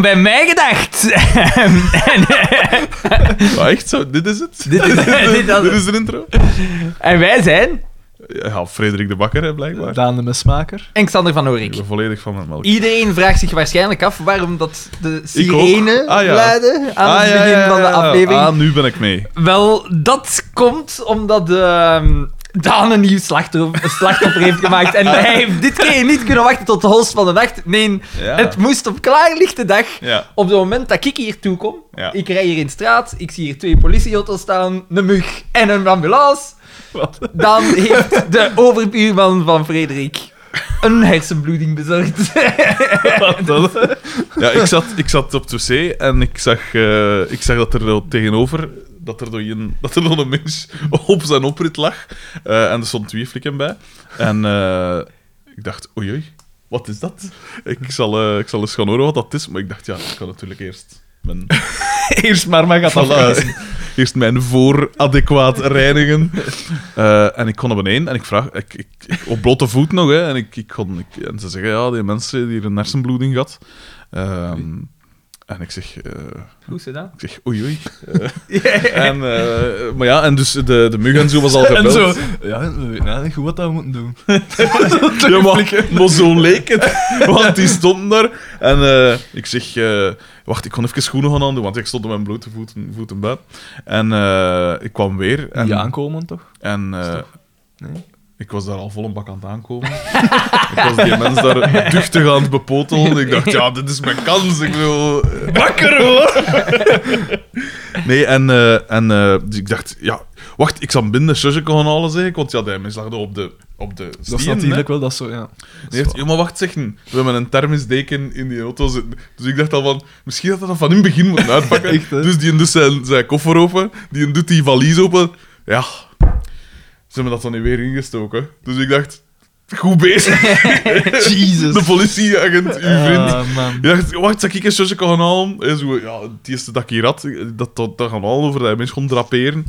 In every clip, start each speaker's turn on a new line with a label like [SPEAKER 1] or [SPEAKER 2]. [SPEAKER 1] bij mij gedacht. en,
[SPEAKER 2] Maar echt zo, dit is het?
[SPEAKER 1] Dit is- dit is-
[SPEAKER 2] Dit is de intro?
[SPEAKER 1] en wij zijn
[SPEAKER 2] Ja, Frederik de Bakker, hè, blijkbaar.
[SPEAKER 3] Daan de Mesmaker.
[SPEAKER 1] en Xander van
[SPEAKER 2] Ik
[SPEAKER 1] Oorik.
[SPEAKER 2] ben volledig van mijn melk.
[SPEAKER 1] Iedereen vraagt zich waarschijnlijk af waarom dat de sirene
[SPEAKER 2] ook. Ah, ja.
[SPEAKER 1] luidde aan
[SPEAKER 2] Ah,
[SPEAKER 1] het
[SPEAKER 2] ja,
[SPEAKER 1] begin
[SPEAKER 2] ja, ja,
[SPEAKER 1] van de
[SPEAKER 2] ja.
[SPEAKER 1] aflevering.
[SPEAKER 2] Ah, nu ben ik mee.
[SPEAKER 1] Wel, dat komt omdat ehm, Daan een nieuw slachtoffer, een slachtoffer heeft gemaakt. En hij heeft dit keer niet kunnen wachten tot de holst van de nacht. Nee,
[SPEAKER 2] Ja.
[SPEAKER 1] het moest op klaarlichte dag.
[SPEAKER 2] Ja.
[SPEAKER 1] Op het moment dat ik hier toe kom,
[SPEAKER 2] Ja.
[SPEAKER 1] ik rij hier in de straat, ik zie hier twee politieauto's staan, een mug en een ambulance. Dan heeft de overbuurman van Frederik een hersenbloeding bezorgd.
[SPEAKER 2] Ja, ik zat, ik zat op het wc en ik zag, eh, ik zag dat er al tegenover dat er, door een, dat er nog een mens op zijn oprit lag. Eh, en er stond twee flikken bij. En eh, ik dacht, oei, oei, wat is dat? Ik zal, eh, ik zal eens gaan horen wat dat is. Maar ik dacht, ja, ik kan natuurlijk eerst mijn,
[SPEAKER 3] Eerst maar, maar gaat
[SPEAKER 2] voilà, eerst mijn voor adequaat reinigen. Eh, en ik kon naar beneden en ik vraag, ik, ik, ik- op blote voet nog, hè, en, ik, ik kon, ik- en ze zeggen, ja, die mensen die een hersenbloeding gehad. Ehm, en ik zeg, eh,
[SPEAKER 1] Hoe ze dat?
[SPEAKER 2] ik zeg, oei oei. Eh, en, eh, maar ja, en dus de, de mug en zo was al gebeld.
[SPEAKER 3] En zo. Ja, we weten eigenlijk goed wat dat we moeten doen.
[SPEAKER 2] Ja, maar, maar zo leek het. Want die stond daar. En eh, ik zeg... eh, wacht, ik kon even schoenen gaan aandoen, want ik stond op mijn blote voeten, voeten bij. En eh, ik kwam weer. En,
[SPEAKER 3] Die aankomen toch?
[SPEAKER 2] En eh,
[SPEAKER 3] Nee.
[SPEAKER 2] ik was daar al vol een bak aan het aankomen. ik was die mens daar duchtig aan het bepotelen. Ik dacht, ja, dit is mijn kans. Ik wil... Bakker, hoor! nee, en, eh, en eh, dus ik dacht, ja... Wacht, ik zal hem binnen zusje gaan halen, zeg ik. Want ja, die mens lag daar op de, op de
[SPEAKER 3] Dat is
[SPEAKER 2] stien, hè.
[SPEAKER 3] natuurlijk wel dat zo, ja.
[SPEAKER 2] En hij heeft, ja, maar wacht zeggen, we hebben een thermisdeken in die auto zitten. Dus ik dacht al van, misschien dat dat van in het begin moet uitpakken.
[SPEAKER 3] Echt, hè?
[SPEAKER 2] dus die doet zijn, zijn koffer open, die doet die valies open. Ja, ze hebben dat dan niet weer ingestoken. Dus ik dacht, goed bezig,
[SPEAKER 3] Jesus.
[SPEAKER 2] de politieagent, uw vriend.
[SPEAKER 3] Ah, man.
[SPEAKER 2] Ik dacht, wacht, zal ik eens zusje gaan halen? En zo, ja, het eerste dat ik hier had, dat, dat, dat gaan halen over dat mensen kon draperen.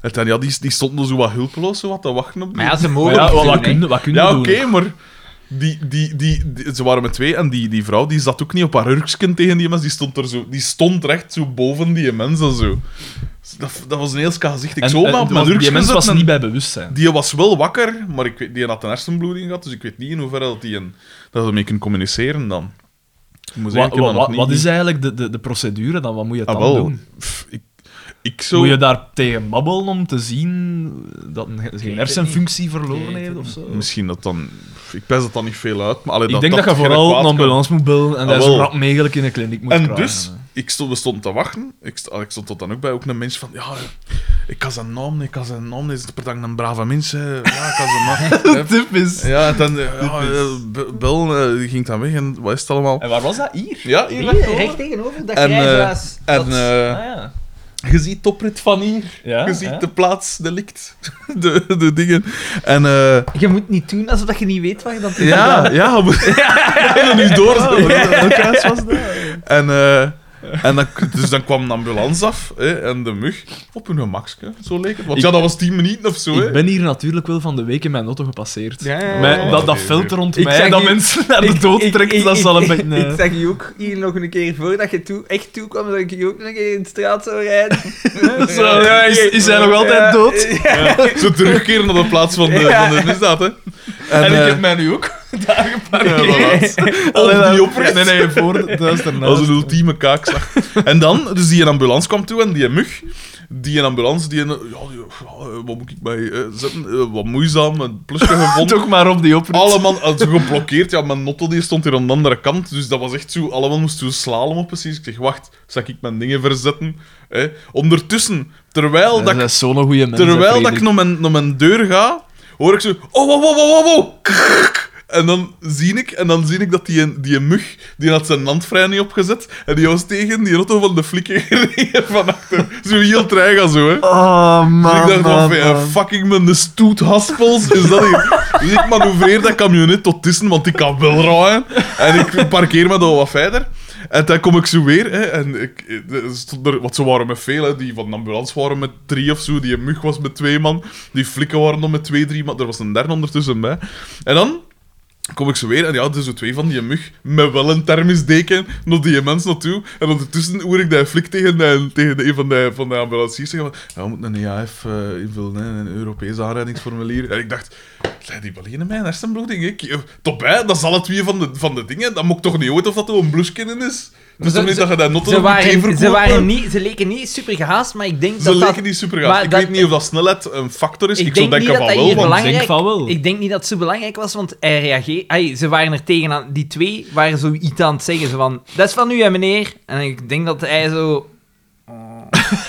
[SPEAKER 2] En dan, ja, die, die stonden zo wat hulpeloos, zo wat te wachten op die-
[SPEAKER 1] Maar ja, ze
[SPEAKER 3] Maar
[SPEAKER 1] mogen
[SPEAKER 3] ja,
[SPEAKER 1] het
[SPEAKER 3] wat,
[SPEAKER 1] doen,
[SPEAKER 3] wat
[SPEAKER 1] hè.
[SPEAKER 3] kun je, wat kun je
[SPEAKER 2] ja,
[SPEAKER 3] doen?
[SPEAKER 2] oké, maar die, die, die, die- ze waren met twee en die, die vrouw die zat ook niet op haar hurksken tegen die mens. Die stond, er zo, die stond recht zo boven die mens en zo. Dat, dat was een heel ska gezicht. Ik
[SPEAKER 3] En,
[SPEAKER 2] zomaar
[SPEAKER 3] en
[SPEAKER 2] op
[SPEAKER 3] toen
[SPEAKER 2] mijn
[SPEAKER 3] was- Die
[SPEAKER 2] hurksken
[SPEAKER 3] mens was
[SPEAKER 2] zitten en-
[SPEAKER 3] niet bij bewustzijn.
[SPEAKER 2] Die was wel wakker, maar ik weet, die had een hersenbloeding gehad, dus ik weet niet in hoeverre dat die een, dat ermee kunnen communiceren dan. Ik moet zeggen,
[SPEAKER 3] Wat,
[SPEAKER 2] ik heb dat nog
[SPEAKER 3] wat,
[SPEAKER 2] niet-
[SPEAKER 3] wat is eigenlijk de, de, de procedure dan? Wat moet je
[SPEAKER 2] Ah,
[SPEAKER 3] dan
[SPEAKER 2] wel.
[SPEAKER 3] doen?
[SPEAKER 2] Pff, ik, ik zou...
[SPEAKER 3] Moet je daar tegen babbelen om te zien dat een, geen hersenfunctie verloren heeft of zo?
[SPEAKER 2] Misschien dat dan... pff, Ik pijs dat dan niet veel uit, maar... Allee,
[SPEAKER 3] Ik
[SPEAKER 2] dat,
[SPEAKER 3] denk dat, je
[SPEAKER 2] geen
[SPEAKER 3] vooral
[SPEAKER 2] kwaad
[SPEAKER 3] een
[SPEAKER 2] kan.
[SPEAKER 3] ambulance moet bellen en
[SPEAKER 2] Ah,
[SPEAKER 3] dat je zo
[SPEAKER 2] wel.
[SPEAKER 3] rap mogelijk in de kliniek moet
[SPEAKER 2] En
[SPEAKER 3] krijgen.
[SPEAKER 2] dus, ik stond, we stonden te wachten. Ik, st- ah, ik stond tot dan ook bij, ook een mens van... Ja, ik kan zijn naam niet, ik kan zijn naam niet. Is per dag een brave mens, hè. Ja, ik kan zijn naam niet.
[SPEAKER 3] Typisch.
[SPEAKER 2] Ja, en dan... eh, Ja, eh, be- bel, eh, die ging dan weg en wat is het allemaal?
[SPEAKER 3] En waar was dat? Hier?
[SPEAKER 2] Ja, hier
[SPEAKER 1] Hier,
[SPEAKER 2] rechtdoor.
[SPEAKER 1] recht tegenover dat
[SPEAKER 2] En, eh,
[SPEAKER 1] grijze huis.
[SPEAKER 2] En
[SPEAKER 1] Dat-
[SPEAKER 2] eh,
[SPEAKER 3] Ah, ja.
[SPEAKER 2] je ziet toprit van hier.
[SPEAKER 3] Ja,
[SPEAKER 2] je ziet
[SPEAKER 3] ja.
[SPEAKER 2] de plaats, de likt, de, de dingen. En eh,
[SPEAKER 1] Je moet niet doen alsof dat je niet weet waar dat is.
[SPEAKER 2] ja, ja, we hebben nu door.
[SPEAKER 3] Oh, was dat?
[SPEAKER 2] En, eh, en dan, dus dan kwam een ambulance af hè, en de mug op hun gemakske, zo leek het. Want
[SPEAKER 3] Ik-
[SPEAKER 2] ja, dat was 10 minuten of zo. Hè.
[SPEAKER 3] Ik ben hier natuurlijk wel van de week in mijn auto gepasseerd.
[SPEAKER 1] Ja, ja, ja.
[SPEAKER 3] Mijn- dat, dat
[SPEAKER 2] Ja,
[SPEAKER 3] veld rond
[SPEAKER 1] Ik
[SPEAKER 3] mij,
[SPEAKER 1] zeg
[SPEAKER 3] dat
[SPEAKER 1] je-
[SPEAKER 3] mensen naar de dood trekken, dat zal een beetje...
[SPEAKER 1] Ik
[SPEAKER 3] eh,
[SPEAKER 1] zag je ook hier nog een keer voordat je toe, echt toe kwam, dat ik je ook nog een keer in de straat zou rijden.
[SPEAKER 3] Zo, is- is hij nog altijd
[SPEAKER 1] Ja.
[SPEAKER 3] dood?
[SPEAKER 1] Ja.
[SPEAKER 2] Zo terugkeren naar de plaats van de,
[SPEAKER 1] Ja.
[SPEAKER 2] van de misdaad. Hè. En,
[SPEAKER 3] En ik
[SPEAKER 2] eh,
[SPEAKER 3] heb mij nu ook daar geparkeerd.
[SPEAKER 2] Ja, voilà.
[SPEAKER 3] Alleen
[SPEAKER 2] Op die
[SPEAKER 3] dan-
[SPEAKER 2] oprit.
[SPEAKER 3] Nee, nee, voor, dat is ernaast.
[SPEAKER 2] Dat was een ultieme kaakslag. en dan, dus die een ambulance kwam toe en die mug, die een ambulance, die een... Ja, die- ja, eh, wat moet ik bij eh, zetten? Eh, wat moeizaam, een plusje gevonden.
[SPEAKER 3] Toch maar op die oprit.
[SPEAKER 2] Allemaal eh, zo geblokkeerd. Ja, mijn notto die stond hier aan de andere kant. Dus dat was echt zo. Allemaal moest zo slalom op precies. Ik zeg, wacht, zal ik mijn dingen verzetten? Hè? Ondertussen, terwijl,
[SPEAKER 3] dat
[SPEAKER 2] dat, ik-
[SPEAKER 3] is zo'n goede mens.
[SPEAKER 2] terwijl dat ik naar mijn, naar mijn deur ga, hoor ik zo... Oh, wow, wow, wow, wow, wow. Krrrk. En dan zie ik, en dan zie ik dat die, een- die een mug, die had zijn landvrij niet opgezet, en die was tegen die auto van de flikker gereden van achter. Zo heel treig en zo, hè.
[SPEAKER 3] Oh, man,
[SPEAKER 2] Dus ik dacht
[SPEAKER 3] man,
[SPEAKER 2] van, eh,
[SPEAKER 3] man.
[SPEAKER 2] fucking mijn de stoethaspels, is dat hier? Dus ik manoeuvreer dat camionet tot tussen, want ik kan wel rijden. En ik parkeer me dan wat verder. En dan kom ik zo weer, hè, en ik, eh, er stond er, want ze waren met veel, hè, die van de ambulance waren met drie of zo, die mug was met twee man, die flikken waren nog met twee, drie man, er was een derde ondertussen bij. En dan Kom ik zo weer en ja, dus zo twee van die mug met wel een thermisdeken naar die mens naartoe. En ondertussen hoor ik dat flik tegen, de, tegen de, een van de, van de ambulanciers zeggen: van, ja, We moeten een EAF eh, invullen, hè, een Europees aanrijdingsformulier. En ik dacht: Zijn die wel in mijn hersenbloeding? hè? Ik, eh, top bij, dat zal het weer van de, van de dingen. Dan moet ik toch niet ooit of dat er een blusje in is. Dus
[SPEAKER 1] Ze-
[SPEAKER 2] dan niet dat je dat noten
[SPEAKER 1] Ze,
[SPEAKER 2] op een thee
[SPEAKER 1] waren, ze,
[SPEAKER 2] verkoopt,
[SPEAKER 1] waren
[SPEAKER 2] maar-
[SPEAKER 1] niet, ze leken niet super gehaast, maar ik denk
[SPEAKER 2] Ze
[SPEAKER 1] dat dat...
[SPEAKER 2] leken niet super gaaf.
[SPEAKER 1] maar
[SPEAKER 2] Ik
[SPEAKER 1] dat-
[SPEAKER 2] weet niet of dat snelheid een factor is. Ik,
[SPEAKER 1] Ik,
[SPEAKER 2] zou
[SPEAKER 1] denk niet dat
[SPEAKER 2] denken van
[SPEAKER 1] dat
[SPEAKER 2] wel,
[SPEAKER 1] hier
[SPEAKER 2] want-
[SPEAKER 3] belang-
[SPEAKER 1] belangrijk...
[SPEAKER 3] denk van wel.
[SPEAKER 1] Ik denk niet dat het zo belangrijk was, want hij reageerde... ai, ze waren er tegenaan... Die twee waren zoiets aan het zeggen. Zo van, dat is van u, hè, meneer. En ik denk dat hij zo...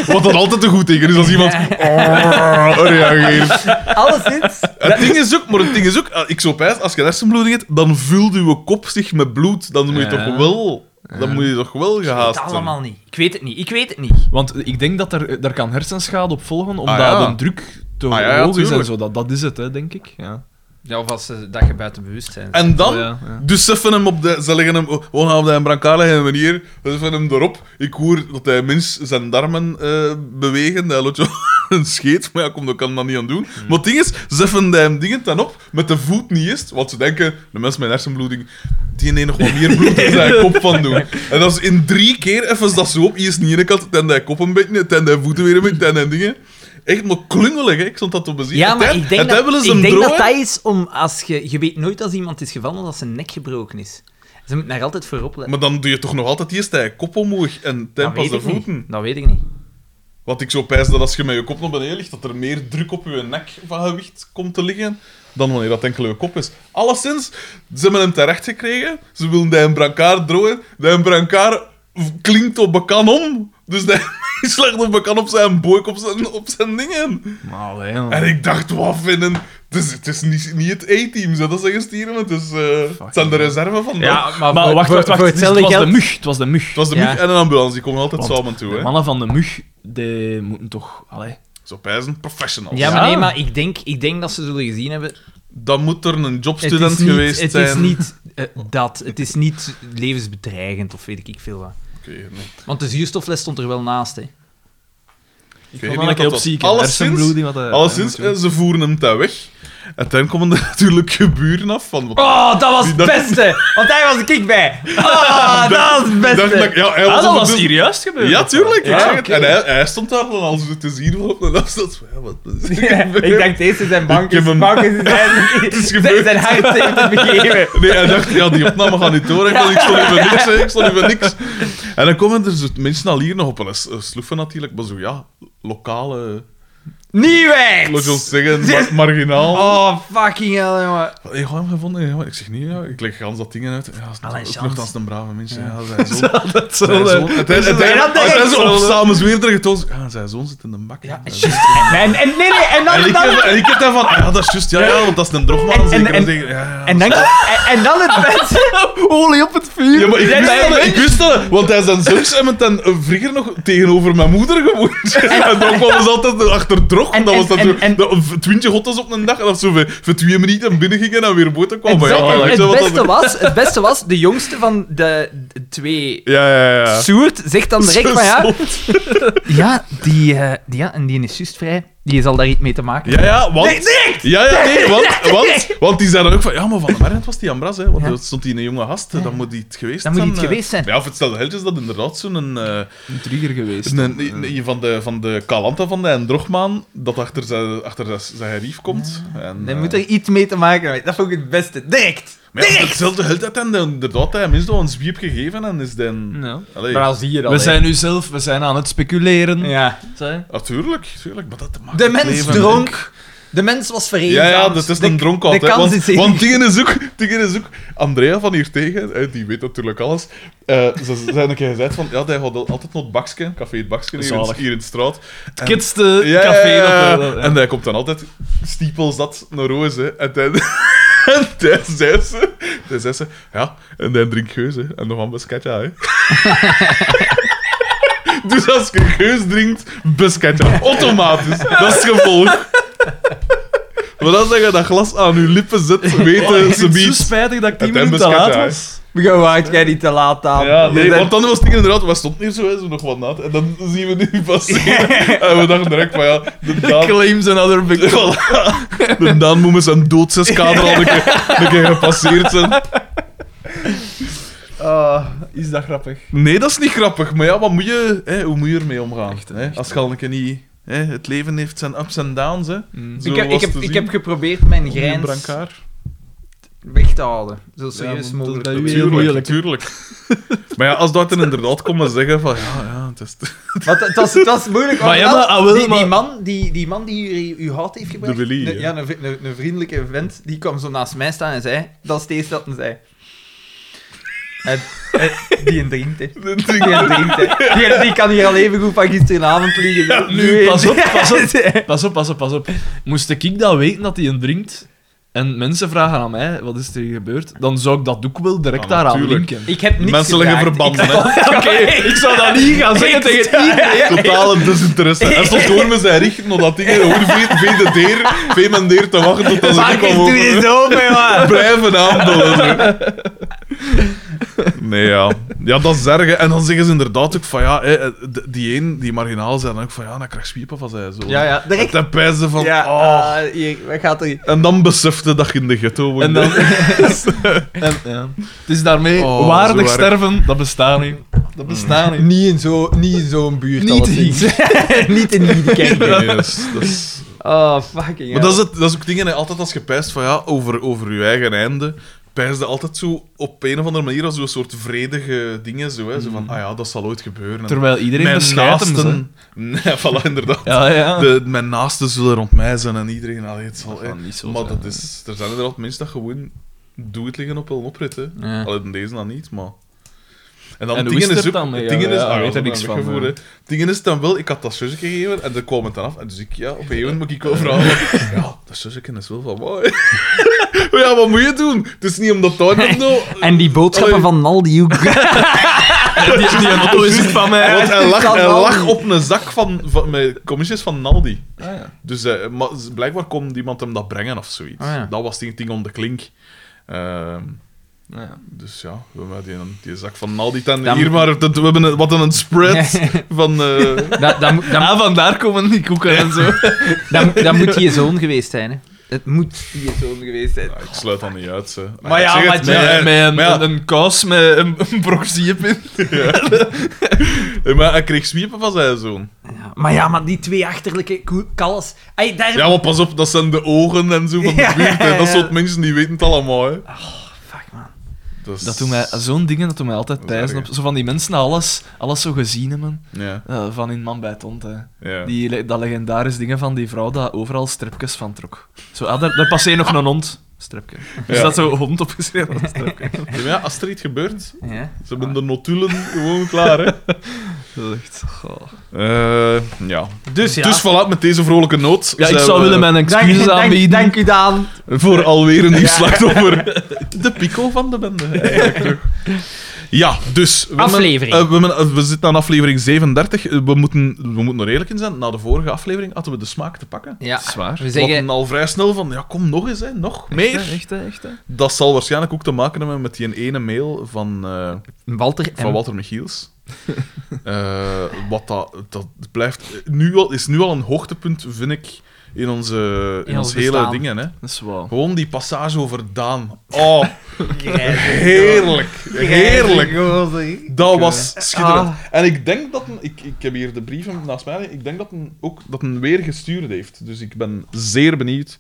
[SPEAKER 2] Wat dat altijd een goed teken is als iemand "Oh," reageert.
[SPEAKER 1] Alleszins...
[SPEAKER 2] Het ding is ook, maar het ding is ook, eh, ik zou pijs, als je hersenbloeding hebt, dan vult je kop zich met bloed. Dan moet je
[SPEAKER 3] Ja.
[SPEAKER 2] toch wel, dan moet je toch wel gehaast
[SPEAKER 1] Het
[SPEAKER 2] zijn.
[SPEAKER 1] allemaal niet. Ik weet het niet. Ik weet het niet.
[SPEAKER 3] Want ik denk dat er, daar kan hersenschade op volgen, omdat
[SPEAKER 2] ja.
[SPEAKER 3] de druk te
[SPEAKER 2] Ah, ja, ja,
[SPEAKER 3] hoog is en
[SPEAKER 2] tuurlijk.
[SPEAKER 3] zo. Dat, dat is het, hè, denk ik. Ja.
[SPEAKER 1] Ja, of als ze, dat je buiten bewustzijn bent.
[SPEAKER 2] En dan,
[SPEAKER 3] Oh, ja, ja.
[SPEAKER 2] dus ze vinden hem op de, ze leggen hem, oh, we gaan op de brancard leggen, meneer, ze vinden hem erop. Ik hoor dat hij mens zijn darmen eh, bewegen, hij loopt zo een scheet, maar ja, kom, dat kan dat niet aan doen.
[SPEAKER 1] Hmm.
[SPEAKER 2] Maar het ding is, ze vinden hem dingen ten op, met de voet niet eens, want ze denken, de mens met hersenbloeding, die neemt nog wat meer bloed dan zijn kop van doen. En dat is in drie keer even dat zo op, hier is niet ene kant, ten de kop een beetje, ten de voeten weer een beetje, ten de dingen. Echt maar klungelig, hè. ik stond dat op bezien.
[SPEAKER 1] Ja, maar ik denk, dat, ik denk dat dat is om als je... Je weet nooit als iemand is gevallen of als zijn nek gebroken is. Ze moeten daar altijd voor opletten.
[SPEAKER 2] Maar dan doe je toch nog altijd eerst hè, kop omhoog en dan
[SPEAKER 1] Dat
[SPEAKER 2] pas
[SPEAKER 1] weet
[SPEAKER 2] de
[SPEAKER 1] ik niet.
[SPEAKER 2] voeten.
[SPEAKER 1] Dat weet ik niet.
[SPEAKER 2] Want ik zou pijzen dat als je met je kop naar beneden ligt, dat er meer druk op je nek van gewicht komt te liggen dan wanneer dat enkel je kop is. Alleszins, ze hebben hem terecht gekregen. Ze willen die een brancard drooien. Die een brancard v- klinkt op bekan om. Dus die slaat op bekan op zijn boek, op zijn, op zijn dingen.
[SPEAKER 3] Maar allee, man.
[SPEAKER 2] En ik dacht, wat vinden... Het is, het is niet, niet het A-team, zo dat ze gestieren. Het, is, eh, het zijn de reserve van dat.
[SPEAKER 3] maar,
[SPEAKER 1] voor-
[SPEAKER 3] wacht,
[SPEAKER 1] voor-
[SPEAKER 3] wacht, wacht.
[SPEAKER 1] voor
[SPEAKER 3] het,
[SPEAKER 1] hetzelfde
[SPEAKER 3] was de
[SPEAKER 1] geld-
[SPEAKER 3] mug. Het was de mug.
[SPEAKER 2] Het was de
[SPEAKER 1] Ja.
[SPEAKER 2] mug en een ambulance, die komen altijd
[SPEAKER 3] Want
[SPEAKER 2] samen toe.
[SPEAKER 3] De
[SPEAKER 2] Hè.
[SPEAKER 3] mannen van de mug, die moeten toch... Allee.
[SPEAKER 2] Zo pijzen, professionals.
[SPEAKER 1] Ja, maar
[SPEAKER 3] Ja.
[SPEAKER 1] nee, maar ik denk, ik denk dat ze zullen gezien hebben...
[SPEAKER 2] Dan moet er een
[SPEAKER 1] Het
[SPEAKER 2] jobstudent
[SPEAKER 1] is niet,
[SPEAKER 2] geweest
[SPEAKER 1] het
[SPEAKER 2] zijn.
[SPEAKER 1] is niet eh, dat. Het is niet levensbedreigend of weet ik, ik veel wat.
[SPEAKER 2] Oké, nee.
[SPEAKER 1] Want de zuurstofles stond er wel naast, hè.
[SPEAKER 2] Ik
[SPEAKER 3] Ik
[SPEAKER 2] weet
[SPEAKER 3] wil
[SPEAKER 2] niet
[SPEAKER 3] wel een
[SPEAKER 2] wat
[SPEAKER 3] keer
[SPEAKER 2] dat
[SPEAKER 3] opzieken.
[SPEAKER 2] was.
[SPEAKER 3] Hersenbloeding, wat dat-
[SPEAKER 2] Alleszins,
[SPEAKER 3] dat moet
[SPEAKER 2] eh, ze voeren hem daar weg. En dan komen er natuurlijk geburen af van... Wat
[SPEAKER 1] Oh, dat was
[SPEAKER 2] Die
[SPEAKER 1] het
[SPEAKER 2] dat-
[SPEAKER 1] beste! Want hij was een kick bij. Oh, dat was het
[SPEAKER 2] Dacht
[SPEAKER 1] beste.
[SPEAKER 2] ik, ja, hij
[SPEAKER 3] Ah,
[SPEAKER 2] was
[SPEAKER 3] dat was
[SPEAKER 2] ondertussen-
[SPEAKER 3] hier juist gebeurd.
[SPEAKER 2] Ja, tuurlijk.
[SPEAKER 1] Ja,
[SPEAKER 2] ik zeg het.
[SPEAKER 1] oké.
[SPEAKER 2] En hij, hij stond daar dan al zo te zien van op de afstand. van, Ja, wat is hier
[SPEAKER 1] Ja,
[SPEAKER 2] gebeurd?
[SPEAKER 1] ik dacht, deze zijn bank
[SPEAKER 2] Ik heb
[SPEAKER 1] is
[SPEAKER 2] hem-
[SPEAKER 1] bank is zijn,
[SPEAKER 2] is
[SPEAKER 1] zijn,
[SPEAKER 2] gebeurd.
[SPEAKER 1] zijn hart heeft het begeven.
[SPEAKER 2] Nee, hij dacht, ja, die opname gaat niet door. Ik, ik stond hier voor niks, hè. ik stond hier voor niks. En dan komen er zo mensen al hier nog op. En dat is, eh, sloeven natuurlijk, maar zo, ja, lokale... Laat ons
[SPEAKER 1] Nieuwwijks!
[SPEAKER 2] zeggen, ma- marginaal.
[SPEAKER 1] Oh, fucking hell, jongen.
[SPEAKER 2] Ik heb hem gevonden. ja, maar Ik zeg niet, ja, ik leg gans dat dingen uit. Ja, dat
[SPEAKER 1] Allee,
[SPEAKER 2] is ook
[SPEAKER 1] chance.
[SPEAKER 2] nog dat is een brave mensen. Ja, zijn zoon.
[SPEAKER 3] Dat
[SPEAKER 2] Zijn zoon. Het is het is-
[SPEAKER 1] dat denk
[SPEAKER 2] het
[SPEAKER 1] ik
[SPEAKER 2] is
[SPEAKER 1] zo.
[SPEAKER 2] op samen weer tegen Toos. Ja, zijn zoon zit in de bak.
[SPEAKER 1] Ja,
[SPEAKER 2] hè.
[SPEAKER 1] juist. En, en, en- nee, nee, en dan...
[SPEAKER 2] En ik,
[SPEAKER 1] dan
[SPEAKER 2] heb, en ik heb daarvan, ah, ja, dat is juist, ja, ja, want dat is een drogman.
[SPEAKER 1] En-
[SPEAKER 2] zeker,
[SPEAKER 1] en- en-
[SPEAKER 2] zeker, ja, ja.
[SPEAKER 1] en, dan, en, en dan het beste...
[SPEAKER 3] Olie op het vuur.
[SPEAKER 2] Ja, maar ik
[SPEAKER 1] Jij
[SPEAKER 2] wist,
[SPEAKER 1] bent
[SPEAKER 2] dat,
[SPEAKER 1] een
[SPEAKER 2] ik wist dat, want hij is dan zus en met dan eh, vroeger nog tegenover mijn moeder gewoond. En dan kwam ze altijd achter drog,
[SPEAKER 1] En-
[SPEAKER 2] want dat was dan
[SPEAKER 1] en-
[SPEAKER 2] zo,
[SPEAKER 1] en-
[SPEAKER 2] dat- twintig hottes op een dag, en dat zo voor, voor twee minuten binnen ging en dan weer boten kwam.
[SPEAKER 1] Het,
[SPEAKER 2] Maar ja,
[SPEAKER 1] het-
[SPEAKER 2] weet je
[SPEAKER 1] het
[SPEAKER 2] wat dat-
[SPEAKER 1] beste was, het beste was, de jongste van de, de twee...
[SPEAKER 2] Ja, ja, ja.
[SPEAKER 1] Soert zegt dan direct van ja,
[SPEAKER 2] Zo-
[SPEAKER 1] ja, die, eh, die, ja, en die is juist vrij, die zal daar iets mee te maken
[SPEAKER 2] Ja, ja, want...
[SPEAKER 1] Nee, direct!
[SPEAKER 2] Ja, ja, nee, want, want, want die zei dan ook van... Ja, maar Van de Merent was die Ambras, hè. Want
[SPEAKER 1] Ja.
[SPEAKER 2] er stond die een jonge gast, hè, dan moet die het geweest
[SPEAKER 1] Dan moet die het
[SPEAKER 2] eh.
[SPEAKER 1] geweest zijn.
[SPEAKER 2] Ja, of het stelde heltjes dat inderdaad zo'n... eh,
[SPEAKER 3] Een trigger geweest.
[SPEAKER 2] een- een-
[SPEAKER 4] eh,
[SPEAKER 2] een van, de, van de Kalanta van de en Drogmaan, dat achter zijn, achter zijn, zijn rief komt. En,
[SPEAKER 1] Daar
[SPEAKER 2] eh,
[SPEAKER 1] moet er iets mee te maken hebben. Dat vond ik het beste. Direct!
[SPEAKER 2] maar ja,
[SPEAKER 1] Direct!
[SPEAKER 2] hetzelfde held dat dan inderdaad, hij minstens wel een zwiep gegeven en is dan...
[SPEAKER 3] Ja.
[SPEAKER 2] Allee,
[SPEAKER 1] zie je
[SPEAKER 3] We zijn nu zelf, we zijn aan het speculeren.
[SPEAKER 1] Ja.
[SPEAKER 3] Zij?
[SPEAKER 2] natuurlijk, natuurlijk, ah, maar dat maakt
[SPEAKER 1] De
[SPEAKER 2] het
[SPEAKER 1] mens
[SPEAKER 2] leven
[SPEAKER 1] dronk. De mens was
[SPEAKER 2] Ja,
[SPEAKER 1] vereenzaamd.
[SPEAKER 2] ja, dat is
[SPEAKER 1] De-
[SPEAKER 2] een dronkaard.
[SPEAKER 1] De
[SPEAKER 2] hè.
[SPEAKER 1] kans
[SPEAKER 2] Want,
[SPEAKER 1] is
[SPEAKER 2] want
[SPEAKER 1] want,
[SPEAKER 2] dingen is ook, dingen is ook... Andrea van hier tegen, hè, die weet natuurlijk alles. eh, ze ze zijn een keer gezegd van... Ja, die gaat al- altijd naar het bakske, café het bakske, hier, in-
[SPEAKER 3] Zalig.
[SPEAKER 2] hier in de straat.
[SPEAKER 3] Het kitste
[SPEAKER 2] Ja,
[SPEAKER 3] café.
[SPEAKER 2] ja, ja.
[SPEAKER 3] Dat, we-
[SPEAKER 2] En hij komt dan altijd... Stiepels dat naar roze. hè. En dan... En dan zei ze, dan zei ze, ja, en dan drink geus, hè. en nog een biscatja, hè. dus als je geus drinkt, biscatja, automatisch. Dat is het gevolg. Maar als je dat glas aan je lippen zet,
[SPEAKER 3] Oh, ik
[SPEAKER 2] weten
[SPEAKER 3] vind
[SPEAKER 2] ze
[SPEAKER 3] het zo
[SPEAKER 2] niet.
[SPEAKER 3] spijtig dat Oh, ik
[SPEAKER 2] Het
[SPEAKER 3] 10 minuten te
[SPEAKER 2] Tembes
[SPEAKER 3] laat
[SPEAKER 2] Katai.
[SPEAKER 3] was.
[SPEAKER 1] Gewoon waait jij niet te laat aan.
[SPEAKER 2] Ja, nee,
[SPEAKER 1] Je bent-
[SPEAKER 2] want dan was het ding inderdaad, we stond hier zo, hè, zo nog wat nat. En dan zien we nu passeren. En we dachten direct van ja, de Daan,
[SPEAKER 3] Claims another victim.
[SPEAKER 2] Voilà. de Daan moet met zijn doodseskader al een keer, een keer gepasseerd zijn.
[SPEAKER 1] Ah,
[SPEAKER 3] is dat grappig?
[SPEAKER 2] Nee, dat is niet grappig. Maar ja, wat moet je, hè, hoe moet je ermee omgaan? hè? Als je al een keer niet... Hè, het leven heeft zijn ups en downs, hè. Zo
[SPEAKER 1] ik, heb,
[SPEAKER 2] was
[SPEAKER 1] ik, heb,
[SPEAKER 2] te
[SPEAKER 1] ik
[SPEAKER 2] zien.
[SPEAKER 1] heb geprobeerd mijn
[SPEAKER 2] Op een
[SPEAKER 1] grens
[SPEAKER 2] brancard.
[SPEAKER 1] weg te houden. Zo
[SPEAKER 3] want
[SPEAKER 1] serieus
[SPEAKER 3] dat
[SPEAKER 1] mogelijk.
[SPEAKER 3] bij u
[SPEAKER 1] te
[SPEAKER 3] heel
[SPEAKER 1] doen.
[SPEAKER 2] Tuurlijk,
[SPEAKER 3] moeilijk.
[SPEAKER 2] tuurlijk. maar ja, als dat dan inderdaad komen zeggen van ja, ja, het is
[SPEAKER 1] Want het was, het was moeilijk.
[SPEAKER 3] Maar
[SPEAKER 1] want
[SPEAKER 3] ja, maar, ah, wel,
[SPEAKER 1] die, die
[SPEAKER 3] maar-
[SPEAKER 1] man die, die, man die u, u hout heeft gebracht,
[SPEAKER 2] De Willy,
[SPEAKER 1] een-
[SPEAKER 2] ja.
[SPEAKER 1] ja, een, vri- een, een vriendelijke vent, die kwam zo naast mij staan en zei, dat is steeds dat hij zei. En, en die een drinkt, hè. Die een drinkt, hè. Die, die kan hier al even goed van gisteravond liggen. hè.
[SPEAKER 3] nu,
[SPEAKER 1] een-
[SPEAKER 3] pas op, pas Pas op, pas op, pas op. Moest ik dat weten dat hij een drinkt en mensen vragen aan mij wat is er hier gebeurd, dan zou ik dat ook wel direct
[SPEAKER 2] Ja,
[SPEAKER 3] daaraan
[SPEAKER 2] natuurlijk.
[SPEAKER 3] linken.
[SPEAKER 1] Ik heb niks
[SPEAKER 2] Menselijke
[SPEAKER 1] geraakt.
[SPEAKER 2] verbanden,
[SPEAKER 1] Ik-
[SPEAKER 3] Oké, ik zou dat niet gaan zeggen tegen iedereen.
[SPEAKER 2] totale desinteresse. Hij stond gewoon met zijn richt naar dat ding en gewoon vee- vee de deer, vee mijn deer te wachten tot dat ze
[SPEAKER 1] Fuck,
[SPEAKER 2] ook
[SPEAKER 1] ik doe dit
[SPEAKER 2] al
[SPEAKER 1] zo, man.
[SPEAKER 2] blijven aanbellen. zo. Nee, ja. Ja, dat is erg. hè. En dan zeggen ze inderdaad ook van ja, hè, eh, d- die een, die marginaal zijn dan ook van ja, dan krijg je spiepen van zij. Zo.
[SPEAKER 1] Ja, ja,
[SPEAKER 2] En
[SPEAKER 1] direct.
[SPEAKER 2] dan pijzen ze van
[SPEAKER 1] Ja,
[SPEAKER 2] oh.
[SPEAKER 1] ah, hier, wat gaat er...
[SPEAKER 2] En dan besefte dat je in de ghetto woonde.
[SPEAKER 3] En dan... en, ja. Het is daarmee
[SPEAKER 2] Oh, zo
[SPEAKER 3] waardig
[SPEAKER 2] erg.
[SPEAKER 3] sterven, dat bestaat niet. Dat bestaat niet.
[SPEAKER 1] Niet in zo- niet in zo'n buurt,
[SPEAKER 3] Niet
[SPEAKER 1] alleszins. Niet in die kerk.
[SPEAKER 2] Nee, dat is- dat is...
[SPEAKER 1] Oh, fucking
[SPEAKER 2] Maar dat is, het, dat is ook dingen, hè. altijd als je pijst van ja, over, over je eigen einde, pijst je altijd zo op een of andere manier als zo'n soort vredige dingen. Zo, hè. zo van, ah ja, dat zal ooit gebeuren. En
[SPEAKER 3] Mhm. Terwijl iedereen
[SPEAKER 2] mijn
[SPEAKER 3] bescheidt hem, ze.
[SPEAKER 2] Nee, voilà, inderdaad.
[SPEAKER 3] Ja, ja.
[SPEAKER 2] De, mijn naasten zullen rond mij zijn en iedereen, allee, het zal...
[SPEAKER 3] Dat
[SPEAKER 2] hè.
[SPEAKER 3] gaat niet zo
[SPEAKER 2] maar
[SPEAKER 3] zijn,
[SPEAKER 2] dat is, er zijn inderdaad mensen dat gewoon doe het liggen op een oprit. Hè.
[SPEAKER 1] Ja.
[SPEAKER 2] Allee, in deze dan niet, maar... En dan
[SPEAKER 3] En hoe
[SPEAKER 2] dingen
[SPEAKER 3] is
[SPEAKER 2] is
[SPEAKER 3] het
[SPEAKER 2] ook-
[SPEAKER 3] dan met
[SPEAKER 2] het
[SPEAKER 3] jou?
[SPEAKER 2] dingen is,
[SPEAKER 3] Ja,
[SPEAKER 2] ah,
[SPEAKER 3] weet
[SPEAKER 2] dat
[SPEAKER 3] er
[SPEAKER 2] heb
[SPEAKER 3] niks
[SPEAKER 2] ik
[SPEAKER 3] van,
[SPEAKER 2] gevoerd,
[SPEAKER 3] hè.
[SPEAKER 2] hè. Het ding is dan wel, ik had dat zusje gegeven en er kwam het dan af. En dus ik, ja, op een gegeven moment moet ik wel vragen. Ja, dat zusje is wel van mooi. maar ja, wat moet je doen? Het is niet omdat dat hem nou...
[SPEAKER 1] En die boodschappen
[SPEAKER 2] Allee.
[SPEAKER 1] van Naldi ook.
[SPEAKER 3] Die, die auto is het van mij.
[SPEAKER 2] Want hij lag,
[SPEAKER 1] Van
[SPEAKER 2] hij
[SPEAKER 1] Aldi.
[SPEAKER 2] lag op een zak van, van met commissies van Naldi.
[SPEAKER 3] Ah, ja.
[SPEAKER 2] Dus eh, maar z- blijkbaar kon iemand hem dat brengen of zoiets.
[SPEAKER 1] Ah, ja.
[SPEAKER 2] Dat was die ding om de klink. Ehm,
[SPEAKER 3] Ah, ja.
[SPEAKER 2] dus ja, we hebben die, die zak van Naldi ten
[SPEAKER 1] Dan-
[SPEAKER 2] hier, maar dat- we hebben een, wat een spread van... eh,
[SPEAKER 1] Dat, dat, moet- dat,
[SPEAKER 3] Ah, vandaar komen die koeken en zo.
[SPEAKER 1] dat, moet- dat moet je zoon geweest zijn, hè. Het moet je zoon geweest zijn.
[SPEAKER 2] Ja, ik sluit dat niet uit. Ze.
[SPEAKER 3] Maar ja,
[SPEAKER 2] ik zeg
[SPEAKER 3] met,
[SPEAKER 2] het,
[SPEAKER 3] met,
[SPEAKER 2] maar ja,
[SPEAKER 3] een,
[SPEAKER 2] maar ja,
[SPEAKER 3] een kous met een, een brok zeep in.
[SPEAKER 2] eh, maar hij kreeg zwiepen van zijn zoon.
[SPEAKER 1] Ja, maar ja, maar die twee achterlijke koe- kalles. Ai, daar...
[SPEAKER 2] Ja, maar pas op, dat zijn de ogen en zo van de
[SPEAKER 1] Ja,
[SPEAKER 2] buurt. hè.
[SPEAKER 1] ja,
[SPEAKER 2] Dat
[SPEAKER 1] ja.
[SPEAKER 2] soort mensen die weten het allemaal. Hè.
[SPEAKER 1] Fuck, man.
[SPEAKER 2] Dat, is-
[SPEAKER 3] Dat doet mij, zo'n dingen, dat doet mij altijd
[SPEAKER 2] Dat is
[SPEAKER 3] pijzen.
[SPEAKER 2] erg,
[SPEAKER 3] Op, zo van die mensen, alles, alles zo gezien hebben.
[SPEAKER 2] Ja,
[SPEAKER 3] Eh, van in Man bij het Ont, hè.
[SPEAKER 2] ja.
[SPEAKER 3] Die, le- dat legendaris dingen van die vrouw dat overal stripjes van trok. Zo, ah, daar, daar passeert nog een hond. Stripje. Dus
[SPEAKER 2] Ja.
[SPEAKER 3] dat zo hond opgeschreven. Dat
[SPEAKER 2] Ja, maar ja, als er iets gebeurt, ze
[SPEAKER 1] Ja.
[SPEAKER 2] hebben de notulen gewoon klaar. Hè.
[SPEAKER 3] is echt... goh.
[SPEAKER 2] Eh, ja.
[SPEAKER 1] Dus ja.
[SPEAKER 2] Dus voilà, met deze vrolijke noot.
[SPEAKER 3] Ja, ik
[SPEAKER 2] zijn
[SPEAKER 3] zou
[SPEAKER 2] we
[SPEAKER 3] willen mijn
[SPEAKER 1] dank,
[SPEAKER 3] excuses
[SPEAKER 1] dank,
[SPEAKER 3] aanbieden.
[SPEAKER 1] dank u, Daan.
[SPEAKER 2] Voor alweer een nieuw
[SPEAKER 1] Ja.
[SPEAKER 2] slachtoffer. De pico van de bende. eigenlijk toch. Ja, dus... we hebben-
[SPEAKER 1] Aflevering.
[SPEAKER 2] eh, we, hebben- eh, we zitten aan aflevering 37. Eh, We moeten, we moeten er eerlijk in zijn. Na de vorige aflevering hadden we de smaak te pakken.
[SPEAKER 1] Ja,
[SPEAKER 3] Zwaar.
[SPEAKER 1] we
[SPEAKER 2] We hadden
[SPEAKER 1] zeggen...
[SPEAKER 2] al vrij snel van, ja, kom nog eens, hè, nog meer.
[SPEAKER 3] Echt, hè, echt, hè, echt. hè.
[SPEAKER 2] Dat zal waarschijnlijk ook te maken hebben met die ene mail van, eh,
[SPEAKER 1] Walter M.
[SPEAKER 2] van Walter Michiels. Eh, wat dat, dat blijft nu al, is nu al een hoogtepunt, vind ik, in onze in
[SPEAKER 1] ons
[SPEAKER 2] ons hele
[SPEAKER 1] bestaan.
[SPEAKER 2] dingen. Hè.
[SPEAKER 3] Dat is waar.
[SPEAKER 2] Gewoon die passage over Daan. Oh,
[SPEAKER 1] Grijze
[SPEAKER 2] heerlijk.
[SPEAKER 1] gozer.
[SPEAKER 2] Heerlijk.
[SPEAKER 1] Grijze gozer.
[SPEAKER 2] Dat was schitterend.
[SPEAKER 1] Ah.
[SPEAKER 2] En ik denk dat... een- Ik, ik heb hier de brief naast mij. liggen. Ik denk dat een, ook dat een weer gestuurd heeft. Dus ik ben zeer benieuwd.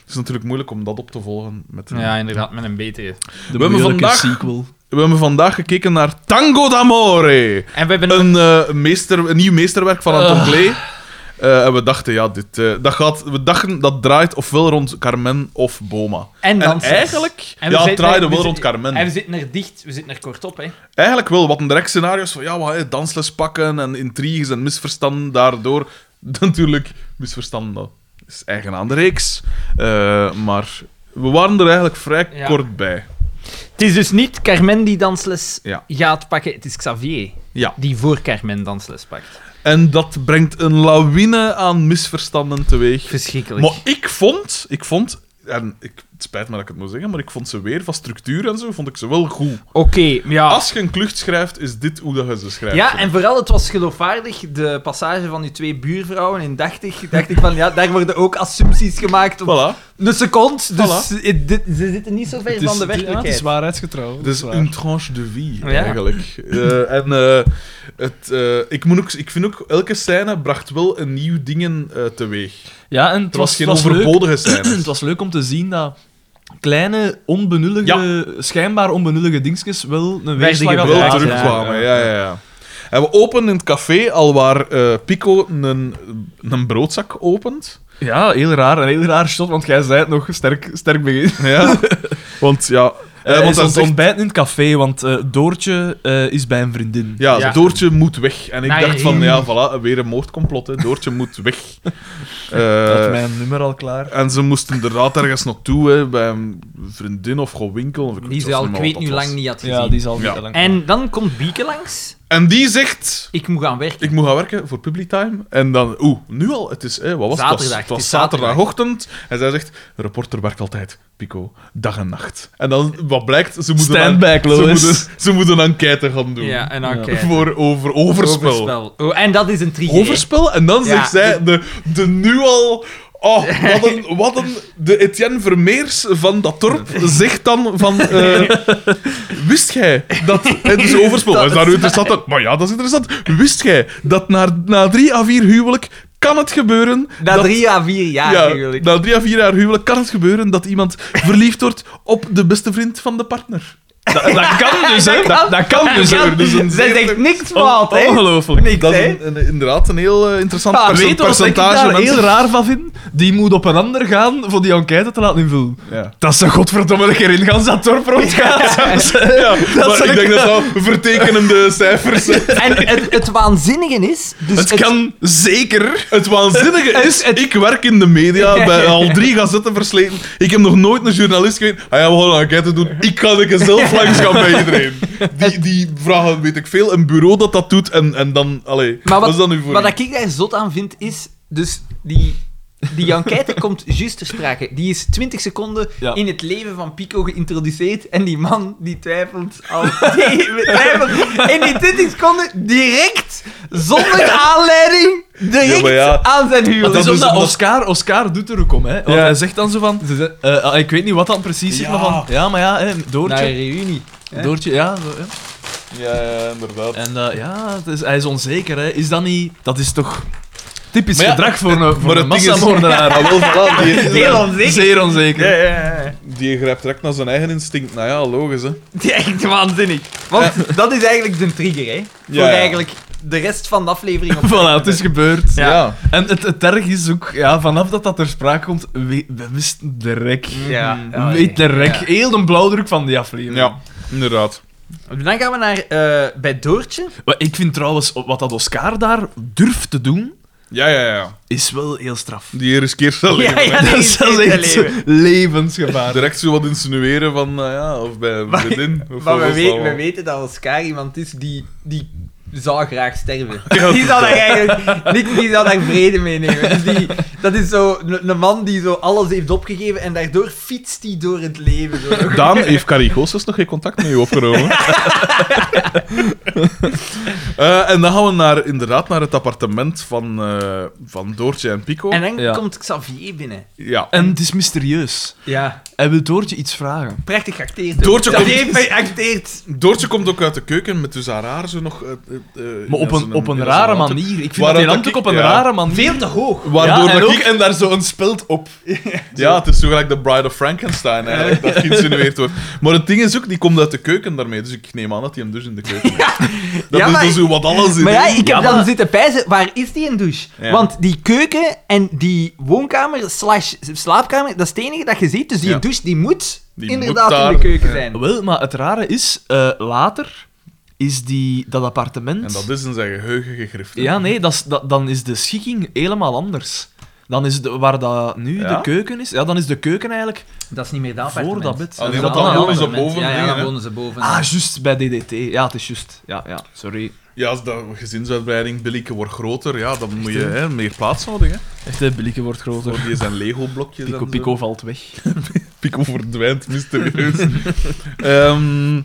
[SPEAKER 2] Het is natuurlijk moeilijk om dat op te volgen. Met een-
[SPEAKER 1] Ja, inderdaad, met een BTS.
[SPEAKER 3] De
[SPEAKER 2] hebben
[SPEAKER 3] moeilijke
[SPEAKER 2] vandaag-
[SPEAKER 3] sequel.
[SPEAKER 2] We hebben vandaag gekeken naar Tango d'Amore.
[SPEAKER 1] En we hebben
[SPEAKER 2] Een, eh, meester, een nieuw meesterwerk van Anton Klee. Eh, en we dachten, ja, dit, eh, dat gaat, we dachten dat draait ofwel rond Carmen of Boma.
[SPEAKER 1] En
[SPEAKER 2] En
[SPEAKER 1] dansers.
[SPEAKER 2] eigenlijk,
[SPEAKER 1] En we
[SPEAKER 2] ja, het
[SPEAKER 1] zitten-
[SPEAKER 2] draaide
[SPEAKER 1] we
[SPEAKER 2] wel
[SPEAKER 1] zitten-
[SPEAKER 2] rond Carmen.
[SPEAKER 1] En we zitten er dicht, we zitten er kort op, hè.
[SPEAKER 2] Eigenlijk wel, wat een direct scenario's van ja, wat, hè, dansles pakken en intriges en misverstanden daardoor. Natuurlijk, misverstanden, dat is eigen aan de reeks. Eh, maar we waren er eigenlijk vrij
[SPEAKER 1] Ja.
[SPEAKER 2] kort bij.
[SPEAKER 1] Het is dus niet Carmen die dansles
[SPEAKER 2] Ja.
[SPEAKER 1] gaat pakken, het is Xavier
[SPEAKER 2] Ja.
[SPEAKER 1] die voor Carmen dansles pakt.
[SPEAKER 2] En dat brengt een lawine aan misverstanden teweeg.
[SPEAKER 1] Verschrikkelijk.
[SPEAKER 2] Maar ik vond, ik vond, en ik, het spijt me dat ik het moet zeggen, maar ik vond ze weer van structuur en zo, vond ik ze wel goed.
[SPEAKER 1] Oké, ja.
[SPEAKER 2] Als je een klucht schrijft, is dit hoe dat je ze schrijft.
[SPEAKER 1] Ah. Ja, en vooral, het was geloofwaardig. De passage van die twee buurvrouwen in 80, dacht ik van, ja, daar worden ook assumpties gemaakt op
[SPEAKER 2] Voilà.
[SPEAKER 1] een seconde. Dus het- dit- ze zitten niet zo ver
[SPEAKER 4] is-
[SPEAKER 1] van de
[SPEAKER 4] ja, het is
[SPEAKER 1] werkelijkheid.
[SPEAKER 4] waarheidsgetrouw. dat
[SPEAKER 2] Dus
[SPEAKER 4] is waar.
[SPEAKER 2] een tranche de vie,
[SPEAKER 1] Ja.
[SPEAKER 2] eigenlijk. Eh, en eh, het, eh, ik, moet ook, ik vind ook, elke scène bracht wel een nieuw dingen eh, teweeg.
[SPEAKER 4] Ja, en
[SPEAKER 2] Het was, geen overbodige scène.
[SPEAKER 4] het was leuk om te zien dat kleine, onbenullige, schijnbaar onbenullige dingetjes wel een weerslag
[SPEAKER 1] gebracht,
[SPEAKER 4] hadden.
[SPEAKER 2] wel
[SPEAKER 1] ja.
[SPEAKER 2] terugkwamen, ja, ja, ja. En we openen in het café al waar eh, Pico een, een broodzak opent.
[SPEAKER 4] Ja, heel raar. Een heel raar shot, want jij zei het nog sterk, sterk begin.
[SPEAKER 2] Ja. want ja... eh,
[SPEAKER 4] Hij
[SPEAKER 2] want
[SPEAKER 4] is aan
[SPEAKER 2] dan
[SPEAKER 4] het
[SPEAKER 2] zegt,
[SPEAKER 4] ontbijten in het café, want eh, Doortje eh, is bij een vriendin.
[SPEAKER 2] ja,
[SPEAKER 1] Ja.
[SPEAKER 2] Doortje moet weg. En ik
[SPEAKER 1] Nee.
[SPEAKER 2] dacht van, ja, voilà, weer een moordcomplot. Hè. Doortje moet weg.
[SPEAKER 4] Ik had
[SPEAKER 2] Eh,
[SPEAKER 4] mijn nummer al klaar.
[SPEAKER 2] en ze moest inderdaad ergens naartoe, hè, bij een vriendin of gewoon winkel. Of ik
[SPEAKER 1] Die
[SPEAKER 2] zelfs
[SPEAKER 1] ze al,
[SPEAKER 2] niet
[SPEAKER 1] ik
[SPEAKER 2] meer
[SPEAKER 1] weet
[SPEAKER 2] wat
[SPEAKER 1] nu
[SPEAKER 2] dat was.
[SPEAKER 1] lang niet had gezien.
[SPEAKER 4] Ja, die zal
[SPEAKER 2] Ja.
[SPEAKER 4] niet te lang
[SPEAKER 1] En dan komt Bieke langs.
[SPEAKER 2] En die zegt...
[SPEAKER 1] Ik moet gaan werken.
[SPEAKER 2] Ik moet gaan werken voor Publitime. En dan, oeh, nu al, het is, eh, wat was het? het?
[SPEAKER 1] Zaterdag,
[SPEAKER 2] was- Het was
[SPEAKER 1] het is zaterdag.
[SPEAKER 2] zaterdagochtend. En zij zegt, reporter werkt altijd, Pico, dag en nacht. En dan, wat blijkt, ze moeten,
[SPEAKER 4] Stand
[SPEAKER 2] een-
[SPEAKER 4] back,
[SPEAKER 2] ze
[SPEAKER 4] Lois.
[SPEAKER 2] moeten, ze moeten een enquête gaan doen.
[SPEAKER 1] Ja, en
[SPEAKER 4] Ja.
[SPEAKER 1] oké.
[SPEAKER 2] Voor over overspel. Overspel.
[SPEAKER 1] Overspel. Oh, en dat is een trigger.
[SPEAKER 2] En dan
[SPEAKER 1] Ja,
[SPEAKER 2] zegt zij, de, de nu al... Oh, wat een, wat een... De Etienne Vermeers van dat dorp zegt dan van... eh, Wist jij dat... Het is overspel.
[SPEAKER 1] Dat
[SPEAKER 2] Is dat nu interessant? Dat- Maar ja, dat is interessant. Wist jij dat na, na drie à vier huwelijk kan het gebeuren...
[SPEAKER 1] Na
[SPEAKER 2] dat-
[SPEAKER 1] drie à vier jaar
[SPEAKER 2] ja,
[SPEAKER 1] eigenlijk.
[SPEAKER 2] na drie à vier jaar huwelijk kan het gebeuren dat iemand verliefd wordt op de beste vriend van de partner.
[SPEAKER 4] Dat, dat kan dus, hè? Dat, dat kan dus, hè? Dus een-
[SPEAKER 1] Zij zegt niks fout, hè?
[SPEAKER 4] Ongelooflijk.
[SPEAKER 1] Niks,
[SPEAKER 2] Dat is
[SPEAKER 1] hè? Ah,
[SPEAKER 2] een- een- inderdaad een heel eh, interessant
[SPEAKER 4] Ja,
[SPEAKER 2] perce-
[SPEAKER 4] Ah, weet je wat ik
[SPEAKER 2] percentage
[SPEAKER 4] daar
[SPEAKER 2] mensen.
[SPEAKER 4] heel raar van vind? Die moet op een ander gaan voor die enquête te laten invullen.
[SPEAKER 2] Ja.
[SPEAKER 4] Dat ze godverdomme een keer in gans dat dorp rondgaan.
[SPEAKER 2] Ja, maar
[SPEAKER 4] zou
[SPEAKER 2] ik
[SPEAKER 4] ik
[SPEAKER 2] denk dat dat vertekenende cijfers eh. zijn.
[SPEAKER 1] En het, het waanzinnige is... Dus
[SPEAKER 4] Het kan zeker.
[SPEAKER 2] Het waanzinnige is, ik werk in de media, bij al drie gazetten versleten. Ik heb nog nooit een journalist geweten. Ah ja, we gaan een enquête doen. Ik kan ik zelf langs gaan bij iedereen. Die, die vragen, weet ik veel, een bureau dat dat doet. En, en dan, allee,
[SPEAKER 1] Maar
[SPEAKER 2] wat
[SPEAKER 1] wat,
[SPEAKER 2] is dat nu voor
[SPEAKER 1] wat
[SPEAKER 2] u?
[SPEAKER 1] ik daar zot aan vind, is... Dus die, die enquête komt juist ter sprake. Die is 20 seconden
[SPEAKER 4] Ja.
[SPEAKER 1] in het leven van Pico geïntroduceerd. En die man, die twijfelt al... Die twijfelt in die 20 seconden direct, zonder aanleiding, direct
[SPEAKER 2] Ja, maar ja.
[SPEAKER 1] aan zijn
[SPEAKER 4] Dat
[SPEAKER 1] huwelijk.
[SPEAKER 4] is
[SPEAKER 2] is
[SPEAKER 4] omdat
[SPEAKER 2] omdat-
[SPEAKER 4] Oscar, Oscar doet er ook om, hè. Want
[SPEAKER 2] Ja.
[SPEAKER 4] hij zegt dan zo van... eh, ah, ik weet niet wat dat precies is,
[SPEAKER 2] Ja.
[SPEAKER 4] maar van... Ja, maar ja, hè, Doortje.
[SPEAKER 1] Naar een reunie. hè?
[SPEAKER 4] Doortje, ja. zo, hè.
[SPEAKER 2] Ja, ja, inderdaad.
[SPEAKER 4] En eh, ja, het is, hij is onzeker, hè. Is dat niet... Dat is toch typisch
[SPEAKER 2] Maar ja,
[SPEAKER 4] gedrag voor een, voor
[SPEAKER 2] maar
[SPEAKER 4] een
[SPEAKER 2] het ding is-
[SPEAKER 4] massamoordenaar.
[SPEAKER 2] Ah, wel, voilà, die,
[SPEAKER 1] Heel onzeker.
[SPEAKER 4] Zeer onzeker.
[SPEAKER 1] Ja, ja, ja.
[SPEAKER 2] die grijpt direct naar zijn eigen instinct. Nou ja, logisch, hè.
[SPEAKER 1] Die is Echt waanzinnig. Want dat is eigenlijk de trigger, hè? Voor
[SPEAKER 2] ja.
[SPEAKER 1] eigenlijk de rest van de aflevering. op-
[SPEAKER 4] Voilà, het is gebeurd.
[SPEAKER 1] Ja.
[SPEAKER 4] En het, het erg is ook, ja, vanaf dat dat ter sprake komt, we, we wisten de rek.
[SPEAKER 1] Mm, Ja.
[SPEAKER 4] We Weet de rek.
[SPEAKER 1] Oh, Ja.
[SPEAKER 4] Heel de blauwdruk van die aflevering.
[SPEAKER 2] Ja, inderdaad.
[SPEAKER 1] Dan gaan we naar eh, bij Doortje.
[SPEAKER 4] Wat Ik vind trouwens, wat dat Oscar daar durft te doen,
[SPEAKER 2] Ja, ja, ja.
[SPEAKER 4] is wel heel straf.
[SPEAKER 2] Die riskeert zijn leven.
[SPEAKER 1] Ja, ja,
[SPEAKER 4] dat
[SPEAKER 1] nee,
[SPEAKER 4] is wel
[SPEAKER 1] nee,
[SPEAKER 4] echt
[SPEAKER 1] nee, nee.
[SPEAKER 4] levensgevaar.
[SPEAKER 2] Direct zo wat insinueren van, nou ja, of bij een
[SPEAKER 1] Maar-
[SPEAKER 2] vriendin. of
[SPEAKER 1] Maar
[SPEAKER 2] wat
[SPEAKER 1] we,
[SPEAKER 2] was
[SPEAKER 1] we-
[SPEAKER 2] dat
[SPEAKER 1] we
[SPEAKER 2] wel?
[SPEAKER 1] weten dat Oscar iemand is die, die zou graag sterven.
[SPEAKER 2] Ja.
[SPEAKER 1] Die zou daar eigenlijk niks, die zou daar vrede mee nemen. Dus die, dat is zo een een man die zo alles heeft opgegeven en daardoor fietst hij door het leven. Zo.
[SPEAKER 2] Daan, heeft Carigossus nog geen contact met u opgenomen? Eh, en dan gaan we naar, inderdaad naar het appartement van, eh, van Doortje en Pico.
[SPEAKER 1] En dan
[SPEAKER 4] Ja.
[SPEAKER 1] komt Xavier binnen.
[SPEAKER 2] Ja.
[SPEAKER 4] En het is mysterieus.
[SPEAKER 1] Ja.
[SPEAKER 4] Hij wil Doortje iets vragen.
[SPEAKER 1] Prachtig geacteerd. ook.
[SPEAKER 2] Doortje
[SPEAKER 1] Xavier
[SPEAKER 2] komt-
[SPEAKER 1] heeft geacteerd.
[SPEAKER 2] Doortje komt ook uit de keuken met dus haar haar zo nog... eh, eh, eh,
[SPEAKER 4] Maar op
[SPEAKER 2] ja,
[SPEAKER 4] een,
[SPEAKER 2] zo'n-
[SPEAKER 4] op een
[SPEAKER 2] ja, zo'n
[SPEAKER 4] rare
[SPEAKER 2] hand.
[SPEAKER 4] manier. Ik vind
[SPEAKER 2] Waarom
[SPEAKER 4] dat die
[SPEAKER 2] dat
[SPEAKER 4] hand ook
[SPEAKER 2] ik-
[SPEAKER 4] op een
[SPEAKER 2] ja.
[SPEAKER 4] rare manier...
[SPEAKER 1] Veel te hoog.
[SPEAKER 2] Waardoor
[SPEAKER 4] ja, en,
[SPEAKER 2] dat
[SPEAKER 4] ook,
[SPEAKER 2] ik...
[SPEAKER 4] en daar zo'n speld op.
[SPEAKER 2] Ja, het is zo gelijk de Bride of Frankenstein eigenlijk, dat geïnsinueerd wordt. Maar het ding is ook, die komt uit de keuken daarmee, dus ik neem aan dat hij hem dus in de keuken heeft. Dat
[SPEAKER 1] Ja,
[SPEAKER 2] is
[SPEAKER 1] maar-
[SPEAKER 2] dus hoe wat alles in.
[SPEAKER 1] Maar ja,
[SPEAKER 2] hè.
[SPEAKER 1] ik heb
[SPEAKER 4] Ja, maar-
[SPEAKER 1] dan zitten pijzen, waar is die een douche?
[SPEAKER 2] Ja.
[SPEAKER 1] Want die keuken en die woonkamer slash slaapkamer, dat is het enige dat je ziet. Dus die
[SPEAKER 2] Ja.
[SPEAKER 1] douche, die moet
[SPEAKER 2] Die
[SPEAKER 1] inderdaad
[SPEAKER 2] moet daar-
[SPEAKER 1] in de keuken
[SPEAKER 2] ja.
[SPEAKER 1] zijn.
[SPEAKER 4] Wel, maar het rare is, eh, later is die, dat appartement...
[SPEAKER 2] En dat is in zijn geheugen gegrift. hè.
[SPEAKER 4] Ja, nee, dat is- dat, dan is de schikking helemaal anders. Dan is de, waar dat nu
[SPEAKER 2] Ja?
[SPEAKER 4] de keuken is, ja, dan is de keuken eigenlijk...
[SPEAKER 1] Dat is niet meer dat
[SPEAKER 4] Voor
[SPEAKER 1] appartement.
[SPEAKER 4] dat bed.
[SPEAKER 2] Ah, nee,
[SPEAKER 1] is
[SPEAKER 2] want
[SPEAKER 1] een
[SPEAKER 2] dan
[SPEAKER 1] ander
[SPEAKER 2] wonen ze
[SPEAKER 1] appartement.
[SPEAKER 2] boven
[SPEAKER 1] Ja,
[SPEAKER 2] dingen,
[SPEAKER 1] ja,
[SPEAKER 2] hè.
[SPEAKER 1] dan wonen ze boven.
[SPEAKER 4] Ah, juist, bij DDT. Ja, het is juist. Ja, ja, sorry.
[SPEAKER 2] Ja, als de gezinsuitbreiding billieke wordt groter, ja, dan moet je hè, meer plaats nodig hè,
[SPEAKER 4] Echt, de blikken wordt groter.
[SPEAKER 2] voor die zijn Lego-blokjes.
[SPEAKER 4] Pico,
[SPEAKER 2] en zo.
[SPEAKER 4] Pico valt weg.
[SPEAKER 2] Pico verdwijnt mysterieus. Ehm,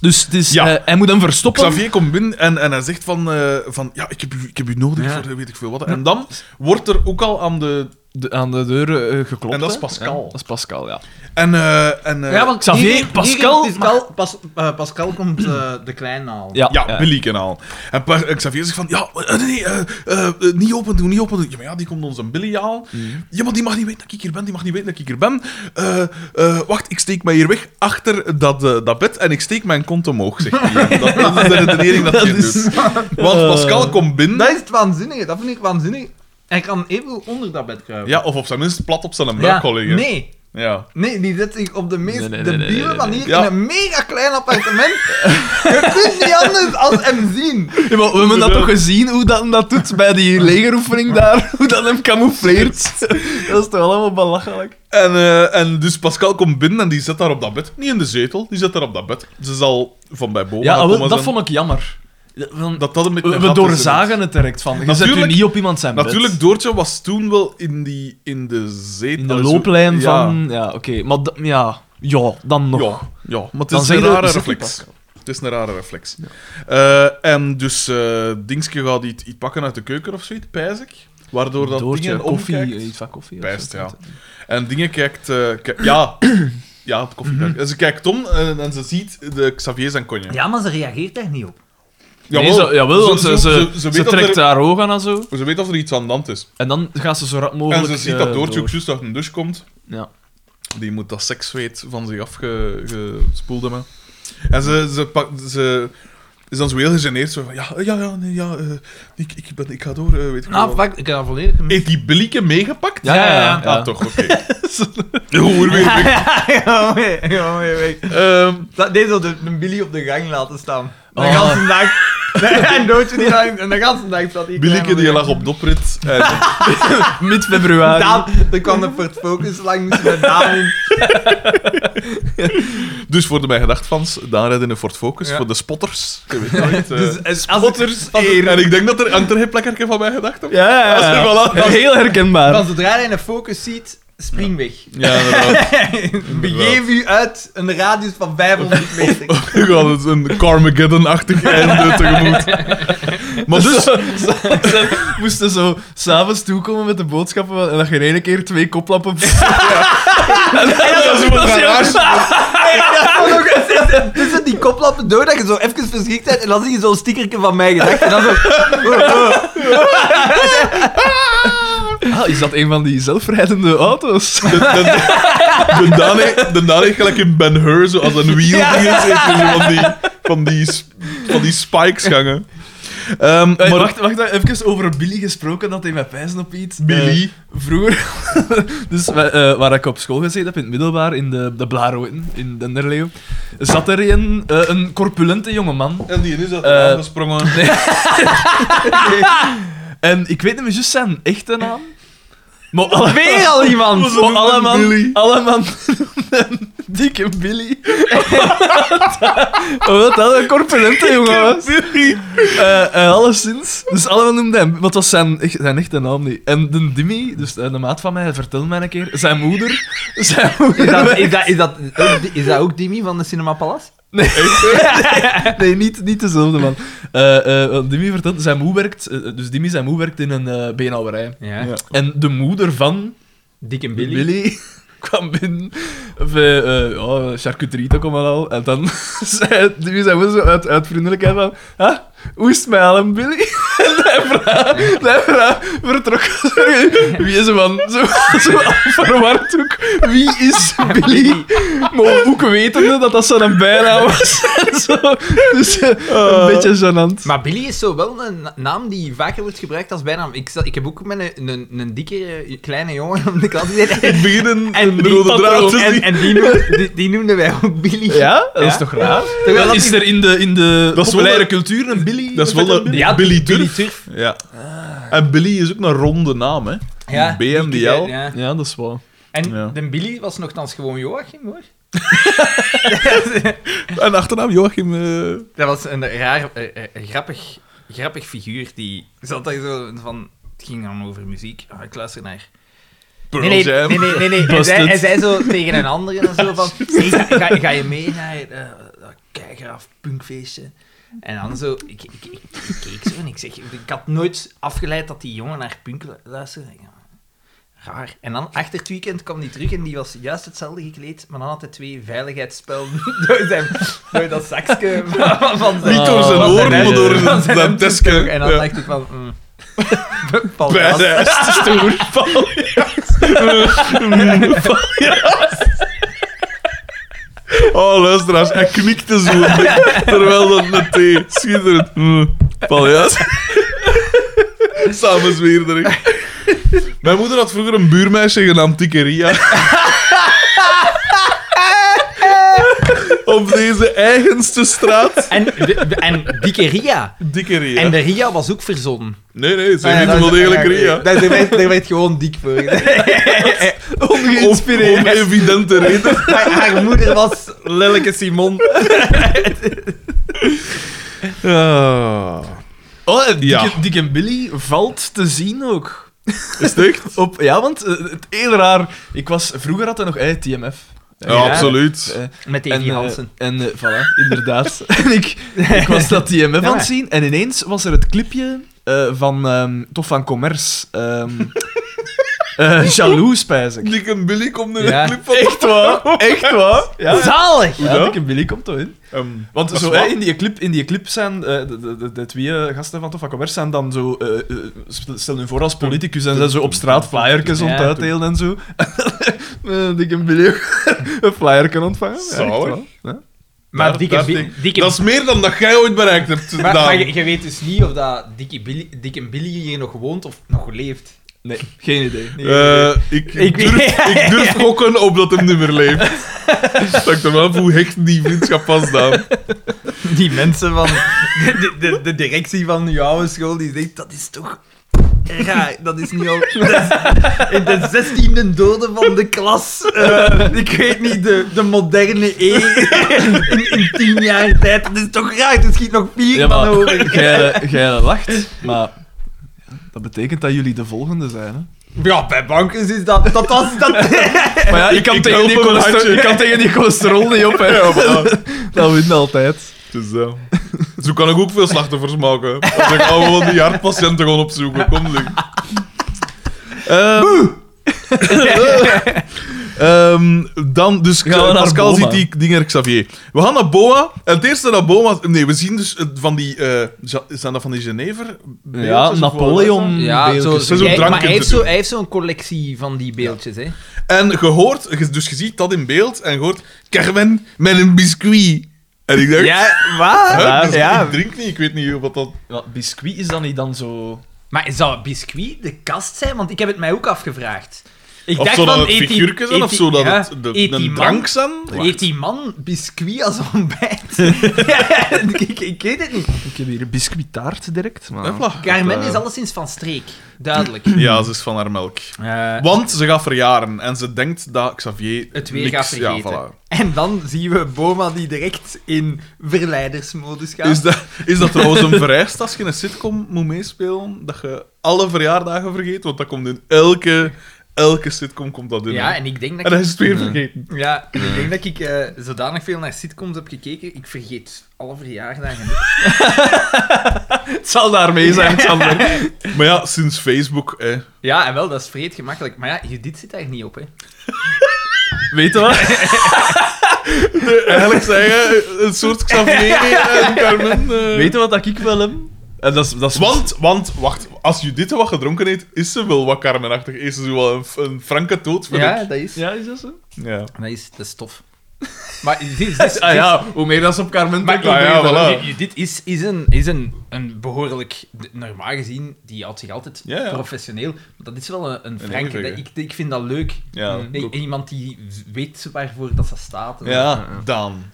[SPEAKER 4] Dus het is,
[SPEAKER 2] Ja.
[SPEAKER 4] eh, hij moet hem verstoppen.
[SPEAKER 2] Xavier komt binnen en, en hij zegt van, eh, van ja, ik heb, u, ik heb u nodig
[SPEAKER 1] Ja.
[SPEAKER 2] voor eh, weet ik veel wat. En dan wordt er ook al aan de...
[SPEAKER 4] De- aan de deur eh, geklopt.
[SPEAKER 2] En dat is
[SPEAKER 4] hè.
[SPEAKER 2] Pascal.
[SPEAKER 4] Ja, dat is Pascal, ja.
[SPEAKER 2] En, eh, en, eh,
[SPEAKER 1] Ja, want
[SPEAKER 4] Xavier,
[SPEAKER 1] hier- hier-
[SPEAKER 4] Pascal-
[SPEAKER 1] hier- Pascal, Pas- eh, Pascal komt eh, de klein halen.
[SPEAKER 4] Ja,
[SPEAKER 2] Ja,
[SPEAKER 4] ja.
[SPEAKER 2] Billy kan halen. En Pa- eh, Xavier zegt van, ja, eh, nee, nee, eh, eh, eh, niet open doen, niet open doen. Ja, maar ja, die komt ons een Billy halen.
[SPEAKER 4] Mhm.
[SPEAKER 2] Ja, maar die mag niet weten dat ik hier ben, die mag niet weten dat ik hier ben. Eh, eh, wacht, ik steek mij hier weg achter dat, eh, dat bed en ik steek mijn kont omhoog, zegt hij. Dat, dat is de redenering dat,
[SPEAKER 4] Dat
[SPEAKER 2] hij
[SPEAKER 4] is- eh,
[SPEAKER 2] doet. Want Pascal komt binnen,
[SPEAKER 1] Dus- Dat is het waanzinnige, dat vind ik waanzinnig. Hij kan even onder dat bed kruipen.
[SPEAKER 2] ja, of op zijn minst plat op zijn
[SPEAKER 1] Ja,
[SPEAKER 2] buik al liggen.
[SPEAKER 1] Nee,
[SPEAKER 2] Ja.
[SPEAKER 1] nee, die zet zich op de meest
[SPEAKER 4] Nee, nee, nee,
[SPEAKER 1] debiele
[SPEAKER 4] nee, nee,
[SPEAKER 1] manier
[SPEAKER 2] nee. Ja.
[SPEAKER 1] in een mega klein appartement. Je kunt niet anders als hem zien.
[SPEAKER 4] Ja, maar we hebben dat toch gezien, hoe dat hem dat doet bij die legeroefening daar? Hoe dat hem camoufleert. Dat is toch allemaal belachelijk.
[SPEAKER 2] En, eh, en dus Pascal komt binnen en die zit daar op dat bed. Niet in de zetel, die zit daar op dat bed. Ze zal van bij boven
[SPEAKER 4] Ja,
[SPEAKER 2] gaan
[SPEAKER 4] wel,
[SPEAKER 2] komen
[SPEAKER 4] dat
[SPEAKER 2] zijn.
[SPEAKER 4] vond ik jammer. Ja, want
[SPEAKER 2] dat dat een beetje
[SPEAKER 4] we,
[SPEAKER 2] een
[SPEAKER 4] we
[SPEAKER 2] gat is in
[SPEAKER 4] doorzagen het direct van. Je zet u
[SPEAKER 2] Natuurlijk-
[SPEAKER 4] niet op iemand zijn bed.
[SPEAKER 2] Natuurlijk, Doortje was toen wel in, die, in de zetel.
[SPEAKER 4] In de
[SPEAKER 2] Allee, zo-
[SPEAKER 4] looplijn
[SPEAKER 2] ja.
[SPEAKER 4] van... Ja, oké. Maar da- ja, ja, dan nog.
[SPEAKER 2] Ja, ja, maar het
[SPEAKER 4] Dan
[SPEAKER 2] is
[SPEAKER 4] zeg
[SPEAKER 2] een
[SPEAKER 4] je dat-
[SPEAKER 2] rare
[SPEAKER 4] is het
[SPEAKER 2] reflex.
[SPEAKER 4] niet
[SPEAKER 2] Het is een rare reflex. Eh, en dus eh Dingske gaat iets, iets pakken uit de keuken of zoiets, pijs ik. Waardoor dat
[SPEAKER 4] Doortje,
[SPEAKER 2] dingen
[SPEAKER 4] koffie, eh,
[SPEAKER 2] omkijkt.
[SPEAKER 4] iets van koffie. of
[SPEAKER 2] Pijst,
[SPEAKER 4] zo.
[SPEAKER 2] ja. En dingen kijkt... eh, ki- ja, ja, het koffie.
[SPEAKER 4] Mhm.
[SPEAKER 2] En ze kijkt om en, en ze ziet de Xavier zijn konje.
[SPEAKER 1] Ja, maar ze reageert echt niet op.
[SPEAKER 4] Nee, zo- jawel, want ze, ze, ze,
[SPEAKER 2] weet dat
[SPEAKER 4] trekt
[SPEAKER 2] er,
[SPEAKER 4] haar ogen aan en zo.
[SPEAKER 2] ze weet dat er iets aan de hand is.
[SPEAKER 4] En dan gaat ze zo rap
[SPEAKER 2] En
[SPEAKER 4] mogelijk...
[SPEAKER 2] ze ziet
[SPEAKER 4] eh,
[SPEAKER 2] dat Doortje
[SPEAKER 4] door.
[SPEAKER 2] ook juist uit een douche komt.
[SPEAKER 4] Ja.
[SPEAKER 2] Die moet dat seksweet van zich afgespoeld hebben. En ze, ze, pakt, ze is dan zo heel gegeneerd. Zo van, ja, ja, ja, nee, ja eh, ik, ik, ben, ik ga door, eh, weet ik
[SPEAKER 1] Nou,
[SPEAKER 2] veel wat.
[SPEAKER 1] fuck, ik heb dat volledig gemist.
[SPEAKER 2] Heeft die blikken meegepakt?
[SPEAKER 4] Ja, ja, ja.
[SPEAKER 1] Ja,
[SPEAKER 2] Ah, toch, oké. Hoe weer weg.
[SPEAKER 1] Ja, mee, ja, mee, mee.
[SPEAKER 2] Ehm,
[SPEAKER 1] Dat, nee, zo de, de Billy op de gang laten staan. De
[SPEAKER 4] Oh.
[SPEAKER 1] ganse dag. en doodje die lang, en de ganse dag zat die
[SPEAKER 2] Billeke
[SPEAKER 1] kleine
[SPEAKER 2] die
[SPEAKER 1] op de
[SPEAKER 2] lag op doprit. En, eh,
[SPEAKER 1] gang.
[SPEAKER 4] Mid-februari.
[SPEAKER 1] Daan, er kwam de Ford Focus langs met Daan in.
[SPEAKER 2] dus voor de mijn gedachtvans, daar rijden een Ford Focus
[SPEAKER 1] Ja.
[SPEAKER 2] voor de spotters. Je weet nooit, eh.
[SPEAKER 1] Dus als- als het- als het-
[SPEAKER 2] en ik denk dat er hangt er geen plekkerke van mij gedacht op.
[SPEAKER 4] Ja, ja,
[SPEAKER 2] Als
[SPEAKER 4] ja.
[SPEAKER 2] er wel aan-
[SPEAKER 4] Heel herkenbaar.
[SPEAKER 1] Van zodra je een focus ziet, spring weg.
[SPEAKER 2] Ja, inderdaad.
[SPEAKER 1] Begeef u uit een radius van 500 meter.
[SPEAKER 2] We gaan het een Carmageddon-achtig einde tegemoet. Maar dus,
[SPEAKER 4] Ze moesten zo s'avonds toekomen met de boodschappen en dat je in één keer twee koplappen... En
[SPEAKER 2] dat is een
[SPEAKER 4] dat heel-
[SPEAKER 1] En ook eens- eens- eens Tussen Dus die koplappen door dat je zo even verschrikt bent en dan zie je zo'n stickertje van mij gedacht. En dan zo.
[SPEAKER 4] Ah, is dat een van die zelfrijdende auto's?
[SPEAKER 2] de, de, de, Daan heeft- de Daan heeft gelijk in Ben-Hur, zo als een wiel die is, heeft hij zo van die, van die, s- van die spikes gangen. Ehm,
[SPEAKER 4] Eh,
[SPEAKER 2] maar
[SPEAKER 4] wacht, wacht, even over Billy gesproken, dat hij met pijzen op iets.
[SPEAKER 2] Billy.
[SPEAKER 4] Eh, vroeger, dus wij, eh, waar ik op school gezeten heb, in het middelbaar, in de, de Blaroeten, in Denderleeuw, zat er een, eh, een corpulente jongeman.
[SPEAKER 2] en die is uit
[SPEAKER 4] Eh,
[SPEAKER 2] de gesprongen.
[SPEAKER 4] En ik weet niet meer juist zijn echte naam. Maar alle,
[SPEAKER 1] Weer al iemand! Oh,
[SPEAKER 4] maar Oh, alle man,
[SPEAKER 2] Billy.
[SPEAKER 4] alle man een dikke Billy. Omdat dat een corpulente jongen was. Eh, eh, alleszins. Dus allemaal noemden hem... Want dat was zijn, echt, zijn echte naam niet. En de Dimmy, dus eh, de maat van mij, vertelde mij een keer... Zijn moeder... Zijn moeder...
[SPEAKER 1] Is dat, is, dat, is, dat, is dat ook Dimi van de Cinema Palace?
[SPEAKER 4] Nee, nee niet, niet dezelfde man. Eh, eh, want Dimmy vertelde... Zijn moe werkt... eh, dus Dimmy, zijn moe werkt in een eh beenhouwerij.
[SPEAKER 1] Ja.
[SPEAKER 4] En de moeder van
[SPEAKER 1] Dick en
[SPEAKER 4] Billy,
[SPEAKER 1] Billy.
[SPEAKER 4] kwam binnen. Of, eh, eh, ja, charcuterie toch allemaal al. En dan zei die zei wel zo uit, uit vriendelijkheid van... Ah, hoe is het met Alan Billy? En hij vraagt... Hij vraagt... Vertrok. Wie is hem van? Zo, zo verward ook. Wie is Billy? Maar ook wetende dat dat zijn bijnaam was. zo, dus eh, een beetje gênant.
[SPEAKER 1] Maar Billy is zo wel een na- naam die vaker wordt gebruikt als bijnaam. Ik, zat- ik heb ook met een, een, een dikke eh, kleine jongen om de klas gezeten.
[SPEAKER 2] Ik begin een,
[SPEAKER 1] En
[SPEAKER 2] een
[SPEAKER 1] die,
[SPEAKER 2] rode draad te
[SPEAKER 1] en,
[SPEAKER 2] zien.
[SPEAKER 1] en die, noemden, die, die noemden wij ook Billy.
[SPEAKER 4] Ja, dat is
[SPEAKER 1] Ja.
[SPEAKER 4] toch raar?
[SPEAKER 1] Terwijl
[SPEAKER 4] Dat
[SPEAKER 1] dat
[SPEAKER 4] is
[SPEAKER 1] niet-
[SPEAKER 4] er in de, in de
[SPEAKER 2] Dat is wel
[SPEAKER 4] populaire
[SPEAKER 2] een-
[SPEAKER 4] cultuur een Billy?
[SPEAKER 2] Dat is
[SPEAKER 4] een
[SPEAKER 2] wel
[SPEAKER 4] vette
[SPEAKER 2] een
[SPEAKER 1] Ja,
[SPEAKER 2] Billy Turf.
[SPEAKER 1] Billy Turf.
[SPEAKER 2] Ja. En Billy is ook een ronde naam, hè.
[SPEAKER 1] Ja,
[SPEAKER 2] BMDL.
[SPEAKER 1] die- ja.
[SPEAKER 4] Ja, dat is wel.
[SPEAKER 1] En
[SPEAKER 2] Ja.
[SPEAKER 1] de Billy was nogthans gewoon Joachim, hoor.
[SPEAKER 2] En achternaam Joachim... eh,
[SPEAKER 1] Dat was een raar, eh, eh, grappig, grappig figuur die zat daar zo van. Het ging dan over muziek. Ah, ik luister naar
[SPEAKER 2] Pearl
[SPEAKER 1] Nee, nee,
[SPEAKER 2] Jam.
[SPEAKER 1] nee, nee, nee, nee. Hij,
[SPEAKER 4] Busted.
[SPEAKER 1] zei, hij zei zo tegen een ander en zo van... "Zeg, ga, ga, ga je mee naar eh, dat keigraaf punkfeestje? En dan zo... Ik, ik, ik, ik keek zo en ik zeg... Ik had nooit afgeleid dat die jongen naar punk lu- luisterde. Ik dacht, Raar. En dan, achter het weekend, kwam die terug en die was juist hetzelfde gekleed, maar dan had hij twee veiligheidsspellen door, zijn, door dat zakje van- van zijn...
[SPEAKER 2] Niet door zijn
[SPEAKER 1] van
[SPEAKER 2] oren,
[SPEAKER 1] hemd-
[SPEAKER 2] maar door
[SPEAKER 1] van
[SPEAKER 2] zijn
[SPEAKER 1] hemd
[SPEAKER 2] tesken.
[SPEAKER 1] terug. En dan
[SPEAKER 2] Ja.
[SPEAKER 1] dacht ik van... Mm, Paul Gast.
[SPEAKER 2] Badass. Stoer. Oh, luisteraars, hij knikte zo. Terwijl dat net thee. Schitterend.
[SPEAKER 1] Hmm.
[SPEAKER 2] Mm, Paljas. Samen zweerderig. Mijn moeder had vroeger een buurmeisje genaamd Tikkeria. Op deze eigenste straat.
[SPEAKER 1] En, de- de- en dikke Ria.
[SPEAKER 2] Dikkeria.
[SPEAKER 1] En de Ria was ook verzonnen.
[SPEAKER 2] Nee, nee,
[SPEAKER 4] Ah,
[SPEAKER 2] ze heette wel degelijk Ria.
[SPEAKER 1] Daar werd, daar werd gewoon dik voor.
[SPEAKER 2] Om, om evidente reden.
[SPEAKER 1] Haar, haar moeder was Lilleke Simon.
[SPEAKER 4] Oh, en
[SPEAKER 2] Ja.
[SPEAKER 4] Dick, Dick en Billy valt te zien ook.
[SPEAKER 2] Is het echt?
[SPEAKER 4] Op, ja, want eh, het heel raar. Ik was, vroeger had hij nog eh, TMF.
[SPEAKER 2] Ja, absoluut.
[SPEAKER 4] Eh,
[SPEAKER 1] Met
[SPEAKER 4] en,
[SPEAKER 1] Evi
[SPEAKER 4] eh,
[SPEAKER 1] Hansen.
[SPEAKER 4] en eh, voilà, inderdaad. en ik, ik was dat TMF aan het zien en ineens was er het clipje eh, van ehm toch van Commerce. ehm eh Jaloers, spijs ik.
[SPEAKER 2] Dick en Billy komt in
[SPEAKER 1] Ja.
[SPEAKER 2] een clip van...
[SPEAKER 4] Echt waar? Echt waar? Ja, ja.
[SPEAKER 1] Zalig!
[SPEAKER 2] dat?
[SPEAKER 4] Dick en Billy komt toch in.
[SPEAKER 2] Ehm,
[SPEAKER 4] Want
[SPEAKER 2] dat is
[SPEAKER 4] zo,
[SPEAKER 2] waar.
[SPEAKER 4] hè, in, die clip, in die clip zijn eh, de, de, de, de twee eh, gasten van Toffa Commerce zijn dan zo... eh, eh, stel- stel hun voor als politicus en zijn zo op straat flyertjes
[SPEAKER 1] Ja,
[SPEAKER 4] aan het uitdelen en zo. Eh, Dick en Billy ook een flyerken ontvangen. Ja, echt
[SPEAKER 2] Zalig.
[SPEAKER 4] wel. Ja.
[SPEAKER 1] Maar
[SPEAKER 2] Daar-
[SPEAKER 1] dikke,
[SPEAKER 2] daar
[SPEAKER 1] Bi-
[SPEAKER 2] denk-
[SPEAKER 1] dikke
[SPEAKER 2] Dat is meer dan dat jij ooit bereikt hebt,
[SPEAKER 1] maar,
[SPEAKER 2] Daan.
[SPEAKER 1] maar je, je weet dus niet of dat dikke Billy, dikke Billy hier nog woont of nog leeft.
[SPEAKER 4] Nee, geen idee.
[SPEAKER 2] Eh, ik,
[SPEAKER 1] Ik-
[SPEAKER 2] durf, ik durf gokken op dat hem niet meer leeft. Dat ik er wel af hoe hecht die vriendschap was, Daan.
[SPEAKER 1] Die mensen van de, de, de directie van jouw school die zegt dat is toch. Ja, dat is nu al. dat is in de zestiende dode van de klas. eh, ik weet niet, de, de moderne E. in, in tien jaar tijd. Dat is toch raar, er schiet nog vier
[SPEAKER 4] Ja,
[SPEAKER 1] van
[SPEAKER 4] maar
[SPEAKER 1] over.
[SPEAKER 4] jij, eh, jij lacht, maar dat betekent dat jullie de volgende zijn. Hè?
[SPEAKER 1] Ja, bij bankers is dat. Dat was dat.
[SPEAKER 4] Maar ja, je kan,
[SPEAKER 2] ik
[SPEAKER 4] tegen
[SPEAKER 2] help
[SPEAKER 4] die
[SPEAKER 2] hem een
[SPEAKER 4] cholesterol,
[SPEAKER 2] handje.
[SPEAKER 4] je kan tegen die cholesterol niet op. Hè. dat wint altijd.
[SPEAKER 2] Dus zo. Zo kan ik ook veel slachtoffers maken. Als ik al gewoon die hartpatiënten gewoon opzoeken. Kom, zeg. Ehm. Ehm, dan, dus
[SPEAKER 4] Gaan we naar
[SPEAKER 2] Pascal
[SPEAKER 4] Boma?
[SPEAKER 2] ziet die dingen Xavier. We gaan naar Boa. En het eerste naar Boa... Nee, we zien dus eh, van die... eh, ja- zijn dat van die Genever?
[SPEAKER 4] Ja, Napoleon.
[SPEAKER 1] Ja, zo,
[SPEAKER 4] beeldjes.
[SPEAKER 2] zo- Zo'n drankje
[SPEAKER 1] maar hij heeft
[SPEAKER 2] te doen.
[SPEAKER 1] zo- hij heeft zo'n collectie van die beeldjes. Hè.
[SPEAKER 2] En gehoord, dus je ziet dat in beeld, en gehoord, Carmen met een biscuit. En ik dacht, ja,
[SPEAKER 1] wat?
[SPEAKER 2] ik drink niet, ik weet niet wat dat...
[SPEAKER 4] Ja, biscuit is dan niet dan zo...
[SPEAKER 1] Maar zou biscuit de kast zijn? Want ik heb het mij ook afgevraagd. Ik
[SPEAKER 2] Of
[SPEAKER 1] dacht
[SPEAKER 2] zo dat
[SPEAKER 1] van, E
[SPEAKER 2] het
[SPEAKER 1] eet die-
[SPEAKER 2] figuurtjes zijn,
[SPEAKER 1] eet
[SPEAKER 2] of
[SPEAKER 1] die-
[SPEAKER 2] zo dat
[SPEAKER 1] ja,
[SPEAKER 2] het de,
[SPEAKER 1] eet die
[SPEAKER 2] een
[SPEAKER 1] man-
[SPEAKER 2] drank zijn.
[SPEAKER 1] Eet die man biscuit als ontbijt? Ja, ik, ik, ik weet het niet.
[SPEAKER 4] Ik heb hier biscuittaart direct, maar...
[SPEAKER 2] Hopla.
[SPEAKER 1] Carmen
[SPEAKER 2] Eh,
[SPEAKER 1] is alleszins van streek. Duidelijk. Eh,
[SPEAKER 2] Ja, ze is van haar melk. Want ze gaat verjaren, en ze denkt dat Xavier
[SPEAKER 1] het weer
[SPEAKER 2] niks-
[SPEAKER 1] gaat vergeten.
[SPEAKER 2] Ja, voilà.
[SPEAKER 1] En dan zien we Boma die direct in verleidersmodus gaat.
[SPEAKER 2] Is dat, is dat trouwens een vereist als je een sitcom moet meespelen, dat je alle verjaardagen vergeet? Want dat komt in elke, elke sitcom komt dat in.
[SPEAKER 1] ja,
[SPEAKER 2] en,
[SPEAKER 1] en ik denk dat
[SPEAKER 2] dan
[SPEAKER 1] ik,
[SPEAKER 2] is het weer vergeten.
[SPEAKER 1] ja, ik, denk dat ik eh, zodanig veel naar sitcoms heb gekeken, ik vergeet alle verjaardagen.
[SPEAKER 4] Het zal daarmee zijn, Sander.
[SPEAKER 2] Maar ja, sinds Facebook, hè,
[SPEAKER 1] Ja, en wel, dat is vreed gemakkelijk. Maar ja, Judith zit daar niet op, hè.
[SPEAKER 4] Weet je wat?
[SPEAKER 2] Eigenlijk zeggen, een soort Xavier en Carmen. eh.
[SPEAKER 4] Weet je wat dat ik wel heb? En dat is, dat is
[SPEAKER 2] Want, want, wacht, als Judith wat gedronken heeft, is ze wel wat Carmenachtig. Is ze zo wel een, een franke dood, vind ik.
[SPEAKER 1] dat is...
[SPEAKER 4] Ja, is dat zo?
[SPEAKER 2] Ja.
[SPEAKER 1] Dat is, dat is tof. Maar dit is... dit is-
[SPEAKER 4] Ah ja, hoe meer dat ze op Carmen
[SPEAKER 1] Maar
[SPEAKER 4] denken,
[SPEAKER 2] ja,
[SPEAKER 4] hoe
[SPEAKER 2] ja,
[SPEAKER 4] beter.
[SPEAKER 2] voilà.
[SPEAKER 1] dit- dit is, is, een, is een, een behoorlijk... d- Normaal gezien, die houdt zich altijd
[SPEAKER 2] Ja, ja.
[SPEAKER 1] professioneel. Maar dat is wel een, een franke.
[SPEAKER 2] eeuwige.
[SPEAKER 1] dat- ik, ik vind dat leuk.
[SPEAKER 2] Ja,
[SPEAKER 1] Mm. Nee,
[SPEAKER 2] ook.
[SPEAKER 1] iemand die weet waarvoor dat ze staat.
[SPEAKER 2] Ja, Daan.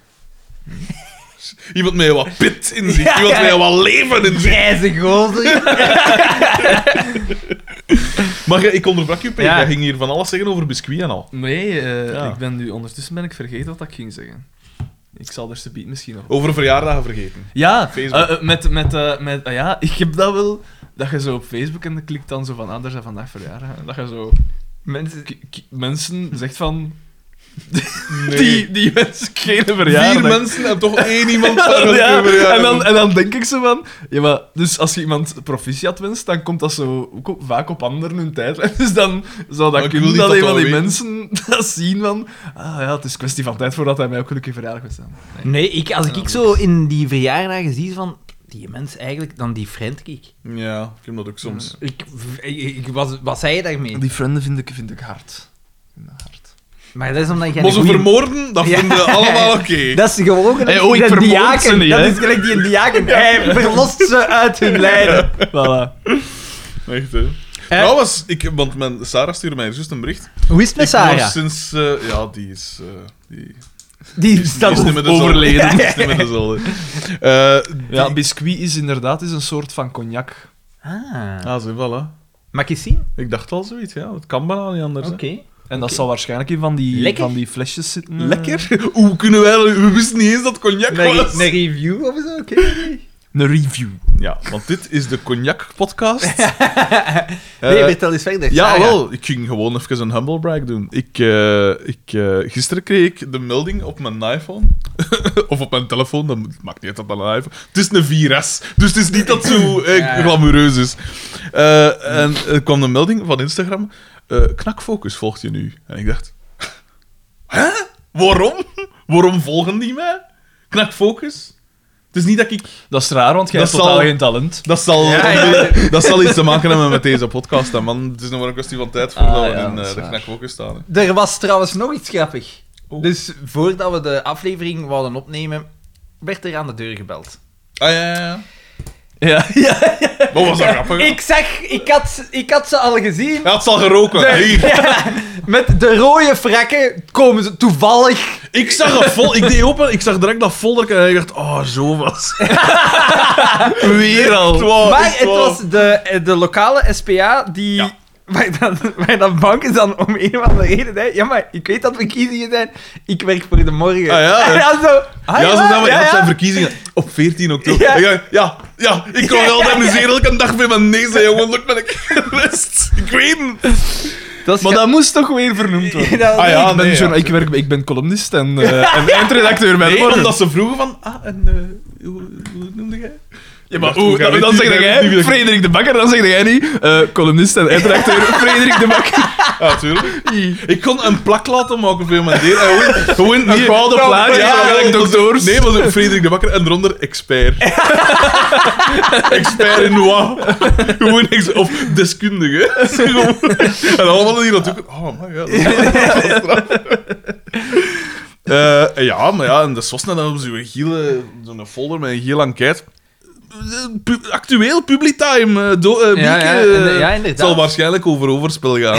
[SPEAKER 2] Iemand met wat pit in zich,
[SPEAKER 1] Ja,
[SPEAKER 2] iemand
[SPEAKER 1] ja.
[SPEAKER 2] met wat leven in zich.
[SPEAKER 1] Grijze gozer.
[SPEAKER 2] Maar jij- ik onderbrak je, Peter.
[SPEAKER 1] Ja.
[SPEAKER 2] Jij ging hier van alles zeggen over biscuit en al.
[SPEAKER 4] Nee, eh,
[SPEAKER 2] Ja.
[SPEAKER 4] ik ben nu ondertussen ben ik vergeten wat ik ging zeggen. Ik zal er subiet misschien nog.
[SPEAKER 2] Over verjaardagen vergeten.
[SPEAKER 4] Ja,
[SPEAKER 2] Facebook.
[SPEAKER 4] eh, eh, met, met, eh, met ah ja, ik heb dat wel. Dat je zo op Facebook en dan klikt dan zo van, ah, daar zijn vandaag verjaardag. En dat je zo
[SPEAKER 1] Mensen...
[SPEAKER 4] K- k- mensen zegt van...
[SPEAKER 2] Nee.
[SPEAKER 4] Die, die mensen geen verjaardag.
[SPEAKER 2] Vier mensen en toch één iemand daar
[SPEAKER 4] Ja,
[SPEAKER 2] een verjaardag.
[SPEAKER 4] en, dan, en dan denk ik zo van... Ja, maar, dus als je iemand proficiat wenst, dan komt dat zo ook op- vaak op anderen hun tijd. Dus dan zou
[SPEAKER 2] Maar
[SPEAKER 4] dat
[SPEAKER 2] ik
[SPEAKER 4] kunnen
[SPEAKER 2] wil
[SPEAKER 4] dat,
[SPEAKER 2] niet
[SPEAKER 4] een
[SPEAKER 2] dat
[SPEAKER 4] van die
[SPEAKER 2] dat weet.
[SPEAKER 4] mensen dat zien van... Ah ja, het is kwestie van tijd voordat hij mij ook gelukkig verjaardag wil staan.
[SPEAKER 1] Nee, ik, als ik, ik zo in die verjaardagen zie van... Die mens eigenlijk, dan die friend ik.
[SPEAKER 2] Ja, ik heb dat ook soms.
[SPEAKER 1] ik, ik, ik- wat, wat zei je daarmee?
[SPEAKER 4] Die vrienden vind ik, vind ik hard. Vind ik hard.
[SPEAKER 1] Maar dat is omdat jij...
[SPEAKER 2] Maar ze
[SPEAKER 1] een goeie-
[SPEAKER 2] vermoorden, dat
[SPEAKER 1] Ja.
[SPEAKER 2] vinden we allemaal oké.
[SPEAKER 1] Dat is gewoon gelijk
[SPEAKER 4] Hey, oh, ik
[SPEAKER 1] die
[SPEAKER 4] vermoord
[SPEAKER 1] diaken.
[SPEAKER 4] ze niet,
[SPEAKER 1] dat
[SPEAKER 4] hè?
[SPEAKER 1] is gelijk die diaken. Hij verlost ze uit hun lijden.
[SPEAKER 4] Voilà.
[SPEAKER 2] Echt, hè. Trouwens, ik, want mijn, Sarah stuurde mij juist een bericht.
[SPEAKER 1] Hoe is het met
[SPEAKER 2] Ik was
[SPEAKER 1] Sarah?
[SPEAKER 2] sinds... eh, ja, die is... eh, die,
[SPEAKER 1] Die staat
[SPEAKER 2] die is niet meer dezelfde.
[SPEAKER 4] overleden.
[SPEAKER 2] Die is niet meer dezelfde. Eh, die-
[SPEAKER 4] Ja, biscuit is inderdaad is een soort van cognac.
[SPEAKER 1] Ah.
[SPEAKER 2] Ah, zo, voilà.
[SPEAKER 1] Mag ik eens zien?
[SPEAKER 2] Ik dacht al zoiets, ja. Dat kan bijna niet anders.
[SPEAKER 1] Oké.
[SPEAKER 2] hè.
[SPEAKER 4] En dat zal waarschijnlijk in van die,
[SPEAKER 1] Lekker.
[SPEAKER 4] van die flesjes zitten. eh.
[SPEAKER 2] Lekker? Hoe kunnen wij... We wisten niet eens dat cognac
[SPEAKER 1] Een, re-
[SPEAKER 2] was.
[SPEAKER 1] een review of zo? Oké.
[SPEAKER 4] Een review.
[SPEAKER 2] Ja, want dit is de cognac-podcast.
[SPEAKER 1] Nee,
[SPEAKER 2] Eh,
[SPEAKER 1] vertel eens verder. Ah,
[SPEAKER 2] Ja,
[SPEAKER 1] Sarah.
[SPEAKER 2] wel. Ik ging gewoon even een humble brag doen. Ik, eh, ik, eh, gisteren kreeg ik de melding op mijn iPhone. of op mijn telefoon, dat moet- maakt niet uit dat dat een iPhone... Het is een 4S, dus het is niet dat het zo eh,
[SPEAKER 1] Ja.
[SPEAKER 2] glamoureus is. Eh, en er kwam een melding van Instagram. eh knakfocus volgt je nu. En ik dacht... Hè? Waarom? Waarom volgen die mij? Knakfocus? Het is niet dat ik...
[SPEAKER 4] Dat is raar, want jij
[SPEAKER 2] Dat
[SPEAKER 4] hebt totaal
[SPEAKER 2] zal-
[SPEAKER 4] geen talent.
[SPEAKER 2] Dat zal,
[SPEAKER 1] Ja, ja.
[SPEAKER 2] dat zal iets te maken hebben met deze podcast, hè, man. Het is nog maar een kwestie van tijd voordat
[SPEAKER 4] Ah,
[SPEAKER 2] we
[SPEAKER 4] ja,
[SPEAKER 2] in
[SPEAKER 4] dat
[SPEAKER 2] eh,
[SPEAKER 4] is
[SPEAKER 2] de
[SPEAKER 4] waar.
[SPEAKER 2] knakfocus staan. hè.
[SPEAKER 1] Er was trouwens nog iets grappig.
[SPEAKER 2] Oh.
[SPEAKER 1] Dus voordat we de aflevering wilden opnemen, werd er aan de deur gebeld.
[SPEAKER 2] Ah ja, ja, ja.
[SPEAKER 4] Ja, ja.
[SPEAKER 2] Wat was dat grappig?
[SPEAKER 1] Ik zag, ik had, ik had ze al gezien.
[SPEAKER 2] Hij had ze al geroken. Hier.
[SPEAKER 1] Ja, met de rode frakken komen ze toevallig.
[SPEAKER 2] Ik zag dat vol. Ik deed open. Ik zag direct dat folder en ik dacht, oh, zo was.
[SPEAKER 4] Weer
[SPEAKER 2] Het
[SPEAKER 4] al.
[SPEAKER 2] was-
[SPEAKER 1] maar het
[SPEAKER 2] was-
[SPEAKER 1] was de, de lokale SPA die.
[SPEAKER 2] Ja.
[SPEAKER 1] Waar dan, waar dan bank is dan om een of andere reden. Hè. Ja, maar ik weet dat verkiezingen zijn. Ik werk voor de morgen.
[SPEAKER 2] Ah, ja, hè.
[SPEAKER 1] En dan zo. ah,
[SPEAKER 2] ja, ze
[SPEAKER 1] ja,
[SPEAKER 2] zijn, ja,
[SPEAKER 1] ja,
[SPEAKER 2] het zijn
[SPEAKER 1] ja.
[SPEAKER 2] verkiezingen op 14 oktober.
[SPEAKER 1] Ja.
[SPEAKER 2] Ja, ja, ja, ik kan wel organiseren elke dag bij mijn neus. hè, jongen, lukt me een rest. Ik weet het.
[SPEAKER 1] Dat is
[SPEAKER 4] Maar
[SPEAKER 1] ga-
[SPEAKER 4] dat moest toch weer vernoemd worden.
[SPEAKER 1] Ja, dat-
[SPEAKER 2] Ah, ja.
[SPEAKER 4] ik, ben
[SPEAKER 2] nee,
[SPEAKER 4] journa-
[SPEAKER 2] ja.
[SPEAKER 4] ik, werk, ik ben columnist en, eh, en eindredacteur bij
[SPEAKER 2] Nee,
[SPEAKER 4] Morgen.
[SPEAKER 2] omdat ze vroegen van, ah, en eh, hoe, hoe noemde jij?
[SPEAKER 4] Ja,
[SPEAKER 2] Ik
[SPEAKER 4] maar
[SPEAKER 2] dacht, hoe
[SPEAKER 4] oeh,
[SPEAKER 2] gaat
[SPEAKER 4] dan, dan
[SPEAKER 2] dit
[SPEAKER 4] zeg
[SPEAKER 2] hier nu
[SPEAKER 4] jij
[SPEAKER 2] weer?
[SPEAKER 4] Frederik de Bakker, dan zeg jij niet eh, columnist en eindredacteur Frederik de Bakker.
[SPEAKER 2] Ja, tuurlijk. Ik kon een plak laten maken voor mijn deel. En gewoon, gewoon
[SPEAKER 4] Een gouden
[SPEAKER 2] Ja,
[SPEAKER 4] plaat,
[SPEAKER 2] ja,
[SPEAKER 4] ja,
[SPEAKER 2] ja,
[SPEAKER 4] gelijk
[SPEAKER 2] dat-
[SPEAKER 4] dokters.
[SPEAKER 2] Nee, was ook Frederik de Bakker en eronder expert. expert in wat? Gewoon ex- of deskundige. Gewoon. en allemaal die natuurlijk. Oh my god. dat is straf. Eh, ja, maar ja, en de Sosna dan hebben ze zo'n giele, zo'n folder met een heel enquête. Eh, pu- actueel, publitime, eh, do-
[SPEAKER 1] Ja,
[SPEAKER 2] eh,
[SPEAKER 1] ja,
[SPEAKER 2] Mieke, eh,
[SPEAKER 1] en- ja, inderdaad.
[SPEAKER 2] Het zal waarschijnlijk over overspel gaan.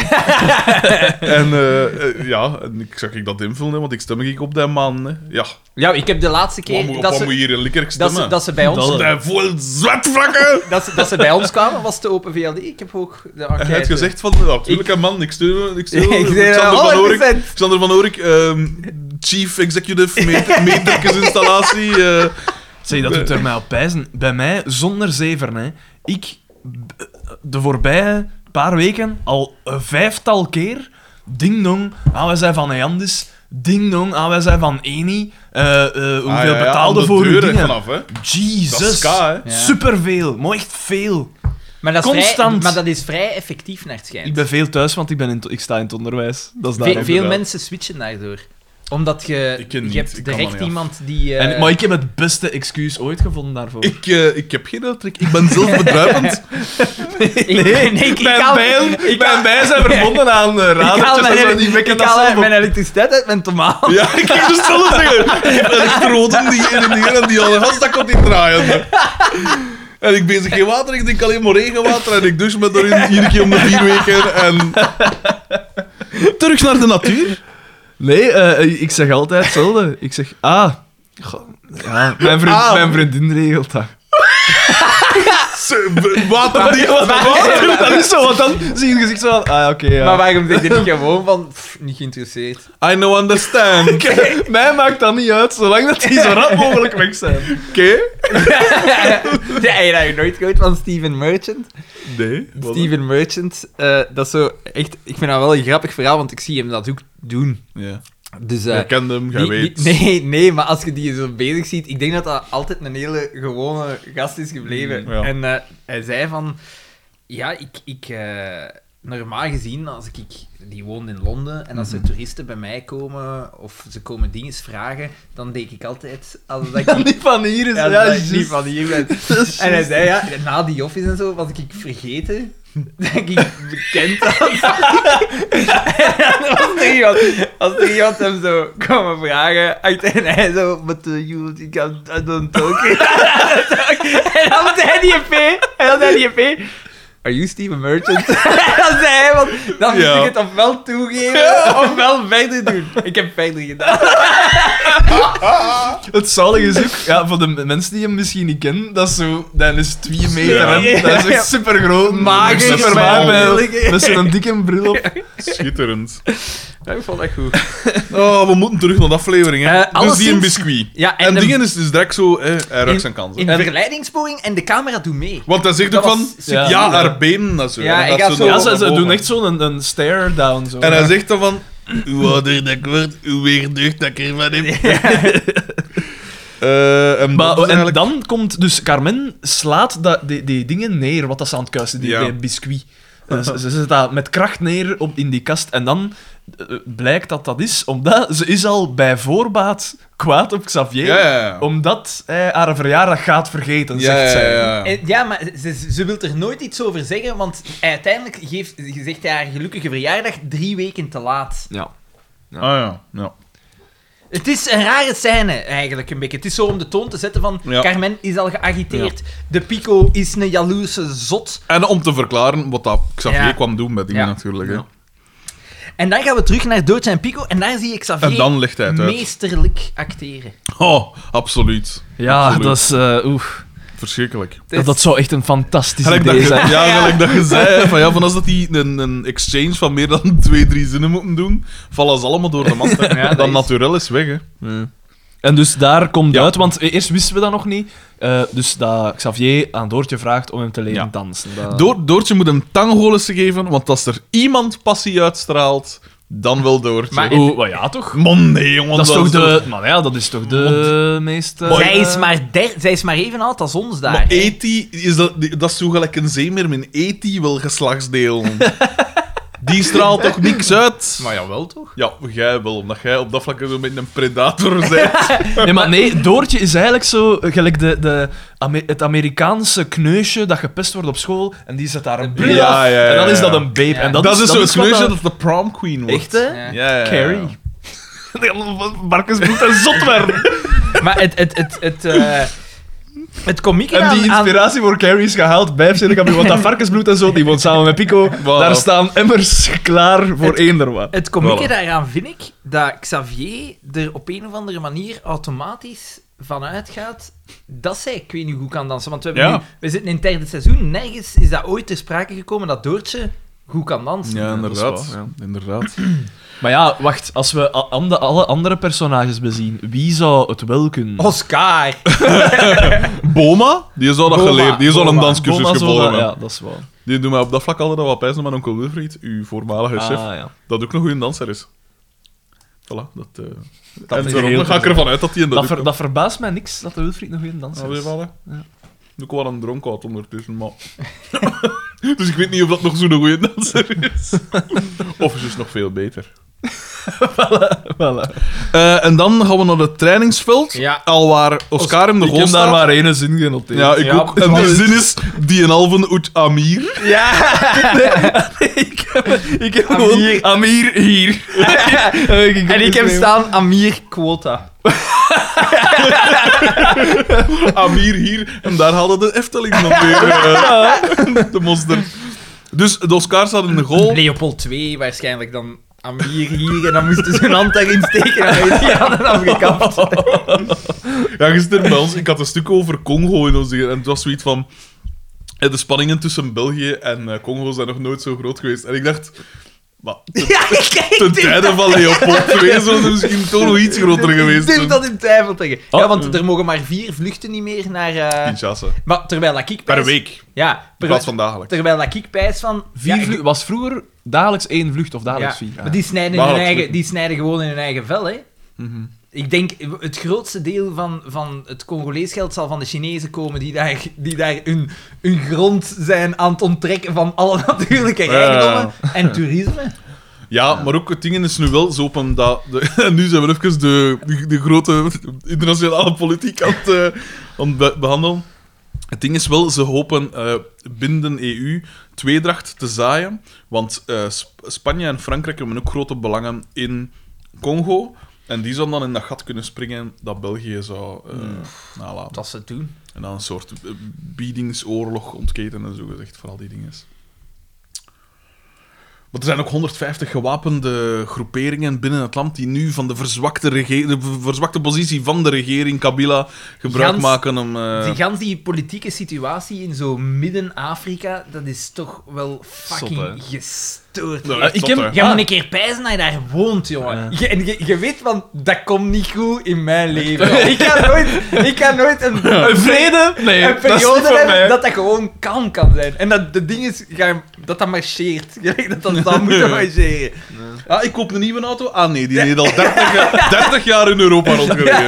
[SPEAKER 2] En eh, eh, ja, en ik zag ik dat invullen, hè, want ik stem ik op die man. Hè. Ja,
[SPEAKER 1] Ja, ik heb de laatste
[SPEAKER 2] wat
[SPEAKER 1] keer
[SPEAKER 2] moet,
[SPEAKER 1] dat,
[SPEAKER 2] wat moet
[SPEAKER 1] ze,
[SPEAKER 2] je hier in Likkerk
[SPEAKER 1] dat, ze,
[SPEAKER 2] stemmen?
[SPEAKER 1] dat ze bij ons...
[SPEAKER 2] Dat is vol zwartvrakken!
[SPEAKER 1] Dat ze, dat ze bij ons kwamen, was de Open VLD. Ik heb ook de
[SPEAKER 2] En
[SPEAKER 1] enquête...
[SPEAKER 2] hij had gezegd van, ja, tuurlijk, hè, man, ik steun hem, ik steun hem.
[SPEAKER 1] Ik zei,
[SPEAKER 2] Xander van
[SPEAKER 1] 100%.
[SPEAKER 2] Oorik, Xander van Oorik ehm, chief executive, meter, meterkesinstallatie. eh.
[SPEAKER 4] Zeg, dat doet er mij op pijzen. Bij mij, zonder zeven, hè. Ik, b- de voorbije paar weken, al een vijftal keer, ding-dong, ah, wij zijn van Eandis, ding-dong, ah, wij zijn van Eni, eh, eh, hoeveel
[SPEAKER 2] Ah, ja, ja,
[SPEAKER 4] betaalde
[SPEAKER 2] aan de
[SPEAKER 4] voor uw
[SPEAKER 2] deur, hè,
[SPEAKER 4] dingen?
[SPEAKER 2] vanaf, hè. Dat
[SPEAKER 4] Jesus.
[SPEAKER 2] is ka, hè.
[SPEAKER 1] Ja.
[SPEAKER 4] Superveel. Maar echt veel.
[SPEAKER 1] Maar dat, is Vrij,
[SPEAKER 4] Constant.
[SPEAKER 1] maar dat is vrij effectief naar het schijnt.
[SPEAKER 4] Ik ben veel thuis, want ik, ben in, ik sta in het onderwijs. Dat is
[SPEAKER 1] Ve-
[SPEAKER 4] daarom.
[SPEAKER 1] veel
[SPEAKER 2] inderdaad.
[SPEAKER 1] mensen switchen daardoor. Omdat je,
[SPEAKER 2] Ik ken
[SPEAKER 1] je
[SPEAKER 2] niet,
[SPEAKER 1] hebt
[SPEAKER 2] ik kan dat
[SPEAKER 1] direct
[SPEAKER 2] niet af.
[SPEAKER 1] iemand die... eh,
[SPEAKER 4] En, maar ik heb het beste excuus ooit gevonden daarvoor.
[SPEAKER 2] Ik, eh, ik heb geen uittrek, ik ben zelf bedruipend.
[SPEAKER 1] ik- nee, ik
[SPEAKER 4] mijn,
[SPEAKER 1] haal-
[SPEAKER 4] bijen,
[SPEAKER 1] ik
[SPEAKER 4] mijn
[SPEAKER 1] haal-
[SPEAKER 4] bijen zijn verbonden aan uh,
[SPEAKER 1] ik haal
[SPEAKER 4] radertjes. en zo,
[SPEAKER 1] mijn,
[SPEAKER 4] die wekken
[SPEAKER 1] ik
[SPEAKER 4] dat
[SPEAKER 1] haal
[SPEAKER 4] zelf op.
[SPEAKER 1] mijn elektriciteit uit mijn tomaat.
[SPEAKER 2] Ja, ik ging dus zelf zeggen. Ik heb elektroden die in en hier en die al gas, dat komt niet draaien. En ik bezig geen water, ik drink alleen maar regenwater en ik douche me erin iedere keer om de vier weken. En... Terug naar de natuur.
[SPEAKER 4] Nee, eh, ik zeg altijd hetzelfde. Ik zeg, ah... goh, ja, mijn, vriend,
[SPEAKER 2] Ah.
[SPEAKER 4] mijn vriendin regelt dat.
[SPEAKER 2] Ze- Waterdicht.
[SPEAKER 4] Ja, dat is zo, want dan zie je het gezicht zo van... Ah, ja, oké, ja.
[SPEAKER 1] Maar waarom denk je niet gewoon van, pff, niet geïnteresseerd?
[SPEAKER 2] I no understand. Oké.
[SPEAKER 4] Mij maakt dat niet uit, zolang dat die zo rap mogelijk weg zijn.
[SPEAKER 1] ja, heb je dat nooit gehoord van Steven Merchant?
[SPEAKER 2] Nee. wat-
[SPEAKER 1] Steven Merchant, eh, dat is zo echt... Ik vind dat wel een grappig verhaal, want ik zie hem dat ook doen.
[SPEAKER 2] Ja.
[SPEAKER 1] Dus... eh,
[SPEAKER 2] Je kent hem, je
[SPEAKER 1] die-
[SPEAKER 2] weet.
[SPEAKER 1] die- nee, nee, maar als je die zo bezig ziet, ik denk dat dat altijd een hele gewone gast is gebleven.
[SPEAKER 2] Mm, ja.
[SPEAKER 1] En eh, hij zei van, ja, ik, ik eh, normaal gezien, als ik, ik, die woonde in Londen, en
[SPEAKER 2] Mhm.
[SPEAKER 1] als er toeristen bij mij komen, of ze komen dingen vragen, dan denk ik altijd, als dat ik
[SPEAKER 4] Dat die van hier is...
[SPEAKER 1] ja,
[SPEAKER 4] Ja,
[SPEAKER 1] dat ik
[SPEAKER 4] juist.
[SPEAKER 1] niet van hier ben. En hij zei, ja, na die office en zo, was ik vergeten dat ik bekend was. en dan was er iemand, als er iemand hem zo kwam vragen, uit- en hij zo, but uh, you, I can't- I don't talk. en dan had hij die EP, en dan zei die EP... Are you Steven Merchant? En dan zei hij, want dan moest
[SPEAKER 2] Ja.
[SPEAKER 1] ik het ofwel toegeven, ofwel verder doen. Ik heb verder gedaan.
[SPEAKER 4] Het zalige is ook, ja, voor de m- mensen die hem misschien niet kennen, dat is zo, dan is 2 meter,
[SPEAKER 2] Ja.
[SPEAKER 4] hè. dat is echt super groot,
[SPEAKER 1] Mager,
[SPEAKER 4] super
[SPEAKER 2] smal.
[SPEAKER 4] met, met zo'n dikke bril op.
[SPEAKER 2] Schitterend.
[SPEAKER 1] Ja, ik vond dat goed.
[SPEAKER 2] Oh, we moeten terug naar de aflevering, hè.
[SPEAKER 1] Eh,
[SPEAKER 2] dus die een
[SPEAKER 1] alleszins-
[SPEAKER 2] biscuit.
[SPEAKER 1] Ja,
[SPEAKER 2] En,
[SPEAKER 1] en de-
[SPEAKER 2] dingen is dus direct zo, eh, hij ruikt
[SPEAKER 1] In-
[SPEAKER 2] zijn kansen.
[SPEAKER 1] In
[SPEAKER 2] En-
[SPEAKER 1] verleidingsporing en de camera doet mee.
[SPEAKER 2] want hij zegt
[SPEAKER 1] Dat
[SPEAKER 2] ook van,
[SPEAKER 1] was
[SPEAKER 2] ja,
[SPEAKER 4] super-
[SPEAKER 2] haar benen en zo.
[SPEAKER 1] Ja,
[SPEAKER 2] En dan
[SPEAKER 1] ik
[SPEAKER 2] gaat
[SPEAKER 1] had
[SPEAKER 2] ze
[SPEAKER 1] zo-
[SPEAKER 2] dan
[SPEAKER 4] Ja, ze, ze
[SPEAKER 2] naar
[SPEAKER 4] doen
[SPEAKER 2] boven.
[SPEAKER 4] echt zo'n een, een stare down. Zo.
[SPEAKER 2] En hij zegt dan van, hoe ouder dat ik word, hoe meer deugd dat ik ervan heb. Eh, en
[SPEAKER 4] Maar,
[SPEAKER 2] dat is
[SPEAKER 4] en
[SPEAKER 2] eigenlijk-
[SPEAKER 4] dan komt dus Carmen slaat dat, die, die dingen neer, wat dat ze aan het kuisen, die,
[SPEAKER 2] Ja.
[SPEAKER 4] die biscuit. Eh, ze, ze zet dat met kracht neer op, in die kast en dan eh, blijkt dat dat is, omdat ze is al bij voorbaat kwaad op Xavier,
[SPEAKER 2] Ja, ja, ja.
[SPEAKER 4] omdat hij haar verjaardag gaat vergeten,
[SPEAKER 2] Ja,
[SPEAKER 4] zegt
[SPEAKER 2] ja,
[SPEAKER 4] zij.
[SPEAKER 2] ja, ja.
[SPEAKER 1] En, ja, maar ze, ze wil er nooit iets over zeggen, want uiteindelijk geeft, zegt hij haar gelukkige verjaardag drie weken te laat.
[SPEAKER 4] Ja.
[SPEAKER 2] Ah ja, ja.
[SPEAKER 1] Het is een rare scène, eigenlijk, een beetje. Het is zo om de toon te zetten van...
[SPEAKER 2] Ja.
[SPEAKER 1] Carmen is al geagiteerd. De Pico is een jaloerse zot.
[SPEAKER 2] En om te verklaren wat dat Xavier
[SPEAKER 1] Ja.
[SPEAKER 2] kwam doen met dingen
[SPEAKER 1] Ja.
[SPEAKER 2] natuurlijk. Hè.
[SPEAKER 4] Ja.
[SPEAKER 1] En dan gaan we terug naar Doodje en Pico. En daar zie ik Xavier
[SPEAKER 2] En dan legt hij het uit.
[SPEAKER 1] meesterlijk acteren.
[SPEAKER 2] Oh, absoluut.
[SPEAKER 4] Ja,
[SPEAKER 2] Absoluut.
[SPEAKER 4] dat is... eh, oeh,
[SPEAKER 2] Verschrikkelijk.
[SPEAKER 4] dat, dat zou echt een fantastisch
[SPEAKER 2] Gelijk dat,
[SPEAKER 4] idee
[SPEAKER 2] je,
[SPEAKER 4] zijn.
[SPEAKER 2] ja, gelijk dat je zei, hè, van, ja, van als dat die een, een exchange van meer dan twee, drie zinnen moeten doen, vallen ze allemaal door de mand. hè.
[SPEAKER 1] Ja, dat
[SPEAKER 2] dan
[SPEAKER 1] is-
[SPEAKER 2] naturel is weg, hè.
[SPEAKER 4] En dus daar komt
[SPEAKER 2] Ja.
[SPEAKER 4] uit, want e- eerst wisten we dat nog niet. Eh, dus dat Xavier aan Doortje vraagt om hem te leren
[SPEAKER 2] Ja.
[SPEAKER 4] dansen. Dat-
[SPEAKER 2] Door, Doortje moet hem tangholissen geven, want als er iemand passie uitstraalt, dan wel Doortje.
[SPEAKER 1] Maar-
[SPEAKER 4] Oeh, maar ja, toch?
[SPEAKER 2] Man, nee, jongen.
[SPEAKER 4] Dat is toch de... Maar ja, dat is toch de meest... eh,
[SPEAKER 1] Zij is, maar der- zij is maar even oud als ons daar.
[SPEAKER 2] Maar
[SPEAKER 1] hè.
[SPEAKER 2] Eti, is dat, die- dat is zo gelijk een zeemerm in Eti E wil geslachtsdeel. die straalt toch niks uit?
[SPEAKER 1] Maar jawel, toch?
[SPEAKER 2] Ja, jij wel, omdat jij op dat vlak zo met een predator bent.
[SPEAKER 4] Nee, maar nee, Doortje is eigenlijk zo eh, gelijk de, de Ame- het Amerikaanse kneusje dat gepest wordt op school en die zet daar een bril
[SPEAKER 2] Ja,
[SPEAKER 4] af,
[SPEAKER 2] ja, ja,
[SPEAKER 4] en dan is
[SPEAKER 2] ja.
[SPEAKER 4] dat een babe.
[SPEAKER 1] Ja.
[SPEAKER 4] En
[SPEAKER 2] Dat,
[SPEAKER 4] dat,
[SPEAKER 2] is zo'n
[SPEAKER 4] wat
[SPEAKER 2] kneusje
[SPEAKER 4] dat-
[SPEAKER 2] dat de prom queen wordt.
[SPEAKER 4] Echt, hè?
[SPEAKER 1] Ja.
[SPEAKER 2] Ja, ja, ja.
[SPEAKER 4] Carrie. Marcus moet een zot werden.
[SPEAKER 1] Maar het... Het, het, het, eh, het komieke
[SPEAKER 4] En die
[SPEAKER 1] aan- aan,
[SPEAKER 4] inspiratie voor Carrie is gehaald bij FC de Kampioen. Want dat varkensbloed en zo, die woont samen met Pico. Daar staan emmers klaar voor
[SPEAKER 1] Het-
[SPEAKER 4] eender wat.
[SPEAKER 1] Het komieke
[SPEAKER 2] Voilà.
[SPEAKER 1] daaraan vind ik dat Xavier er op een of andere manier automatisch van uitgaat dat zij, ik weet niet hoe kan dansen. Want we, hebben
[SPEAKER 2] Ja.
[SPEAKER 1] nu- we zitten in het derde seizoen. Nergens is dat ooit ter sprake gekomen dat Doortje goed kan dansen.
[SPEAKER 2] Ja,
[SPEAKER 4] dat is
[SPEAKER 2] inderdaad.
[SPEAKER 4] waar,
[SPEAKER 2] inderdaad.
[SPEAKER 4] Maar ja, wacht. Als we a- an- de- alle andere personages bezien, wie zou het wel kunnen?
[SPEAKER 1] Oscar!
[SPEAKER 2] Boma, die zou dat
[SPEAKER 1] Boma,
[SPEAKER 2] geleerd. Die zou een
[SPEAKER 1] Boma.
[SPEAKER 2] danscursus
[SPEAKER 4] Boma zou
[SPEAKER 2] gevolgd
[SPEAKER 4] dat-
[SPEAKER 2] hebben.
[SPEAKER 4] Ja, dat is wel.
[SPEAKER 2] Die doet mij op dat vlak altijd wel wat pijzen met onkel Wilfried, uw voormalige
[SPEAKER 4] Ah,
[SPEAKER 2] chef,
[SPEAKER 4] ja.
[SPEAKER 2] dat ook nog een danser is. Voilà, dat... eh
[SPEAKER 4] is
[SPEAKER 2] en
[SPEAKER 4] heel
[SPEAKER 2] daarom ga ik
[SPEAKER 4] interessant.
[SPEAKER 2] ervan uit dat hij in de
[SPEAKER 4] Dat,
[SPEAKER 2] dat
[SPEAKER 4] ver- dat verbaast mij niks dat de Wilfried nog geen danser is.
[SPEAKER 2] Allee, ja. Ik wel een dronkaard ondertussen, maar... dus ik weet niet of dat nog zo'n goede danser is. of is dus nog veel beter.
[SPEAKER 4] Voilà.
[SPEAKER 2] Eh, en dan gaan we naar het trainingsveld,
[SPEAKER 1] Ja.
[SPEAKER 2] al waar Oscar hem de
[SPEAKER 4] Ik
[SPEAKER 2] goal
[SPEAKER 4] heb daar
[SPEAKER 2] staat.
[SPEAKER 4] maar één zin genoteerd.
[SPEAKER 2] Ja, ik
[SPEAKER 1] Ja,
[SPEAKER 2] ook.
[SPEAKER 1] het
[SPEAKER 2] En de
[SPEAKER 1] was-
[SPEAKER 2] zin is, die een halve uit Amir.
[SPEAKER 1] ja!
[SPEAKER 4] ik heb, ik heb
[SPEAKER 1] Amir.
[SPEAKER 4] gewoon Amir hier.
[SPEAKER 1] en ik heb
[SPEAKER 4] opgeschreven.
[SPEAKER 1] staan Amir Quota.
[SPEAKER 2] Amir hier. En daar hadden de Efteling nog weer eh, de monster. Dus de Oscar staat in de goal.
[SPEAKER 1] Leopold 2 waarschijnlijk dan. Amir hier en dan moesten ze hun hand daarin steken en hij die handen afgekapt.
[SPEAKER 2] Ja, gisteren bij ons, ik had een stuk over Congo in ons en het was zoiets van... En de spanningen tussen België en eh, Congo zijn nog nooit zo groot geweest. En ik dacht, maar, ten,
[SPEAKER 1] Ja, kijk,
[SPEAKER 2] ten tijde van Leopold II zou ze misschien toch nog iets groter geweest
[SPEAKER 1] Ik durf
[SPEAKER 2] zijn.
[SPEAKER 1] dat in twijfel te leggen.
[SPEAKER 2] Oh.
[SPEAKER 4] Ah,
[SPEAKER 1] ja, want
[SPEAKER 4] eh.
[SPEAKER 1] er mogen maar vier vluchten niet meer naar... eh,
[SPEAKER 2] Kinshasa.
[SPEAKER 1] maar terwijl dat ik...
[SPEAKER 2] Per
[SPEAKER 1] pijs-
[SPEAKER 2] week,
[SPEAKER 1] Ja,
[SPEAKER 2] in
[SPEAKER 1] per,
[SPEAKER 2] plaats van dagelijks.
[SPEAKER 1] terwijl dat ik pijs van...
[SPEAKER 4] Vier
[SPEAKER 1] ja, ik- Ah,
[SPEAKER 4] vlucht- was vroeger dagelijks één vlucht of
[SPEAKER 1] ja,
[SPEAKER 4] dagelijks vier.
[SPEAKER 1] Maar die snijden, hun
[SPEAKER 2] Dagelijks
[SPEAKER 1] eigen,
[SPEAKER 2] vluchten.
[SPEAKER 1] die snijden gewoon in hun eigen vel, hè.
[SPEAKER 4] Mhm.
[SPEAKER 1] Ik denk, het grootste deel van, van het Congolees geld zal van de Chinezen komen die daar, die daar hun, hun grond zijn aan het onttrekken van alle natuurlijke
[SPEAKER 2] Ja.
[SPEAKER 1] rijkdommen en toerisme.
[SPEAKER 2] Ja, maar ook het ding is nu wel zo open dat... de- en nu zijn we even de, de, de grote internationale politiek aan het, eh, aan het be- behandelen. Het ding is wel, ze hopen eh, binnen EU tweedracht te zaaien. Want eh, Sp- Spanje en Frankrijk hebben ook grote belangen in Congo. En die zouden dan in dat gat kunnen springen dat België zou eh, nalaten.
[SPEAKER 1] Dat ze doen.
[SPEAKER 2] En dan een soort eh, biedingsoorlog ontketen en zo gezegd, voor al die dingen. Maar er zijn ook 150 gewapende groeperingen binnen het land die nu van de verzwakte, rege- de v- verzwakte positie van de regering Kabila gebruik
[SPEAKER 1] Gans-
[SPEAKER 2] maken om... eh,
[SPEAKER 1] Die gans die politieke situatie in zo midden-Afrika, dat is toch wel fucking
[SPEAKER 4] Zot,
[SPEAKER 1] gestoord. Eh,
[SPEAKER 2] nou,
[SPEAKER 1] Je
[SPEAKER 2] echt
[SPEAKER 4] ik
[SPEAKER 2] zot,
[SPEAKER 4] heb-
[SPEAKER 2] hè.
[SPEAKER 1] Jij
[SPEAKER 4] Ah.
[SPEAKER 1] moet een keer pijzen dat je daar woont, jongen.
[SPEAKER 4] Ja.
[SPEAKER 1] Je, en je, je weet, van dat komt niet goed in mijn leven. Ik kan nooit, ik kan nooit een,
[SPEAKER 4] Een vrede? Nee,
[SPEAKER 1] een
[SPEAKER 4] dat is niet
[SPEAKER 1] periode
[SPEAKER 4] voor mij.
[SPEAKER 1] hebben dat dat gewoon kalm kan zijn. En dat de ding is, ga- dat dat marcheert. Gelijk dat dat zou moeten marcheren.
[SPEAKER 2] Ah, ik koop een nieuwe auto. Ah nee, die heeft al 30, jaar- 30 jaar in Europa rondgereden.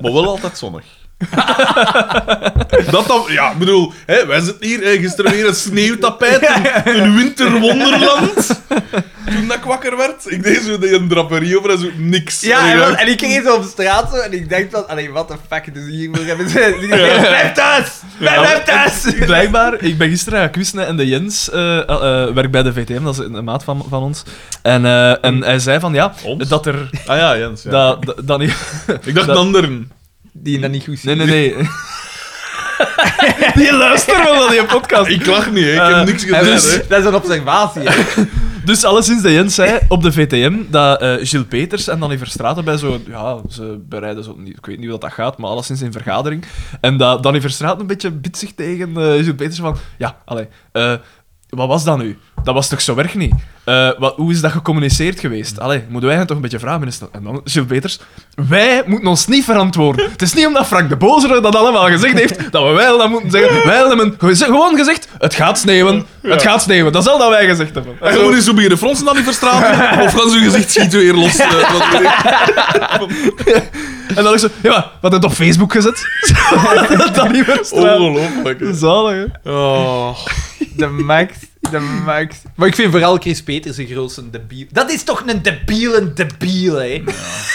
[SPEAKER 2] Maar wel altijd zonnig. Dat dan, ja, ik bedoel, hè, wij zitten hier hè, gisteren weer een sneeuwtapijt, een, een winterwonderland. Toen dat ik wakker werd, ik deed zo een draperie over en zo niks.
[SPEAKER 1] Ja,
[SPEAKER 2] En
[SPEAKER 1] en,
[SPEAKER 2] ik
[SPEAKER 1] wat-
[SPEAKER 2] dacht,
[SPEAKER 1] en ik ging zo op straat zo, en ik dacht van, allee, what the fuck, dus hier wil hebben ze... die- Blijf thuis! Blijf, blijf thuis!
[SPEAKER 4] Blijkbaar, ik ben gisteren gaan quizzen en de Jens eh, eh, eh, werkt bij de VTM, dat is een, een maat van, van ons. En, eh, en hij zei van ja,
[SPEAKER 2] Ons?
[SPEAKER 4] dat er.
[SPEAKER 2] Ah ja, Jens. ja.
[SPEAKER 4] Dat, dat, dat niet-
[SPEAKER 2] ik dacht
[SPEAKER 4] dat-
[SPEAKER 2] een anderen.
[SPEAKER 1] Die dat niet goed zien.
[SPEAKER 4] Nee, nee, nee. die luistert wel naar die podcast.
[SPEAKER 2] Ik lach niet, hè. ik
[SPEAKER 4] Eh,
[SPEAKER 2] heb niks gedaan.
[SPEAKER 4] dus-
[SPEAKER 2] hè.
[SPEAKER 1] Dat is een observatie. hè.
[SPEAKER 4] Dus alleszins, de Jens zei op de VTM dat eh Gilles Peters en Danny Verstraten bij zo'n... Ja, ze bereiden zo'n... Ik weet niet hoe dat gaat, maar alleszins in vergadering. En dat Danny Verstraten een beetje bitsig tegen eh Gilles Peters van... Ja, allee, eh, wat was dat nu? Dat was toch zo erg niet? Eh, wat, hoe is dat gecommuniceerd geweest? Allee, moeten wij hen toch een beetje vragen, minister? En dan Gilles Peters... Wij moeten ons niet verantwoorden. Het is niet omdat Frank de Bozer dat allemaal gezegd heeft, dat we wel dat moeten zeggen. Wij hebben geze- gewoon gezegd, het gaat sneeuwen. Het gaat sneeuwen. Dat is al dat wij gezegd hebben.
[SPEAKER 2] En gewoon eens zo beginnen fronsen dan die verstraten, of gaan ze hun gezicht schieten weer los. eh, wat weet ik.
[SPEAKER 4] En dan ik zo, ja, maar wat heb je op Facebook gezet? dat dan niet
[SPEAKER 2] Oh,
[SPEAKER 4] verstaan.
[SPEAKER 2] Ongelooflijk. hè.
[SPEAKER 4] Zalig, hè?
[SPEAKER 2] Oh.
[SPEAKER 1] De max, de max. Maar ik vind vooral Chris Peters de grootste debiel. Dat is toch een debiele debiel, hè?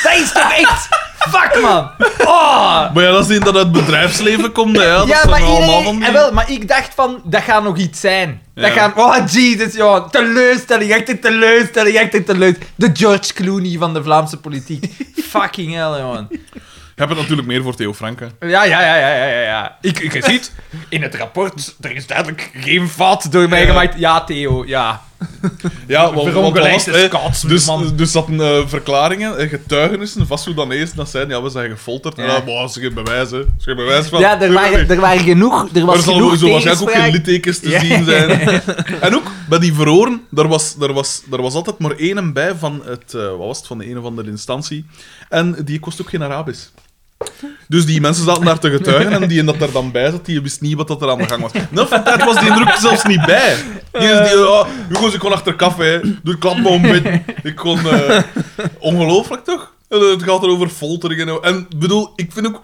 [SPEAKER 1] Dat is toch echt... Fuck, man! Oh!
[SPEAKER 2] Maar ja, dat is niet dat uit het bedrijfsleven komt. hè. Ja, dat
[SPEAKER 1] Ja,
[SPEAKER 2] zijn
[SPEAKER 1] maar,
[SPEAKER 2] allemaal
[SPEAKER 1] iedereen,
[SPEAKER 2] van die-
[SPEAKER 1] eh, wel, maar ik dacht van, dat gaat nog iets zijn. Dat
[SPEAKER 2] Ja.
[SPEAKER 1] gaan, oh Jesus, joh, teleurstelling, echt een teleurstelling, echt een teleurstelling. De George Clooney van de Vlaamse politiek. Fucking hell, man.
[SPEAKER 2] Ik heb het natuurlijk meer voor Theo Franken.
[SPEAKER 1] Ja, ja, ja, ja, ja, ja, ja. Ik, ik- je ziet, in het rapport, er is duidelijk geen vat door mij
[SPEAKER 2] Ja.
[SPEAKER 1] gemaakt. Ja, Theo, ja.
[SPEAKER 2] Ja, want, want wat was
[SPEAKER 1] Verongelijkte
[SPEAKER 2] het, hè?
[SPEAKER 1] Scotsman,
[SPEAKER 2] Dus,
[SPEAKER 1] man.
[SPEAKER 2] dus dat eh, verklaringen, eh, getuigenissen, vast hoe dan eerst dat zijn. Ja, we zijn gefolterd.
[SPEAKER 1] Ja.
[SPEAKER 2] Ja, maar dat is geen bewijs, hè. Dat is geen bewijs van...
[SPEAKER 1] Ja, er
[SPEAKER 2] Nee, nee,
[SPEAKER 1] waren,
[SPEAKER 2] nee.
[SPEAKER 1] er waren genoeg, er
[SPEAKER 2] Maar er
[SPEAKER 1] was
[SPEAKER 2] zal
[SPEAKER 1] genoeg
[SPEAKER 2] zo waarschijnlijk ook geen
[SPEAKER 1] tegenspraak.
[SPEAKER 2] littekens te
[SPEAKER 1] Ja.
[SPEAKER 2] zien zijn. En ook, bij die verhoren, daar was, daar, was, daar was altijd maar één bij van, het, eh, wat was het, van de een of andere instantie. En die kost ook geen Arabisch. Dus die mensen zaten daar te getuigen en die dat er dan bij zat, die wist niet wat dat er aan de gang was. Nou, van tijd was die druk zelfs niet bij. Die is die, oh, jongens, ik kon achter kaf, hè. Doe het klap maar om binnen. Ik kon... eh, ongelooflijk, toch? En, eh, Het gaat er over folteringen. en- En bedoel, ik vind ook...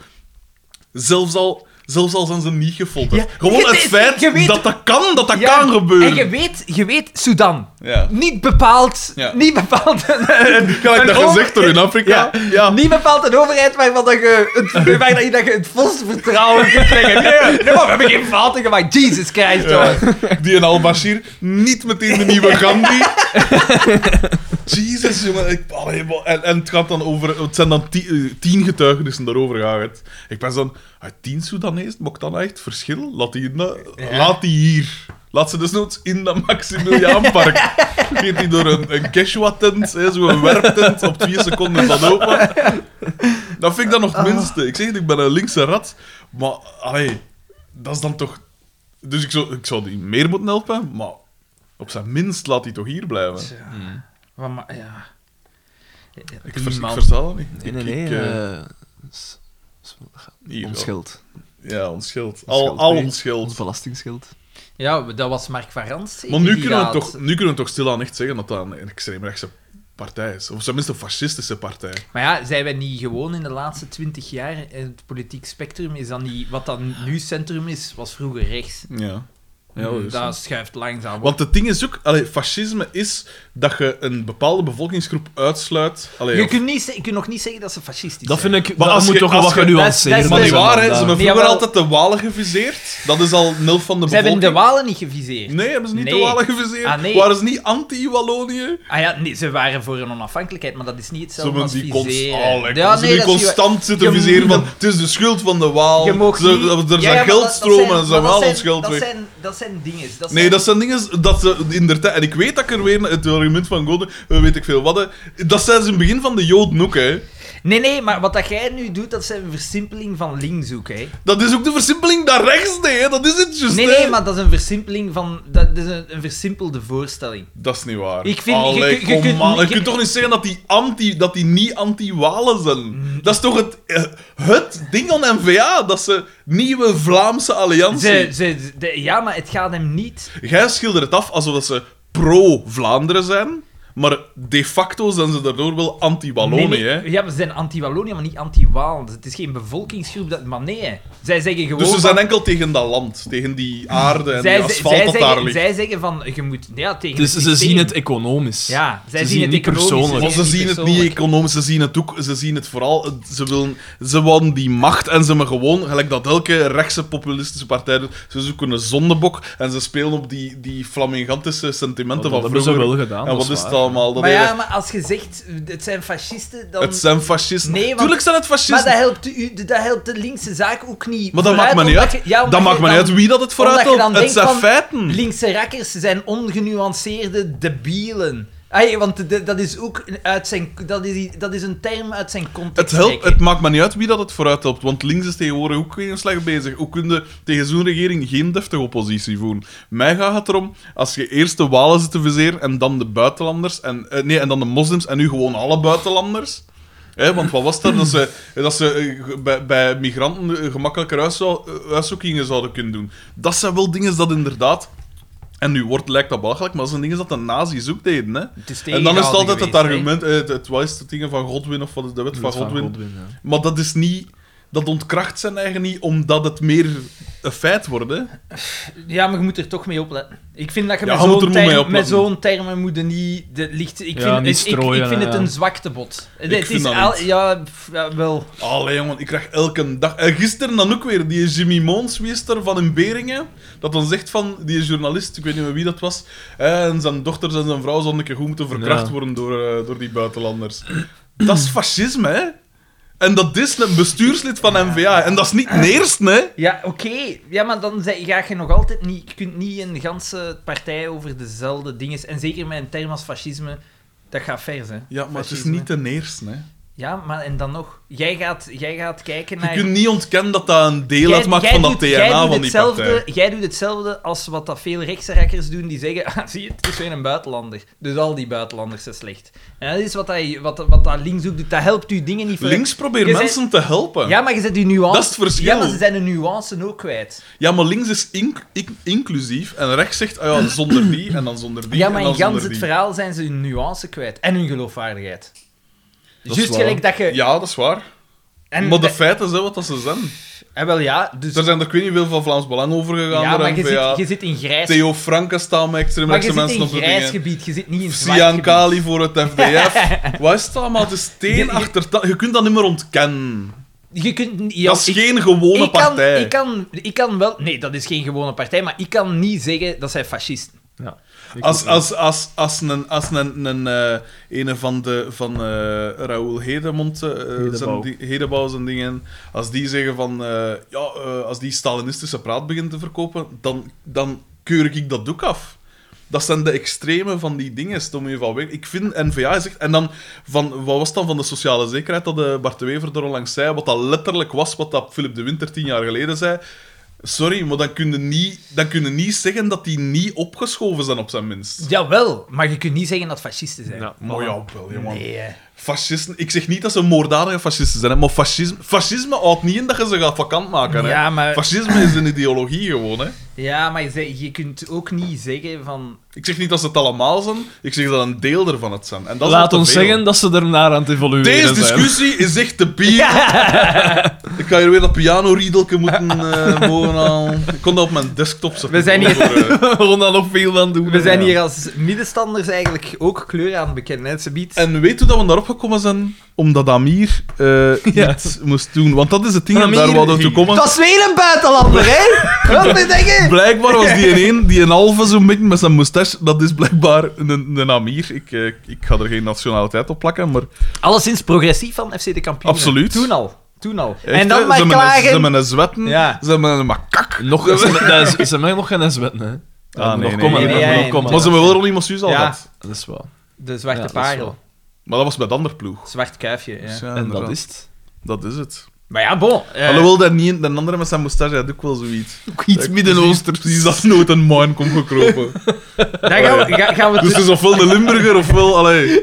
[SPEAKER 2] Zelfs al, zelfs al zijn ze niet gefolterd.
[SPEAKER 1] Ja,
[SPEAKER 2] Gewoon
[SPEAKER 1] je-
[SPEAKER 2] het
[SPEAKER 1] je
[SPEAKER 2] feit
[SPEAKER 1] weet-
[SPEAKER 2] dat dat kan, dat dat
[SPEAKER 1] Ja,
[SPEAKER 2] kan gebeuren.
[SPEAKER 1] En je weet, je weet, Sudan.
[SPEAKER 2] Ja.
[SPEAKER 1] Niet bepaald,
[SPEAKER 2] Ja.
[SPEAKER 1] niet bepaald
[SPEAKER 2] Gelijk dat
[SPEAKER 1] een over-
[SPEAKER 2] gezegd door in Afrika.
[SPEAKER 1] Ja.
[SPEAKER 2] Ja.
[SPEAKER 1] Niet bepaald een overheid waarvan dat je het, waarvan dat je het volste vertrouwen kunt leggen. Nee, nee, maar we hebben geen fouten gemaakt. Jesus Christ, jongen.
[SPEAKER 2] Die en al-Bashir, niet meteen de nieuwe Gandhi. Jezus, jongen. Ik, allee, maar- en, en het gaat dan over... Het zijn dan ti- eh, tien, getuigenissen daarover gaan het. Ik ben zo'n... ah, Tien Soedanees, maakt dan nou echt verschil? Laat die, in dat- laat die hier. Laat ze dus nooit in dat Maximiliaanpark. Geet die door een, een Quechua-tent, hè, zo'n werptent, op vier seconden dan open. Dat vind ik dan nog het minste. Ik zeg het, ik ben een linkse rat. Maar, allee, dat is dan toch... Dus ik zou, ik zou die meer moeten helpen, maar op zijn minst laat hij toch hier blijven.
[SPEAKER 1] Tja. Wat ma- ja.
[SPEAKER 2] Ik, vers, ik
[SPEAKER 3] man.
[SPEAKER 2] versta dat niet.
[SPEAKER 3] Nee,
[SPEAKER 2] Ik-
[SPEAKER 3] nee, nee.
[SPEAKER 2] ik, eh,
[SPEAKER 3] eh, s- s-
[SPEAKER 2] hier,
[SPEAKER 3] ons schild.
[SPEAKER 2] Ja, ons schild.
[SPEAKER 3] Ons
[SPEAKER 2] Al,
[SPEAKER 3] schild,
[SPEAKER 2] al
[SPEAKER 3] nee.
[SPEAKER 2] ons
[SPEAKER 3] Ons
[SPEAKER 2] schild.
[SPEAKER 3] belastingschild.
[SPEAKER 1] ja, dat was Mark van Rans.
[SPEAKER 2] Maar nu kunnen, we toch, nu kunnen we toch stilaan echt zeggen dat dat een extreemrechtse partij is. Of tenminste een fascistische partij.
[SPEAKER 1] Maar ja, zijn wij niet gewoon in de laatste twintig jaar... in Het politiek spectrum is dan niet... Wat dan nu centrum is, was vroeger rechts.
[SPEAKER 2] Ja.
[SPEAKER 1] dat schuift langzaam op.
[SPEAKER 2] Want het ding is ook, allee, fascisme is dat je een bepaalde bevolkingsgroep uitsluit. Allee,
[SPEAKER 1] je,
[SPEAKER 2] of-
[SPEAKER 1] kunt niet, ze- je kunt nog niet zeggen dat ze fascistisch
[SPEAKER 3] Dat
[SPEAKER 1] zijn.
[SPEAKER 3] vind ik...
[SPEAKER 2] Maar
[SPEAKER 3] dat
[SPEAKER 2] als
[SPEAKER 3] moet
[SPEAKER 2] je-
[SPEAKER 3] toch wel
[SPEAKER 2] als
[SPEAKER 3] wat
[SPEAKER 2] je-
[SPEAKER 1] dat
[SPEAKER 3] genuanceerd
[SPEAKER 1] is
[SPEAKER 2] maar
[SPEAKER 1] Nee,
[SPEAKER 2] niet
[SPEAKER 1] wel,
[SPEAKER 2] waar, hè? Ze hebben
[SPEAKER 1] Nee,
[SPEAKER 2] vroeger
[SPEAKER 1] jawel.
[SPEAKER 2] altijd de Walen geviseerd. Dat is al nul van de
[SPEAKER 1] Ze hebben
[SPEAKER 2] bevolking.
[SPEAKER 1] de Walen niet geviseerd.
[SPEAKER 2] Nee, hebben ze niet de
[SPEAKER 1] Nee.
[SPEAKER 2] Walen geviseerd?
[SPEAKER 1] Ah, nee.
[SPEAKER 2] Waren ze niet anti-Wallonië?
[SPEAKER 1] Ah ja, nee, ze waren voor een onafhankelijkheid, maar dat is niet
[SPEAKER 2] Ze
[SPEAKER 1] hetzelfde
[SPEAKER 2] hebben
[SPEAKER 1] als
[SPEAKER 2] die
[SPEAKER 1] viseren.
[SPEAKER 2] constant, oh, lekker.
[SPEAKER 1] ja,
[SPEAKER 2] ze
[SPEAKER 1] nee,
[SPEAKER 2] hebben
[SPEAKER 1] dat is
[SPEAKER 2] constant zitten
[SPEAKER 1] Je
[SPEAKER 2] viseren van
[SPEAKER 1] moet-
[SPEAKER 2] het is de schuld van de Waal.
[SPEAKER 1] Je mag
[SPEAKER 2] Ze-
[SPEAKER 1] niet...
[SPEAKER 2] Er
[SPEAKER 1] Ja,
[SPEAKER 2] zijn
[SPEAKER 1] ja, maar dat-
[SPEAKER 2] geldstromen en ze
[SPEAKER 1] dat
[SPEAKER 2] hebben al
[SPEAKER 1] zijn-
[SPEAKER 2] ons geld
[SPEAKER 1] dat
[SPEAKER 2] weg.
[SPEAKER 1] Zijn, dat zijn dingen. Dat
[SPEAKER 2] Nee,
[SPEAKER 1] zijn-
[SPEAKER 2] dat zijn dingen dat ze in der tijd... En ik weet dat ik er weer het argument van Godin, eh, weet ik veel wat... hè. Dat zijn ze in het begin van de Joden ook, hè.
[SPEAKER 1] Nee, nee, maar wat dat jij nu doet, dat is een versimpeling van links ook, hè.
[SPEAKER 2] Dat is ook de versimpeling naar rechts, nee, hè. Dat is het juist,
[SPEAKER 1] Nee,
[SPEAKER 2] hè.
[SPEAKER 1] nee, maar dat is een versimpeling van... Dat is een, een versimpelde voorstelling.
[SPEAKER 2] Dat is niet waar.
[SPEAKER 1] Ik vind-
[SPEAKER 2] Allee,
[SPEAKER 1] je- je- je
[SPEAKER 2] kom
[SPEAKER 1] kunt
[SPEAKER 2] aan.
[SPEAKER 1] niet-
[SPEAKER 2] Je
[SPEAKER 1] je-
[SPEAKER 2] kunt toch niet zeggen dat die, anti, dat die niet anti-Walen
[SPEAKER 1] Mm.
[SPEAKER 2] zijn? Dat is toch het, eh, het ding van N-VA? Dat ze nieuwe Vlaamse alliantie...
[SPEAKER 1] Ze, ze, de- ja, maar het gaat hem niet...
[SPEAKER 2] Jij schildert het af alsof dat ze pro-Vlaanderen zijn, maar de facto zijn ze daardoor wel anti-Wallonië,
[SPEAKER 1] Nee, nee,
[SPEAKER 2] hè?
[SPEAKER 1] Ja, maar ze zijn anti-Wallonië, maar niet anti-Waal. Het is geen bevolkingsgroep, dat, maar nee. hè. Zij zeggen gewoon...
[SPEAKER 2] Dus ze
[SPEAKER 1] van-
[SPEAKER 2] zijn enkel tegen dat land, tegen die aarde en
[SPEAKER 1] zij,
[SPEAKER 2] die
[SPEAKER 1] zij,
[SPEAKER 2] asfalt
[SPEAKER 1] zij,
[SPEAKER 2] dat daar
[SPEAKER 1] zeggen,
[SPEAKER 2] ligt.
[SPEAKER 1] zij zeggen van, je moet... Ja, tegen
[SPEAKER 3] Dus
[SPEAKER 1] het
[SPEAKER 3] ze
[SPEAKER 1] systeem.
[SPEAKER 3] zien het economisch.
[SPEAKER 1] Ja, zij
[SPEAKER 3] Ze
[SPEAKER 1] zien,
[SPEAKER 3] zien
[SPEAKER 1] het
[SPEAKER 3] niet
[SPEAKER 1] economisch,
[SPEAKER 3] persoonlijk.
[SPEAKER 2] Maar ze zien het niet
[SPEAKER 1] persoonlijk.
[SPEAKER 2] economisch, ze zien het ook, ze zien het vooral. het- Ze willen, ze willen die macht en ze maar gewoon, gelijk dat elke rechtse populistische partij doet, ze zoeken een zondebok en ze spelen op die, die flamingantische sentimenten
[SPEAKER 3] Want
[SPEAKER 2] van
[SPEAKER 3] Oh, dat hebben ze
[SPEAKER 2] vroeger.
[SPEAKER 3] wel gedaan,
[SPEAKER 2] En
[SPEAKER 3] dat
[SPEAKER 2] wat
[SPEAKER 3] is
[SPEAKER 2] is het
[SPEAKER 3] waar.
[SPEAKER 2] allemaal? Dat
[SPEAKER 1] Maar
[SPEAKER 2] hele-
[SPEAKER 1] ja, maar als je zegt, het zijn fascisten, dan...
[SPEAKER 2] Het zijn fascisten.
[SPEAKER 1] Nee, want-
[SPEAKER 2] Tuurlijk zijn het
[SPEAKER 1] Maar
[SPEAKER 2] fascisten.
[SPEAKER 1] dat helpt, u, dat helpt de linkse zaak ook niet.
[SPEAKER 2] Maar dat
[SPEAKER 1] Vooruit,
[SPEAKER 2] maakt me niet
[SPEAKER 1] omdat
[SPEAKER 2] uit.
[SPEAKER 1] je- ja, omdat
[SPEAKER 2] dat
[SPEAKER 1] je
[SPEAKER 2] maakt me
[SPEAKER 1] dan-
[SPEAKER 2] niet uit wie dat het vooruit
[SPEAKER 1] omdat je dan
[SPEAKER 2] helpt. Het
[SPEAKER 1] denkt
[SPEAKER 2] zijn
[SPEAKER 1] van-
[SPEAKER 2] feiten.
[SPEAKER 1] Linkse rakkers zijn ongenuanceerde debielen. Ay, want de- de- dat is ook een- uit zijn, dat is, i- dat is een term uit zijn
[SPEAKER 2] Het,
[SPEAKER 1] context.
[SPEAKER 2] helpt, het
[SPEAKER 1] trekken.
[SPEAKER 2] maakt me niet uit wie dat het vooruit helpt, want links is tegenwoordig ook geen slag bezig. Hoe kun je tegen zo'n regering geen deftige oppositie voeren? Mij gaat het erom, als je eerst de Walen zit te viseren en dan de buitenlanders, en, eh, nee, en dan de moslims en nu gewoon alle buitenlanders. Hè, want wat was dat? Dat ze, dat ze eh, bij, bij migranten eh, gemakkelijker huiszo- eh, huiszoekingen zouden kunnen doen. Dat zijn wel dingen dat inderdaad... En nu wordt, lijkt dat belachelijk, maar dat zijn dingen dat de nazi's ook deden. Hè?
[SPEAKER 1] Het is
[SPEAKER 2] En dan is het
[SPEAKER 1] tegenhouden
[SPEAKER 2] altijd het
[SPEAKER 1] geweest, hè.
[SPEAKER 2] argument, eh, het, het was de dingen van Godwin of van de wet van
[SPEAKER 3] Van
[SPEAKER 2] Godwin.
[SPEAKER 3] Godwin, ja.
[SPEAKER 2] Maar dat is niet. Dat ontkracht zijn eigen niet omdat het meer een feit wordt. Hè?
[SPEAKER 1] Ja, maar je moet er toch mee opletten. Ik vind dat je
[SPEAKER 2] Ja,
[SPEAKER 1] met
[SPEAKER 2] je moet
[SPEAKER 1] zo'n
[SPEAKER 2] er mee
[SPEAKER 1] term,
[SPEAKER 2] opletten.
[SPEAKER 1] met zo'n termen moet je niet de licht. Ik
[SPEAKER 3] Ja,
[SPEAKER 1] vind,
[SPEAKER 3] niet
[SPEAKER 1] het- ik, ik,
[SPEAKER 3] strooien,
[SPEAKER 1] vind het
[SPEAKER 3] ja.
[SPEAKER 1] een zwaktebod. Het
[SPEAKER 2] vind
[SPEAKER 1] is
[SPEAKER 2] dat
[SPEAKER 1] al-
[SPEAKER 2] niet.
[SPEAKER 1] ja, pff, ja, wel.
[SPEAKER 2] Allee jongen, ik krijg elke dag. En gisteren dan ook weer, die Jimmy Moons wees er van in Beringen. Dat dan zegt van die journalist, ik weet niet meer wie dat was. hè, en zijn dochters en zijn vrouw zouden een keer goed moeten verkracht
[SPEAKER 3] Ja.
[SPEAKER 2] worden door, eh, door die buitenlanders. dat is fascisme, hè? En dat is een bestuurslid van NVA. En dat is niet een eerste, hè?
[SPEAKER 1] Ja, oké. Ja, maar dan zei- ga je nog altijd niet... Je kunt niet een ganse partij over dezelfde dingen... En zeker met een term als fascisme, dat gaat ver, hè.
[SPEAKER 2] Ja, maar het is
[SPEAKER 1] Fascisme.
[SPEAKER 2] niet de eerste, hè?
[SPEAKER 1] Ja, maar en dan nog. Jij gaat, jij gaat kijken
[SPEAKER 2] Je
[SPEAKER 1] naar...
[SPEAKER 2] kunt niet ontkennen dat dat een deel
[SPEAKER 1] Jij-
[SPEAKER 2] uitmaakt
[SPEAKER 1] jij
[SPEAKER 2] van dat
[SPEAKER 1] doet- jij
[SPEAKER 2] DNA
[SPEAKER 1] doet
[SPEAKER 2] van die
[SPEAKER 1] hetzelfde,
[SPEAKER 2] partij.
[SPEAKER 1] Jij doet hetzelfde als wat dat veel rechtse rekkers doen, die zeggen, ah, zie je, het is weer een buitenlander. Dus al die buitenlanders zijn slecht. En dat is wat, dat, wat, wat dat links ook doet. Dat helpt u dingen niet vooruit.
[SPEAKER 2] Links probeert
[SPEAKER 1] Je zei-
[SPEAKER 2] mensen te helpen.
[SPEAKER 1] Ja, maar je zet die nuance...
[SPEAKER 2] Dat is het verschil.
[SPEAKER 1] Ja, maar ze zijn de nuance ook kwijt.
[SPEAKER 2] Ja, maar links is inc- in- inclusief en rechts zegt ah ja, zonder die en dan zonder die.
[SPEAKER 1] Ja, maar
[SPEAKER 2] en dan
[SPEAKER 1] in gans
[SPEAKER 2] zonder
[SPEAKER 1] het
[SPEAKER 2] die.
[SPEAKER 1] verhaal zijn ze hun nuance kwijt. En hun geloofwaardigheid.
[SPEAKER 2] Dat is
[SPEAKER 1] Juist
[SPEAKER 2] waar.
[SPEAKER 1] gelijk dat je...
[SPEAKER 2] Ja, dat is waar.
[SPEAKER 1] en,
[SPEAKER 2] maar de
[SPEAKER 1] dat-
[SPEAKER 2] feiten zijn wat dat ze zijn.
[SPEAKER 1] en wel ja, dus...
[SPEAKER 2] Er zijn er, ik weet niet veel van Vlaams Belang over gegaan.
[SPEAKER 1] ja, maar
[SPEAKER 2] door
[SPEAKER 1] je
[SPEAKER 2] N-VA.
[SPEAKER 1] zit, je zit in grijs...
[SPEAKER 2] Theo Franken staan met
[SPEAKER 1] maar je
[SPEAKER 2] extreemrechtse
[SPEAKER 1] zit
[SPEAKER 2] mensen
[SPEAKER 1] in
[SPEAKER 2] op de
[SPEAKER 1] grijs
[SPEAKER 2] dingen.
[SPEAKER 1] gebied, je zit niet in zwart
[SPEAKER 2] Sian
[SPEAKER 1] gebied.
[SPEAKER 2] Kali voor het FDF. Wat is het allemaal? Het is steen
[SPEAKER 1] Je- je-
[SPEAKER 2] achter... ta- Je kunt dat niet meer ontkennen.
[SPEAKER 1] Je kunt... niet-
[SPEAKER 2] dat is
[SPEAKER 1] ik-
[SPEAKER 2] geen gewone
[SPEAKER 1] ik kan,
[SPEAKER 2] partij.
[SPEAKER 1] Ik kan, ik kan wel... Nee, dat is geen gewone partij, maar ik kan niet zeggen dat zij fascisten.
[SPEAKER 3] Ja.
[SPEAKER 2] Als, als, als, als een, als een, een, eh, ene van, de, van eh Raoul Hedemond, eh, zijn,
[SPEAKER 3] Hedebouw.
[SPEAKER 2] di- Hedebouw zijn dingen, als die zeggen van, eh, ja, eh, als die Stalinistische praat begint te verkopen, dan, dan keur ik dat ook af. Dat zijn de extreme van die dingen, stom je van weg. Ik vind N-VA zegt. En dan, van, wat was het dan van de sociale zekerheid dat eh Bart de Wever er onlangs zei? Wat dat letterlijk was wat dat Philip de Winter tien jaar geleden zei. Sorry, maar dan kun je niet, dan kun je niet zeggen dat die niet opgeschoven zijn, op zijn minst.
[SPEAKER 1] Jawel, maar je kunt niet zeggen dat fascisten zijn.
[SPEAKER 4] Ja.
[SPEAKER 2] Maar ja, wel, jongen.
[SPEAKER 1] Nee, hè.
[SPEAKER 2] Fascisten, ik zeg niet dat ze moorddadige fascisten zijn, hè, maar fascisme, fascisme houdt niet in dat je ze gaat vakant maken. Hè.
[SPEAKER 1] Ja, maar-
[SPEAKER 2] Fascisme is een ideologie gewoon. Hè.
[SPEAKER 1] ja, maar je, zei- je kunt ook niet zeggen van...
[SPEAKER 2] Ik zeg niet dat ze het allemaal zijn, ik zeg dat een deel ervan het zijn. En dat is al
[SPEAKER 4] Laat
[SPEAKER 2] te
[SPEAKER 4] ons
[SPEAKER 2] veel.
[SPEAKER 4] zeggen dat ze ernaar aan het evolueren
[SPEAKER 2] Deze
[SPEAKER 4] zijn.
[SPEAKER 2] discussie is echt te bier. Ik ga hier weer dat pianoriedelke moeten eh mogen halen. Ik kon dat op mijn desktop zetten.
[SPEAKER 1] We zijn hier-
[SPEAKER 2] Voor, eh,
[SPEAKER 4] We gaan daar nog veel van doen.
[SPEAKER 1] We zijn
[SPEAKER 2] Ja.
[SPEAKER 1] hier als middenstanders eigenlijk ook kleur aan het bekennen. hè. Ze biedt...
[SPEAKER 2] En weet hoe dat we daarop gekomen zijn? Omdat Amir eh iets moest doen. Want dat is het ding, en
[SPEAKER 4] Amir
[SPEAKER 2] daar wilden we toe
[SPEAKER 4] ging.
[SPEAKER 2] komen.
[SPEAKER 1] Dat is weer een buitenlander, hè? Wat moet je zeggen?
[SPEAKER 2] Blijkbaar was die een een, die een halve zo'n beetje met zijn moustache, dat is blijkbaar een, een Amir. Ik, eh, ik ga er geen nationaliteit op plakken, maar
[SPEAKER 1] Alleszins progressief van FC de kampioen.
[SPEAKER 2] Absoluut.
[SPEAKER 1] Toen al. Toen al. en
[SPEAKER 2] echt, hè,
[SPEAKER 1] dan maar
[SPEAKER 2] ze hebben
[SPEAKER 1] klagen.
[SPEAKER 2] een- Ze hebben een zwetten,
[SPEAKER 1] Ja.
[SPEAKER 2] ze hebben een makak.
[SPEAKER 4] Nog, ze, dat is, ze hebben nog geen zwet, hè?
[SPEAKER 2] Ah, nee,
[SPEAKER 4] nog
[SPEAKER 2] nee,
[SPEAKER 1] nee,
[SPEAKER 4] komen, dat moet
[SPEAKER 1] nee,
[SPEAKER 4] nog komen.
[SPEAKER 2] Maar ze hebben wel Ronnie Massuus al
[SPEAKER 1] Ja.
[SPEAKER 2] gehad.
[SPEAKER 4] Dat is wel.
[SPEAKER 1] De zwarte
[SPEAKER 4] Ja, dat is
[SPEAKER 1] parel.
[SPEAKER 4] wel.
[SPEAKER 2] Maar dat was bij de ander ploeg.
[SPEAKER 1] Zwart kuifje, ja.
[SPEAKER 2] Dus ja,
[SPEAKER 4] En dat
[SPEAKER 2] inderdaad.
[SPEAKER 4] is het.
[SPEAKER 2] dat is het.
[SPEAKER 1] Maar ja, bon. eh,
[SPEAKER 2] Alhoewel, dat niet, de andere met zijn moustache had ook wel zoiets.
[SPEAKER 4] Ook iets
[SPEAKER 2] Midden-Oosten. Precies, dat nooit een man komt gekropen.
[SPEAKER 1] daar gaan we, ga- gaan we
[SPEAKER 2] Dus
[SPEAKER 1] terug-
[SPEAKER 2] het is ofwel de Limburger ofwel. Allee.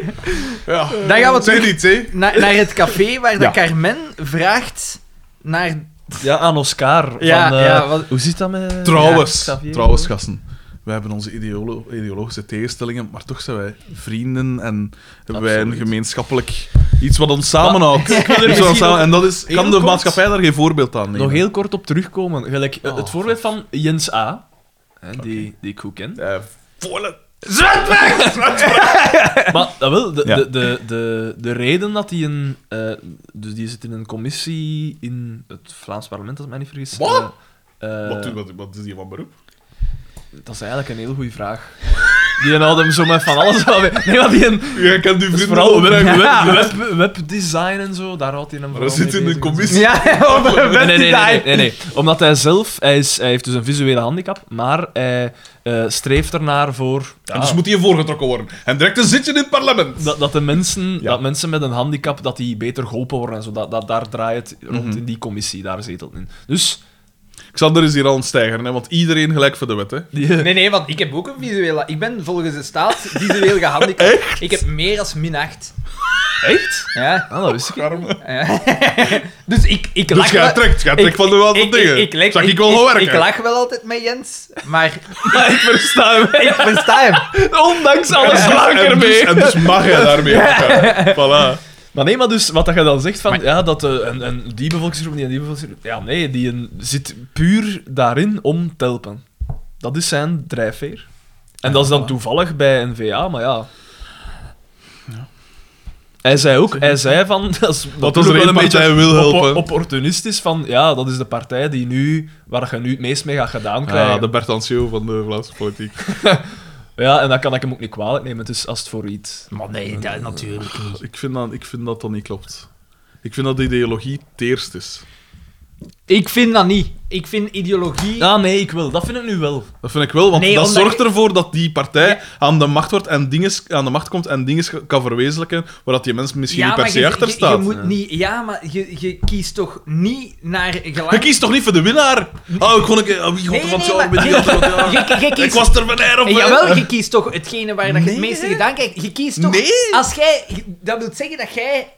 [SPEAKER 2] Ja,
[SPEAKER 1] Dan gaan we
[SPEAKER 2] het zijn
[SPEAKER 1] terug
[SPEAKER 2] niet, hè?
[SPEAKER 1] na- naar het café waar
[SPEAKER 4] Ja.
[SPEAKER 1] de Carmen vraagt naar...
[SPEAKER 4] Ja, aan Oscar.
[SPEAKER 1] Ja,
[SPEAKER 4] van, eh,
[SPEAKER 1] ja, wat-
[SPEAKER 4] Hoe zit dat met...
[SPEAKER 2] Trouwens,
[SPEAKER 4] Ja, Xavier.
[SPEAKER 2] trouwens, gasten. Wij hebben onze ideolo- ideologische tegenstellingen, maar toch zijn wij vrienden en hebben wij een
[SPEAKER 4] Absoluut.
[SPEAKER 2] gemeenschappelijk iets wat ons samenhoudt. Iets wat ons
[SPEAKER 4] misschien
[SPEAKER 2] samen-
[SPEAKER 4] ook
[SPEAKER 2] En dat is,
[SPEAKER 4] heel
[SPEAKER 2] kan de
[SPEAKER 4] kort-
[SPEAKER 2] maatschappij daar geen voorbeeld aan nemen?
[SPEAKER 4] Nog heel kort op terugkomen. Gelijk, eh, het
[SPEAKER 2] Oh,
[SPEAKER 4] voorbeeld van Jens A., hè, die, die ik goed ken.
[SPEAKER 2] Eh, volle-
[SPEAKER 4] Maar dat wel, de,
[SPEAKER 2] Ja.
[SPEAKER 4] de, de, de, de reden dat hij een. eh, dus die zit in een commissie in het Vlaams parlement, als ik mij niet vergis.
[SPEAKER 2] Wat?
[SPEAKER 4] Eh, eh,
[SPEAKER 2] Wat, doet- wat, wat is die van beroep?
[SPEAKER 4] dat is eigenlijk een heel goede vraag. Die houdt hem zo met van alles aan. Nee, maar die een,
[SPEAKER 2] Jij kent die
[SPEAKER 4] dus
[SPEAKER 2] vrienden
[SPEAKER 4] vooral
[SPEAKER 2] wel
[SPEAKER 4] web,
[SPEAKER 2] vrij goed.
[SPEAKER 4] web, web- webdesign en zo, daar houdt hij hem
[SPEAKER 2] Maar
[SPEAKER 4] vooral
[SPEAKER 2] dat zit
[SPEAKER 4] mee
[SPEAKER 2] in
[SPEAKER 4] bezig
[SPEAKER 2] een
[SPEAKER 4] en
[SPEAKER 2] commissie.
[SPEAKER 4] zo.
[SPEAKER 1] Ja, over een
[SPEAKER 4] Nee, nee, nee, nee,
[SPEAKER 1] wedstrijd.
[SPEAKER 4] nee, nee. Omdat hij zelf, hij, is, hij heeft dus een visuele handicap, maar hij eh, streeft ernaar voor.
[SPEAKER 2] En dus
[SPEAKER 4] Ah,
[SPEAKER 2] moet die voorgetrokken worden. En direct een zitje in het parlement.
[SPEAKER 4] Dat, dat, de mensen,
[SPEAKER 2] Ja.
[SPEAKER 4] dat mensen met een handicap dat die beter geholpen worden en zo. Dat, dat, daar draait het rond
[SPEAKER 2] Mhm.
[SPEAKER 4] in die commissie, daar zetelt in. Dus,
[SPEAKER 2] Xander is hier al een stijger, hè, want iedereen gelijk voor de wet. Hè.
[SPEAKER 4] die,
[SPEAKER 1] Nee, nee, want ik heb ook een visuele... Ik ben volgens de staat visueel gehandicapt. Ik heb meer als min 8.
[SPEAKER 4] echt?
[SPEAKER 1] Ja.
[SPEAKER 4] Ah, dat wist ik.
[SPEAKER 2] Garm.
[SPEAKER 1] Ja. dus ik, ik
[SPEAKER 2] Dus
[SPEAKER 1] lach
[SPEAKER 2] jij
[SPEAKER 1] wel...
[SPEAKER 2] trekt, jij trekt van de wel van dingen.
[SPEAKER 1] ik, ik,
[SPEAKER 2] Zag ik
[SPEAKER 1] ik-
[SPEAKER 2] wel
[SPEAKER 1] ik-
[SPEAKER 2] gaan werken.
[SPEAKER 1] Ik lach wel altijd met Jens, maar
[SPEAKER 4] Maar ik versta hem.
[SPEAKER 1] ik versta hem.
[SPEAKER 4] Ondanks alles
[SPEAKER 2] En
[SPEAKER 4] sla ik
[SPEAKER 2] dus-
[SPEAKER 4] ermee.
[SPEAKER 2] En dus mag jij daarmee. werken. Voilà.
[SPEAKER 4] Maar nee, maar dus wat dat je dan zegt van ja, dat eh, en, en die bevolkingsgroep, die en die bevolkingsgroep. Ja, nee, die een, zit puur daarin om te helpen. Dat is zijn drijfveer. En dat is dan toevallig bij NVA, maar ja. Hij zei ook, hij zei van, dat is
[SPEAKER 2] Dat
[SPEAKER 4] natuurlijk
[SPEAKER 2] er één partij wil
[SPEAKER 4] op-
[SPEAKER 2] helpen.
[SPEAKER 4] opportunistisch van, ja, dat is de partij die nu, waar je nu het meest mee gaat gedaan krijgen.
[SPEAKER 2] Ja, Ah, de Bert Ansjo van de Vlaamse politiek.
[SPEAKER 4] Ja, en dat kan ik hem ook niet kwalijk nemen, dus als het voor iets.
[SPEAKER 1] Maar nee, dat natuurlijk niet.
[SPEAKER 2] Ik vind dat, ik vind dat dat niet klopt. Ik vind dat de ideologie teerst is.
[SPEAKER 1] Ik vind dat niet. Ik vind ideologie...
[SPEAKER 2] Nou,
[SPEAKER 4] Ah nee, ik wil, dat vind ik nu wel.
[SPEAKER 2] Dat vind ik wel, want
[SPEAKER 1] Nee,
[SPEAKER 2] dat
[SPEAKER 1] omdat-
[SPEAKER 2] zorgt ervoor dat die partij
[SPEAKER 1] Ja.
[SPEAKER 2] aan de macht wordt en dinges, aan de macht komt en dingen kan verwezenlijken waar dat die mens misschien niet per
[SPEAKER 1] maar
[SPEAKER 2] se achter
[SPEAKER 1] je,
[SPEAKER 2] staat.
[SPEAKER 1] je moet niet... Ja, maar je, je kiest toch niet naar gelang...
[SPEAKER 2] Je kiest toch niet voor de winnaar? Oh, ik kon ik... Oh, wie
[SPEAKER 1] Nee,
[SPEAKER 2] god van
[SPEAKER 1] nee,
[SPEAKER 2] zo?
[SPEAKER 1] maar-
[SPEAKER 2] weet je wat, wat, ja.
[SPEAKER 1] Je, je
[SPEAKER 2] Ik
[SPEAKER 1] kiest...
[SPEAKER 2] was er van her op.
[SPEAKER 1] Eh,
[SPEAKER 2] hè.
[SPEAKER 1] Jawel, je kiest toch hetgene waar dat je het
[SPEAKER 2] Nee,
[SPEAKER 1] meeste
[SPEAKER 2] hè?
[SPEAKER 1] gedaan krijgt. Je kiest toch...
[SPEAKER 2] Nee.
[SPEAKER 1] Als jij... Dat wil zeggen dat jij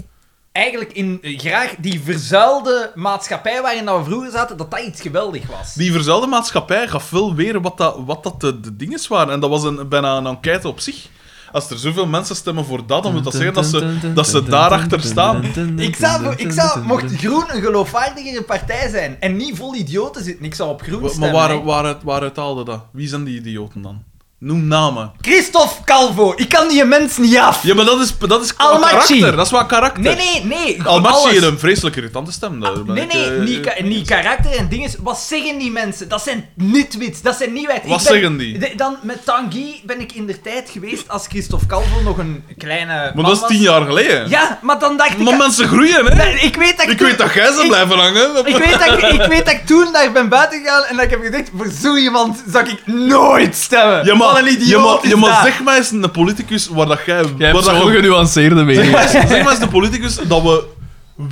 [SPEAKER 1] eigenlijk in, eh, graag die verzuilde maatschappij waarin dat we vroeger zaten, dat dat iets geweldig was.
[SPEAKER 2] Die verzuilde maatschappij gaf wel weer wat dat, wat dat de, de dingen waren. En dat was een, bijna een enquête op zich. Als er zoveel mensen stemmen voor dat, dan moet dat zeggen dat ze, dat ze daarachter staan.
[SPEAKER 1] Ik zou, ik zou, mocht Groen een geloofwaardigere partij zijn en niet vol idioten zitten, ik zou op Groen
[SPEAKER 2] Wa-
[SPEAKER 1] stemmen.
[SPEAKER 2] Maar waar,
[SPEAKER 1] hè.
[SPEAKER 2] waaruit, waaruit haalde dat? Wie zijn die idioten dan? Noem namen.
[SPEAKER 1] Christophe Calvo, ik kan die mens niet af.
[SPEAKER 2] Ja, maar dat is, dat is qua
[SPEAKER 1] Almaty.
[SPEAKER 2] karakter. Dat is wel karakter.
[SPEAKER 1] Nee, nee, nee.
[SPEAKER 2] Almaty
[SPEAKER 1] alles.
[SPEAKER 2] heeft een vreselijk irritante stem. daar
[SPEAKER 1] Ah,
[SPEAKER 2] ben
[SPEAKER 1] Nee,
[SPEAKER 2] ik,
[SPEAKER 1] nee,
[SPEAKER 2] eh,
[SPEAKER 1] niet, ka- niet karakter en dinges. Wat zeggen die mensen? Dat zijn nitwits, dat zijn nieuwheid. Ik
[SPEAKER 2] Wat
[SPEAKER 1] ben-
[SPEAKER 2] zeggen die?
[SPEAKER 1] De- dan met Tanguy ben ik in de tijd geweest als Christophe Calvo nog een kleine
[SPEAKER 2] Maar
[SPEAKER 1] man
[SPEAKER 2] dat is
[SPEAKER 1] was.
[SPEAKER 2] tien jaar geleden.
[SPEAKER 1] Ja, maar dan dacht
[SPEAKER 2] Maar
[SPEAKER 1] ik...
[SPEAKER 2] mensen groeien, hè?
[SPEAKER 1] Nee, ik weet dat
[SPEAKER 2] Ik
[SPEAKER 1] toen-
[SPEAKER 2] weet dat jij ze
[SPEAKER 1] ik-
[SPEAKER 2] blijven hangen.
[SPEAKER 1] Ik weet, dat ik, ik weet dat ik toen daar ben buiten gegaan en dat ik heb gezegd, voor zo iemand zou ik nooit stemmen.
[SPEAKER 2] Ja,
[SPEAKER 1] Wat
[SPEAKER 2] maar,
[SPEAKER 1] een idioot
[SPEAKER 2] ja, maar,
[SPEAKER 1] is
[SPEAKER 2] ja, maar
[SPEAKER 1] dat.
[SPEAKER 2] zeg mij eens een politicus waar dat jij...
[SPEAKER 4] Jij
[SPEAKER 2] waar dat
[SPEAKER 4] hebt zo'n
[SPEAKER 2] je-
[SPEAKER 4] genuanceerde mening.
[SPEAKER 2] zeg mij eens een politicus dat we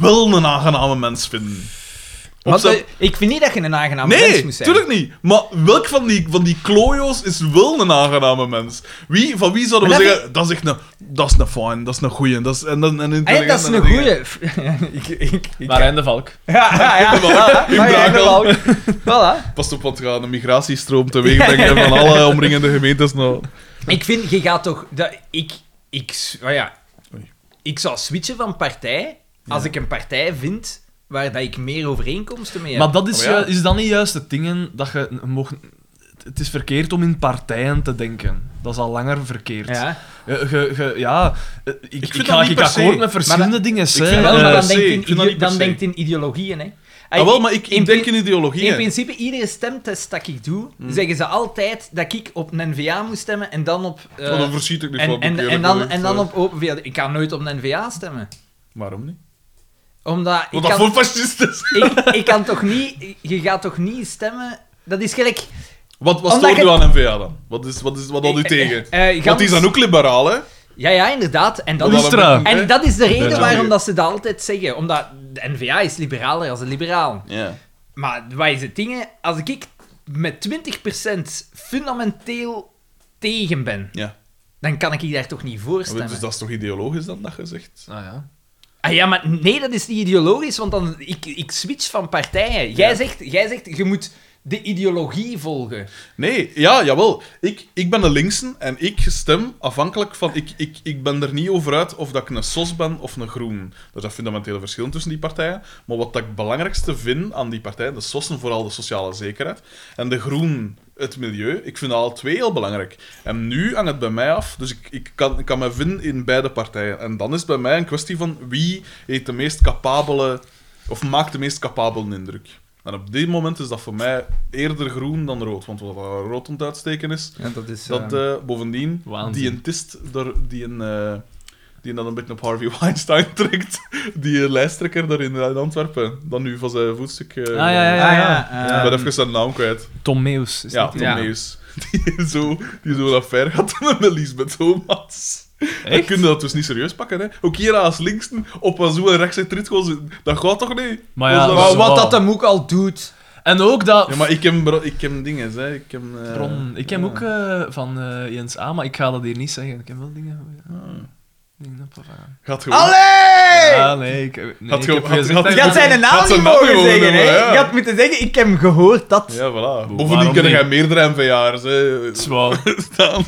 [SPEAKER 2] wel een aangename mens vinden.
[SPEAKER 1] Want,
[SPEAKER 2] zijn-
[SPEAKER 1] eh, ik vind niet dat je een aangename mens
[SPEAKER 2] Nee,
[SPEAKER 1] moet zijn.
[SPEAKER 2] natuurlijk niet. Maar welk van die, van die klojo's is wel een aangename mens? Wie, van wie zouden we
[SPEAKER 1] Maar dat
[SPEAKER 2] zeggen, dat is echt een, dat is een fijn, dat is een goeie, dat is, en, dan en
[SPEAKER 1] Hé, Ah, dat is een
[SPEAKER 2] intelligent en
[SPEAKER 1] goeie. ik, ik, ik,
[SPEAKER 4] Marijn de Valk.
[SPEAKER 1] Ja, ja, ja. voilà.
[SPEAKER 2] in
[SPEAKER 1] Maar ja,
[SPEAKER 2] Brabant.
[SPEAKER 1] inderdaad. Voilà.
[SPEAKER 2] dingen. Pas op, want we gaan een migratiestroom teweeg brengen van alle omringende gemeentes naar...
[SPEAKER 1] Ik vind, je gaat toch... Dat, ik, ik, nou ja,
[SPEAKER 2] Oei.
[SPEAKER 1] ik zou switchen van partij als ik een partij vind waar dat ik meer overeenkomsten mee heb.
[SPEAKER 4] Maar dat is,
[SPEAKER 2] Oh ja.
[SPEAKER 4] ju- is dan niet juist het dingen dat je n- mocht... Het is verkeerd om in partijen te denken. Dat is al langer verkeerd.
[SPEAKER 1] ja.
[SPEAKER 4] Je- je- je- ja, eh, ik, ik,
[SPEAKER 2] vind
[SPEAKER 4] ga
[SPEAKER 2] dat niet
[SPEAKER 4] ik
[SPEAKER 2] per se.
[SPEAKER 4] akkoord met verschillende
[SPEAKER 1] Maar
[SPEAKER 4] dingen.
[SPEAKER 2] vind
[SPEAKER 4] hè.
[SPEAKER 1] Wel, maar
[SPEAKER 2] Eh, per
[SPEAKER 1] dan
[SPEAKER 2] se.
[SPEAKER 1] denkt
[SPEAKER 2] Ik
[SPEAKER 1] in,
[SPEAKER 2] vind
[SPEAKER 1] ideo-
[SPEAKER 2] dat niet per
[SPEAKER 1] dan
[SPEAKER 2] se.
[SPEAKER 1] denkt in ideologieën, hè.
[SPEAKER 2] Ah, wel, maar ik,
[SPEAKER 1] in
[SPEAKER 2] ik denk
[SPEAKER 1] prin-
[SPEAKER 2] in ideologieën.
[SPEAKER 1] In principe, iedere stemtest dat ik doe, zeggen ze altijd dat ik op een NVA moet stemmen en dan op... eh,
[SPEAKER 2] Want Oh, dan verschiet ik niet
[SPEAKER 1] en,
[SPEAKER 2] van.
[SPEAKER 1] en,
[SPEAKER 2] eerlijk
[SPEAKER 1] en, dan,
[SPEAKER 2] gezegd.
[SPEAKER 1] en dan op open VLD. Ik kan nooit op een NVA stemmen.
[SPEAKER 2] Waarom niet?
[SPEAKER 1] Omdat ik
[SPEAKER 2] Want dat
[SPEAKER 1] kan,
[SPEAKER 2] voor fascisten is.
[SPEAKER 1] ik, ik kan toch niet... Je gaat toch niet stemmen... Dat is gelijk...
[SPEAKER 2] Wat, wat
[SPEAKER 1] Omdat
[SPEAKER 2] stoort
[SPEAKER 1] je-
[SPEAKER 2] u aan N-VA dan? Wat, is, wat, is, wat houdt u
[SPEAKER 1] Eh, eh,
[SPEAKER 2] tegen?
[SPEAKER 1] eh,
[SPEAKER 2] Want
[SPEAKER 1] gans-
[SPEAKER 2] die zijn ook liberaal, hè?
[SPEAKER 1] Ja, ja, inderdaad. En dat,
[SPEAKER 2] Omdat
[SPEAKER 1] is,
[SPEAKER 2] we
[SPEAKER 4] Lustra.
[SPEAKER 2] met- hè?
[SPEAKER 1] en dat is de
[SPEAKER 2] Ja.
[SPEAKER 1] reden waarom dat ze dat altijd zeggen. Omdat de NVA is liberaler als de liberaal.
[SPEAKER 2] Ja.
[SPEAKER 1] Maar wat is het ding? hè? Als ik met 20% fundamenteel tegen ben,
[SPEAKER 2] ja.
[SPEAKER 1] dan kan ik je daar toch niet voor stemmen.
[SPEAKER 2] Dus dat is toch ideologisch dan, dat gezegd?
[SPEAKER 4] Ah, ja.
[SPEAKER 1] Ah ja, maar nee, dat is niet ideologisch, want dan, ik, ik switch van partijen. Jij,
[SPEAKER 2] Ja.
[SPEAKER 1] zegt, jij zegt, je moet de ideologie volgen.
[SPEAKER 2] Nee, ja, jawel. Ik, ik ben een linksen en ik stem afhankelijk van... Ik, ik, ik ben er niet over uit of dat ik een SOS ben of een Groen. Er zijn fundamentele verschillen tussen die partijen. Maar wat dat ik belangrijkste vind aan die partijen, de SOS'en vooral de sociale zekerheid, en de Groen het milieu, ik vind alle twee heel belangrijk. En nu hangt het bij mij af, dus ik, ik, kan, ik kan me vinden in beide partijen. En dan is het bij mij een kwestie van wie heeft de meest capabele... Of maakt de meest capabele indruk. En op dit moment is dat voor mij eerder groen dan rood. Want wat er rood aan het uitsteken is,
[SPEAKER 1] Ja, dat is...
[SPEAKER 2] dat eh, bovendien
[SPEAKER 4] Waanzin.
[SPEAKER 2] die een tist, door, die een... eh, die dan een beetje op Harvey Weinstein trekt. Die eh, lijsttrekker daar in, in Antwerpen. Dan nu van zijn voetstuk... eh,
[SPEAKER 4] Ah, ja, Ehm, ja, ja.
[SPEAKER 1] Ah,
[SPEAKER 4] ja.
[SPEAKER 1] ja,
[SPEAKER 2] Ik
[SPEAKER 1] ja.
[SPEAKER 2] ben even zijn naam kwijt.
[SPEAKER 4] Tom Meus. Is
[SPEAKER 2] ja,
[SPEAKER 4] dat
[SPEAKER 2] Tom
[SPEAKER 4] die?
[SPEAKER 1] Ja.
[SPEAKER 2] Neus. Die zo, die zo dat ver gaat met Lisbeth Thomas. Dan
[SPEAKER 4] Echt?
[SPEAKER 2] kun je dat dus niet serieus pakken, hè. Ook hier als linksten op een zo'n rechtse trit gewoon zitten. Dat gaat toch niet?
[SPEAKER 4] Maar
[SPEAKER 2] Hoe zou
[SPEAKER 4] ja, dat
[SPEAKER 1] Maar
[SPEAKER 4] is
[SPEAKER 1] wat
[SPEAKER 4] wel-
[SPEAKER 1] dat hem ook al doet...
[SPEAKER 4] En ook dat...
[SPEAKER 2] Ja, maar ik heb, bro- ik heb dingen, hè. Ik heb... eh,
[SPEAKER 4] Ron, ik heb
[SPEAKER 2] ja.
[SPEAKER 4] ook eh, van eh, Jens A, maar ik ga dat hier niet zeggen. Ik heb wel dingen... Ja.
[SPEAKER 2] Ah.
[SPEAKER 4] Dingen op ervan.
[SPEAKER 2] Gaat gewoon...
[SPEAKER 1] Allee!
[SPEAKER 4] Ja, nee, ik, nee,
[SPEAKER 2] Had
[SPEAKER 4] ik
[SPEAKER 2] ge-
[SPEAKER 4] heb
[SPEAKER 2] had-
[SPEAKER 4] gezegd
[SPEAKER 2] had-
[SPEAKER 4] dat
[SPEAKER 1] Je had
[SPEAKER 4] ik-
[SPEAKER 1] zijn naam
[SPEAKER 2] Had zijn
[SPEAKER 1] niet
[SPEAKER 2] naam
[SPEAKER 1] mogen
[SPEAKER 2] niet mogen
[SPEAKER 1] zeggen, hè.
[SPEAKER 2] noemen, ja.
[SPEAKER 1] Je had moeten zeggen, ik heb hem gehoord dat...
[SPEAKER 2] Ja, voilà. Bovendien
[SPEAKER 4] waarom
[SPEAKER 2] kunnen
[SPEAKER 4] niet?
[SPEAKER 2] jij meerdere NVA'ers hè,
[SPEAKER 4] Het is wel-
[SPEAKER 2] staan.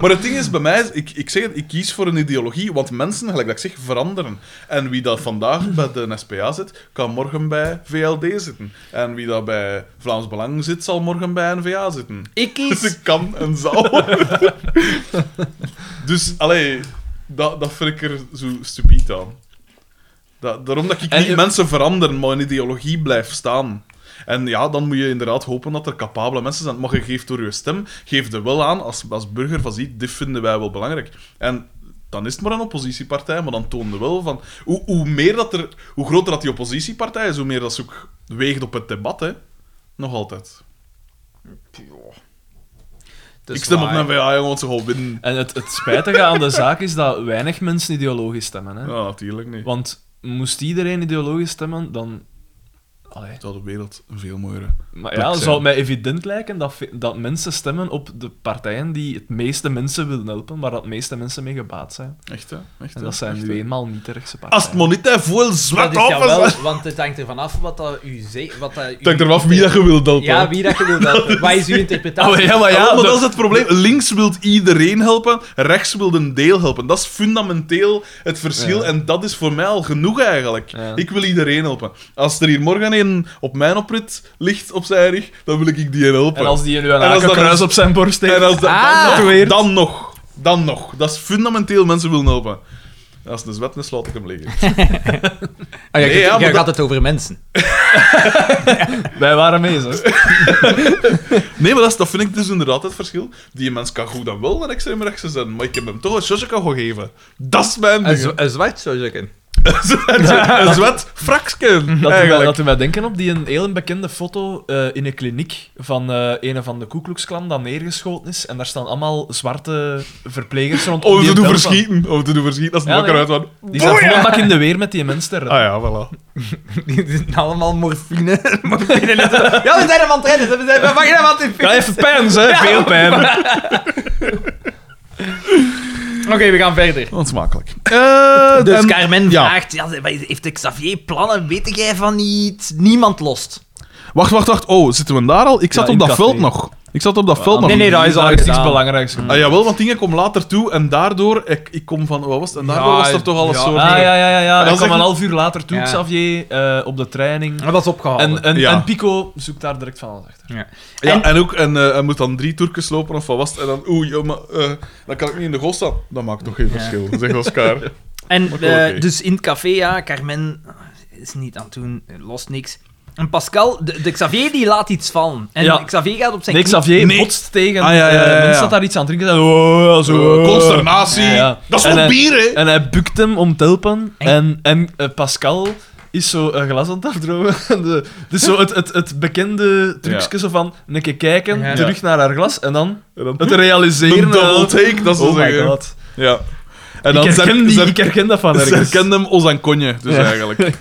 [SPEAKER 2] maar het ding is, bij mij, is- ik, ik zeg het, ik kies voor een ideologie, want mensen, gelijk dat ik zeg, veranderen. En wie dat vandaag bij de SPA zit, kan morgen bij VLD zitten. En wie dat bij Vlaams Belang zit, zal morgen bij NVA zitten.
[SPEAKER 1] Ik
[SPEAKER 2] Dus
[SPEAKER 1] kies...
[SPEAKER 2] ik kan en zal. dus, allee, dat, dat vind ik er zo stupiet aan. Dat, daarom dat ik
[SPEAKER 4] En
[SPEAKER 2] niet
[SPEAKER 4] je-
[SPEAKER 2] mensen verander, maar een ideologie blijft staan. En ja, dan moet je inderdaad hopen dat er capabele mensen zijn. Maar je geeft door je stem, geef er wel aan als, als burger van ziet, dit vinden wij wel belangrijk. En dan is het maar een oppositiepartij, maar dan toonde wel van... Hoe, hoe, meer dat er, hoe groter dat die oppositiepartij is, hoe meer dat ze ook weegt op het debat, hè. Nog altijd.
[SPEAKER 1] Dat is
[SPEAKER 2] ik stem
[SPEAKER 1] waar.
[SPEAKER 2] op mijn VA, jongen, want ze gaan winnen.
[SPEAKER 4] En het, het spijtige aan de zaak is dat weinig mensen ideologisch stemmen. Hè?
[SPEAKER 2] Ja, natuurlijk niet.
[SPEAKER 4] Want moest iedereen ideologisch stemmen, dan... Allee.
[SPEAKER 2] zou de wereld een veel mooier.
[SPEAKER 4] Maar
[SPEAKER 2] Plek
[SPEAKER 4] ja,
[SPEAKER 2] zijn.
[SPEAKER 4] zou het mij evident lijken dat, ve- dat mensen stemmen op de partijen die het meeste mensen willen helpen, waar dat het meeste mensen mee gebaat zijn.
[SPEAKER 2] Echt, hè? Echt,
[SPEAKER 4] En
[SPEAKER 2] hè?
[SPEAKER 4] dat zijn
[SPEAKER 2] Echt,
[SPEAKER 4] nu
[SPEAKER 2] hè?
[SPEAKER 4] eenmaal niet-rechtse partijen.
[SPEAKER 2] Als het maar niet te veel zwart
[SPEAKER 1] Dat is
[SPEAKER 2] af
[SPEAKER 1] ja
[SPEAKER 2] is.
[SPEAKER 1] wel, want het hangt ervan af wat dat u zegt. Wat dat u...
[SPEAKER 2] Het hangt eraf wie dat je wilt helpen.
[SPEAKER 1] Ja, wie dat je wil helpen. Wat is uw interpretatie?
[SPEAKER 4] Ah, maar ja, maar
[SPEAKER 2] Ja,
[SPEAKER 4] ja,
[SPEAKER 2] maar
[SPEAKER 4] de-
[SPEAKER 2] dat is het probleem. Links wil iedereen helpen, rechts wil een deel helpen. Dat is fundamenteel het verschil.
[SPEAKER 4] Ja.
[SPEAKER 2] En dat is voor mij al genoeg eigenlijk.
[SPEAKER 4] Ja.
[SPEAKER 2] Ik wil iedereen helpen. Als er hier morgen een op mijn oprit ligt op zijn rug, dan wil ik die helpen.
[SPEAKER 4] En als die nu een
[SPEAKER 2] En als dat-
[SPEAKER 4] hakenkruis op zijn borst heeft...
[SPEAKER 2] En als dat-
[SPEAKER 1] Ah.
[SPEAKER 2] dan, nog, dan nog. Dan nog. Dat is fundamenteel mensen willen helpen. Als het een zwet is, laat ik hem liggen.
[SPEAKER 1] Ah, jij
[SPEAKER 2] Nee, ja,
[SPEAKER 1] jij
[SPEAKER 2] maar
[SPEAKER 1] gaat het over mensen.
[SPEAKER 4] Wij waren mee, zo.
[SPEAKER 2] Nee, maar dat, is- dat vind ik dus inderdaad het verschil. Die mens kan goed en wel een extreem rechtse zijn, maar ik heb hem toch een shotje kan gegeven. Dat is mijn ding.
[SPEAKER 1] zwart zou zeggen.
[SPEAKER 2] een zwart fraksken.
[SPEAKER 4] Dat doet, mij,
[SPEAKER 2] eigenlijk.
[SPEAKER 4] dat doet mij denken op die een heel bekende foto eh, in een kliniek van eh, een van de Ku Klux Klan dat neergeschoten is. En daar staan allemaal zwarte verplegers rond.
[SPEAKER 2] Om
[SPEAKER 4] die
[SPEAKER 2] te Oh, doen
[SPEAKER 4] bel van-
[SPEAKER 2] verschieten. Om te doen verschieten als
[SPEAKER 4] Ja,
[SPEAKER 2] het wakker
[SPEAKER 4] nee.
[SPEAKER 2] uit van.
[SPEAKER 4] Die staan vol bak in de weer met die mensen te redden.
[SPEAKER 2] Ah ja, voilà.
[SPEAKER 1] Die zitten allemaal morfine. morfine net zo. ja, we zijn hem aan het redden. We zijn we vangen hem aan het
[SPEAKER 4] Ja, even pijn, hè? Veel pijn.
[SPEAKER 1] Oké, we gaan verder.
[SPEAKER 2] Onsmakelijk. Eh,
[SPEAKER 1] Dus
[SPEAKER 2] en-
[SPEAKER 1] Carmen
[SPEAKER 2] ja.
[SPEAKER 1] vraagt, ja, ze- heeft Xavier plannen? Weet jij van niet? Niemand lost.
[SPEAKER 2] Wacht, wacht, wacht. Oh, zitten we daar al? Ik zat
[SPEAKER 4] Ja,
[SPEAKER 2] op
[SPEAKER 4] in
[SPEAKER 2] dat
[SPEAKER 4] café.
[SPEAKER 2] veld nog. Ik zat op dat veld nog.
[SPEAKER 1] nee, nee, dat is al
[SPEAKER 4] Daar is iets
[SPEAKER 1] gedaan.
[SPEAKER 4] belangrijks.
[SPEAKER 2] Ah, jawel, want dingen kom later toe en daardoor... Ik, ik kom van... Wat was het? En daardoor
[SPEAKER 1] Ja,
[SPEAKER 2] was er toch al een
[SPEAKER 1] ja.
[SPEAKER 2] soort...
[SPEAKER 4] Ah, ja, ja, ja. ja.
[SPEAKER 2] dat
[SPEAKER 4] Dat
[SPEAKER 2] is
[SPEAKER 4] kwam
[SPEAKER 2] echt- Ah,
[SPEAKER 4] een half uur later toe,
[SPEAKER 1] Ja.
[SPEAKER 4] Xavier, eh, op de training.
[SPEAKER 1] Maar dat is opgehouden.
[SPEAKER 4] En, eh, en,
[SPEAKER 2] Ja.
[SPEAKER 4] en Pico zoekt daar direct van alles achter.
[SPEAKER 2] Ja, en,
[SPEAKER 1] En-
[SPEAKER 2] ook, en eh, hij moet dan drie toerkes lopen of wat was het? En dan, oei, joh, maar, eh, dan kan ik niet in de goal staan. Dat maakt toch geen verschil, zegt Oscar.
[SPEAKER 1] En
[SPEAKER 2] Maar wel
[SPEAKER 1] eh,
[SPEAKER 2] oké.
[SPEAKER 1] dus in het café, ja, Carmen is niet aan het doen, lost niks. En Pascal, de, de Xavier die laat iets vallen. En
[SPEAKER 4] Ja.
[SPEAKER 1] Xavier gaat op zijn
[SPEAKER 4] Nee,
[SPEAKER 1] knie.
[SPEAKER 4] Xavier botst tegen...
[SPEAKER 2] Ah, ja, ja, ja,
[SPEAKER 4] eh,
[SPEAKER 2] ja.
[SPEAKER 4] mensen dat daar iets aan het drinken zijn. Oh, zo.
[SPEAKER 2] Eh, consternatie.
[SPEAKER 4] Ja, ja.
[SPEAKER 2] Dat is
[SPEAKER 4] En,
[SPEAKER 2] voor
[SPEAKER 4] eh,
[SPEAKER 2] bier, hè?
[SPEAKER 4] En hij bukt hem om te helpen.
[SPEAKER 1] En-
[SPEAKER 4] En, en eh, Pascal is zo een glas aan het afdrogen. De- Dus zo het, het, het bekende trucje zo van een keer kijken,
[SPEAKER 1] Ja.
[SPEAKER 4] terug naar haar glas en dan
[SPEAKER 2] En dan
[SPEAKER 4] het
[SPEAKER 2] een
[SPEAKER 4] realiseren.
[SPEAKER 2] double take, dat is
[SPEAKER 4] oh my
[SPEAKER 2] zeggen.
[SPEAKER 4] god.
[SPEAKER 2] Ja. En
[SPEAKER 4] ik, herken
[SPEAKER 2] ze-
[SPEAKER 4] die,
[SPEAKER 2] ze-
[SPEAKER 4] ik herken dat van
[SPEAKER 2] Ze
[SPEAKER 4] ergens.
[SPEAKER 2] herkende hem als aan konje, dus
[SPEAKER 4] Ja.
[SPEAKER 2] eigenlijk.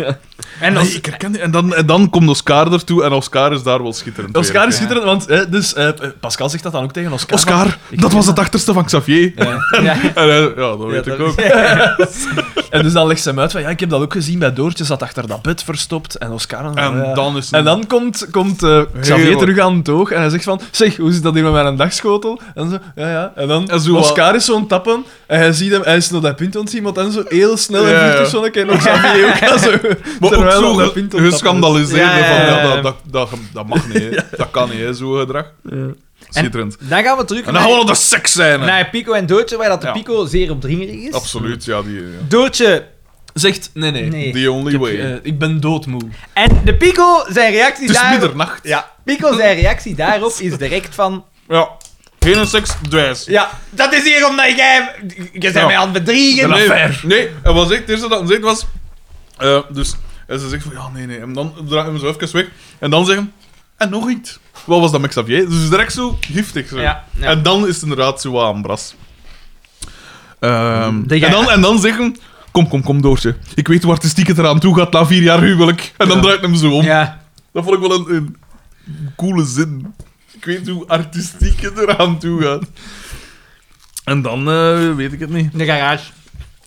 [SPEAKER 1] En
[SPEAKER 2] Nee,
[SPEAKER 1] als,
[SPEAKER 2] ik herken die. En dan, en dan komt Oscar ertoe en Oscar is daar wel schitterend.
[SPEAKER 4] Oscar
[SPEAKER 2] weer.
[SPEAKER 4] is schitterend, want eh, dus, eh, Pascal zegt dat dan ook tegen Oscar.
[SPEAKER 2] Oscar, dat was het achterste van Xavier.
[SPEAKER 1] ja.
[SPEAKER 2] En hij- ja, dat weet ik
[SPEAKER 1] dat-
[SPEAKER 2] ook.
[SPEAKER 4] En dus dan legt ze hem uit van, ja, ik heb dat ook gezien bij Doortje, zat achter dat bed verstopt. En Oscar...
[SPEAKER 2] En
[SPEAKER 4] ja.
[SPEAKER 2] dan is het-
[SPEAKER 4] En dan komt, komt eh, Xavier
[SPEAKER 2] Heel-
[SPEAKER 4] terug aan het oog en hij zegt van, zeg, hoe zit dat hier met mijn dagschotel? En zo, ja, ja. En dan
[SPEAKER 2] En zo wat-
[SPEAKER 4] Oscar is zo'n tappen en hij ziet hem, hij is naar dat pint aan het zien, want dan zo heel snel
[SPEAKER 2] Ja,
[SPEAKER 4] en
[SPEAKER 2] ja.
[SPEAKER 4] vliegt zo'n keer nog Xavier ook aan zo,
[SPEAKER 2] Maar ook
[SPEAKER 4] terwijl hij
[SPEAKER 2] zo
[SPEAKER 4] dat pint aan
[SPEAKER 2] ge-
[SPEAKER 4] het tappen is.
[SPEAKER 2] geschandaliseerd.
[SPEAKER 1] Ja, ja, ja,
[SPEAKER 2] van,
[SPEAKER 1] ja.
[SPEAKER 2] ja, dat, dat, dat, dat mag niet, hè. dat kan niet, hè, zo'n gedrag. Schitterend. En,
[SPEAKER 1] dan gaan we terug
[SPEAKER 2] dan
[SPEAKER 1] naar,
[SPEAKER 2] gaan we naar de seks zijn.
[SPEAKER 1] naar Pico en Doortje, waar dat de
[SPEAKER 2] Ja.
[SPEAKER 1] Pico zeer opdringerig is.
[SPEAKER 2] Absoluut, ja, die, ja.
[SPEAKER 1] Doortje,
[SPEAKER 4] Zegt, nee, nee,
[SPEAKER 1] nee.
[SPEAKER 2] the only way.
[SPEAKER 4] eh, ik ben doodmoe.
[SPEAKER 1] En de Pico, zijn reactie
[SPEAKER 2] het is
[SPEAKER 1] daarop...
[SPEAKER 2] middernacht.
[SPEAKER 1] Ja, Pico zijn reactie daarop is direct van...
[SPEAKER 2] Ja. Geen seks, dwijs.
[SPEAKER 1] Ja, dat is hier omdat jij... Je bent
[SPEAKER 2] Ja.
[SPEAKER 1] mij aan het bedriegen.
[SPEAKER 2] nee,
[SPEAKER 4] affaire.
[SPEAKER 2] nee, en wat ik, het eerste dat hij zegt was... eh, dus, en ze zegt van, ja, nee, nee. En dan draait hem zo even weg. En dan zeggen en nog iets. Wat was dat met Xavier? Dus het is direct zo giftig. Zo.
[SPEAKER 1] Ja, ja.
[SPEAKER 2] En dan is het inderdaad zo aan, Bras. Ehm,
[SPEAKER 1] De-
[SPEAKER 2] en, dan, en dan zeggen... Kom, kom, kom, Doortje. Ik weet hoe artistiek het eraan toe gaat na vier jaar huwelijk. En dan draait hem zo om.
[SPEAKER 1] Ja.
[SPEAKER 2] Dat vond ik wel een, een coole zin. Ik weet hoe artistiek het eraan toe gaat. En dan eh, weet ik het niet.
[SPEAKER 1] In de garage.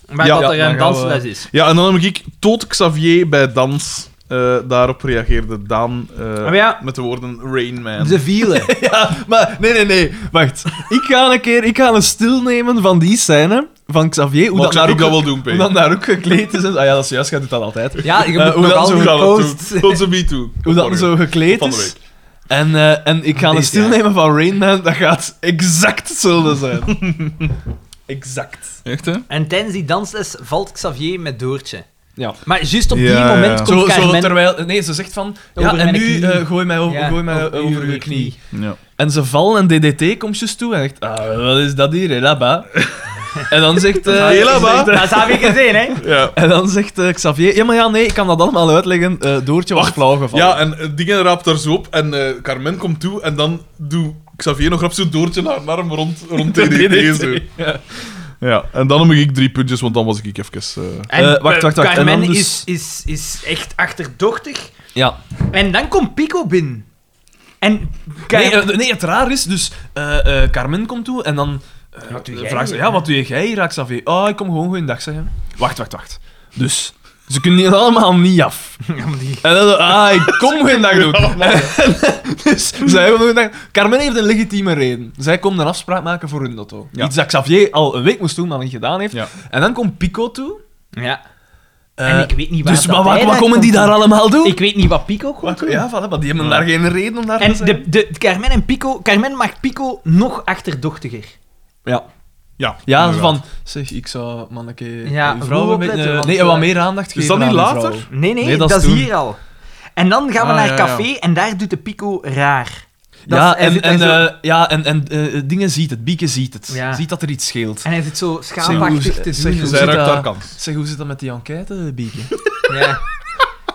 [SPEAKER 1] Waar
[SPEAKER 2] Ja.
[SPEAKER 1] dat er
[SPEAKER 4] Ja,
[SPEAKER 1] een
[SPEAKER 4] dan gaan we-
[SPEAKER 1] dansles is.
[SPEAKER 2] Ja, en dan heb ik tot Xavier bij dans. eh, daarop reageerde Daan eh,
[SPEAKER 4] Ah,
[SPEAKER 1] Maar ja.
[SPEAKER 2] met de woorden Rain Man.
[SPEAKER 1] Ze vielen.
[SPEAKER 4] Ja, maar nee, nee, nee. Wacht. Ik ga een keer ik ga een stil nemen van die scène van Xavier. Hoe
[SPEAKER 2] Mag
[SPEAKER 4] dat,
[SPEAKER 2] ik
[SPEAKER 4] daar ook,
[SPEAKER 2] dat wel doen,
[SPEAKER 4] hoe
[SPEAKER 2] Peter?
[SPEAKER 4] dat daar ook gekleed is. En, ah ja, dat is juist, jij doet dat altijd.
[SPEAKER 1] Ja, je
[SPEAKER 4] Eh,
[SPEAKER 1] moet
[SPEAKER 4] hoe
[SPEAKER 1] nog
[SPEAKER 4] dat
[SPEAKER 1] al
[SPEAKER 4] zo
[SPEAKER 1] die
[SPEAKER 2] Gaan we
[SPEAKER 1] posts.
[SPEAKER 2] toe. Tot ze me toe.
[SPEAKER 4] Hoe dat zo gekleed
[SPEAKER 2] Van de week.
[SPEAKER 4] is. En, eh, en ik ga een
[SPEAKER 1] Deze,
[SPEAKER 4] stil
[SPEAKER 1] ja.
[SPEAKER 4] nemen van Rain Man. Dat gaat exact hetzelfde zijn. exact.
[SPEAKER 2] Echt, hè?
[SPEAKER 1] En tijdens die dansles valt Xavier met Doortje.
[SPEAKER 4] Ja.
[SPEAKER 1] Maar juist op die
[SPEAKER 2] Ja, ja.
[SPEAKER 1] moment komt
[SPEAKER 4] Zo, zo
[SPEAKER 1] Carmen
[SPEAKER 4] terwijl... Nee, ze zegt van...
[SPEAKER 1] Over
[SPEAKER 4] Ja, en
[SPEAKER 1] mijn
[SPEAKER 4] nu
[SPEAKER 1] knie.
[SPEAKER 4] eh, gooi mij, over,
[SPEAKER 1] Ja,
[SPEAKER 4] gooi mij over,
[SPEAKER 1] uw
[SPEAKER 4] je knie.
[SPEAKER 2] Ja.
[SPEAKER 4] En ze vallen en DDT komt juist toe en zegt... Ah, wat is dat hier? Helaba. en dan zegt... eh,
[SPEAKER 2] Helaba?
[SPEAKER 4] zegt, eh,
[SPEAKER 1] Ah, Dat heb ik gezien, hè?
[SPEAKER 2] Ja.
[SPEAKER 4] En dan zegt eh, Xavier, ja maar ja, nee, ik kan dat allemaal uitleggen. Eh Doortje was flauw gevallen.
[SPEAKER 2] ja, en eh, dingen raapt daar zo op. En eh, Carmen komt toe en dan doe Xavier nog rap zo doortje naar naar hem rond, rond DDT. zo.
[SPEAKER 4] Ja.
[SPEAKER 2] Ja, en dan heb ik drie puntjes, want dan was ik even... eh,
[SPEAKER 1] En
[SPEAKER 4] Eh, wacht, wacht, wacht. En
[SPEAKER 1] Carmen
[SPEAKER 4] dan dus-
[SPEAKER 1] is, is, is echt achterdochtig.
[SPEAKER 4] ja.
[SPEAKER 1] En dan komt Pico binnen. En Car-
[SPEAKER 4] Nee, eh, nee, het raar is, dus eh, eh, Carmen komt toe en dan eh,
[SPEAKER 1] Wat doe jij
[SPEAKER 4] vraagt ze,
[SPEAKER 1] hier,
[SPEAKER 4] ja,
[SPEAKER 1] hè?
[SPEAKER 4] wat doe jij hier, Xavier? Oh, ik kom gewoon goeiedag zeggen. Wacht, wacht, wacht. Dus, ze kunnen hier allemaal niet af. En dan, zo, ah, ik kom goeiedag doen. dus, zij hebben goeiedag... Carmen heeft een legitieme reden. Zij komt een afspraak maken voor hun lotto.
[SPEAKER 2] Ja.
[SPEAKER 4] Iets dat Xavier al een week moest doen, maar niet gedaan heeft.
[SPEAKER 2] Ja.
[SPEAKER 4] En dan komt Pico toe.
[SPEAKER 1] ja.
[SPEAKER 4] eh,
[SPEAKER 1] en ik weet niet waar
[SPEAKER 4] dus
[SPEAKER 1] dat
[SPEAKER 4] maar wat,
[SPEAKER 1] hij
[SPEAKER 4] wat komen die
[SPEAKER 1] komt
[SPEAKER 4] daar
[SPEAKER 1] doen.
[SPEAKER 4] allemaal doen?
[SPEAKER 1] Ik weet niet wat Pico komt doen.
[SPEAKER 4] ja, voilà, maar die hebben daar geen reden om daar
[SPEAKER 1] En
[SPEAKER 4] te zijn.
[SPEAKER 1] de, de, Carmen en Pico... Carmen maakt Pico nog achterdochtiger.
[SPEAKER 4] Ja,
[SPEAKER 2] ja,
[SPEAKER 4] ja
[SPEAKER 2] inderdaad.
[SPEAKER 4] van... Zeg, ik zou manneke...
[SPEAKER 1] Ja,
[SPEAKER 4] uw vrouw
[SPEAKER 1] goed
[SPEAKER 4] een beetje-
[SPEAKER 1] opletten, want,
[SPEAKER 4] nee,
[SPEAKER 1] eh,
[SPEAKER 4] wat meer aandacht geven
[SPEAKER 2] dat niet
[SPEAKER 4] aan uw
[SPEAKER 2] later?
[SPEAKER 4] vrouw.
[SPEAKER 1] Nee, nee,
[SPEAKER 4] Nee,
[SPEAKER 1] dat,
[SPEAKER 4] dat is
[SPEAKER 1] is
[SPEAKER 4] toen.
[SPEAKER 1] hier al. En dan gaan we
[SPEAKER 2] Ah,
[SPEAKER 1] naar
[SPEAKER 2] ja, ja.
[SPEAKER 1] café en daar doet de Pico raar. Dat
[SPEAKER 4] ja,
[SPEAKER 1] is- hij
[SPEAKER 4] en,
[SPEAKER 1] zit
[SPEAKER 4] en,
[SPEAKER 1] daar
[SPEAKER 4] eh, ja, en, en eh, dingen ziet het, Bieke ziet het.
[SPEAKER 1] Ja.
[SPEAKER 4] Ziet dat er iets scheelt.
[SPEAKER 1] En hij zit zo
[SPEAKER 4] Zeg,
[SPEAKER 1] schaapachtig
[SPEAKER 4] hoe-
[SPEAKER 1] te
[SPEAKER 4] zeg,
[SPEAKER 1] zien.
[SPEAKER 4] hoe
[SPEAKER 2] Zij Dus
[SPEAKER 4] zit eh,
[SPEAKER 2] raakt
[SPEAKER 4] dat?
[SPEAKER 2] haar kans.
[SPEAKER 4] Zeg, hoe zit dat met die enquête, eh, Bieke?
[SPEAKER 1] Ja.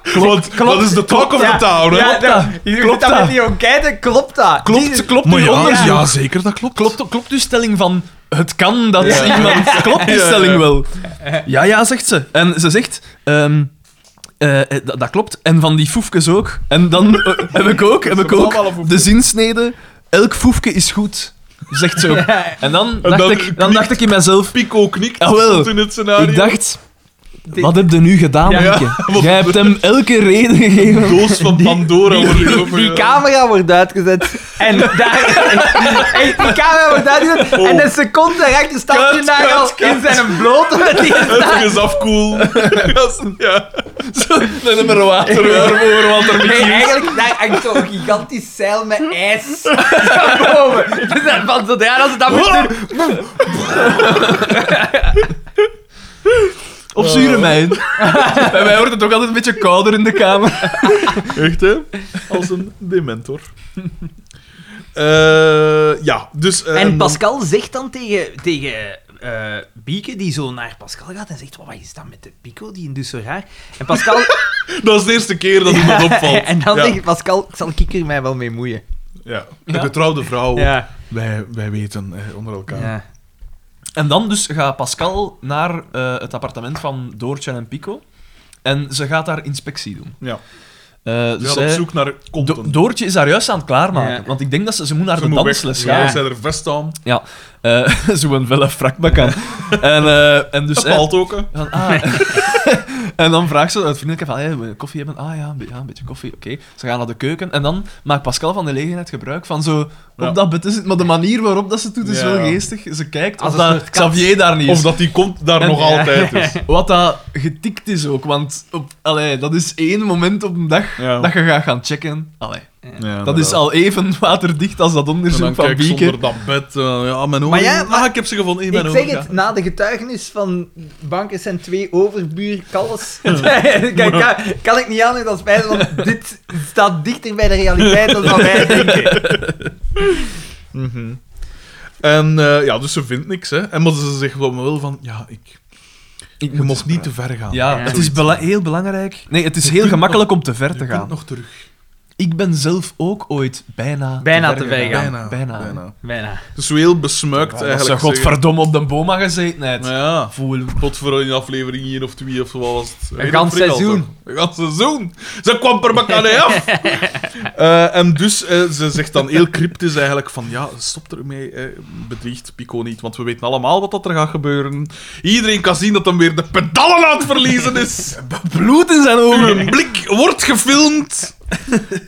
[SPEAKER 2] Klopt,
[SPEAKER 1] klopt.
[SPEAKER 2] dat is de talk of
[SPEAKER 1] Ja.
[SPEAKER 2] the town, hè?
[SPEAKER 1] Ja,
[SPEAKER 4] Klopt dat?
[SPEAKER 1] dat- Je
[SPEAKER 4] Klopt
[SPEAKER 1] klopt dat
[SPEAKER 4] dat?
[SPEAKER 1] met die enquête? Klopt dat?
[SPEAKER 4] Klopt, klopt
[SPEAKER 2] Maar
[SPEAKER 4] uw
[SPEAKER 2] ja,
[SPEAKER 4] onderzoek?
[SPEAKER 2] ja, zeker, dat klopt.
[SPEAKER 4] Klopt, klopt uw stelling van het kan dat iemand... Klopt die stelling wel? Ja, ja, zegt ze. En ze zegt... ehm, eh, eh, dat, dat klopt. En van die foefkes ook. En dan eh, heb ik ook, Dus heb ik
[SPEAKER 2] allemaal
[SPEAKER 4] ook
[SPEAKER 2] foefkes.
[SPEAKER 4] de zinsnede... Elk foefke is goed, zegt ze ook. En dan dacht,
[SPEAKER 2] dan
[SPEAKER 4] ik, dan dacht ik in mezelf...
[SPEAKER 2] Pico knikt
[SPEAKER 4] Ah, wel.
[SPEAKER 2] stond in het scenario.
[SPEAKER 4] Ik dacht... Wat heb je nu gedaan,
[SPEAKER 1] Ja.
[SPEAKER 4] Mieke? Jij hebt hem elke reden gegeven.
[SPEAKER 2] doos van Pandora. eh,
[SPEAKER 1] Die,
[SPEAKER 2] wordt
[SPEAKER 1] die-
[SPEAKER 2] open-
[SPEAKER 1] die camera wordt uitgezet. En daar... Echt, die camera wordt uitgezet. En een seconde daarachter staat je
[SPEAKER 2] Kut,
[SPEAKER 1] daar
[SPEAKER 2] kut,
[SPEAKER 1] al in zijn blote met die
[SPEAKER 2] Even eens afkoelen. Gasten, ja.
[SPEAKER 4] Een nummer water over, want er
[SPEAKER 1] Nee, eigenlijk daar hangt zo'n gigantisch zeil met ijs boven. Dus dat- van zodra dat ze dat moeten...
[SPEAKER 4] Op zure mijn. Bij mij wordt het ook altijd een beetje kouder in de kamer.
[SPEAKER 2] Echt, hè? Als een dementor. Eh, ja, dus... eh,
[SPEAKER 1] En
[SPEAKER 2] dan-
[SPEAKER 1] Pascal zegt dan tegen, tegen eh, Bieke, die zo naar Pascal gaat en zegt, wat is dat met de pico, die doet zo raar. En Pascal...
[SPEAKER 2] Dat is de eerste keer dat iemand opvalt.
[SPEAKER 1] en dan
[SPEAKER 2] ja.
[SPEAKER 1] zegt Pascal, zal ik er mij wel mee moeien?
[SPEAKER 2] Ja. De getrouwde vrouw.
[SPEAKER 1] Ja.
[SPEAKER 2] Wij, wij weten eh, onder elkaar.
[SPEAKER 1] ja.
[SPEAKER 4] En dan dus gaat Pascal naar eh, het appartement van Doortje en Pico. En ze gaat daar inspectie doen.
[SPEAKER 2] Ja.
[SPEAKER 4] Eh,
[SPEAKER 2] Ze
[SPEAKER 4] dus
[SPEAKER 2] gaat op
[SPEAKER 4] zij-
[SPEAKER 2] zoek naar
[SPEAKER 4] Do-
[SPEAKER 2] content.
[SPEAKER 4] Doortje is daar juist aan het klaarmaken.
[SPEAKER 1] Ja.
[SPEAKER 4] Want ik denk dat ze, ze moet naar
[SPEAKER 2] Ze
[SPEAKER 4] de
[SPEAKER 2] moet weg.
[SPEAKER 4] dansles
[SPEAKER 2] Ja,
[SPEAKER 4] gaan.
[SPEAKER 2] zij er vest aan.
[SPEAKER 4] Ja. Eh Zo'n velle frakbak aan. en, eh, en dus...
[SPEAKER 2] Dat
[SPEAKER 4] eh,
[SPEAKER 2] valt ook, hè.
[SPEAKER 4] Van, ah. en dan vraagt ze het vriendelijke van, hey, wil je koffie hebben? Ah ja, een, be- ja, een beetje koffie, oké. Ze gaan naar de keuken en dan maakt Pascal van de gelegenheid gebruik van zo op
[SPEAKER 2] Ja.
[SPEAKER 4] dat bed is het, maar de manier waarop dat ze het doet is
[SPEAKER 2] Ja,
[SPEAKER 4] wel
[SPEAKER 2] ja.
[SPEAKER 4] geestig. Ze kijkt
[SPEAKER 1] Als
[SPEAKER 4] of
[SPEAKER 1] een
[SPEAKER 4] dat
[SPEAKER 1] soort kat.
[SPEAKER 4] Xavier daar niet is.
[SPEAKER 2] Of dat die komt daar
[SPEAKER 4] En-
[SPEAKER 2] nog
[SPEAKER 1] Ja.
[SPEAKER 2] altijd is.
[SPEAKER 4] Wat dat getikt is ook, want op, allee, dat is één moment op een dag
[SPEAKER 2] Ja.
[SPEAKER 4] dat je gaat gaan checken. Allee,
[SPEAKER 2] Ja,
[SPEAKER 4] dat is
[SPEAKER 2] inderdaad.
[SPEAKER 4] al even waterdicht als dat
[SPEAKER 2] En dan
[SPEAKER 4] onderzoek van
[SPEAKER 2] kijk ik
[SPEAKER 4] Bieke.
[SPEAKER 2] zonder dat bed. eh, ja, mijn
[SPEAKER 1] Maar
[SPEAKER 2] ogen.
[SPEAKER 1] ja, maar-
[SPEAKER 2] Ah, ik heb ze gevonden. In mijn
[SPEAKER 1] Ik
[SPEAKER 2] ogen,
[SPEAKER 1] zeg
[SPEAKER 2] ja.
[SPEAKER 1] het, na de getuigenis van Bankers en twee overbuur Kalles, Kijk, kan, kan ik niet aan dan spijt, want dit staat dichter bij de realiteit dan wat wij denken.
[SPEAKER 2] Mhm. En eh, ja, dus ze vindt niks, hè. En maar ze zegt wel, wel van, ja, ik,
[SPEAKER 4] Ik
[SPEAKER 2] je mocht niet te ver gaan.
[SPEAKER 4] Ja,
[SPEAKER 1] Ah, Ja.
[SPEAKER 4] het is bela- heel belangrijk. Nee, het is heel
[SPEAKER 2] kunt
[SPEAKER 4] gemakkelijk om te ver
[SPEAKER 2] Je
[SPEAKER 4] te
[SPEAKER 2] kunt
[SPEAKER 4] gaan.
[SPEAKER 2] nog terug.
[SPEAKER 4] Ik ben zelf ook ooit bijna
[SPEAKER 1] Bijna te ver
[SPEAKER 4] gegaan.
[SPEAKER 1] gaan.
[SPEAKER 2] Bijna.
[SPEAKER 4] Bijna.
[SPEAKER 1] Bijna.
[SPEAKER 2] Dus zo heel besmuikt
[SPEAKER 4] Ja, als ze
[SPEAKER 2] eigenlijk.
[SPEAKER 4] godverdomme op de boma gezeten
[SPEAKER 2] zeggen.
[SPEAKER 4] hebt.
[SPEAKER 2] Nou ja,
[SPEAKER 4] Voel.
[SPEAKER 2] godverdomme in aflevering 1 of 2 of zo wat was het. eh, Weet ik
[SPEAKER 1] gans
[SPEAKER 2] veel,
[SPEAKER 1] seizoen.
[SPEAKER 2] toch? Een gans seizoen. Ze kwam per elkaar niet af. Eh, en dus, eh, ze zegt dan heel cryptisch eigenlijk van, ja, stop ermee, eh, bedriegt Pico niet, want we weten allemaal wat dat er gaat gebeuren. Iedereen kan zien dat hem weer de pedalen aan het verliezen is.
[SPEAKER 4] Bloed in zijn ogen.
[SPEAKER 2] Uw blik wordt gefilmd.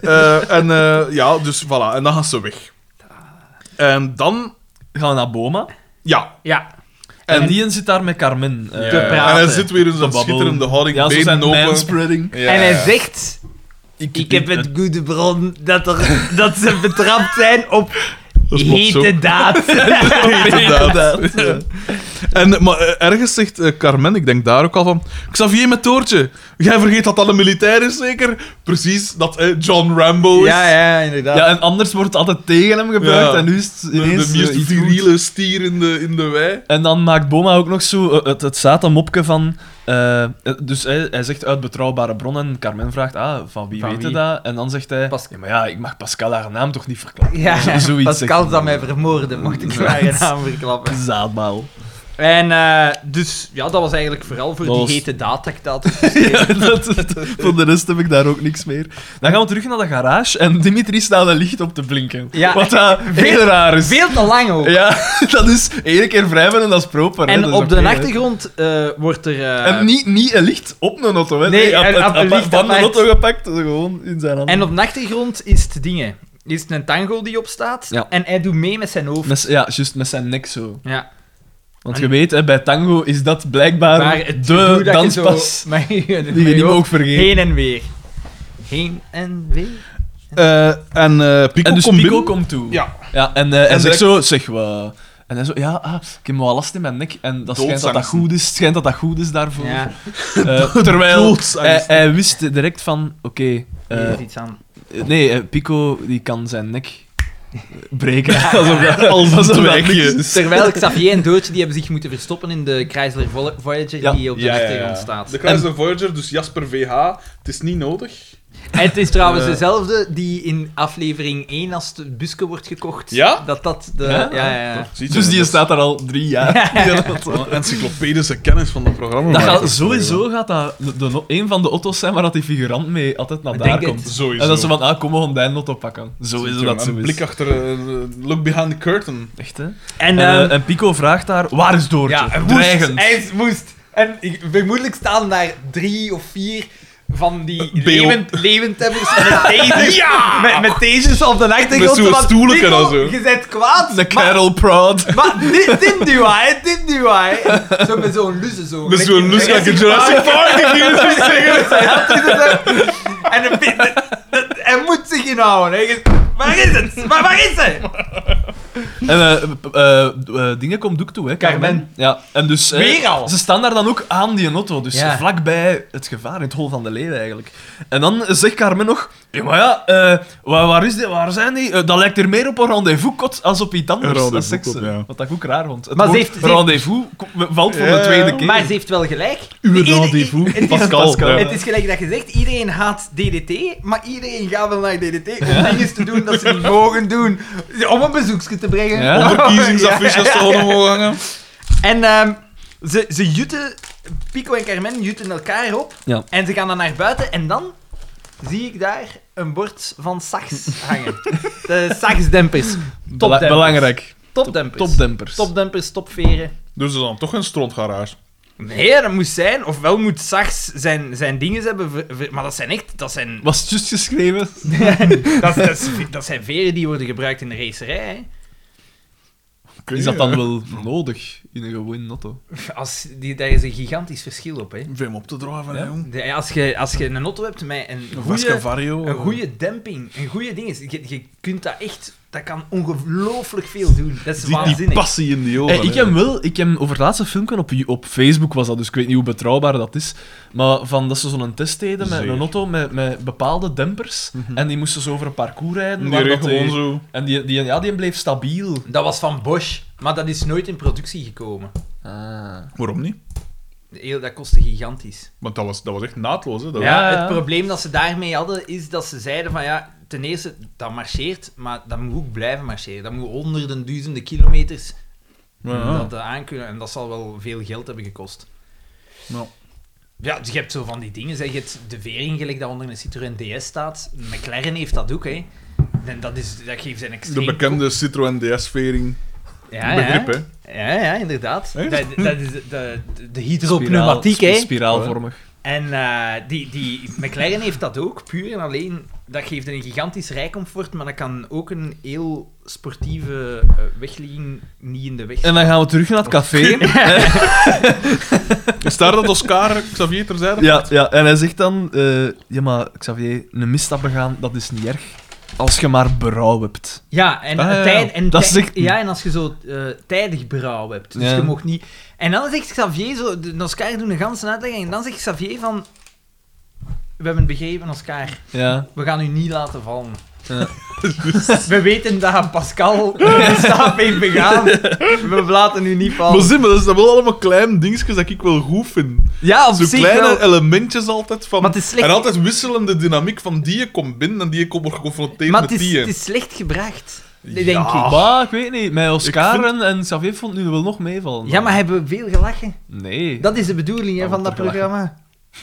[SPEAKER 2] Eh, en eh, ja, dus voilà. En dan gaan ze weg. En dan...
[SPEAKER 4] Gaan we naar Boma.
[SPEAKER 2] Ja.
[SPEAKER 1] Ja.
[SPEAKER 4] En, die zit daar met Carmen. eh,
[SPEAKER 1] Te praten.
[SPEAKER 2] En hij zit weer in
[SPEAKER 4] te
[SPEAKER 2] zijn
[SPEAKER 4] babbelen.
[SPEAKER 2] schitterende houding.
[SPEAKER 4] Ja, zo
[SPEAKER 2] benen
[SPEAKER 4] zijn
[SPEAKER 2] open.
[SPEAKER 4] manspreading.
[SPEAKER 2] Ja.
[SPEAKER 1] En hij zegt, ik, heb het goede bron dat, er, dat ze betrapt zijn op
[SPEAKER 2] Dat is plots zo.
[SPEAKER 1] hete daad.
[SPEAKER 2] Inderdaad. En, maar eh, ergens zegt eh, Carmen, ik denk daar ook al van... Xavier met Toortje, jij vergeet dat dat een militair is, zeker? Precies, dat eh, John Rambo is.
[SPEAKER 1] Ja, ja, inderdaad.
[SPEAKER 4] Ja, en anders wordt altijd tegen hem gebruikt.
[SPEAKER 2] Ja.
[SPEAKER 4] En nu is het
[SPEAKER 2] De,
[SPEAKER 4] ineens
[SPEAKER 2] de
[SPEAKER 4] eh,
[SPEAKER 2] meest
[SPEAKER 4] iets goeds.
[SPEAKER 2] viriele stier in de, in de wei.
[SPEAKER 4] En dan maakt Boma ook nog zo eh, het, het satamopje van... eh, eh, dus hij, hij zegt uit betrouwbare bronnen. Carmen vraagt, ah, van wie
[SPEAKER 1] Van
[SPEAKER 4] weet je
[SPEAKER 1] wie?
[SPEAKER 4] dat? En dan zegt hij...
[SPEAKER 1] Pas-
[SPEAKER 4] Ja, maar ja, ik mag Pascal haar naam toch niet verklappen.
[SPEAKER 1] Ja,
[SPEAKER 4] Zo- zoiets zegt
[SPEAKER 1] Pascal
[SPEAKER 4] hij.
[SPEAKER 1] zou mij vermoorden, mocht ik
[SPEAKER 4] Ja.
[SPEAKER 1] zijn naam verklappen.
[SPEAKER 4] Zaadmaal.
[SPEAKER 1] En eh, dus, ja, dat was eigenlijk vooral voor
[SPEAKER 4] Dat was-
[SPEAKER 1] die hete daad dat ik dat...
[SPEAKER 4] Ja, dat, dat- voor de rest heb ik daar ook niks meer. Dan gaan we terug naar de garage en Dimitri staat een licht op te blinken.
[SPEAKER 1] Ja.
[SPEAKER 4] Wat dat heel
[SPEAKER 1] Veel-
[SPEAKER 4] raar is.
[SPEAKER 1] Veel te lang ook.
[SPEAKER 4] Ja, dat is één keer wrijven en dat is proper. hè.
[SPEAKER 1] En
[SPEAKER 4] Dat is
[SPEAKER 1] op de
[SPEAKER 4] oké, hè.
[SPEAKER 1] achtergrond eh, wordt er... eh,
[SPEAKER 4] En niet, niet een licht op een auto, hè.
[SPEAKER 1] Nee,
[SPEAKER 4] op-
[SPEAKER 1] en
[SPEAKER 4] op-
[SPEAKER 1] op een
[SPEAKER 4] op-
[SPEAKER 1] licht
[SPEAKER 4] van de
[SPEAKER 1] apart.
[SPEAKER 4] auto gepakt, gewoon in zijn handen.
[SPEAKER 1] en op de achtergrond is het dingen. Is het een tango die opstaat.
[SPEAKER 4] Ja.
[SPEAKER 1] En hij doet mee met zijn hoofd.
[SPEAKER 4] Met z- ja, juist met zijn nek zo.
[SPEAKER 1] Ja.
[SPEAKER 4] Want
[SPEAKER 1] En-
[SPEAKER 4] je weet, hè, bij tango is dat blijkbaar
[SPEAKER 1] Ah, Maar het
[SPEAKER 4] de
[SPEAKER 1] gedoe dat je
[SPEAKER 4] danspas
[SPEAKER 1] zo met je- met
[SPEAKER 4] die je
[SPEAKER 1] je
[SPEAKER 4] niet
[SPEAKER 1] hoofd
[SPEAKER 4] mag vergeten.
[SPEAKER 1] Heen en weer. Heen en weer.
[SPEAKER 2] Eh, en eh Pico
[SPEAKER 4] En dus
[SPEAKER 2] komt
[SPEAKER 4] Pico
[SPEAKER 2] binnen.
[SPEAKER 4] komt toe.
[SPEAKER 2] Ja.
[SPEAKER 4] Ja, en, eh en,
[SPEAKER 2] En direct-
[SPEAKER 4] zegt zo, zeg wat. En hij zo, ja, ah, ik heb wel last in mijn nek. En dat schijnt dat dat
[SPEAKER 2] Doodsangsten.
[SPEAKER 4] goed is, het schijnt dat dat goed is daarvoor.
[SPEAKER 1] Ja,
[SPEAKER 4] Eh, terwijl hij,
[SPEAKER 2] Doodsangsten.
[SPEAKER 4] hij wist direct van, oké, eh,
[SPEAKER 1] hier is iets aan.
[SPEAKER 4] nee, eh, Pico die kan zijn nek
[SPEAKER 3] breken.
[SPEAKER 4] Alsof dat, alsof dat
[SPEAKER 2] Terwijl
[SPEAKER 4] niks
[SPEAKER 2] je-
[SPEAKER 4] is.
[SPEAKER 1] Terwijl Xavier en Doodje die hebben zich moeten verstoppen in de Chrysler Vol- Voyager
[SPEAKER 4] Ja.
[SPEAKER 1] die op de achtergrond staat.
[SPEAKER 2] De Chrysler Voyager, dus Jasper VH. Het is niet nodig.
[SPEAKER 1] En het is trouwens
[SPEAKER 2] Eh.
[SPEAKER 1] dezelfde die in aflevering 1 als het busken wordt gekocht.
[SPEAKER 2] Ja?
[SPEAKER 1] Dat dat de...
[SPEAKER 3] Ja?
[SPEAKER 1] Ja, ja, ja.
[SPEAKER 2] Ziet je,
[SPEAKER 3] Dus die
[SPEAKER 2] dat
[SPEAKER 3] staat daar al drie jaar.
[SPEAKER 2] is wel een encyclopedische kennis van dat programma.
[SPEAKER 3] Dat
[SPEAKER 2] maar-
[SPEAKER 3] gaat-
[SPEAKER 4] Sowieso gaat dat de, de- een van de auto's zijn waar dat die figurant mee altijd naar
[SPEAKER 1] Ik
[SPEAKER 4] daar
[SPEAKER 1] denk het.
[SPEAKER 4] komt.
[SPEAKER 2] Sowieso.
[SPEAKER 4] En dat ze van, ah, kom, we gaan die auto pakken. Zo is
[SPEAKER 2] Ziet je,
[SPEAKER 4] dat zo
[SPEAKER 2] Een
[SPEAKER 4] is.
[SPEAKER 2] blik achter... eh, look behind the curtain.
[SPEAKER 4] Echt, hè? En,
[SPEAKER 1] En,
[SPEAKER 4] eh,
[SPEAKER 1] ehm,
[SPEAKER 4] en Pico vraagt daar, waar is Doortje?
[SPEAKER 1] ja, en woest.
[SPEAKER 4] Dreigend.
[SPEAKER 1] Hij is woest. En ik- vermoedelijk staan daar drie of vier van die
[SPEAKER 2] Beo.
[SPEAKER 1] levend, levendhebbers met tasers. Met,
[SPEAKER 4] Ah.
[SPEAKER 1] met tasers op de achtergrond.
[SPEAKER 2] Met zo'n
[SPEAKER 1] van,
[SPEAKER 2] stoelen
[SPEAKER 1] "Nico,
[SPEAKER 2] en zo."
[SPEAKER 1] Je bent kwaad.
[SPEAKER 4] De
[SPEAKER 1] maar-
[SPEAKER 4] Carol Prod.
[SPEAKER 1] Maar dit, dit doe hij, dit doe hij. Zo met zo'n luze zo.
[SPEAKER 2] Dus zo'n
[SPEAKER 1] Gelijk-
[SPEAKER 2] Luska Jurassic Park. ik ging het niet zeggen.
[SPEAKER 1] Hij had dit zo- En een pin- dat- hij moet zich inhouden. Hij zegt, Waar is het? Waar, waar is hij?
[SPEAKER 4] En eh, p- eh, eh, dingen komt ook toe, hè?
[SPEAKER 1] Carmen.
[SPEAKER 4] Ja, en dus... eh,
[SPEAKER 1] Weer al?
[SPEAKER 4] Ze staan daar dan ook aan die auto, dus
[SPEAKER 1] Ja.
[SPEAKER 4] vlakbij het gevaar, in het hol van de leeuw eigenlijk. En dan zegt Carmen nog... Ja, maar ja, eh, waar, waar, is die, waar zijn die? Eh, dat lijkt er meer op een rendezvous-kot als op iets anders.
[SPEAKER 2] Een
[SPEAKER 4] Dat
[SPEAKER 2] rendezvous-kot,
[SPEAKER 4] zegt ze.
[SPEAKER 2] ja.
[SPEAKER 4] Wat ik ook raar vond. Het
[SPEAKER 1] Maar ze
[SPEAKER 4] woord
[SPEAKER 1] heeft- ze heeft-
[SPEAKER 4] rendezvous ko- valt voor
[SPEAKER 2] Ja,
[SPEAKER 4] de tweede keer.
[SPEAKER 1] Maar ze heeft wel gelijk.
[SPEAKER 4] Uw
[SPEAKER 1] Ieder-
[SPEAKER 4] rendezvous,
[SPEAKER 1] het is-
[SPEAKER 4] Pascal.
[SPEAKER 2] Pascal.
[SPEAKER 1] Het is gelijk dat je zegt, iedereen haat DDT, maar iedereen gaat wel naar DDT om dingen te doen dat ze niet mogen doen. Om een bezoekje te brengen.
[SPEAKER 4] Ja.
[SPEAKER 2] Onder kiezingsaffiches dat ze gewoon omhoog hangen.
[SPEAKER 1] En ehm, ze, ze jutten, Pico en Carmen jutten elkaar op.
[SPEAKER 4] Ja.
[SPEAKER 1] En ze gaan dan naar buiten en dan zie ik daar een bord van sax hangen. De saxdempers.
[SPEAKER 4] Bela-
[SPEAKER 1] Topdempers.
[SPEAKER 4] belangrijk.
[SPEAKER 1] Topdempers.
[SPEAKER 4] Topdempers.
[SPEAKER 1] Topdempers, topveren.
[SPEAKER 2] Doen Dus ze dan toch een strontgarage?
[SPEAKER 1] Nee, dat moest zijn. Ofwel moet Sax zijn, zijn dingen hebben... ver- ver- maar dat zijn echt... Dat zijn,
[SPEAKER 4] Was het juist geschreven?
[SPEAKER 1] dat, dat, is- dat zijn veren die worden gebruikt in de racerij. Hè.
[SPEAKER 4] Is dat
[SPEAKER 2] eh,
[SPEAKER 4] dan wel nodig in een gewoon auto?
[SPEAKER 1] Als, die, daar is een gigantisch verschil op. Hè.
[SPEAKER 2] Vim op te draven,
[SPEAKER 4] Ja.
[SPEAKER 2] jong.
[SPEAKER 1] De- als, je, als je een auto hebt met een goede...
[SPEAKER 2] Vasca Vario. eh,
[SPEAKER 1] Een goede demping, een goede ding is. Je, je kunt dat echt, dat kan ongelooflijk veel doen. Dat is
[SPEAKER 2] Die, die
[SPEAKER 1] waanzinnig.
[SPEAKER 2] passie in die ogen.
[SPEAKER 4] Eh, ik
[SPEAKER 2] hè.
[SPEAKER 4] heb wel, ik heb over het laatste filmpje op, op Facebook was dat, dus ik weet niet hoe betrouwbaar dat is. Maar van dat ze zo'n test deden met
[SPEAKER 2] Zeker.
[SPEAKER 4] een auto met, met bepaalde dempers. En die moesten zo over een parcours rijden.
[SPEAKER 2] Die
[SPEAKER 4] waar
[SPEAKER 2] reed
[SPEAKER 4] dat
[SPEAKER 2] gewoon
[SPEAKER 4] Mhm. die-
[SPEAKER 2] zo.
[SPEAKER 4] En die, die, ja, die bleef stabiel.
[SPEAKER 1] Dat was van Bosch, maar dat is nooit in productie gekomen.
[SPEAKER 4] Ah.
[SPEAKER 2] Waarom niet?
[SPEAKER 1] Heel, dat kostte gigantisch.
[SPEAKER 2] Want dat was, dat was echt naadloos, hè? Dat
[SPEAKER 1] Ja,
[SPEAKER 4] Ja, ja.
[SPEAKER 1] Het probleem dat ze daarmee hadden, is dat ze zeiden van ja, ten eerste, dat marcheert, maar dat moet ook blijven marcheren. Dat moet honderden, duizenden kilometers
[SPEAKER 2] Ja.
[SPEAKER 1] dat eh, aankunnen. En dat zal wel veel geld hebben gekost.
[SPEAKER 2] Ja.
[SPEAKER 1] Ja, dus je hebt zo van die dingen. Zeg, je hebt de vering gelijk dat onder een Citroën DS staat. McLaren heeft dat ook, hè. En dat, is, dat geeft zijn
[SPEAKER 2] De
[SPEAKER 1] extreem...
[SPEAKER 2] bekende Citroën DS-vering.
[SPEAKER 1] ja,
[SPEAKER 2] begrip,
[SPEAKER 1] ja. Ja, ja, inderdaad.
[SPEAKER 2] Echt?
[SPEAKER 1] Dat, dat is de, de, de hydropneumatiek,
[SPEAKER 4] Spiraal-
[SPEAKER 1] hè.
[SPEAKER 4] Spiraalvormig.
[SPEAKER 1] En eh, die, die McLaren heeft dat ook, puur en alleen. Dat geeft een gigantisch rijcomfort, maar dat kan ook een heel sportieve eh, wegligging niet in de weg
[SPEAKER 4] En dan gaan we terug naar het café.
[SPEAKER 2] Is daar dat Oscar Xavier terzijde?
[SPEAKER 4] ja, ja, en hij zegt dan: eh, Ja, maar Xavier, een misstap begaan, dat is niet erg. Als je maar berouw hebt.
[SPEAKER 1] Ja, en,
[SPEAKER 4] Ah, ja, ja.
[SPEAKER 1] tijd, en,
[SPEAKER 4] Dat
[SPEAKER 1] tij-
[SPEAKER 4] is echt-
[SPEAKER 1] ja, en als je zo eh, tijdig brouw hebt, dus
[SPEAKER 4] Ja.
[SPEAKER 1] je mocht niet... En dan zegt Xavier, zo, de Oscar doet een ganse uitleg, en dan zegt Xavier van... We hebben begrepen, Oscar.
[SPEAKER 4] Ja.
[SPEAKER 1] We gaan u niet laten vallen.
[SPEAKER 4] Ja. Dus-
[SPEAKER 1] We weten dat Pascal de stap heeft begaan. We laten u niet
[SPEAKER 2] Maar
[SPEAKER 1] vallen.
[SPEAKER 2] zie, maar dat zijn wel allemaal kleine dingetjes dat ik wel goed vind.
[SPEAKER 1] Ja, op
[SPEAKER 2] Zo
[SPEAKER 1] zich
[SPEAKER 2] kleine
[SPEAKER 1] wel.
[SPEAKER 2] elementjes altijd van...
[SPEAKER 1] Maar het is slecht-
[SPEAKER 2] En altijd wisselende dynamiek van die komt binnen en die komt geconfronteerd
[SPEAKER 1] Maar
[SPEAKER 2] met
[SPEAKER 1] het is,
[SPEAKER 2] die.
[SPEAKER 1] het is slecht gebracht,
[SPEAKER 2] Ja.
[SPEAKER 1] denk ik.
[SPEAKER 4] Maar Ah. ik weet niet, met Oscar
[SPEAKER 2] Ik
[SPEAKER 4] en, en Xavier vond nu wel nog meevallen.
[SPEAKER 1] Ja, maar hebben we veel gelachen?
[SPEAKER 4] Nee.
[SPEAKER 1] Dat is de bedoeling hè,
[SPEAKER 4] Dat
[SPEAKER 1] van dat
[SPEAKER 4] wordt er
[SPEAKER 1] programma.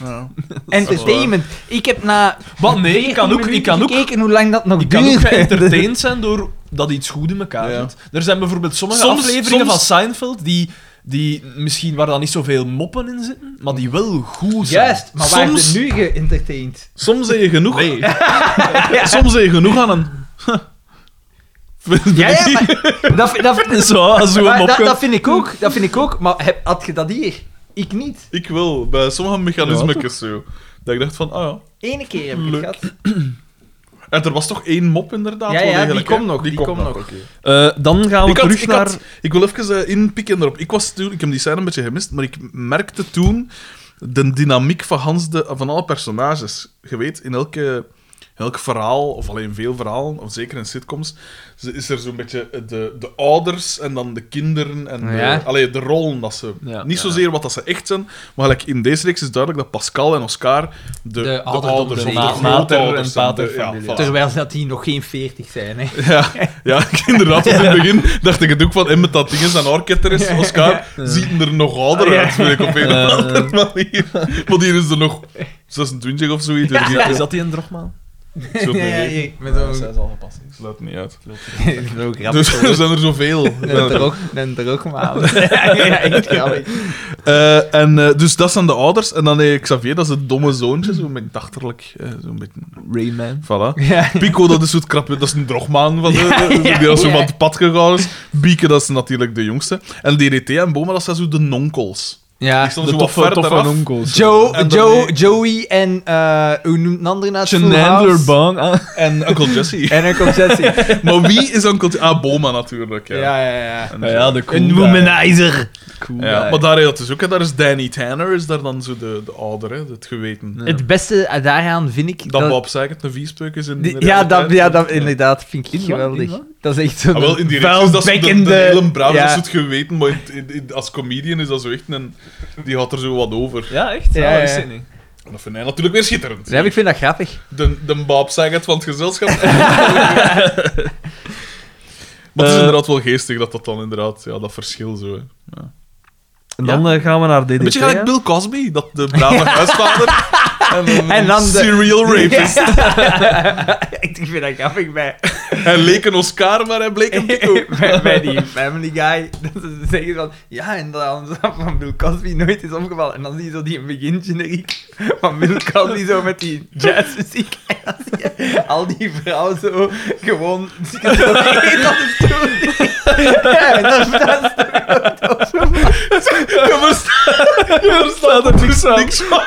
[SPEAKER 2] Ja.
[SPEAKER 1] Entertainment. Ik heb na
[SPEAKER 4] Wat? Nee, ik kan ook- ik kan ook-
[SPEAKER 1] gekeken hoe lang dat nog
[SPEAKER 4] Je kan ook
[SPEAKER 1] duurt.
[SPEAKER 4] geëntertained zijn door dat iets goed in elkaar
[SPEAKER 2] Ja.
[SPEAKER 4] zit. Er zijn bijvoorbeeld sommige
[SPEAKER 2] Soms-
[SPEAKER 4] afleveringen
[SPEAKER 2] soms-
[SPEAKER 4] van Seinfeld die, die misschien waar dan niet zoveel moppen in zitten, maar die wel goed zijn.
[SPEAKER 1] Juist, maar waar
[SPEAKER 2] Soms-
[SPEAKER 1] ze nu geëntertained?
[SPEAKER 2] Soms heb je genoeg...
[SPEAKER 4] Nee.
[SPEAKER 2] Soms heb je genoeg aan een...
[SPEAKER 1] Ja, ja, maar dat, dat,
[SPEAKER 4] Zo, zo
[SPEAKER 1] maar dat,
[SPEAKER 4] een mopje.
[SPEAKER 1] dat vind ik ook, dat vind ik ook. Maar heb, had je dat hier? Ik niet.
[SPEAKER 2] Ik wil, bij sommige mechanismen zo. Dat ik dacht van, ah ja.
[SPEAKER 1] Ene keer heb ik het
[SPEAKER 2] Leuk.
[SPEAKER 1] gehad.
[SPEAKER 2] En er was toch één mop inderdaad?
[SPEAKER 1] Ja,
[SPEAKER 2] wel
[SPEAKER 1] ja, die
[SPEAKER 2] degelijk, hè?
[SPEAKER 1] komt nog, die komt nog.
[SPEAKER 2] oké.
[SPEAKER 4] Eh, dan gaan we
[SPEAKER 2] Ik, had-
[SPEAKER 4] terug
[SPEAKER 2] ik,
[SPEAKER 4] naar...
[SPEAKER 2] had- ik wil even eh, inpikken erop. Ik, was toen, ik heb die scène een beetje gemist, maar ik merkte toen de dynamiek van, Hans de, van alle personages. Je weet, in elke elk verhaal, of alleen veel verhalen, of zeker in sitcoms, z- is er zo'n beetje eh, de, de ouders en dan de kinderen en de,
[SPEAKER 1] Ja.
[SPEAKER 2] allee, de rollen dat ze...
[SPEAKER 4] Ja.
[SPEAKER 2] niet zozeer wat dat ze echt zijn, maar gelijk in deze reeks is duidelijk dat Pascal en Oscar de, de,
[SPEAKER 1] ouderdom
[SPEAKER 2] ouders
[SPEAKER 1] zijn.
[SPEAKER 2] of de
[SPEAKER 1] Ma-
[SPEAKER 4] mater-
[SPEAKER 2] grootouders
[SPEAKER 4] en
[SPEAKER 2] zijn, de-
[SPEAKER 4] paterfamilie.
[SPEAKER 2] ja, voilà.
[SPEAKER 1] Terwijl ze dat die nog geen 40 zijn, hè.
[SPEAKER 2] Ja, ja inderdaad. want In het begin dacht ik het ook van, en met dat ding is aan orketter is, Oscar, ziet hem er nog ouder uit, vind ik op een of andere manier. Want hier is er nog 26 of zoiets. weet ik
[SPEAKER 4] Is
[SPEAKER 2] niet.
[SPEAKER 4] dat die een drogmaan?
[SPEAKER 2] Ik zou het niet
[SPEAKER 1] ja,
[SPEAKER 2] weten.
[SPEAKER 1] hier, met zo'n...
[SPEAKER 4] Zij is al gepast.
[SPEAKER 2] Ik sluit het niet uit.
[SPEAKER 1] Zo grappig.
[SPEAKER 2] Dus er zijn er zoveel.
[SPEAKER 1] Een droog, een droogmaal. ja, ja, echt grappig.
[SPEAKER 2] Eh, en, eh, dus dat zijn de ouders. En dan eh, Xavier, dat is het domme zoontje, zo'n beetje achterlijk. eh, zo'n beetje...
[SPEAKER 4] Rayman.
[SPEAKER 2] Voilà.
[SPEAKER 1] Ja.
[SPEAKER 2] Pico, dat is zo'n krapje, dat is een drogmaan van de,
[SPEAKER 1] ja,
[SPEAKER 2] die als zo
[SPEAKER 1] ja.
[SPEAKER 2] van het pad gegaan is. Bieke, dat is natuurlijk de jongste. En DDT en Boma, dat zijn zo de nonkels.
[SPEAKER 1] Ja.
[SPEAKER 2] Die staan zo wat verder af.
[SPEAKER 4] onkels.
[SPEAKER 1] Joe,
[SPEAKER 2] En dan
[SPEAKER 1] Joe,
[SPEAKER 2] die-
[SPEAKER 1] Joey en... eh hoe noemt een ander naast Full
[SPEAKER 4] Chandler
[SPEAKER 1] House?
[SPEAKER 4] Bang. Ah.
[SPEAKER 2] En Uncle Jesse.
[SPEAKER 1] En een concessie.
[SPEAKER 2] maar wie is Uncle Jesse? Ah, Boma natuurlijk. Ja.
[SPEAKER 1] ja, ja, ja.
[SPEAKER 2] En
[SPEAKER 4] Ja,
[SPEAKER 2] zo.
[SPEAKER 4] ja, de cool guy.
[SPEAKER 1] womanizer.
[SPEAKER 4] Cool
[SPEAKER 2] Ja,
[SPEAKER 4] guy.
[SPEAKER 2] maar daar, dat is ook, hè, daar is Danny Tanner, is daar dan zo de, de ouder, hè, het geweten.
[SPEAKER 4] Ja.
[SPEAKER 1] Het beste daaraan vind ik...
[SPEAKER 2] Dat Bob Saget een viespeuk is in
[SPEAKER 1] die-
[SPEAKER 2] de
[SPEAKER 1] ja, dat, ja,
[SPEAKER 2] realiteit.
[SPEAKER 1] dat, inderdaad vind ik
[SPEAKER 4] In wat?
[SPEAKER 1] geweldig.
[SPEAKER 4] In wat?
[SPEAKER 1] Dat is echt
[SPEAKER 2] Ah, wel, in
[SPEAKER 1] zo'n
[SPEAKER 2] die reeks is dat zo de, de,
[SPEAKER 1] vuilbekkende-
[SPEAKER 2] Ellen Brown,
[SPEAKER 1] ja.
[SPEAKER 2] dat is het geweten, maar in- in- in- als comedian is dat zo echt een... Die had er zo wat over.
[SPEAKER 4] Ja, echt?
[SPEAKER 1] Ja,
[SPEAKER 4] Ja,
[SPEAKER 1] ja.
[SPEAKER 4] dat is niet.
[SPEAKER 2] En dat vind hij natuurlijk weer schitterend.
[SPEAKER 1] Ja, ik vind dat grappig.
[SPEAKER 2] De, de Bob Saget van het gezelschap. maar het is
[SPEAKER 4] Eh,
[SPEAKER 2] inderdaad wel geestig dat dat dan inderdaad... Ja, dat verschil zo, hè.
[SPEAKER 4] En eh,
[SPEAKER 2] dan,
[SPEAKER 4] gaan we naar DDT.
[SPEAKER 2] Een beetje gelijk Bill Cosby, dat de brave huisvader en, een
[SPEAKER 1] En dan de-
[SPEAKER 2] serial rapist.
[SPEAKER 1] ik vind dat grappig bij,
[SPEAKER 2] Hij leek een Oscar, maar hij bleek een Pico.
[SPEAKER 1] bij, bij die Family Guy. Dat ze zeggen van, ja, en dat ons van Bill Cosby nooit is opgevallen. En dan zie je zo die begin-generiek van Bill Cosby zo met die jazzmuziek. En dan zie je al die vrouwen zo gewoon... Ze zitten op de stoel. Ja, en dan staat ze
[SPEAKER 2] Je verstaat, je verstaat er niks van. Niks van.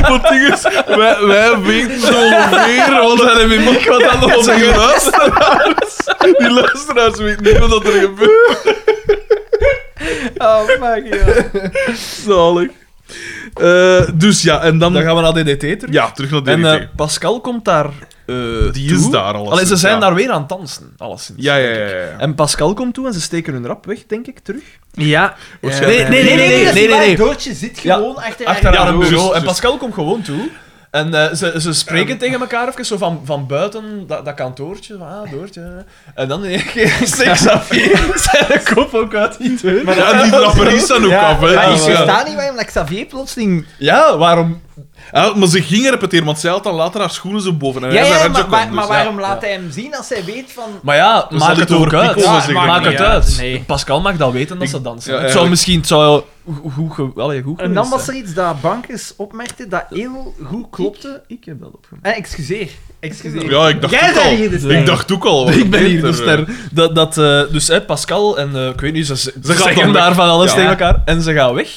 [SPEAKER 2] Want het ding is, wij, wij weten zo ongeveer wat er in mimiek wat aan de onze luisteraars. Die luisteraars weten niet wat er gebeurt.
[SPEAKER 1] Oh, fuck, joh.
[SPEAKER 2] Zalig. Eh, dus ja, en dan...
[SPEAKER 4] Dan gaan we naar DDT terug.
[SPEAKER 2] Ja, terug naar DDT.
[SPEAKER 4] En eh, Pascal komt daar eh,
[SPEAKER 2] Die
[SPEAKER 4] toe.
[SPEAKER 2] is daar al.
[SPEAKER 4] Allee, ze zijn
[SPEAKER 2] ja.
[SPEAKER 4] daar weer aan het dansen, alleszins.
[SPEAKER 2] Ja, ja, ja. ja.
[SPEAKER 4] En Pascal komt toe en ze steken hun rap weg, denk ik, terug.
[SPEAKER 1] Ja.
[SPEAKER 2] Waarschijnlijk.
[SPEAKER 4] Nee, nee, nee, nee, nee, nee, nee.
[SPEAKER 1] Doortje zit
[SPEAKER 4] Ja,
[SPEAKER 1] gewoon achter haar
[SPEAKER 4] Achter haar
[SPEAKER 2] Ja,
[SPEAKER 4] bureau.
[SPEAKER 2] juist,
[SPEAKER 4] en
[SPEAKER 2] juist.
[SPEAKER 4] Pascal komt gewoon toe. En eh, ze, ze spreken tegen elkaar even, zo van, van buiten dat, dat kantoortje. Van, ah, doortje. En dan in één keer steekt Xavier zijn kop ook uit die deur.
[SPEAKER 2] Ja, en die draperies zijn ook af, hè.
[SPEAKER 4] Ah,
[SPEAKER 1] Maar ik
[SPEAKER 2] Dus, ja.
[SPEAKER 1] versta niet waarom dat Xavier plotseling...
[SPEAKER 4] Ja, waarom?
[SPEAKER 2] Ja, Ah, maar ze ging repeteren, want zij had dan later haar schoenen zo boven. En
[SPEAKER 1] Ja,
[SPEAKER 2] hij
[SPEAKER 1] ja,
[SPEAKER 2] zijn
[SPEAKER 1] maar,
[SPEAKER 2] rentje
[SPEAKER 1] maar,
[SPEAKER 2] kon,
[SPEAKER 1] maar
[SPEAKER 2] dus, ja.
[SPEAKER 1] waarom laat hij hem zien als hij weet van...
[SPEAKER 4] Maar ja, maak
[SPEAKER 2] hadden
[SPEAKER 4] het
[SPEAKER 2] het
[SPEAKER 4] ook
[SPEAKER 2] over
[SPEAKER 4] uit.
[SPEAKER 2] Pico,
[SPEAKER 4] Ja,
[SPEAKER 2] zeg
[SPEAKER 4] maak
[SPEAKER 2] maar.
[SPEAKER 4] het
[SPEAKER 1] Ja,
[SPEAKER 4] uit.
[SPEAKER 1] nee.
[SPEAKER 4] Pascal mag dat weten dat
[SPEAKER 2] Ik-
[SPEAKER 4] ze dansen.
[SPEAKER 2] ja,
[SPEAKER 4] het zou
[SPEAKER 2] eigenlijk-
[SPEAKER 4] misschien het zou goed, goed, ge- allee, goed
[SPEAKER 1] En dan
[SPEAKER 4] geweest
[SPEAKER 1] was
[SPEAKER 4] zijn.
[SPEAKER 1] er iets dat Bankers opmerkte dat heel goed klopte.
[SPEAKER 4] Ik, ik heb dat opgemerkt.
[SPEAKER 1] Eh, excuseer. Excuseer.
[SPEAKER 2] Ja, ik dacht
[SPEAKER 1] Jij
[SPEAKER 2] ook al.
[SPEAKER 1] bent hier dus de ster.
[SPEAKER 2] Ik dacht ook al. wat
[SPEAKER 4] Ik ben hier de
[SPEAKER 2] gebeurt er,
[SPEAKER 4] ster. Dat, dat, eh, dus hè, Pascal en eh, ik weet niet, ze, ze
[SPEAKER 2] gaat dan
[SPEAKER 4] zeggen
[SPEAKER 2] weg.
[SPEAKER 4] daar van alles
[SPEAKER 2] Ja.
[SPEAKER 4] tegen elkaar en ze gaan weg.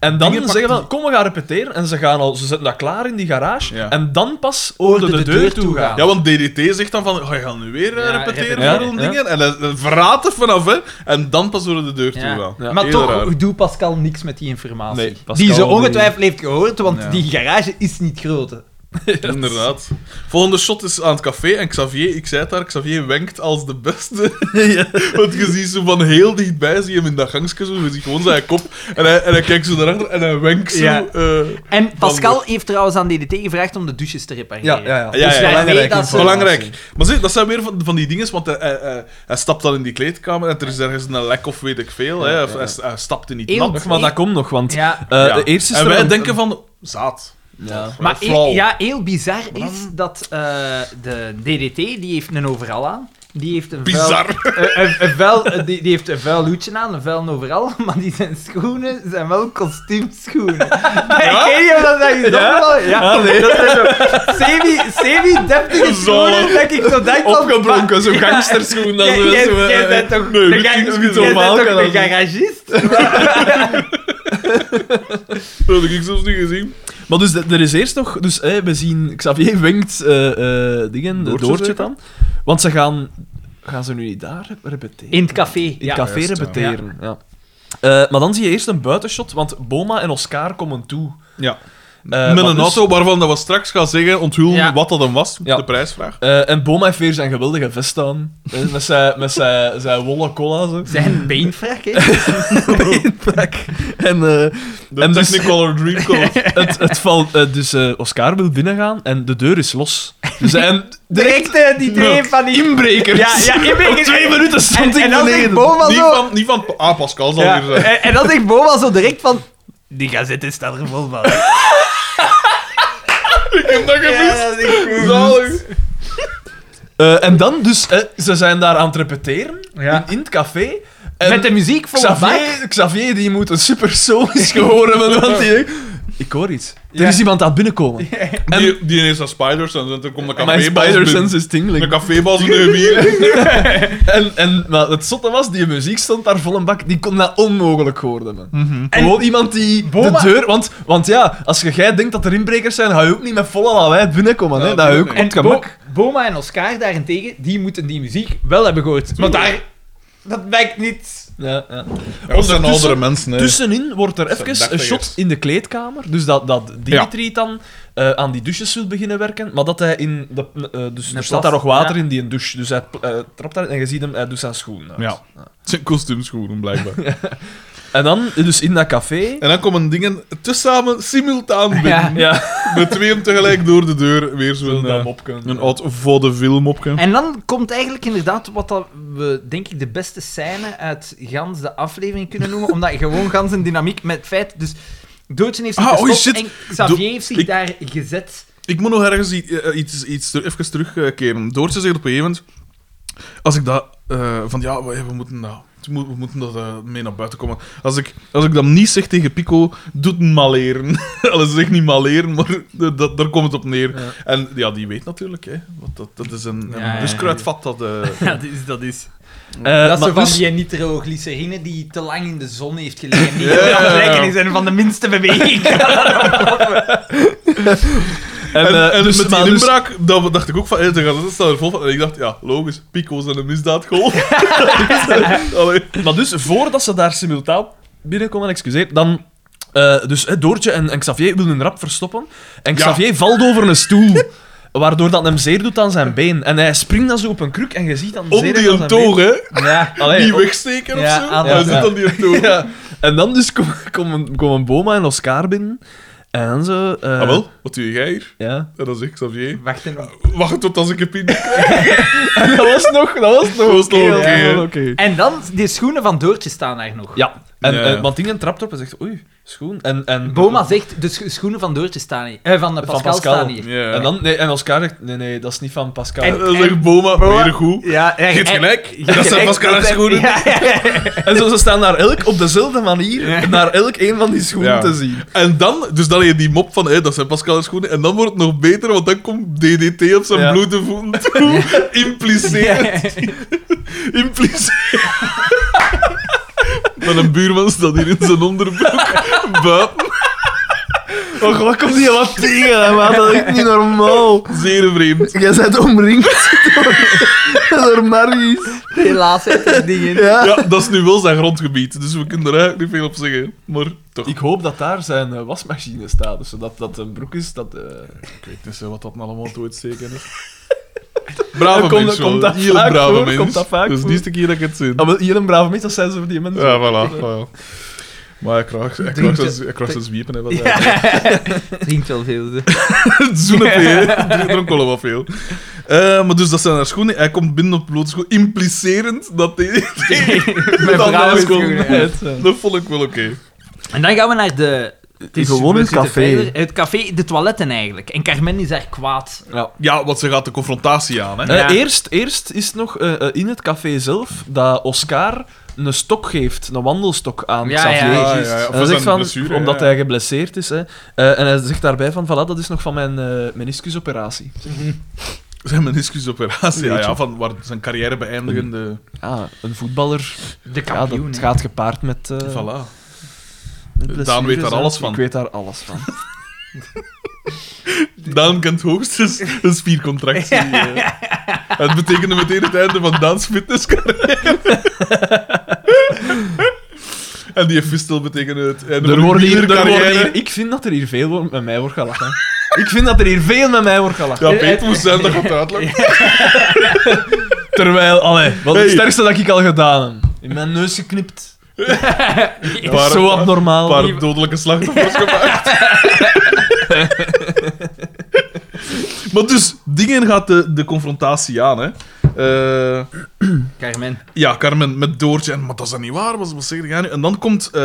[SPEAKER 4] En dan
[SPEAKER 2] Dingen pakt
[SPEAKER 4] zeggen van, kom we gaan repeteren. En ze, gaan al, ze zetten dat klaar in die garage.
[SPEAKER 2] Ja.
[SPEAKER 4] En dan pas
[SPEAKER 1] Oh,
[SPEAKER 4] hoorde de, deur toe gaan.
[SPEAKER 2] Ja, want DDT zegt dan van, ga je gaan nu weer eh,
[SPEAKER 1] Ja,
[SPEAKER 2] repeteren
[SPEAKER 1] repeteren.
[SPEAKER 2] voor
[SPEAKER 4] Ja,
[SPEAKER 2] dingen? En hij hij verraadt er vanaf, hè. En dan pas door de deur toe
[SPEAKER 1] Ja.
[SPEAKER 2] gaan.
[SPEAKER 4] Ja.
[SPEAKER 1] Maar
[SPEAKER 2] Heel
[SPEAKER 1] toch
[SPEAKER 2] raar.
[SPEAKER 1] doet Pascal niks met die informatie.
[SPEAKER 4] Nee, Pascal
[SPEAKER 1] die ze
[SPEAKER 4] die-
[SPEAKER 1] ongetwijfeld heeft gehoord, want
[SPEAKER 2] Ja.
[SPEAKER 1] die garage is niet groot. hè.
[SPEAKER 2] Inderdaad. Volgende shot is aan het café en Xavier, ik zei het daar, Xavier wenkt als de beste. Want je ziet zo van heel dichtbij, zie je hem in dat gangstje zo, je ziet gewoon zijn kop. En hij, en hij kijkt zo naar achter en hij wenkt zo.
[SPEAKER 1] Ja.
[SPEAKER 2] eh,
[SPEAKER 1] En Pascal heeft trouwens aan DDT gevraagd om de douches te repareren.
[SPEAKER 2] Ja, ja,
[SPEAKER 1] Dus wij
[SPEAKER 2] ja.
[SPEAKER 1] weten
[SPEAKER 4] Belangrijk
[SPEAKER 1] dat ze...
[SPEAKER 4] informatie.
[SPEAKER 2] Belangrijk. Maar zie, dat zijn weer van, van die dingen, want hij, hij, hij- hij stapt dan in die kleedkamer en er is ergens een lek of weet ik veel. hè, of
[SPEAKER 4] ja.
[SPEAKER 2] Hij, hij stapt in die
[SPEAKER 1] Heel-
[SPEAKER 2] nat.
[SPEAKER 4] Nog, maar dat komt nog, want
[SPEAKER 1] Ja.
[SPEAKER 4] eh,
[SPEAKER 2] Ja.
[SPEAKER 4] de eerste is
[SPEAKER 2] en
[SPEAKER 4] er
[SPEAKER 2] wij
[SPEAKER 4] een-
[SPEAKER 2] denken van, zaad.
[SPEAKER 4] Ja.
[SPEAKER 1] Maar
[SPEAKER 2] Eh, flauw.
[SPEAKER 1] heel, ja, heel bizar
[SPEAKER 2] dan-
[SPEAKER 1] is dat eh, de DDT, die heeft een overal aan. Die heeft een vuil,
[SPEAKER 2] Bizar.
[SPEAKER 1] eh, een- een vuil, eh, die, die heeft een vuil hoedje aan, een vuil overal, maar die zijn schoenen zijn wel kostuumschoenen. Ik weet niet of dat is
[SPEAKER 4] Ja?
[SPEAKER 1] opgevallen. Ja,
[SPEAKER 4] Ah,
[SPEAKER 1] dat zijn zo semi, semi-deftige schoenen, dat ik zo denk van...
[SPEAKER 4] Opgebronken, zo'n gangsterschoen. Dat
[SPEAKER 1] Jij-
[SPEAKER 4] zo,
[SPEAKER 1] jij-
[SPEAKER 4] zo, eh,
[SPEAKER 1] Jij bent toch
[SPEAKER 2] nee,
[SPEAKER 1] de
[SPEAKER 2] dit
[SPEAKER 1] ga-
[SPEAKER 2] is niet
[SPEAKER 1] jij
[SPEAKER 4] normaal,
[SPEAKER 1] bent
[SPEAKER 4] kan
[SPEAKER 1] toch
[SPEAKER 4] dat
[SPEAKER 1] de
[SPEAKER 4] niet.
[SPEAKER 1] garagist?
[SPEAKER 2] Dat heb ik zelfs niet gezien.
[SPEAKER 4] Maar dus d- er is eerst nog, dus eh, we zien Xavier wenkt eh, eh, dingen,
[SPEAKER 2] Doortje
[SPEAKER 4] Doortje, doortje
[SPEAKER 2] zeker?
[SPEAKER 4] dan. Want ze gaan, gaan ze nu niet daar rep- repeteren?
[SPEAKER 1] In het café,
[SPEAKER 4] In
[SPEAKER 1] ja.
[SPEAKER 4] café
[SPEAKER 2] Juist, ja.
[SPEAKER 4] repeteren, ja. Eh, maar dan zie je eerst een buitenshot, want Boma en Oscar komen toe.
[SPEAKER 2] Ja.
[SPEAKER 4] Eh,
[SPEAKER 2] Met
[SPEAKER 4] maar
[SPEAKER 2] een
[SPEAKER 4] dus-
[SPEAKER 2] auto waarvan dat we straks gaan zeggen, onthullen
[SPEAKER 1] Ja.
[SPEAKER 2] wat dat dan was,
[SPEAKER 4] Ja.
[SPEAKER 2] de prijsvraag.
[SPEAKER 4] Eh, en Boma heeft weer zijn geweldige vest aan. Eh, met zijn, met zijn, zijn wollen cola zo.
[SPEAKER 1] Zijn beenvrak, hè?
[SPEAKER 4] En, eh,
[SPEAKER 2] De
[SPEAKER 4] En dus-
[SPEAKER 2] Technicolor Dreamcoat.
[SPEAKER 4] het, het valt, eh, dus eh, Oscar wil binnengaan en de deur is los. Dus zijn direct
[SPEAKER 1] Direct eh, die twee van die...
[SPEAKER 4] inbrekers.
[SPEAKER 1] Ja, ja, inbrekers.
[SPEAKER 4] Op twee minuten stond
[SPEAKER 1] En,
[SPEAKER 4] ik
[SPEAKER 1] en dan zegt
[SPEAKER 4] beneden.
[SPEAKER 1] Boma
[SPEAKER 2] niet,
[SPEAKER 1] zo...
[SPEAKER 2] van, niet van... Ah, Pascal zal
[SPEAKER 1] Ja,
[SPEAKER 2] weer zijn.
[SPEAKER 1] en, en dan zegt Boma zo direct van... Die gazette staat er vol van.
[SPEAKER 2] Ik heb dat gemist.
[SPEAKER 1] dat is goed.
[SPEAKER 2] Zalig.
[SPEAKER 4] Eh, en dan dus, eh, ze zijn daar aan het repeteren
[SPEAKER 1] Ja.
[SPEAKER 4] in, in het café. En
[SPEAKER 1] Met de muziek voor de bak.
[SPEAKER 4] Xavier, Xavier die moet een supersonisch gehoor hebben, want die denkt, ik hoor iets. Er
[SPEAKER 1] Ja.
[SPEAKER 4] is iemand aan het binnenkomen.
[SPEAKER 2] Die, die ineens aan Spider-Sense en toen komt de
[SPEAKER 4] Mijn
[SPEAKER 2] cafébas binnen.
[SPEAKER 4] Spider-Sense is
[SPEAKER 2] De
[SPEAKER 4] tingling.
[SPEAKER 2] cafébas in de bier.
[SPEAKER 4] En, en maar het zotte was, die muziek stond daar vol een bak. Die kon dat onmogelijk horen, man. Gewoon iemand die
[SPEAKER 1] Mhm. Boma-
[SPEAKER 4] de deur... Want, want ja, als je jij denkt dat er inbrekers zijn, ga je ook niet met volle lawaai binnenkomen.
[SPEAKER 2] Ja,
[SPEAKER 4] hè. Dat ga je ook
[SPEAKER 2] tuurlijk.
[SPEAKER 4] op
[SPEAKER 1] En
[SPEAKER 4] het gemak.
[SPEAKER 1] Bo- Boma en Oscar daarentegen, die moeten die muziek wel hebben gehoord. Want daar... Dat blijkt niet...
[SPEAKER 4] Ja, ja.
[SPEAKER 2] Ja, dat zijn
[SPEAKER 4] Ondertussen-
[SPEAKER 2] oudere mensen, hè.
[SPEAKER 4] Tussenin wordt er
[SPEAKER 2] Dat zijn
[SPEAKER 4] even een shot
[SPEAKER 2] dagveggers.
[SPEAKER 4] in de kleedkamer. Dus dat, dat Dimitri dan eh, aan die douches wil beginnen werken. Maar dat hij in. De, eh, dus
[SPEAKER 1] plas,
[SPEAKER 4] er staat daar nog water
[SPEAKER 1] ja.
[SPEAKER 4] in die douche. Dus hij eh, trapt daarin en je ziet hem, hij doet zijn schoenen uit.
[SPEAKER 2] Ja. Het zijn kostuumschoenen, blijkbaar.
[SPEAKER 4] En dan, eh, dus in dat café.
[SPEAKER 2] En dan komen dingen tezamen simultaan binnen.
[SPEAKER 4] Ja,
[SPEAKER 2] Met tweeën tegelijk door de deur. Weer zo'n
[SPEAKER 4] dat
[SPEAKER 2] eh,
[SPEAKER 4] mopken.
[SPEAKER 2] een oud vaudeville mopje.
[SPEAKER 1] En dan komt eigenlijk inderdaad wat dat we, denk ik, de beste scène uit gans de aflevering kunnen noemen. omdat gewoon gans een dynamiek met het feit... Dus Doodje heeft zich
[SPEAKER 2] Ah, oei,
[SPEAKER 1] gestopt
[SPEAKER 2] shit.
[SPEAKER 1] en Xavier
[SPEAKER 2] Do-
[SPEAKER 1] heeft zich
[SPEAKER 2] ik-
[SPEAKER 1] daar gezet.
[SPEAKER 2] Ik moet nog ergens i- eh, iets, iets ter- even terugkeren. Doortje zegt op een gegeven moment... Als ik dat... eh, van ja, we, we moeten dat... We mo- we moeten dat eh, mee naar buiten komen. Als ik, als ik dat niet zeg tegen Pico, doet het maleren. Alles zegt niet maleren, maar dat, dat- daar komt het op neer. En ja, die weet natuurlijk, hè. Want dat, dat is een, een
[SPEAKER 1] ja, ja.
[SPEAKER 2] buskruidvat dat... eh,
[SPEAKER 1] Ja, dat is... Dat is,
[SPEAKER 4] Eh,
[SPEAKER 1] dat is
[SPEAKER 4] maar
[SPEAKER 1] zo van
[SPEAKER 4] dus-
[SPEAKER 1] die nitroglycerine die te lang in de zon heeft gelegen. Niet
[SPEAKER 2] Ja.
[SPEAKER 1] yeah. is en van de minste beweging.
[SPEAKER 4] en,
[SPEAKER 2] En,
[SPEAKER 4] eh,
[SPEAKER 2] en
[SPEAKER 4] dus-
[SPEAKER 2] met
[SPEAKER 4] maar
[SPEAKER 2] die
[SPEAKER 4] dus-
[SPEAKER 2] inbraak, dat dacht ik ook van, hey, de gazette staat er vol van. En ik dacht, ja, logisch, pico's en een misdaadgolf. Allee.
[SPEAKER 4] Maar dus, voordat ze daar simultaan binnenkomen, excuseer, dan... eh, dus eh, Doortje en, en Xavier willen hun rap verstoppen. En Xavier valt over een stoel. Waardoor dat hem zeer doet aan zijn been. En hij springt dan zo op een kruk en je ziet dan
[SPEAKER 2] Om
[SPEAKER 4] zeer
[SPEAKER 2] die
[SPEAKER 4] aan
[SPEAKER 2] een
[SPEAKER 4] zijn
[SPEAKER 2] toog, hè.
[SPEAKER 1] ja.
[SPEAKER 4] been. Allee,
[SPEAKER 2] Niet
[SPEAKER 4] op-
[SPEAKER 2] wegsteken
[SPEAKER 1] Ja,
[SPEAKER 2] of zo.
[SPEAKER 1] ah,
[SPEAKER 2] Hij
[SPEAKER 4] dat-
[SPEAKER 2] zit
[SPEAKER 4] ja.
[SPEAKER 2] aan die een toog.
[SPEAKER 4] ja. En dan dus kom- komen komen Boma en Oscar binnen. En dan zo... eh,
[SPEAKER 2] Ah wel, wat doe jij hier?
[SPEAKER 4] Ja.
[SPEAKER 2] En dan zeg ik, Xavier,
[SPEAKER 1] Wachten op.
[SPEAKER 2] wacht tot als ik een pin krijg.
[SPEAKER 4] En dat was nog... Dat was nog
[SPEAKER 2] Dat was
[SPEAKER 4] oké.
[SPEAKER 2] nog
[SPEAKER 4] dat
[SPEAKER 2] oké,
[SPEAKER 4] was
[SPEAKER 2] hè.
[SPEAKER 4] nog oké.
[SPEAKER 1] En dan, die schoenen van Doortje staan daar nog.
[SPEAKER 4] Ja. En,
[SPEAKER 2] Ja.
[SPEAKER 4] eh, want dingen trapt op en zegt... Oei, schoen. En, en,
[SPEAKER 1] Boma zegt, de scho- schoenen van Doortje staan hier. Eh, van, de
[SPEAKER 4] Van
[SPEAKER 1] Pascal,
[SPEAKER 4] Pascal.
[SPEAKER 1] staan hier.
[SPEAKER 2] Ja.
[SPEAKER 4] En, dan, nee, en Oscar zegt... Nee, nee, dat is niet van Pascal.
[SPEAKER 1] En-
[SPEAKER 2] Dan zegt Boma, weer goed.
[SPEAKER 1] Ja,
[SPEAKER 2] Je hebt gelijk. Dat zijn Pascal's schoenen.
[SPEAKER 1] Ja, ja, ja.
[SPEAKER 4] En zo, ze staan daar elk op dezelfde manier naar elk een van die schoenen
[SPEAKER 2] Ja.
[SPEAKER 4] te zien.
[SPEAKER 2] En dan, dus dan heb je die mop van, hé, dat zijn Pascal's schoenen. En dan wordt het nog beter, want dan komt DDT op zijn
[SPEAKER 4] Ja.
[SPEAKER 2] blote voeten toe. Impliceert. Impliceert. Met een buurman staat hier in zijn onderbroek. Buiten.
[SPEAKER 4] Och, wat komt hier wat tegen, hè, maat? Dat is niet normaal.
[SPEAKER 2] Zeer vreemd.
[SPEAKER 4] Jij bent omringd door, door Marius.
[SPEAKER 1] Helaas heeft hij dingen.
[SPEAKER 4] Ja.
[SPEAKER 2] Ja, dat is nu wel zijn grondgebied, dus we kunnen er eigenlijk niet veel op zeggen. Maar toch.
[SPEAKER 4] Ik hoop dat daar zijn eh, wasmachine staat, dus zodat dat een broek is dat... eh,
[SPEAKER 2] Ik weet niet zo wat dat nou allemaal te uitsteken is.
[SPEAKER 4] Ja,
[SPEAKER 2] Brave
[SPEAKER 4] komt-
[SPEAKER 2] mens, wel.
[SPEAKER 4] komt dat
[SPEAKER 2] Heel
[SPEAKER 4] vaak
[SPEAKER 2] brave
[SPEAKER 4] voor?
[SPEAKER 2] mens.
[SPEAKER 4] Komt dat vaak
[SPEAKER 2] Dus
[SPEAKER 4] voor?
[SPEAKER 2] niet de keer dat ik het zie.
[SPEAKER 4] Ah, wel, hier een brave mens, dat zijn zo voor die mensen.
[SPEAKER 2] Ja, voilà. voilà. Maar hij kraakt hij kraakt zijn- hij kraakt zijn zwiepen. hè, wat hij-
[SPEAKER 1] Drinkt wel veel. dus. ze.
[SPEAKER 2] Het zoenepje, hè. dronk wel wat veel. Eh, maar dus dat zijn haar schoenen. Hij komt binnen op blote schoenen, implicerend dat hij...
[SPEAKER 1] Mijn
[SPEAKER 2] Dat
[SPEAKER 1] vrouw
[SPEAKER 2] is
[SPEAKER 1] is
[SPEAKER 2] gewoon
[SPEAKER 1] goed, ja.
[SPEAKER 4] Het, eh.
[SPEAKER 2] Dat vond ik wel oké.
[SPEAKER 1] En dan gaan we naar de... Het
[SPEAKER 4] is gewoon
[SPEAKER 1] we
[SPEAKER 4] een
[SPEAKER 1] zitten
[SPEAKER 4] café.
[SPEAKER 1] verder. Het café, de toiletten eigenlijk. En Carmen is daar kwaad.
[SPEAKER 2] Ja, want ze gaat de confrontatie aan, hè.
[SPEAKER 4] Eh,
[SPEAKER 1] Ja.
[SPEAKER 4] eerst, eerst is het nog eh, eh, in het café zelf dat Oscar een stok geeft, een wandelstok aan
[SPEAKER 1] Ja,
[SPEAKER 4] Xavier.
[SPEAKER 1] ja,
[SPEAKER 2] Ah, ja,
[SPEAKER 1] juist.
[SPEAKER 2] ja. Of
[SPEAKER 4] En hij
[SPEAKER 2] is
[SPEAKER 4] zegt
[SPEAKER 2] dat
[SPEAKER 4] van,
[SPEAKER 2] een blessure,
[SPEAKER 4] omdat
[SPEAKER 2] ja.
[SPEAKER 4] hij geblesseerd is. Hè. Eh, en hij zegt daarbij van, voilà, dat is nog van mijn eh meniscusoperatie.
[SPEAKER 2] Zijn meniscusoperatie, ja,
[SPEAKER 4] Weet je.
[SPEAKER 2] ja, van waar zijn carrière beëindigende...
[SPEAKER 4] Ja, een voetballer,
[SPEAKER 1] De
[SPEAKER 4] ja, dat
[SPEAKER 1] kampioen. hè.
[SPEAKER 4] gaat gepaard met, eh
[SPEAKER 2] Voilà.
[SPEAKER 4] met blessures,
[SPEAKER 2] weet daar
[SPEAKER 4] hè.
[SPEAKER 2] alles van.
[SPEAKER 4] Ik weet daar alles van.
[SPEAKER 2] Daan kent hoogstens een spiercontractie. eh. Het betekende meteen het einde van Daans fitnesscarrière. En die fistel betekent het. En
[SPEAKER 4] Er worden hier, er worden hier, ik vind dat er hier veel wordt- met mij wordt gelachen. ik vind dat er hier veel met mij wordt gelachen.
[SPEAKER 2] Ja, Peet moest zijn dat gaat uitleggen.
[SPEAKER 4] Terwijl, allee, wat
[SPEAKER 2] Hey.
[SPEAKER 4] het sterkste dat ik al gedaan heb. In mijn neus geknipt.
[SPEAKER 2] Een
[SPEAKER 4] Dat is zo abnormaal.
[SPEAKER 2] Een paar dodelijke slachtoffers gemaakt. maar dus, dingen gaat de, de confrontatie aan, hè. Eh,
[SPEAKER 1] Carmen.
[SPEAKER 2] ja, Carmen met Doortje. En, maar dat is dan niet waar, wat, wat zeg jij nu? En dan komt eh,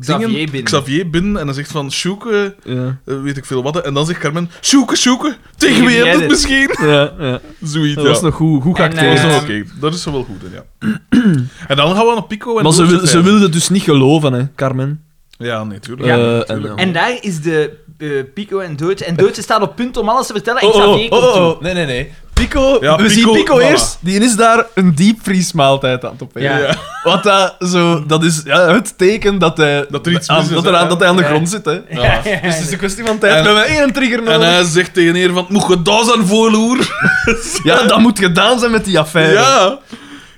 [SPEAKER 1] Xavier
[SPEAKER 2] dingen-
[SPEAKER 1] binnen.
[SPEAKER 2] Xavier binnen en dan zegt van... Sjoeke,
[SPEAKER 4] Ja,
[SPEAKER 2] eh, weet ik veel wat. hè. En dan zegt Carmen... Sjoeke, Sjoeke, tegen
[SPEAKER 1] jij
[SPEAKER 2] wie hebt het
[SPEAKER 1] dit?
[SPEAKER 2] misschien?
[SPEAKER 4] ja, ja.
[SPEAKER 2] Zoiets,
[SPEAKER 4] Dat was
[SPEAKER 2] ja.
[SPEAKER 4] nog goed, goed
[SPEAKER 1] En,
[SPEAKER 4] geacteerd.
[SPEAKER 1] eh,
[SPEAKER 2] Dat is nog oké. Dat is zo wel goed, hè, ja. en dan gaan we naar Pico en
[SPEAKER 4] maar ze,
[SPEAKER 2] Doortje
[SPEAKER 4] wil, ze
[SPEAKER 2] zijn.
[SPEAKER 4] wilde dus niet geloven, hè, Carmen.
[SPEAKER 2] Ja, nee, tuurlijk.
[SPEAKER 1] Ja.
[SPEAKER 4] Eh,
[SPEAKER 2] tuurlijk.
[SPEAKER 4] en-
[SPEAKER 1] En daar is de eh, Pico en Doodje. En Doodje staat op punt om alles te vertellen. En
[SPEAKER 4] Oh, oh,
[SPEAKER 1] Xavier
[SPEAKER 4] oh,
[SPEAKER 1] komt
[SPEAKER 4] oh,
[SPEAKER 1] toe.
[SPEAKER 4] oh, nee, nee, nee. Pico,
[SPEAKER 2] Ja,
[SPEAKER 4] we
[SPEAKER 2] Pico,
[SPEAKER 4] zien Pico
[SPEAKER 2] voilà.
[SPEAKER 4] eerst. Die is daar een diepvriesmaaltijd aan het opeten.
[SPEAKER 1] Ja.
[SPEAKER 2] Ja.
[SPEAKER 4] Wat dat zo... Dat is ja, het teken dat hij...
[SPEAKER 2] Dat er iets
[SPEAKER 4] aan,
[SPEAKER 2] mis is,
[SPEAKER 4] dat, er
[SPEAKER 2] hè?
[SPEAKER 4] aan, dat hij aan de
[SPEAKER 1] Ja.
[SPEAKER 4] grond zit, hè.
[SPEAKER 1] Ja, ja,
[SPEAKER 4] Dus het is
[SPEAKER 1] ja.
[SPEAKER 4] een kwestie van tijd.
[SPEAKER 2] En-
[SPEAKER 4] We hebben één trigger
[SPEAKER 2] En
[SPEAKER 4] nodig.
[SPEAKER 2] hij zegt tegen Eer van, moet je dat zijn voorloer?
[SPEAKER 4] ja, dat moet gedaan zijn met die affaire.
[SPEAKER 2] Ja.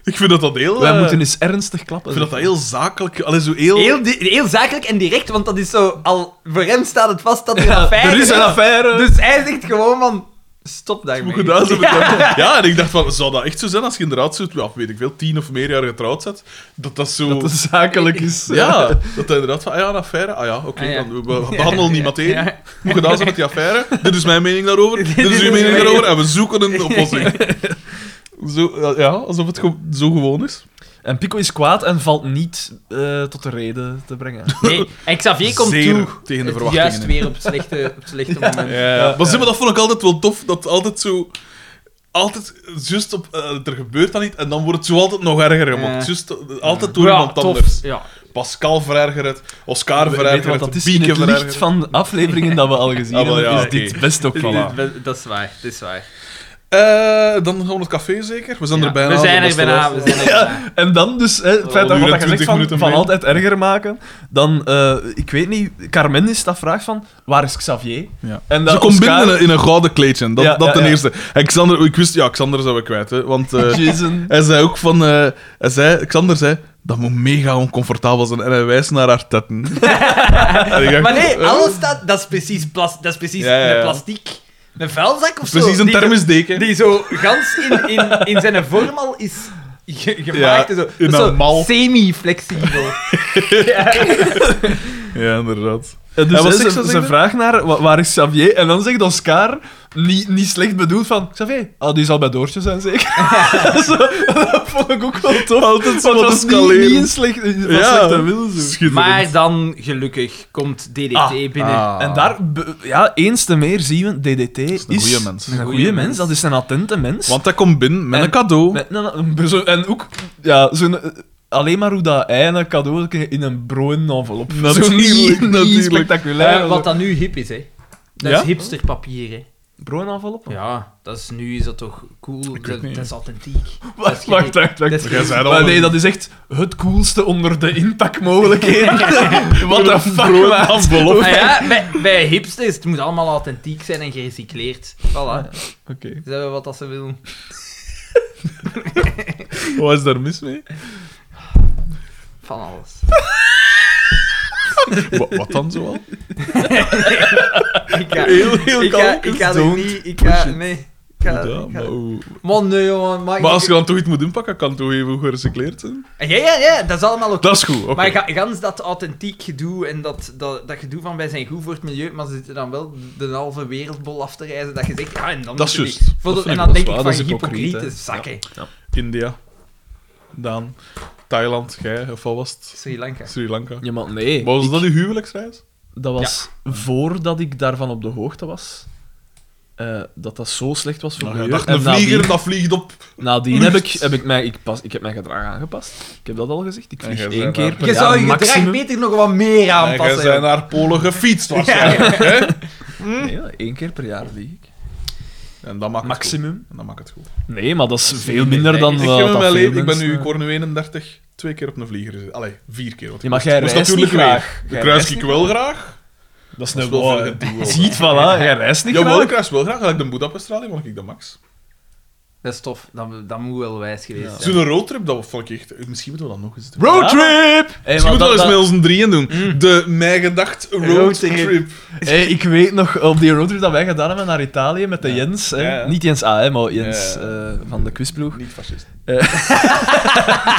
[SPEAKER 2] Ik vind dat dat heel...
[SPEAKER 4] Wij
[SPEAKER 2] eh,
[SPEAKER 4] moeten eens ernstig klappen.
[SPEAKER 2] Ik vind dat dat heel zakelijk... Allee, zo heel...
[SPEAKER 1] Heel, di- heel zakelijk en direct, want dat is zo... Al, voor hem staat het vast dat er een
[SPEAKER 4] Ja,
[SPEAKER 1] affaire
[SPEAKER 4] er is een affaire.
[SPEAKER 1] Dus hij zegt gewoon van... Stop daarmee.
[SPEAKER 2] Moet je dat zijn?
[SPEAKER 1] Ja.
[SPEAKER 2] Ja. ja, en ik dacht van, zou dat echt zo zijn als je inderdaad zo, ja, weet ik veel, tien of meer jaar getrouwd zit? Dat dat zo...
[SPEAKER 4] dat het zakelijk is.
[SPEAKER 2] Ja, dat dat inderdaad van, ah ja, een affaire. Ah ja, oké,
[SPEAKER 1] Ah ja.
[SPEAKER 2] dan we we behandelen die materie.
[SPEAKER 1] Ja.
[SPEAKER 2] Moet je dat zijn met die affaire? Dit is mijn mening daarover, dit
[SPEAKER 1] Dit
[SPEAKER 2] is
[SPEAKER 1] is
[SPEAKER 2] uw mening
[SPEAKER 1] mijn-
[SPEAKER 2] daarover, en we zoeken een oplossing. Zo, ja, alsof het ge- zo gewoon is.
[SPEAKER 4] En Pico is kwaad en valt niet eh, tot de reden te brengen.
[SPEAKER 1] Nee, en Xavier komt
[SPEAKER 2] Zeer
[SPEAKER 1] toe.
[SPEAKER 2] tegen de
[SPEAKER 1] Het
[SPEAKER 2] verwachtingen.
[SPEAKER 1] Juist weer op slechte, op slechte momenten.
[SPEAKER 2] Ja, maar zeg maar, dat vond ik altijd wel tof, dat altijd zo... Altijd, just op, eh, er gebeurt dan niet, en dan wordt het zo altijd nog erger gemaakt.
[SPEAKER 1] Ja.
[SPEAKER 2] Just, eh, altijd door
[SPEAKER 1] Ja,
[SPEAKER 2] iemand
[SPEAKER 1] tof.
[SPEAKER 2] anders.
[SPEAKER 1] Ja.
[SPEAKER 2] Pascal verergert, Oscar
[SPEAKER 4] We- Weet je wat
[SPEAKER 2] verergert,
[SPEAKER 4] dat is? In
[SPEAKER 2] Bieke
[SPEAKER 4] het licht
[SPEAKER 2] verergert.
[SPEAKER 4] van de afleveringen dat we al gezien
[SPEAKER 2] Ah, wel,
[SPEAKER 4] hebben,
[SPEAKER 2] ja,
[SPEAKER 4] is
[SPEAKER 2] oké.
[SPEAKER 4] dit best ook wel.
[SPEAKER 1] Dit- dit- Dat is waar, dat is waar.
[SPEAKER 2] Eh, dan gaan we naar het café, zeker? We zijn
[SPEAKER 1] Ja,
[SPEAKER 2] er bijna.
[SPEAKER 1] we zijn
[SPEAKER 2] dat
[SPEAKER 1] er
[SPEAKER 2] is de
[SPEAKER 1] bijna.
[SPEAKER 2] laatste.
[SPEAKER 1] We zijn er bijna.
[SPEAKER 4] En dan dus, hè, het feit
[SPEAKER 2] een
[SPEAKER 4] dat
[SPEAKER 2] uur en
[SPEAKER 4] wat je zegt
[SPEAKER 2] 20 minuten
[SPEAKER 4] van, van
[SPEAKER 2] mee.
[SPEAKER 4] altijd erger maken, dan, eh, ik weet niet, Carmen is dat vraag van, waar is Xavier?
[SPEAKER 2] Ja.
[SPEAKER 4] En
[SPEAKER 2] Ze
[SPEAKER 4] dat
[SPEAKER 2] komt
[SPEAKER 4] Oscar-
[SPEAKER 2] binnen in een- in een gouden kleedje. Dat,
[SPEAKER 4] Ja,
[SPEAKER 2] dat
[SPEAKER 4] ja,
[SPEAKER 2] ten
[SPEAKER 4] ja.
[SPEAKER 2] eerste. En Xander, ik wist, ja, Xander zou ik kwijt, hè, want eh,
[SPEAKER 4] Jason.
[SPEAKER 2] hij zei ook van, eh, hij zei, Xander zei, dat moet mega oncomfortabel zijn. En hij wijst naar haar tetten. En ik dacht,
[SPEAKER 1] Maar nee,
[SPEAKER 2] eh,
[SPEAKER 1] alles staat... Dat is precies, plas, dat is precies
[SPEAKER 2] Ja, ja, ja.
[SPEAKER 1] een plastic... Een vuilzak of zo.
[SPEAKER 2] Precies een
[SPEAKER 1] die-
[SPEAKER 2] thermisdeken.
[SPEAKER 1] Die zo gans in, in, in zijn vorm al is ge- gemaakt. en zo.
[SPEAKER 2] in
[SPEAKER 1] Dat is
[SPEAKER 2] een
[SPEAKER 1] zo
[SPEAKER 2] mal.
[SPEAKER 1] Semi-flexibel.
[SPEAKER 2] Ja, inderdaad.
[SPEAKER 4] En
[SPEAKER 2] Ja,
[SPEAKER 4] dus
[SPEAKER 2] wat
[SPEAKER 4] hè,
[SPEAKER 2] zeg je,
[SPEAKER 4] ze,
[SPEAKER 2] zeg
[SPEAKER 4] ze
[SPEAKER 2] je?
[SPEAKER 4] vraagt naar, "Wa- waar is Xavier? En dan zegt Oscar, niet, niet slecht bedoeld, van, Xavier, ah, die zal bij Doortje zijn, zeker? Zo, dat vond ik ook wel tof. Altijd
[SPEAKER 2] zo wat
[SPEAKER 4] was niet,
[SPEAKER 2] escaleren.
[SPEAKER 4] niet een slecht, van
[SPEAKER 2] Ja.
[SPEAKER 4] slechte wil, zo.
[SPEAKER 2] Schitterend.
[SPEAKER 1] Maar dan, gelukkig, komt DDT
[SPEAKER 4] Ah,
[SPEAKER 1] binnen.
[SPEAKER 2] Ah.
[SPEAKER 4] En daar, be- ja, eens te meer zien we, DDT is
[SPEAKER 2] een goeie mens.
[SPEAKER 4] Een goede
[SPEAKER 1] goeie
[SPEAKER 4] mens.
[SPEAKER 1] mens.
[SPEAKER 4] dat is een attente mens.
[SPEAKER 2] Want hij komt binnen met
[SPEAKER 4] En-
[SPEAKER 2] een cadeau.
[SPEAKER 4] Met een- een- zo- en ook, ja, zo'n, eh, alleen maar hoe dat hij een cadeau kreeg in een broen envelop.
[SPEAKER 2] Natuurlijk,
[SPEAKER 4] Zo niet,
[SPEAKER 2] natuurlijk.
[SPEAKER 4] niet spectaculair.
[SPEAKER 1] Eh, wat dat nu hip is, hè. Dat
[SPEAKER 2] Ja?
[SPEAKER 1] is hipsterpapier, hè.
[SPEAKER 4] broen envelop?
[SPEAKER 1] Ja, dat is, nu is dat toch cool. Dat,
[SPEAKER 2] niet,
[SPEAKER 1] dat is authentiek. dat
[SPEAKER 4] Wacht,
[SPEAKER 1] is
[SPEAKER 4] wacht,
[SPEAKER 1] dat
[SPEAKER 4] wacht. wacht.
[SPEAKER 1] is-
[SPEAKER 2] Jij zei dat
[SPEAKER 4] Maar
[SPEAKER 2] al.
[SPEAKER 4] nee, dat is echt het coolste onder de inpakmogelijkheden. Wat de fuck,
[SPEAKER 2] Brood
[SPEAKER 4] maat.
[SPEAKER 2] envelop.
[SPEAKER 1] Ah ja, bij, bij hipsters, het moet allemaal authentiek zijn en gerecycleerd. Voilà.
[SPEAKER 4] Oké.
[SPEAKER 1] Ze hebben wat dat ze willen.
[SPEAKER 2] Wat is daar mis mee?
[SPEAKER 1] Van alles.
[SPEAKER 2] Wa- Wat dan zoal?
[SPEAKER 1] Ik ga,
[SPEAKER 2] Heel, heel
[SPEAKER 1] ik ga, ik ga er
[SPEAKER 2] kalmjes, don't
[SPEAKER 1] niet... Ik
[SPEAKER 2] push
[SPEAKER 1] ga...
[SPEAKER 2] it.
[SPEAKER 1] Nee. Ik ga,
[SPEAKER 2] Ja,
[SPEAKER 1] ik
[SPEAKER 2] maar
[SPEAKER 1] ga-
[SPEAKER 2] hoe-
[SPEAKER 1] Man, nee, jongen. Maar,
[SPEAKER 2] Maar als je dan toch iets moet inpakken, kan het toch even gerecycleerd zijn?
[SPEAKER 1] Ja, ja, ja. Dat is allemaal oké.
[SPEAKER 2] Dat is goed, oké.
[SPEAKER 1] Maar ga, gans dat authentiek gedoe en dat, dat, dat gedoe van wij zijn goed voor het milieu, maar ze zitten dan wel de halve wereldbol af te reizen, dat je zegt, ah, en dan
[SPEAKER 2] Dat is
[SPEAKER 1] moeten die-
[SPEAKER 2] juist.
[SPEAKER 1] Voor de-
[SPEAKER 4] Dat vind
[SPEAKER 1] en
[SPEAKER 4] ik
[SPEAKER 1] dan
[SPEAKER 4] wel
[SPEAKER 1] denk ik
[SPEAKER 4] zwaar,
[SPEAKER 1] van
[SPEAKER 4] dat is hypocriet,
[SPEAKER 1] hypocriete
[SPEAKER 4] hè.
[SPEAKER 1] zakken.
[SPEAKER 2] India, Daan, Thailand, jij, of wat was het?
[SPEAKER 1] Sri Lanka.
[SPEAKER 2] Sri Lanka.
[SPEAKER 4] Ja, maar nee.
[SPEAKER 2] Maar was dat uw huwelijksreis?
[SPEAKER 4] Dat was voordat ik daarvan op de hoogte was. eh, dat dat zo slecht was voor
[SPEAKER 2] Nou,
[SPEAKER 4] de
[SPEAKER 2] jij
[SPEAKER 4] jeugd.
[SPEAKER 2] dacht,
[SPEAKER 4] En
[SPEAKER 2] een vlieger,
[SPEAKER 4] nadien-
[SPEAKER 2] dat vliegt op.
[SPEAKER 4] Nadien heb ik,
[SPEAKER 2] Lucht.
[SPEAKER 4] heb ik, mij, ik, pas, ik heb mijn gedrag aangepast. Ik heb dat al gezegd. Ik
[SPEAKER 2] En
[SPEAKER 4] vlieg
[SPEAKER 2] jij
[SPEAKER 4] één
[SPEAKER 2] zei
[SPEAKER 4] keer
[SPEAKER 2] daar-
[SPEAKER 4] per
[SPEAKER 1] Je zou
[SPEAKER 4] jaar
[SPEAKER 1] je gedrag
[SPEAKER 4] maximum.
[SPEAKER 1] beter nog wat meer
[SPEAKER 2] En jij
[SPEAKER 1] aanpassen.
[SPEAKER 2] zijn
[SPEAKER 1] joh.
[SPEAKER 2] naar Polen gefietst waarschijnlijk.
[SPEAKER 4] Nee, ja, één keer per jaar vlieg ik.
[SPEAKER 2] En dat
[SPEAKER 1] Ah,
[SPEAKER 2] maakt het
[SPEAKER 4] Maximum.
[SPEAKER 2] goed. En dat maakt het goed.
[SPEAKER 4] Nee, maar dat is veel minder dan eh,
[SPEAKER 1] Ik
[SPEAKER 2] Ik,
[SPEAKER 4] wat
[SPEAKER 2] heb in
[SPEAKER 4] dat
[SPEAKER 2] mijn
[SPEAKER 4] veel
[SPEAKER 2] leven, ik ben
[SPEAKER 4] mensen-
[SPEAKER 2] nu, ik word nu 31, twee keer op een vlieger gezeten. Allee, vier keer. Want
[SPEAKER 4] Ja, maar jij
[SPEAKER 2] dat is
[SPEAKER 4] reist
[SPEAKER 2] natuurlijk
[SPEAKER 4] niet graag.
[SPEAKER 2] weer.
[SPEAKER 4] Jij
[SPEAKER 2] Kruis
[SPEAKER 4] reist
[SPEAKER 2] ik wel graag.
[SPEAKER 4] Dat is
[SPEAKER 2] Dat is
[SPEAKER 4] nou
[SPEAKER 2] wel
[SPEAKER 4] wel...
[SPEAKER 2] veel gedoe, hoor.
[SPEAKER 4] Ziet, voilà, jij reist niet
[SPEAKER 2] Jawel, ik
[SPEAKER 4] graag.
[SPEAKER 2] kruis wel graag. Als ik de Budapest rally, mag ik de max.
[SPEAKER 1] Dat is tof. Dat, dat moet wel wijs geweest zijn.
[SPEAKER 2] Zo'n roadtrip, dat vond ik echt... Misschien moeten we dat nog eens doen.
[SPEAKER 3] Roadtrip!
[SPEAKER 4] Hey,
[SPEAKER 2] Misschien
[SPEAKER 4] maar
[SPEAKER 2] moeten we dat eens
[SPEAKER 4] dat- Mm.
[SPEAKER 2] met ons drieën doen. De mij gedacht roadtrip.
[SPEAKER 1] Roadtrip.
[SPEAKER 4] Hey, ik weet nog, op die roadtrip dat wij gedaan hebben naar Italië met de Jens. Hè?
[SPEAKER 2] Ja, ja.
[SPEAKER 4] Niet Jens A, hè, maar Jens
[SPEAKER 2] Ja,
[SPEAKER 4] eh, van de quizploeg.
[SPEAKER 2] Niet fascist.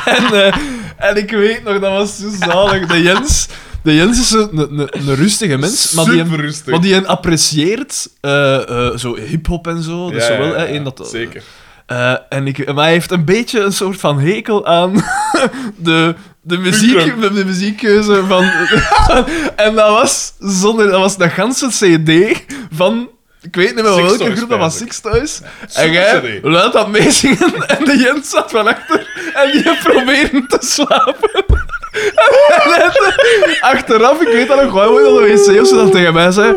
[SPEAKER 4] En, eh, en ik weet nog, dat was zo zalig. De Jens, de Jens is een, een, een- een rustige mens, maar die, hem,
[SPEAKER 2] Super rustig.
[SPEAKER 4] maar die hem apprecieert. eh, eh, zo hip-hop en zo. Dus zowel, hè, één dat,
[SPEAKER 2] Zeker.
[SPEAKER 4] Eh, en ik, maar hij heeft een beetje een soort van hekel aan de, de, muziek, de, de muziekkeuze van... en dat was, zonder, dat was de ganse cd van... Ik weet niet meer
[SPEAKER 2] Six
[SPEAKER 4] welke
[SPEAKER 2] Toys,
[SPEAKER 4] groep, dat was
[SPEAKER 2] eigenlijk.
[SPEAKER 4] Six Toys. en
[SPEAKER 2] Super
[SPEAKER 4] jij
[SPEAKER 2] CD.
[SPEAKER 4] luid dat meezingen en de Jens zat van achter en die probeerde te slapen. En hij- achteraf, ik weet dat nog wel, hoe hij dat wc of ze dat tegen mij zei.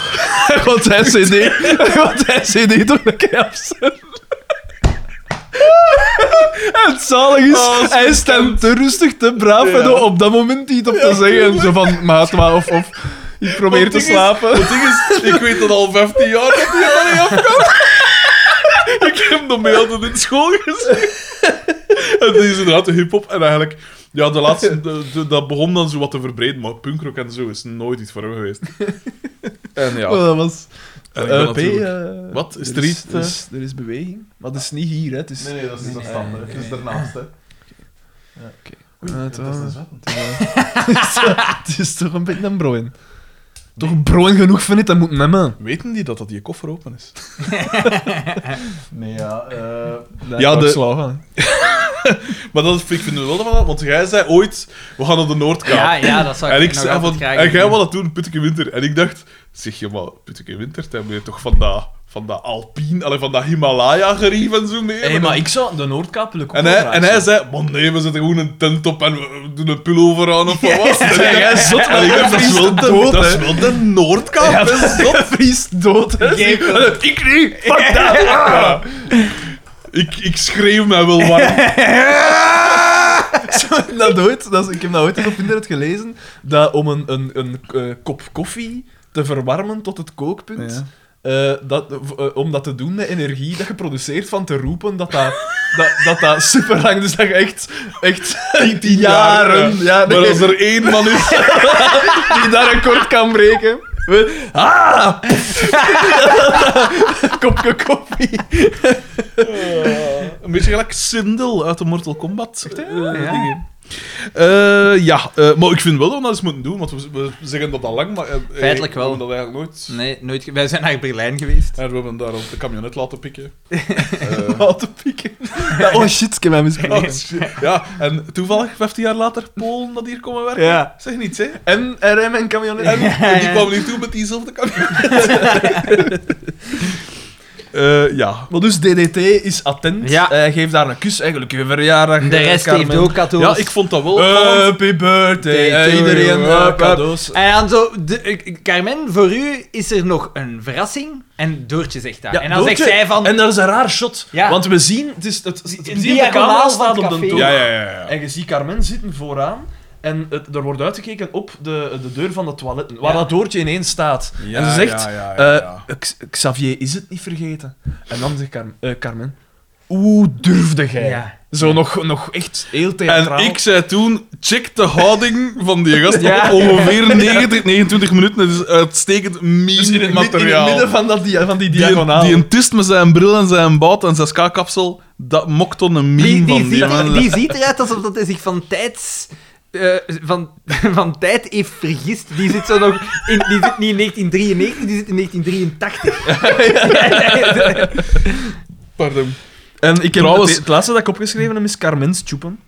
[SPEAKER 4] Want hij cd, want hij cd toch een keer afzetten. En het zalig is,
[SPEAKER 2] Oh,
[SPEAKER 4] hij is dan te rustig, te braaf en
[SPEAKER 2] Ja.
[SPEAKER 4] op dat moment niet op te zeggen. En zo van, maat, maar of, of ik probeer
[SPEAKER 2] Want
[SPEAKER 4] te
[SPEAKER 2] ding is-
[SPEAKER 4] slapen.
[SPEAKER 2] Het ding is, ik weet dat al 15 jaar dat hij er niet afkomt. ik heb nog mee altijd in school gezien. en die is inderdaad de hip-hop. En eigenlijk, ja, de laatste, de- de- dat begon dan zo wat te verbreden. Maar punkrock en zo is nooit iets voor hem geweest. en ja.
[SPEAKER 4] Oh, dat was...
[SPEAKER 2] en ik ben
[SPEAKER 4] Eh, P,
[SPEAKER 2] natuurlijk-
[SPEAKER 4] eh,
[SPEAKER 2] Wat? Is er
[SPEAKER 4] er
[SPEAKER 2] iets,
[SPEAKER 4] is,
[SPEAKER 2] eh?
[SPEAKER 4] er is, er is beweging, maar dat is niet hier, hè. Het is...
[SPEAKER 2] nee, dat is een stand. hè. Het is daarnaast, hè.
[SPEAKER 4] Eh, het
[SPEAKER 2] Dat is
[SPEAKER 4] was-
[SPEAKER 2] een zwart.
[SPEAKER 4] Het is toch een beetje een broin. Toch broin genoeg vind ik, dat moet memmen.
[SPEAKER 2] Weten die dat dat die koffer open is? nee, ja. eh,
[SPEAKER 4] ja,
[SPEAKER 2] de-
[SPEAKER 4] de... Slagen.
[SPEAKER 2] Maar dat, ik vind het wel dat, want jij zei ooit, we gaan naar de Noordkaap.
[SPEAKER 1] Ja, ja, dat zou ik
[SPEAKER 2] en ik
[SPEAKER 1] nog
[SPEAKER 2] zei
[SPEAKER 1] altijd
[SPEAKER 2] van,
[SPEAKER 1] graag
[SPEAKER 2] en jij
[SPEAKER 1] doen.
[SPEAKER 2] wil dat doen, Putteke Winter. En ik dacht, zeg je maar, Putteke Winter, dan ben je toch van dat, van dat Alpine, allee, van dat Himalaya-gerief en zo mee.
[SPEAKER 4] Hé, maar ik zou de Noordkapel ook
[SPEAKER 2] En
[SPEAKER 4] wel
[SPEAKER 2] hij,
[SPEAKER 4] graag
[SPEAKER 2] en hij
[SPEAKER 4] zien.
[SPEAKER 2] zei, man nee, we zetten gewoon een tent op en we doen een pullover aan of wat was het?"
[SPEAKER 4] Ja, jij zot,
[SPEAKER 2] En ik dacht, dat is wel
[SPEAKER 4] vriest
[SPEAKER 2] de,
[SPEAKER 4] dood,
[SPEAKER 2] dat is
[SPEAKER 4] hè.
[SPEAKER 2] wel de Noordkaap,
[SPEAKER 4] Ja,
[SPEAKER 2] dat is zot.
[SPEAKER 4] dat vries dood, hè.
[SPEAKER 1] Geef
[SPEAKER 4] Ik, ik niet, fuck dat.
[SPEAKER 2] Ja. Ik, ik schreeuw mij wel warm.
[SPEAKER 4] Zo, dat ooit, dat is- ik heb dat ooit eens op internet gelezen, dat om een, een, een eh, kop koffie te verwarmen tot het kookpunt, eh, dat, eh, om dat te doen met energie dat je produceert van te roepen, dat dat, dat, dat, dat super lang, dus dat je echt, echt jaren,
[SPEAKER 2] ja.
[SPEAKER 4] ja,
[SPEAKER 2] Maar als er één man is
[SPEAKER 4] die daar een kort kan breken. We- Ah! Kopje koffie.
[SPEAKER 2] Een beetje gelijk Sindel uit de Mortal Kombat. eh,
[SPEAKER 1] Ja.
[SPEAKER 2] dingen. Eh, ja, eh, maar ik vind wel dat we dat eens moeten doen, want we, we zeggen dat al lang, maar... eh, eh,
[SPEAKER 1] Feitelijk wel.
[SPEAKER 2] We hebben dat eigenlijk nooit...
[SPEAKER 4] Mm.
[SPEAKER 1] Nee, nooit. ge- Wij zijn naar Berlijn geweest.
[SPEAKER 2] En we hebben daar op de camionet laten pikken. Eh,
[SPEAKER 4] Wat te pieken. Ja, oh shit, ik heb mij misgelopen.
[SPEAKER 2] oh, shit. ja, en toevallig 15 jaar later Polen dat hier komen werken.
[SPEAKER 4] Ja.
[SPEAKER 2] Zeg niets, hè. En
[SPEAKER 4] En RM en camionet. En-
[SPEAKER 2] die kwamen hier toe met diezelfde camionet. Eh, ja.
[SPEAKER 4] Maar dus DDT is attent.
[SPEAKER 1] Ja.
[SPEAKER 4] Eh, geef daar een kus. Eigenlijk je verjaardag.
[SPEAKER 1] De
[SPEAKER 4] eh,
[SPEAKER 1] rest
[SPEAKER 4] Carmen.
[SPEAKER 1] heeft ook cadeaus.
[SPEAKER 2] Eh, ja, ik vond dat wel... opvallend.
[SPEAKER 4] Happy
[SPEAKER 1] Day
[SPEAKER 4] birthday. eh,
[SPEAKER 1] to
[SPEAKER 4] iedereen
[SPEAKER 1] you.
[SPEAKER 4] eh,
[SPEAKER 1] Up, up.
[SPEAKER 4] cadeaus.
[SPEAKER 1] En dan zo, de, eh, Carmen, voor u is er nog een verrassing. En Doortje zegt dat.
[SPEAKER 4] Ja,
[SPEAKER 1] en dan
[SPEAKER 4] Doortje-
[SPEAKER 1] zegt zij van...
[SPEAKER 4] En dat is een raar shot.
[SPEAKER 1] Ja.
[SPEAKER 4] Want we zien... Het is, het, het, het,
[SPEAKER 1] Een
[SPEAKER 4] we zien de
[SPEAKER 1] diagonaal
[SPEAKER 4] camera
[SPEAKER 1] van
[SPEAKER 4] staat
[SPEAKER 1] het
[SPEAKER 4] op de
[SPEAKER 1] café.
[SPEAKER 4] toer.
[SPEAKER 2] Ja, ja, ja. ja.
[SPEAKER 4] En je ziet Carmen zitten vooraan. En het, er wordt uitgekeken op de, de deur van de toiletten. Waar dat doortje ineens staat.
[SPEAKER 2] Ja,
[SPEAKER 4] en ze zegt...
[SPEAKER 2] ja, ja, ja, ja.
[SPEAKER 4] eh, X- Xavier is het niet vergeten. En dan zegt Car- eh, Carmen... Hoe durfde jij?
[SPEAKER 1] Ja.
[SPEAKER 4] Zo nog, nog echt heel theatraal.
[SPEAKER 2] En ik zei toen, check de houding van die gast.
[SPEAKER 1] Ja.
[SPEAKER 2] Ongeveer 90, 29 minuten. Dat is uitstekend
[SPEAKER 4] Dus in het, mid- in het
[SPEAKER 2] meme-materiaal.
[SPEAKER 4] midden van, dat dia- van die
[SPEAKER 2] die,
[SPEAKER 4] diagonaal.
[SPEAKER 2] die een tist met zijn bril en zijn baat en zijn ska-kapsel, dat mokt dan een
[SPEAKER 1] Die, die,
[SPEAKER 2] meme van die
[SPEAKER 1] ziet, er-
[SPEAKER 2] man.
[SPEAKER 1] die ziet eruit alsof dat hij zich van tijds... eh, van, van tijd heeft vergist. Die zit zo nog... In, die zit niet in 1993, die zit in 1983.
[SPEAKER 2] Pardon.
[SPEAKER 4] En ik heb
[SPEAKER 2] Trouwens-
[SPEAKER 4] het, het laatste dat ik opgeschreven heb is Carmen's Tjoepen.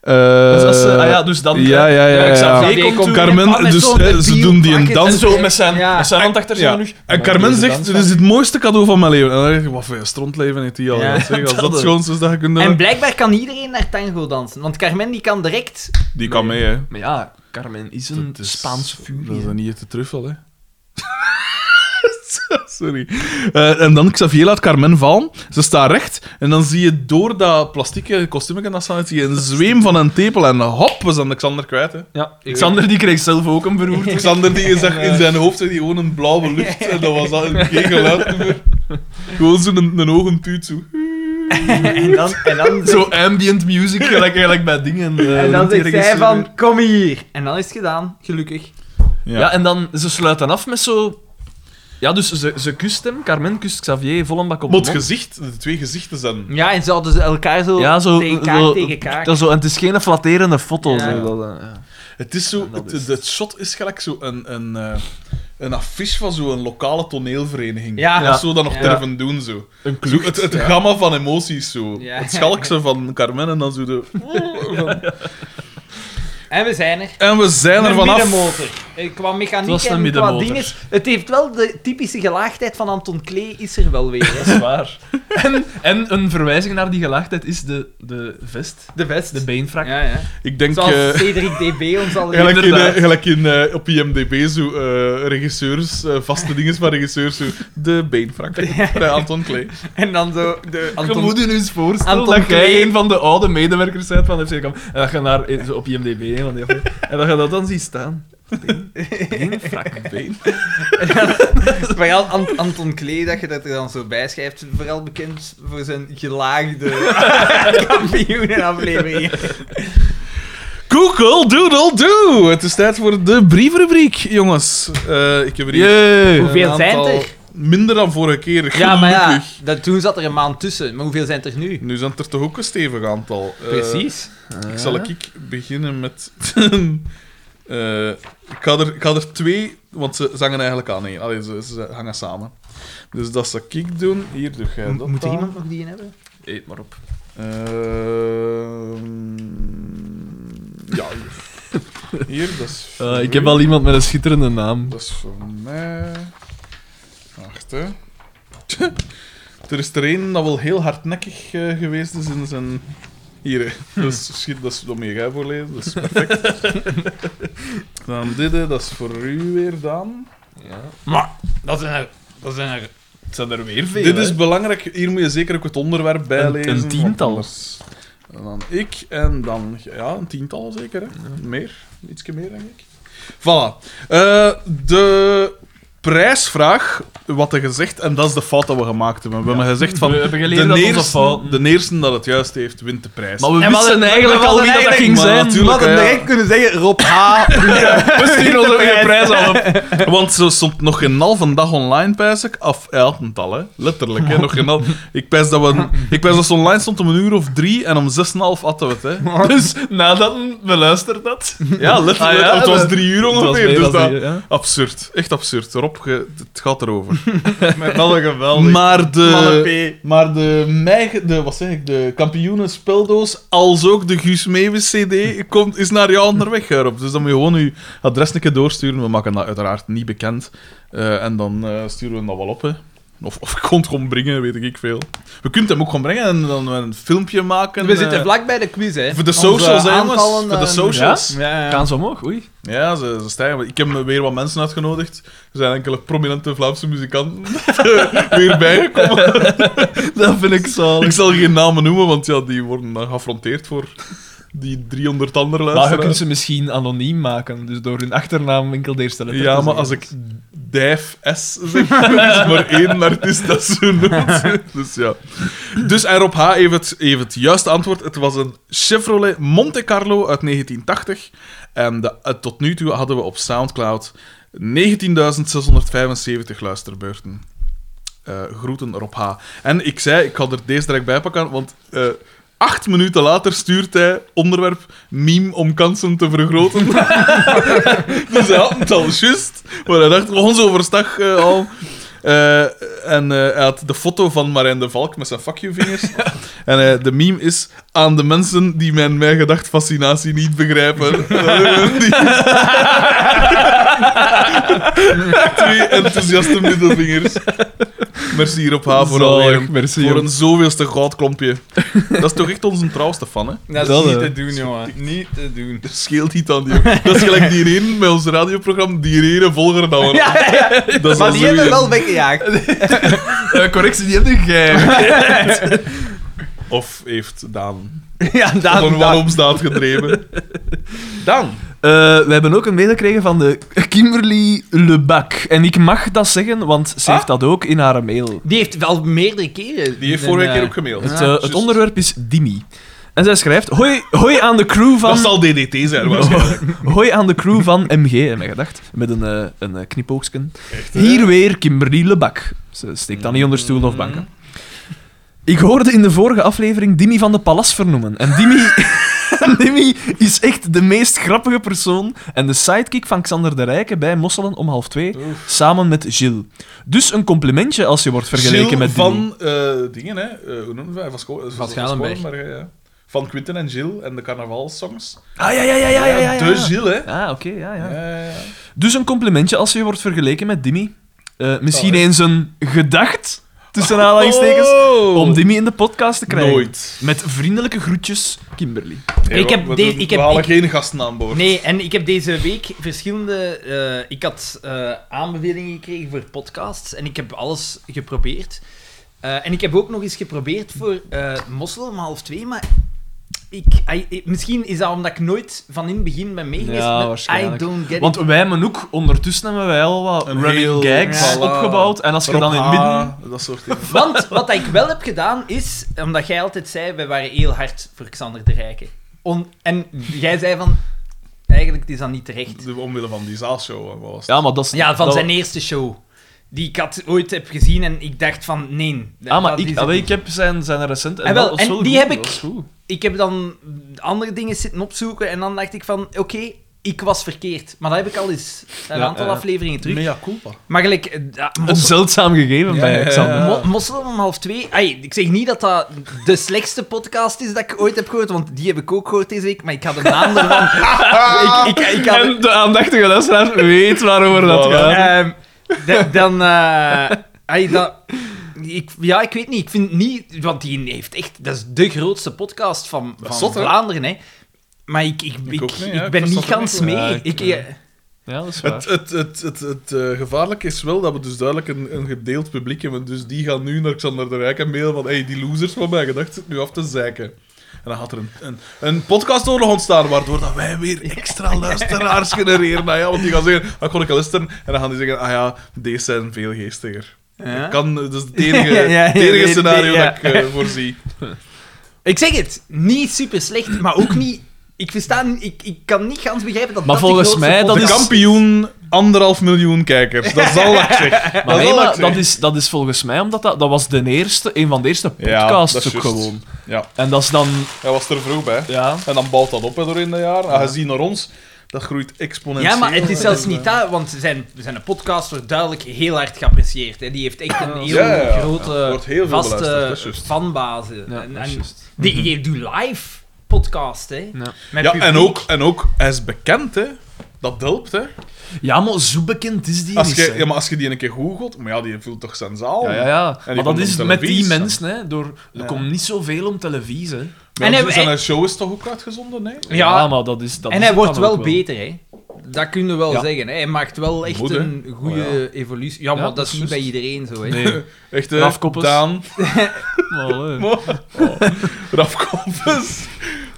[SPEAKER 2] Eh,
[SPEAKER 4] Dus als ze- ah ja, dus dan-
[SPEAKER 2] Ja, ja, ja.
[SPEAKER 4] Ja, ik zou
[SPEAKER 2] ja.
[SPEAKER 4] zeggen,
[SPEAKER 1] Die
[SPEAKER 4] komt
[SPEAKER 1] komt
[SPEAKER 4] toe.
[SPEAKER 2] Carmen,
[SPEAKER 1] met
[SPEAKER 2] dus,
[SPEAKER 1] zo'n
[SPEAKER 2] eh, ze
[SPEAKER 1] debiel
[SPEAKER 2] doen die een
[SPEAKER 1] pakket
[SPEAKER 2] dans.
[SPEAKER 4] En zo met zijn,
[SPEAKER 1] Ja.
[SPEAKER 4] met zijn hand achter zijn
[SPEAKER 2] Ja.
[SPEAKER 4] rug.
[SPEAKER 2] En Carmen
[SPEAKER 4] Deze
[SPEAKER 2] zegt, dus-
[SPEAKER 4] dans
[SPEAKER 2] dit is het mooiste cadeau van mijn leven. En dan denk ik, wat voor een strontleven heeft hij al.
[SPEAKER 1] Ja.
[SPEAKER 2] Zeg, als dat
[SPEAKER 4] Dat
[SPEAKER 2] het schoonste is dat je kunt
[SPEAKER 1] En
[SPEAKER 2] doen.
[SPEAKER 1] blijkbaar kan iedereen naar tango dansen. Want Carmen die kan direct...
[SPEAKER 2] Die kan mee, hè.
[SPEAKER 4] Maar ja, Carmen is een
[SPEAKER 2] Dat is-
[SPEAKER 4] Spaans
[SPEAKER 2] Dat is
[SPEAKER 4] vuur.
[SPEAKER 2] dan niet te truffel, hè. Sorry. Eh, en dan Xavier laat Carmen vallen. Ze staat recht. En dan zie je door dat plastieke kostuum dat staat, zie je een zweem van een tepel. En hop, we zijn Xander kwijt. Hè.
[SPEAKER 4] Ja, Xander die kreeg zelf ook een beroerte.
[SPEAKER 2] Xander die zag in zijn hoofd zag die gewoon een blauwe lucht. En dat was al geen geluid meer. Gewoon zo'n een, een ogentuut zo.
[SPEAKER 1] En dan, en dan,
[SPEAKER 4] Zo ambient music, gelijk, gelijk bij dingen. eh,
[SPEAKER 1] en dan
[SPEAKER 4] die
[SPEAKER 1] zegt zij
[SPEAKER 4] regisseur. eh.
[SPEAKER 1] van, kom hier. En dan is het gedaan, gelukkig.
[SPEAKER 2] Ja.
[SPEAKER 4] Ja. en dan, ze sluiten af met zo... Ja, dus ze, ze kust hem, Carmen kust Xavier, vol een bak op
[SPEAKER 2] Maar het
[SPEAKER 4] de mond.
[SPEAKER 2] gezicht, de twee gezichten zijn...
[SPEAKER 1] Ja, en ze hadden ze elkaar zo,
[SPEAKER 4] Ja, zo...
[SPEAKER 1] tegen kaak
[SPEAKER 4] zo-
[SPEAKER 1] tegen kaak.
[SPEAKER 4] dat zo, en het is geen flatterende foto.
[SPEAKER 1] Ja.
[SPEAKER 4] Zo, dat, eh, ja.
[SPEAKER 2] Het is zo,
[SPEAKER 4] dat
[SPEAKER 2] het,
[SPEAKER 4] is-
[SPEAKER 2] het shot is gelijk zo een, een, eh, een affiche van zo'n lokale toneelvereniging.
[SPEAKER 1] Ja.
[SPEAKER 2] Dat zo dan nog
[SPEAKER 1] Ja.
[SPEAKER 2] terven doen, zo.
[SPEAKER 4] Een
[SPEAKER 2] Zo het het gamma van emoties, zo.
[SPEAKER 1] Ja.
[SPEAKER 2] Het schalkse van Carmen en dan zo de...
[SPEAKER 1] En we zijn er.
[SPEAKER 2] En we zijn er
[SPEAKER 1] Een
[SPEAKER 2] vanaf.
[SPEAKER 1] middenmotor. Eh, Qua mechaniek
[SPEAKER 4] Het was een
[SPEAKER 1] en qua
[SPEAKER 4] middenmotor.
[SPEAKER 1] dingen. Het heeft wel de typische gelaagdheid van Anton Klee, is er wel weer. hè.
[SPEAKER 4] Dat is waar. en, en een verwijzing naar die gelaagdheid is de, de vest,
[SPEAKER 1] De vest.
[SPEAKER 4] de beenfrak.
[SPEAKER 1] Ja, ja.
[SPEAKER 2] Ik denk...
[SPEAKER 1] Zoals
[SPEAKER 2] eh,
[SPEAKER 1] Cedric DB ons al
[SPEAKER 2] Gelijk in, eh,
[SPEAKER 4] Inderdaad.
[SPEAKER 2] gelijk in, eh, op IMDb, zo, eh, regisseurs, eh, vaste dingen van regisseurs, zo, de beenfrak bij Anton Klee.
[SPEAKER 1] En dan zo de
[SPEAKER 4] Je moet
[SPEAKER 1] Anton...
[SPEAKER 4] je nu eens voorstellen
[SPEAKER 1] Anton
[SPEAKER 4] dat jij
[SPEAKER 1] Klee.
[SPEAKER 4] een van de oude medewerkers bent van FC Kamp. En dat je naar, eh, zo op IMDb hè, want die aflevering- en dat je dat dan ziet staan. Been- Beenfrak.
[SPEAKER 2] Been.
[SPEAKER 1] Vooral Ant- Anton Klee, dat je dat er dan zo bij schrijft. Vooral bekend voor zijn gelaagde kampioenenafleveringen.
[SPEAKER 2] Google Doodle Doo! Het is tijd voor de briefrubriek, jongens. Eh, ik heb er hier
[SPEAKER 4] Jee.
[SPEAKER 1] Hoeveel
[SPEAKER 2] een
[SPEAKER 1] zijn het
[SPEAKER 2] aantal
[SPEAKER 1] er?
[SPEAKER 2] Minder dan vorige keer,
[SPEAKER 1] Ja, maar ja,
[SPEAKER 2] gelukkig.
[SPEAKER 1] dat, toen zat er een maand tussen. Maar hoeveel zijn het er nu?
[SPEAKER 2] Nu zijn het er toch ook een stevig aantal. Eh,
[SPEAKER 1] Precies.
[SPEAKER 2] Ik zal ik beginnen met... Eh, ik, ga er, ik ga er twee, want ze zangen eigenlijk aan één. Allee, ze, ze hangen samen. Dus dat zal ik doen. Hier doe jij dat
[SPEAKER 1] Moet er
[SPEAKER 2] aan.
[SPEAKER 1] iemand nog die in hebben?
[SPEAKER 4] Eet maar op.
[SPEAKER 2] Ehm, ja, hier. Hier, dat is. voor
[SPEAKER 4] Eh, ik
[SPEAKER 2] u.
[SPEAKER 4] heb al iemand met een schitterende naam.
[SPEAKER 2] Dat is voor mij. Wacht, hè. er is er één dat wel heel hardnekkig eh, geweest is in zijn. Hier, hè. dat is, schiet- dat is dat moet jij voorlezen, dat is perfect. dan dit, hè, dat is voor u weer, Daan.
[SPEAKER 1] Dat zijn er... Dat zijn er...
[SPEAKER 4] Het zijn er weer veel.
[SPEAKER 2] Dit is belangrijk, hier moet je zeker ook het onderwerp bij
[SPEAKER 4] Een-
[SPEAKER 2] lezen.
[SPEAKER 4] een
[SPEAKER 2] want
[SPEAKER 4] tiental.
[SPEAKER 2] anders- En dan ik en dan, ja, een tiental zeker. Hè? Meer, ietsje meer denk ik. Voilà. Eh, de prijsvraag, wat er gezegd, en dat is de fout dat we gemaakt hebben. We hebben gezegd van.
[SPEAKER 4] We hebben geleerd
[SPEAKER 2] de
[SPEAKER 4] uit onze
[SPEAKER 2] eerste,
[SPEAKER 4] fouten.
[SPEAKER 2] de eerste dat het juist heeft, wint de prijs.
[SPEAKER 4] Maar we
[SPEAKER 1] En we
[SPEAKER 4] wisten
[SPEAKER 1] hadden-
[SPEAKER 4] eigenlijk
[SPEAKER 1] we
[SPEAKER 4] al
[SPEAKER 1] hadden
[SPEAKER 4] wie dat, dat
[SPEAKER 1] eigenlijk- eh,
[SPEAKER 4] ging
[SPEAKER 2] Maar
[SPEAKER 4] zijn.
[SPEAKER 2] natuurlijk,
[SPEAKER 1] We hadden
[SPEAKER 2] ja.
[SPEAKER 1] direct kunnen zeggen, Rob H.
[SPEAKER 4] We sturen ons ook weer een prijs al op.
[SPEAKER 2] Want ze stond nog geen halve dag online, pijs ik. Of hij had een tal, hè. Letterlijk, hè. Nog geen half... Ik pijs dat, we... ik pijs dat ze online stond om een uur of drie en om zes en een half hadden we het, hè.
[SPEAKER 4] Dus nadat beluistert dat.
[SPEAKER 2] Ja, letterlijk.
[SPEAKER 4] Ah, ja,
[SPEAKER 2] het was
[SPEAKER 4] dat-
[SPEAKER 2] drie uur
[SPEAKER 4] Dat was
[SPEAKER 2] ongeveer.
[SPEAKER 4] meer
[SPEAKER 2] dus
[SPEAKER 4] dan
[SPEAKER 2] dat...
[SPEAKER 4] die, ja.
[SPEAKER 2] Absurd. Echt absurd. Rob, ge- het gaat erover.
[SPEAKER 1] Met wel eh, een geweldig.
[SPEAKER 2] Maar de...
[SPEAKER 1] Mannen P.
[SPEAKER 2] Maar de, mei- de, wat zeg ik, de kampioenen speldoos, als ook de Guus Meeuwis CD, komt, is naar jou onderweg, hè, Rob. Dus dan moet je gewoon je adres een keer doorsturen. We maken dat uiteraard niet bekend. Eh, en dan eh, sturen we dat wel op, hè. Of, of ik kon het gewoon brengen, weet ik veel. We kunnen hem ook gewoon brengen en dan een filmpje maken.
[SPEAKER 1] We zitten
[SPEAKER 2] eh,
[SPEAKER 1] vlak bij de quiz, hè.
[SPEAKER 2] Voor de
[SPEAKER 1] Onze
[SPEAKER 2] socials, hè, jongens.
[SPEAKER 1] aantallen,
[SPEAKER 2] Voor de
[SPEAKER 1] eh,
[SPEAKER 2] socials.
[SPEAKER 1] Ja, ja.
[SPEAKER 4] Gaan ze omhoog? Oei.
[SPEAKER 2] Ja, ze, ze stijgen. Ik heb weer wat mensen uitgenodigd. Er zijn enkele prominente Vlaamse muzikanten weer bijgekomen.
[SPEAKER 4] Dat vind ik zalig.
[SPEAKER 2] Ik zal geen namen noemen, want ja, die worden dan geaffronteerd voor die 300 andere
[SPEAKER 4] Maar Nou, je kunt
[SPEAKER 2] luisteraars.
[SPEAKER 4] ze misschien anoniem maken, dus door hun achternaam enkel de eerste letter
[SPEAKER 2] Ja,
[SPEAKER 4] te
[SPEAKER 2] maar als
[SPEAKER 4] zeggen.
[SPEAKER 2] ik Dijf S zeg, is maar één artiest dat zo noemt. Dus ja. Dus en Rob H. heeft het, heeft het juiste antwoord. Het was een Chevrolet Monte Carlo uit 1980. En de- eh, tot nu toe hadden we op Soundcloud 19.675 luisterbeurten. Eh, groeten Rob H. En ik zei, ik ga er deze direct bij pakken, want eh, acht minuten later stuurt hij onderwerp meme om kansen te vergroten. dus hij had het al juist, maar hij dacht, ons overstag eh, al. Eh, en eh, hij had de foto van Marijn de Valk met zijn fuck you vingers. en eh, de meme is aan de mensen die mijn mijn gedacht fascinatie niet begrijpen. Die- Twee enthousiaste middelvingers. Merci Rob H. voor, alweer
[SPEAKER 4] Zalig,
[SPEAKER 2] een,
[SPEAKER 4] merci.
[SPEAKER 2] voor
[SPEAKER 4] jong.
[SPEAKER 2] een zoveelste goudklompje. Dat is toch echt onze trouwste fan, hè?
[SPEAKER 1] Dat is
[SPEAKER 4] Dat,
[SPEAKER 1] niet
[SPEAKER 4] eh,
[SPEAKER 1] te doen, jongen. Niet te doen.
[SPEAKER 2] Er scheelt niet aan die. Dat is gelijk die ene met ons radioprogramma, die ene volger dan we.
[SPEAKER 1] Ja, ja, ja.
[SPEAKER 2] Dat is
[SPEAKER 1] Maar
[SPEAKER 2] al
[SPEAKER 1] die hebben wel
[SPEAKER 2] zoiets.
[SPEAKER 1] weggejaagd.
[SPEAKER 4] Eh, correctie, die heb jij.
[SPEAKER 2] Of heeft Daan
[SPEAKER 4] ja,
[SPEAKER 2] van
[SPEAKER 4] Daan.
[SPEAKER 2] een wanhoopsdaad gedreven? Daan.
[SPEAKER 4] Eh, we hebben ook een mail gekregen van de Kimberly Lebak. En ik mag dat zeggen, want ze heeft
[SPEAKER 2] Ah?
[SPEAKER 4] dat ook in haar mail.
[SPEAKER 1] Die heeft wel meerdere keren.
[SPEAKER 2] Die heeft
[SPEAKER 1] een,
[SPEAKER 2] vorige
[SPEAKER 1] eh,
[SPEAKER 2] keer ook gemaild.
[SPEAKER 4] Het, eh,
[SPEAKER 2] Ja,
[SPEAKER 4] het
[SPEAKER 2] Ah, juist.
[SPEAKER 4] onderwerp is Dimi. En zij schrijft: Hoi, hoi aan de crew van.
[SPEAKER 2] Dat zal DDT zijn, waarschijnlijk.
[SPEAKER 4] Hoi aan de crew van MG, heb ik gedacht. Met een, eh, een eh, knipoogsken. Hier weer Kimberly Lebak. Ze steekt dat niet onder stoelen of banken.
[SPEAKER 2] Mm.
[SPEAKER 4] Ik hoorde in de vorige aflevering Dimi van de Palas vernoemen. En Dimi, Dimi is echt de meest grappige persoon en de sidekick van Xander de Rijke bij Mosselen om half twee, samen met Gilles. Dus een complimentje als je wordt vergeleken
[SPEAKER 2] Gilles
[SPEAKER 4] met Dimi.
[SPEAKER 2] van eh, dingen, hè? Eh, hoe noemen we Van, Scho- van
[SPEAKER 1] Schalenberg.
[SPEAKER 2] Scholen, maar, eh, ja. Van Quinten en Gilles en de carnavalsongs.
[SPEAKER 4] Ah, ja, ja, ja, ja, ja. ja,
[SPEAKER 2] De Gilles, hè?
[SPEAKER 4] Ah, oké, ja, ja.
[SPEAKER 2] Ja, ja, ja.
[SPEAKER 4] Dus een complimentje als je wordt vergeleken met Dimmy. Eh, misschien
[SPEAKER 2] Oh, hè.
[SPEAKER 4] eens een gedacht, tussen aanhalingstekens, om Dimmy in de podcast te krijgen.
[SPEAKER 2] Oh. Nooit.
[SPEAKER 4] Met vriendelijke groetjes, Kimberly.
[SPEAKER 1] Ik heb
[SPEAKER 2] we,
[SPEAKER 1] de-
[SPEAKER 2] doen-
[SPEAKER 1] ik
[SPEAKER 2] we
[SPEAKER 1] heb-
[SPEAKER 2] halen
[SPEAKER 1] ik-
[SPEAKER 2] geen gasten aan boord.
[SPEAKER 1] Nee, en ik heb deze week verschillende. eh, ik had eh, aanbevelingen gekregen voor podcasts en ik heb alles geprobeerd. Eh, en ik heb ook nog eens geprobeerd voor eh Mossel om half twee, maar ik, I- I- misschien is dat omdat ik nooit van in het begin ben meegeweest.
[SPEAKER 4] Ja,
[SPEAKER 1] maar
[SPEAKER 4] waarschijnlijk.
[SPEAKER 1] I don't get
[SPEAKER 4] Want
[SPEAKER 1] it.
[SPEAKER 4] wij hebben ook, ondertussen hebben wij al wat
[SPEAKER 2] Een heel-
[SPEAKER 4] running gags
[SPEAKER 2] voilà.
[SPEAKER 4] opgebouwd. En als je
[SPEAKER 2] Rob
[SPEAKER 4] dan in het
[SPEAKER 2] H,
[SPEAKER 4] midden...
[SPEAKER 2] Dat soort dingen.
[SPEAKER 1] Want wat ik wel heb gedaan is, omdat jij altijd zei, wij waren heel hard voor Xander te rijken. On- en jij zei van, eigenlijk is dat niet terecht.
[SPEAKER 2] De- Omwille van die zaalshow. hè, wat was het?
[SPEAKER 4] Ja, maar dat is...
[SPEAKER 1] Ja, van
[SPEAKER 4] dat-
[SPEAKER 1] zijn eerste show. Die ik had ooit heb gezien en ik dacht van, nee. dat-
[SPEAKER 4] Ah, maar
[SPEAKER 1] dat
[SPEAKER 4] ik,
[SPEAKER 1] is
[SPEAKER 4] ah,
[SPEAKER 1] het
[SPEAKER 4] wel,
[SPEAKER 1] niet.
[SPEAKER 4] ik heb zijn, zijn recent...
[SPEAKER 1] Ah, wel,
[SPEAKER 4] dat was
[SPEAKER 1] en die
[SPEAKER 4] goed,
[SPEAKER 1] heb
[SPEAKER 4] dat
[SPEAKER 1] ik-
[SPEAKER 4] was goed.
[SPEAKER 1] Ik heb dan andere dingen zitten opzoeken en dan dacht ik van, oké, ik was verkeerd. Maar dat heb ik al eens een
[SPEAKER 4] Ja,
[SPEAKER 1] aantal
[SPEAKER 4] eh,
[SPEAKER 1] afleveringen terug.
[SPEAKER 2] Mea culpa.
[SPEAKER 1] Maar gelijk, eh, ja,
[SPEAKER 4] Een eh.
[SPEAKER 1] Mos-
[SPEAKER 4] zeldzaam gegeven
[SPEAKER 2] Ja, ja,
[SPEAKER 4] bij
[SPEAKER 2] ja.
[SPEAKER 4] Xander.
[SPEAKER 2] Ja.
[SPEAKER 1] Mo- Mossel om half twee. Ai, ik zeg niet dat dat de slechtste podcast is dat ik ooit heb gehoord, want die heb ik ook gehoord deze week, maar ik had de naam ervan. ik, ik, ik had,
[SPEAKER 4] En de aandachtige luisteraar weet waarover dat
[SPEAKER 2] Voilà.
[SPEAKER 4] gaat.
[SPEAKER 1] Ehm, da- dan... eh, ai, dat, ik, ja, ik weet niet. Ik vind niet... Want die heeft echt... Dat is de grootste podcast van,
[SPEAKER 2] Dat
[SPEAKER 1] van
[SPEAKER 2] is zot, hè?
[SPEAKER 1] Vlaanderen, hè. Maar ik, ik, ik,
[SPEAKER 2] ook niet, hè.
[SPEAKER 1] ik
[SPEAKER 2] Ik
[SPEAKER 1] ben niet
[SPEAKER 2] verstond er
[SPEAKER 1] gans
[SPEAKER 2] niks
[SPEAKER 1] mee.
[SPEAKER 4] van. Ja,
[SPEAKER 1] ik,
[SPEAKER 4] ik, eh,
[SPEAKER 1] eh,
[SPEAKER 4] Ja, dat is
[SPEAKER 2] Het,
[SPEAKER 4] waar.
[SPEAKER 2] het, het, het, het eh, gevaarlijke is wel dat we dus duidelijk een, een gedeeld publiek hebben. Dus die gaan nu naar Xander de Rijk en mailen van hey, die losers van mij gedacht zitten nu af te zeiken. En dan gaat er een, een, een podcastoorlog ontstaan, waardoor dat wij weer extra luisteraars genereren. Nou ja, want die gaan zeggen, ah, ik kon ik al luisteren. En dan gaan die zeggen, ah ja, deze zijn veel geestiger.
[SPEAKER 1] Ja.
[SPEAKER 2] Ik kan, dat is het enige,
[SPEAKER 1] Ja, ja,
[SPEAKER 2] het enige
[SPEAKER 1] ja,
[SPEAKER 2] scenario
[SPEAKER 1] ja.
[SPEAKER 2] dat ik eh, voorzie.
[SPEAKER 1] ik zeg het. Niet super slecht, maar ook niet... Ik versta... niet- Ik, ik kan niet gans begrijpen dat
[SPEAKER 4] Maar
[SPEAKER 1] dat de
[SPEAKER 4] volgens
[SPEAKER 1] grootste
[SPEAKER 4] mij, dat
[SPEAKER 2] de
[SPEAKER 1] podcast-
[SPEAKER 4] is-
[SPEAKER 2] kampioen, anderhalf miljoen kijkers. Dat zal ik zeggen.
[SPEAKER 4] Maar,
[SPEAKER 2] dat
[SPEAKER 4] nee,
[SPEAKER 2] zal
[SPEAKER 4] maar
[SPEAKER 2] ik zeggen.
[SPEAKER 4] dat, is, dat is volgens mij omdat dat, dat was de eerste, een van de eerste
[SPEAKER 2] Ja,
[SPEAKER 4] podcasts
[SPEAKER 2] dat is
[SPEAKER 4] ook
[SPEAKER 2] juist.
[SPEAKER 4] gewoon.
[SPEAKER 2] Ja,
[SPEAKER 4] En dat is dan,
[SPEAKER 2] hij was er vroeg bij.
[SPEAKER 4] ja.
[SPEAKER 2] En dan bouwt dat op hè, doorheen de jaren. En je ziet naar ons, dat groeit exponentieel.
[SPEAKER 1] Ja, maar het is
[SPEAKER 2] hè. eh,
[SPEAKER 1] zelfs niet dat, want zijn, zijn podcast wordt duidelijk heel hard geapprecieerd. Hè. Die heeft echt een heel
[SPEAKER 2] ja, ja.
[SPEAKER 1] grote,
[SPEAKER 2] Ja, wordt heel veel beluisterd, dat
[SPEAKER 1] vaste
[SPEAKER 2] is juist.
[SPEAKER 1] fanbase.
[SPEAKER 4] Ja,
[SPEAKER 1] en,
[SPEAKER 4] dat is
[SPEAKER 1] en
[SPEAKER 4] juist.
[SPEAKER 1] die, die doet live podcast, hè.
[SPEAKER 4] Ja.
[SPEAKER 1] Met
[SPEAKER 2] Ja,
[SPEAKER 1] publiek.
[SPEAKER 2] en ook, en ook, hij is bekend, hè. Dat helpt, hè.
[SPEAKER 4] ja, maar zo bekend is die
[SPEAKER 2] Als
[SPEAKER 4] niet.
[SPEAKER 2] je,
[SPEAKER 4] hè.
[SPEAKER 2] ja, maar als je die een keer googelt, maar ja, die vult toch zijn zaal.
[SPEAKER 4] ja, ja, ja. Maar dat
[SPEAKER 2] komt
[SPEAKER 4] is
[SPEAKER 2] op
[SPEAKER 4] met die
[SPEAKER 2] televisie staan.
[SPEAKER 4] mensen, hè. Door, er
[SPEAKER 2] Ja.
[SPEAKER 4] komt niet zoveel om televisie. hè.
[SPEAKER 2] Maar
[SPEAKER 1] En
[SPEAKER 2] ja,
[SPEAKER 1] hij-
[SPEAKER 2] zijn
[SPEAKER 1] hij-
[SPEAKER 2] show is toch ook uitgezonden, hè?
[SPEAKER 1] Ja,
[SPEAKER 4] maar dat is dat
[SPEAKER 1] en
[SPEAKER 4] is
[SPEAKER 1] hij
[SPEAKER 4] het
[SPEAKER 1] wordt
[SPEAKER 4] dan ook
[SPEAKER 1] wel beter, hè. Dat kun je wel
[SPEAKER 4] Ja.
[SPEAKER 1] zeggen. Hè. Hij maakt wel echt
[SPEAKER 2] Moet, hè.
[SPEAKER 1] een goede
[SPEAKER 2] Oh, ja.
[SPEAKER 1] evolutie. Ja, maar
[SPEAKER 4] Ja,
[SPEAKER 1] dat,
[SPEAKER 4] dat
[SPEAKER 1] is
[SPEAKER 4] is
[SPEAKER 1] niet bij
[SPEAKER 4] juist.
[SPEAKER 1] iedereen zo, hè.
[SPEAKER 4] Nee,
[SPEAKER 2] Echt, hè.
[SPEAKER 4] Raf Koppes.
[SPEAKER 2] Daan.
[SPEAKER 4] maar, hè.
[SPEAKER 2] Oh. Raf Koppes.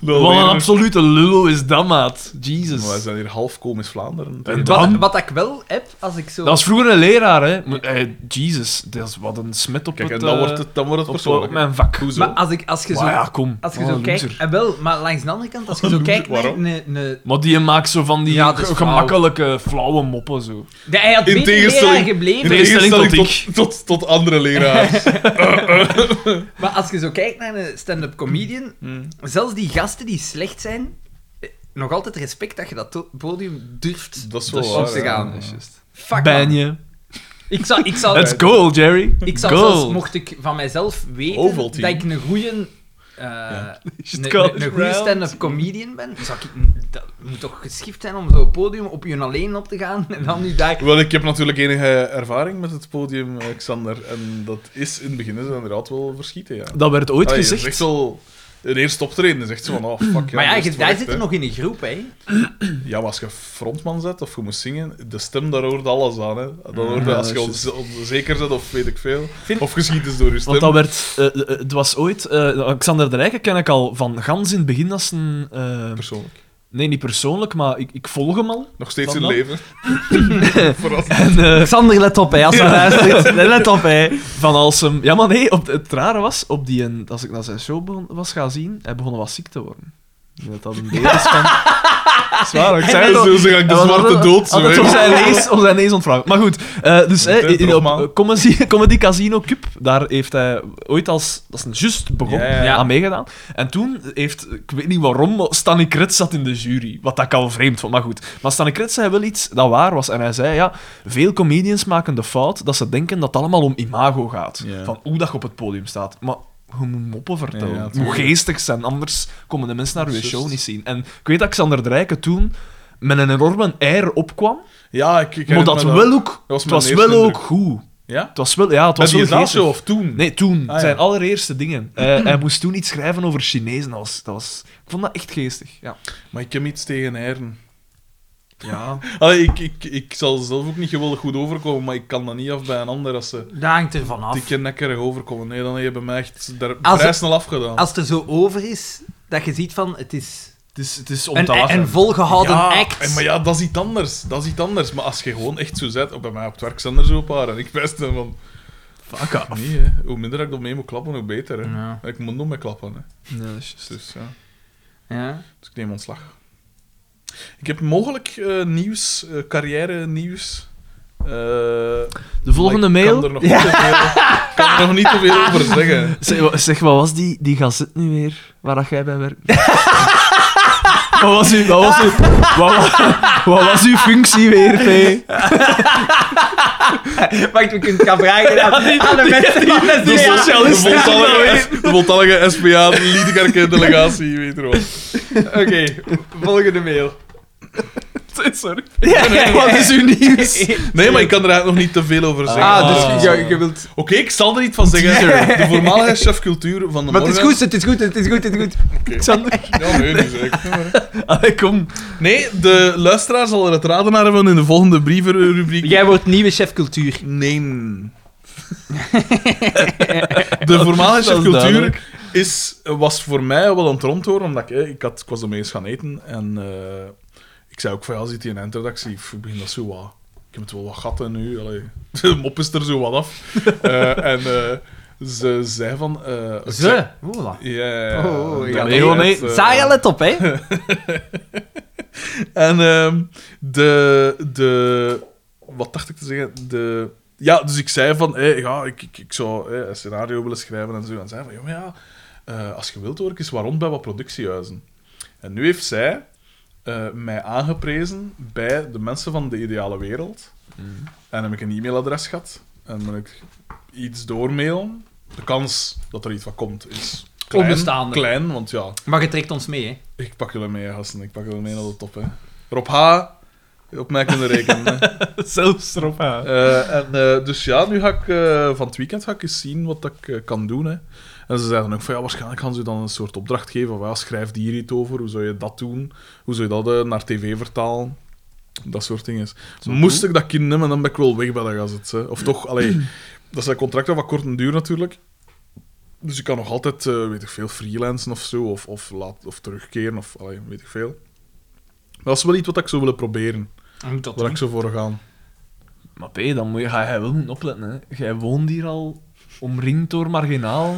[SPEAKER 2] Lul,
[SPEAKER 4] Wat een
[SPEAKER 2] weer.
[SPEAKER 4] absolute lullo is dat, maat.
[SPEAKER 2] Maar wij
[SPEAKER 4] Jesus.
[SPEAKER 2] zijn hier half komisch Vlaanderen.
[SPEAKER 4] En
[SPEAKER 1] Wat,
[SPEAKER 4] dan-
[SPEAKER 1] wat ik wel heb, als ik zo...
[SPEAKER 4] Dat was vroeger een leraar, hè. Maar, eh, Jesus, dat is wat een smet op
[SPEAKER 2] Kijk, en
[SPEAKER 4] het...
[SPEAKER 2] dan
[SPEAKER 4] eh,
[SPEAKER 2] wordt het, dan wordt het
[SPEAKER 4] op, op
[SPEAKER 2] persoonlijk.
[SPEAKER 4] mijn vak.
[SPEAKER 2] Hoezo?
[SPEAKER 1] maar als, ik, als je zo,
[SPEAKER 4] Maar ja, kom.
[SPEAKER 1] als je
[SPEAKER 4] Wat
[SPEAKER 1] zo
[SPEAKER 4] een
[SPEAKER 1] kijkt...
[SPEAKER 4] loser.
[SPEAKER 1] En wel, maar langs de andere kant, als je zo
[SPEAKER 2] Loser,
[SPEAKER 1] kijkt naar...
[SPEAKER 2] waarom?
[SPEAKER 1] een- een-
[SPEAKER 4] Maar die maakt zo van die
[SPEAKER 1] Ja, dat is
[SPEAKER 4] ge-
[SPEAKER 1] flauw.
[SPEAKER 4] gemakkelijke, flauwe moppen zo.
[SPEAKER 1] De- Hij had
[SPEAKER 2] In
[SPEAKER 1] beter
[SPEAKER 2] tegenstelling-
[SPEAKER 1] leraar gebleven.
[SPEAKER 2] In
[SPEAKER 4] tegenstelling
[SPEAKER 2] tot,
[SPEAKER 4] tot
[SPEAKER 2] tot, tot andere leraars.
[SPEAKER 1] Maar als je zo kijkt naar een stand-up comedian, zelfs die gasten die slecht zijn, eh, nog altijd respect dat je dat to- podium durft.
[SPEAKER 2] Dat is wel
[SPEAKER 1] Dus
[SPEAKER 2] waar,
[SPEAKER 1] op te
[SPEAKER 2] ja.
[SPEAKER 1] gaan.
[SPEAKER 2] Ja,
[SPEAKER 1] Fuck
[SPEAKER 4] Ben
[SPEAKER 1] man.
[SPEAKER 4] je?
[SPEAKER 1] Ik zou, ik zou,
[SPEAKER 4] Let's go, Jerry.
[SPEAKER 1] ik zou
[SPEAKER 4] go.
[SPEAKER 1] zelfs, mocht ik van mijzelf weten
[SPEAKER 2] Ovaltine.
[SPEAKER 1] dat ik een eh, goede
[SPEAKER 4] het college round?
[SPEAKER 1] stand-up comedian ben, zou ik, dat moet toch geschikt zijn om zo'n podium op je alleen op te gaan en dan nu daar...
[SPEAKER 2] Wel, ik heb natuurlijk enige ervaring met het podium, eh, Xander. En dat is in het begin is het inderdaad wel verschieten, ja.
[SPEAKER 4] Dat werd ooit
[SPEAKER 1] Oh,
[SPEAKER 2] Allee,
[SPEAKER 4] gezegd.
[SPEAKER 2] Het is echt wel de eerste optreden is echt zo van, oh fuck.
[SPEAKER 1] maar ja,
[SPEAKER 2] dat is
[SPEAKER 1] je-
[SPEAKER 2] het
[SPEAKER 1] daar
[SPEAKER 2] werk,
[SPEAKER 1] zit
[SPEAKER 2] hè.
[SPEAKER 1] je nog in een groep, hè?
[SPEAKER 2] Ja, maar als je frontman zet of je moet zingen, de stem, daar hoort alles aan. Hè. Dat hoort, als je onz- onzeker bent of weet ik veel, of geschiedenis door je stem.
[SPEAKER 4] Want dat werd... eh, eh, het was ooit... eh, Xander de Rijken ken ik al van gans in het begin als een... eh,
[SPEAKER 2] Persoonlijk.
[SPEAKER 4] nee, niet persoonlijk, maar ik, ik volg hem al.
[SPEAKER 2] Nog steeds
[SPEAKER 4] Van
[SPEAKER 2] in
[SPEAKER 4] dat?
[SPEAKER 2] leven. Vooral.
[SPEAKER 4] En, eh,
[SPEAKER 1] Sander, let op, hè. Als hij luistert, let op, hè.
[SPEAKER 4] Van als hem... Ja, maar nee, op, het rare was, op die, een- als ik naar zijn show begon, was gaan zien, hij begon wat ziek te worden. Ik denk Dat dat een beeld is van... Zwaar, ik zei het al.
[SPEAKER 2] Zo zeg ik de
[SPEAKER 4] Hij was
[SPEAKER 2] zwarte
[SPEAKER 4] altijd-
[SPEAKER 2] dood. Zo,
[SPEAKER 4] Altijd
[SPEAKER 2] hè.
[SPEAKER 4] op zijn neus, op zijn neus ontvragen. Maar goed, eh, dus
[SPEAKER 2] Goed,
[SPEAKER 4] hè,
[SPEAKER 2] hè,
[SPEAKER 4] in, op
[SPEAKER 2] Brogman.
[SPEAKER 4] eh, Comedy, Comedy Casino Cup, daar heeft hij ooit als... Dat is een just begonnen,
[SPEAKER 2] Ja, ja, ja.
[SPEAKER 4] aan meegedaan. En toen heeft, ik weet niet waarom, maar Stanley Kretz zat in de jury. Wat dat ik al vreemd vond, maar goed. Maar Stanley Kretz zei wel iets dat waar was. En hij zei, ja, veel comedians maken de fout dat ze denken dat het allemaal om imago gaat.
[SPEAKER 2] Ja.
[SPEAKER 4] Van hoe dat je op het podium staat. Maar je moet moppen vertellen.
[SPEAKER 2] Ja, ja,
[SPEAKER 4] je moet
[SPEAKER 2] tuurlijk.
[SPEAKER 4] geestig zijn, anders komen de mensen naar je
[SPEAKER 2] Juist.
[SPEAKER 4] show niet zien. En ik weet dat Xander de Rijken toen met een enorme air opkwam,
[SPEAKER 2] Ja, ik, ik
[SPEAKER 4] maar
[SPEAKER 2] herinner
[SPEAKER 4] dat
[SPEAKER 2] me
[SPEAKER 4] wel ook...
[SPEAKER 2] was
[SPEAKER 4] Het
[SPEAKER 2] mijn
[SPEAKER 4] was
[SPEAKER 2] eerste
[SPEAKER 4] wel ook
[SPEAKER 2] indruk.
[SPEAKER 4] goed.
[SPEAKER 2] Ja?
[SPEAKER 4] Het was wel... Ja, het
[SPEAKER 2] Was die
[SPEAKER 4] was wel
[SPEAKER 2] het laatste
[SPEAKER 4] geestig.
[SPEAKER 2] of toen?
[SPEAKER 4] Nee, toen.
[SPEAKER 2] Ah, ja.
[SPEAKER 4] Zijn allereerste dingen. Eh, hij moest toen iets schrijven over Chinezen. Dat was, dat was, ik vond dat echt geestig. Ja.
[SPEAKER 2] Maar ik heb iets tegen heren.
[SPEAKER 4] ja.
[SPEAKER 2] Allee, ik, ik, ik zal zelf ook niet geweldig goed overkomen, maar ik kan dat niet af bij een ander als ze
[SPEAKER 1] Dat hangt er vanaf.
[SPEAKER 2] dikke nekkerig overkomen. Nee, dan hebben mij echt daar
[SPEAKER 1] Als-
[SPEAKER 2] vrij snel afgedaan.
[SPEAKER 1] Als het er zo over is, dat je ziet van, het is
[SPEAKER 4] Het is, het is om
[SPEAKER 1] een,
[SPEAKER 4] te lachen.
[SPEAKER 1] een volgehouden
[SPEAKER 2] ja,
[SPEAKER 1] act.
[SPEAKER 2] en- maar ja, dat is iets anders. Dat is iets anders. Maar als je gewoon echt zo zet, ook bij mij op het werk zijn er zo een paar en ik wijs dan van...
[SPEAKER 4] Fuck off.
[SPEAKER 2] Nee, hè. hoe minder ik ermee moet klappen, hoe beter. Hè.
[SPEAKER 1] Ja.
[SPEAKER 2] Ik moet nog mee klappen. Hè.
[SPEAKER 4] Nee, dat is juist.
[SPEAKER 2] Dus, ja.
[SPEAKER 1] Ja.
[SPEAKER 2] dus ik neem ontslag. Ik heb mogelijk eh, nieuws, eh, carrière nieuws. Eh,
[SPEAKER 4] De volgende
[SPEAKER 2] maar ik
[SPEAKER 4] mail...
[SPEAKER 2] Kan er nog niet te veel- ik kan er nog niet te veel over zeggen.
[SPEAKER 4] Zeg, wa- zeg, wat was die, die gazet nu weer waar dat jij bij werkt? wat, was uw, wat, was uw, wat, wa- wat was uw functie weer, P?
[SPEAKER 1] Wacht, we kunnen het gaan vragen aan, aan de mensen van de
[SPEAKER 2] De
[SPEAKER 1] CDA.
[SPEAKER 2] socialisten. De voltallige, S- de voltallige SPA, de Liedekerke delegatie, weet je wat.
[SPEAKER 1] Oké, volgende mail.
[SPEAKER 4] Sorry.
[SPEAKER 1] Ja, ja, ja.
[SPEAKER 4] Wat is uw nieuws?
[SPEAKER 2] Nee, maar ik kan er eigenlijk nog niet te veel over zeggen.
[SPEAKER 1] Ah, dus
[SPEAKER 2] Ah.
[SPEAKER 1] ja, je wilt...
[SPEAKER 2] Oké, ik zal er iets van zeggen. De voormalige chef cultuur van de
[SPEAKER 1] Maar het is
[SPEAKER 2] morgen...
[SPEAKER 1] goed, het is goed, het is goed, het is goed.
[SPEAKER 4] Xander?
[SPEAKER 2] Ja, nee, die zeg ik niet meer, hè.
[SPEAKER 4] Allee, kom.
[SPEAKER 2] Nee, de luisteraar zal er het raden naar hebben in de volgende brievenrubriek.
[SPEAKER 1] Jij wordt nieuwe chef cultuur.
[SPEAKER 2] Nee. de voormalige
[SPEAKER 4] Dat is
[SPEAKER 2] cultuur
[SPEAKER 4] duidelijk.
[SPEAKER 2] is, was voor mij wel een tromp hoor, omdat ik, eh, ik, had, ik was ermee eens gaan eten en eh, ik zei ook van ja, zit hier een eindredactie, ik begin dat zo wat. Ik heb het wel wat gatten nu, allee. de mop is er zo wat af. Eh, en eh, ze zei van... eh, ik zei-
[SPEAKER 1] Ze. Oela.
[SPEAKER 2] Ja.
[SPEAKER 1] Oh,
[SPEAKER 2] dat
[SPEAKER 1] ja,
[SPEAKER 2] is
[SPEAKER 4] nee, hoor, nee.
[SPEAKER 2] het, eh.
[SPEAKER 1] Zaja, let op, hè.
[SPEAKER 2] En ehm, de, de. Wat dacht ik te zeggen? De. Ja, dus ik zei van, hé, ja, ik, ik, ik zou hé, een scenario willen schrijven en zo. En zei van, ja, maar ja, eh, als je wilt hoor ik eens waarom bij wat productiehuizen. En nu heeft zij eh, mij aangeprezen bij de mensen van de ideale wereld. En heb ik een e-mailadres gehad. En moet ik iets doormailen. De kans dat er iets van komt is klein,
[SPEAKER 1] Onbestaande.
[SPEAKER 2] klein want ja,
[SPEAKER 1] Maar je trekt ons mee, hè.
[SPEAKER 2] ik pak jullie mee, gasten. Ik pak jullie mee naar de top, hè. Rob H. Op mij kunnen rekenen. hè.
[SPEAKER 4] Zelfs erop aan.
[SPEAKER 2] Eh, en, eh, dus ja, nu ga ik eh, van het weekend ga ik eens zien wat dat ik eh, kan doen. Hè. En ze zeiden ook van ja, waarschijnlijk gaan ze dan een soort opdracht geven. Van, ja, schrijf hier iets over. Hoe zou je dat doen? Hoe zou je dat eh, naar tv vertalen? Dat soort dingen. Moest ik dat kunnen nemen, dan ben ik wel weg bij de gazet. Hè. Of toch, allee, dat zijn contracten van kort en duur natuurlijk. Dus ik kan nog altijd, eh, weet ik veel, freelancen of zo. Of, of, laat, of terugkeren, of allee, weet ik veel. Maar dat is wel iets wat ik zou willen proberen.
[SPEAKER 1] Dat
[SPEAKER 2] Waar ik zou voor gaan.
[SPEAKER 4] Maar P, dan moet je, ga jij wel moeten opletten. Hè. Jij woont hier al omringd door marginaal.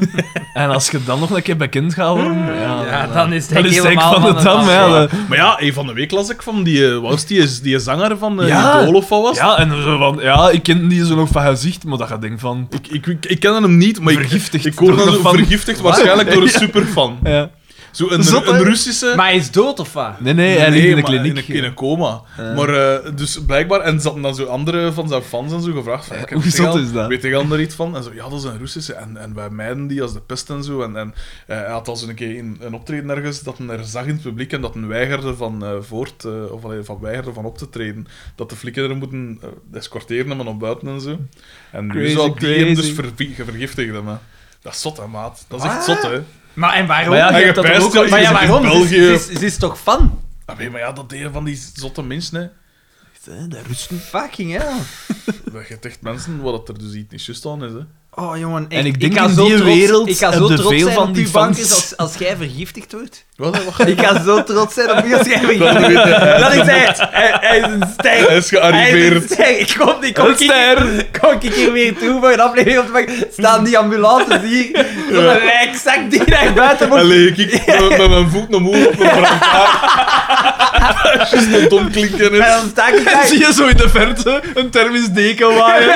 [SPEAKER 4] en als je dan nog een keer bekend gaat worden... Ja,
[SPEAKER 1] Ja, dan is het
[SPEAKER 4] dat is denk
[SPEAKER 1] helemaal
[SPEAKER 4] van de dam.
[SPEAKER 1] ja.
[SPEAKER 4] Ja, dat-
[SPEAKER 2] Maar ja, een van de week las ik van die, eh, wat was die, is die zanger van eh
[SPEAKER 4] Ja.
[SPEAKER 2] Idol of wat was?
[SPEAKER 4] ja, en zo van... Ja, ik ken die zo nog van gezicht, maar dat gaat denk van...
[SPEAKER 2] Ik, ik, ik, ik ken hem niet, maar ik,
[SPEAKER 4] Vergiftigd
[SPEAKER 2] ik hoor
[SPEAKER 4] door
[SPEAKER 2] dat
[SPEAKER 4] een
[SPEAKER 2] zo
[SPEAKER 4] fan.
[SPEAKER 2] vergiftigd waarschijnlijk door een superfan.
[SPEAKER 4] Ja.
[SPEAKER 2] Zo een,
[SPEAKER 4] Zot, hè?
[SPEAKER 2] een Russische...
[SPEAKER 1] Maar hij is dood, of wat?
[SPEAKER 4] Nee, nee, hij ligt in de
[SPEAKER 2] maar
[SPEAKER 4] kliniek.
[SPEAKER 2] In een, in een coma. Maar eh, dus blijkbaar, en ze hadden dan zo andere van zijn fans en zo gevraagd: van,
[SPEAKER 4] hoe
[SPEAKER 2] weet
[SPEAKER 4] zot
[SPEAKER 2] jij-
[SPEAKER 4] is dat?
[SPEAKER 2] Weet ik al er iets van? En zo, ja, dat is een Russische. En, en wij mijden die als de pest en zo. En, en eh, hij had al zo'n keer in, een optreden ergens dat hij er zag in het publiek en dat hij weigerde van, eh, voort, eh, of, allee, van, weigerde van op te treden. Dat de flikken er moeten eh, escorteren hem en op buiten en zo. En nu
[SPEAKER 4] Crazy,
[SPEAKER 2] zou die hem dus
[SPEAKER 4] crazy.
[SPEAKER 2] vervi- vergiftigen. Hè. Dat is zot, hè, maat. Dat is echt zot, hè.
[SPEAKER 1] Maar en waarom?
[SPEAKER 2] Maar ja, je hebt dat
[SPEAKER 1] toch
[SPEAKER 2] ook al-
[SPEAKER 1] Maar ja,
[SPEAKER 2] je zit in
[SPEAKER 1] waarom? Ze is-
[SPEAKER 2] België.
[SPEAKER 1] Ze is- ze is toch fan?
[SPEAKER 2] Ah, nee, maar ja, dat deden van die zotte mensen, hè.
[SPEAKER 1] Fucking hell.
[SPEAKER 2] Dat je echt mensen wat dat er dus iets niet juist aan is, hè.
[SPEAKER 1] Oh jongen,
[SPEAKER 3] En ik
[SPEAKER 1] ik
[SPEAKER 3] denk
[SPEAKER 1] ga
[SPEAKER 3] in
[SPEAKER 1] zo
[SPEAKER 3] die
[SPEAKER 1] trots-
[SPEAKER 3] wereld
[SPEAKER 1] ik ga
[SPEAKER 3] heb
[SPEAKER 1] zo
[SPEAKER 3] je
[SPEAKER 1] trots
[SPEAKER 3] veel
[SPEAKER 1] zijn
[SPEAKER 3] van
[SPEAKER 1] op
[SPEAKER 3] die
[SPEAKER 1] uw bankers als,
[SPEAKER 3] fans.
[SPEAKER 1] als jij vergiftigd wordt.
[SPEAKER 2] Wat? wat-
[SPEAKER 1] Ik ga zo trots zijn op u als jij vergiftigd wordt. Dat is hij. Hij, hij is een ster.
[SPEAKER 2] Hij is
[SPEAKER 1] Hij is een
[SPEAKER 2] gearriveerd.
[SPEAKER 1] ster. Ik kom, ik kom, hier, kom ik hier weer toe voor een aflevering op te maken. Staan die ambulances hier. Zo'n lijkzak die naar buiten moet.
[SPEAKER 2] Allee, ik ik- met, met mijn voet omhoog op mijn brandhaar. Dat is een dom klinken
[SPEAKER 1] En
[SPEAKER 2] is.
[SPEAKER 1] dan sta ik daar.
[SPEAKER 3] Zie je zo in de verte een thermisch deken waaien?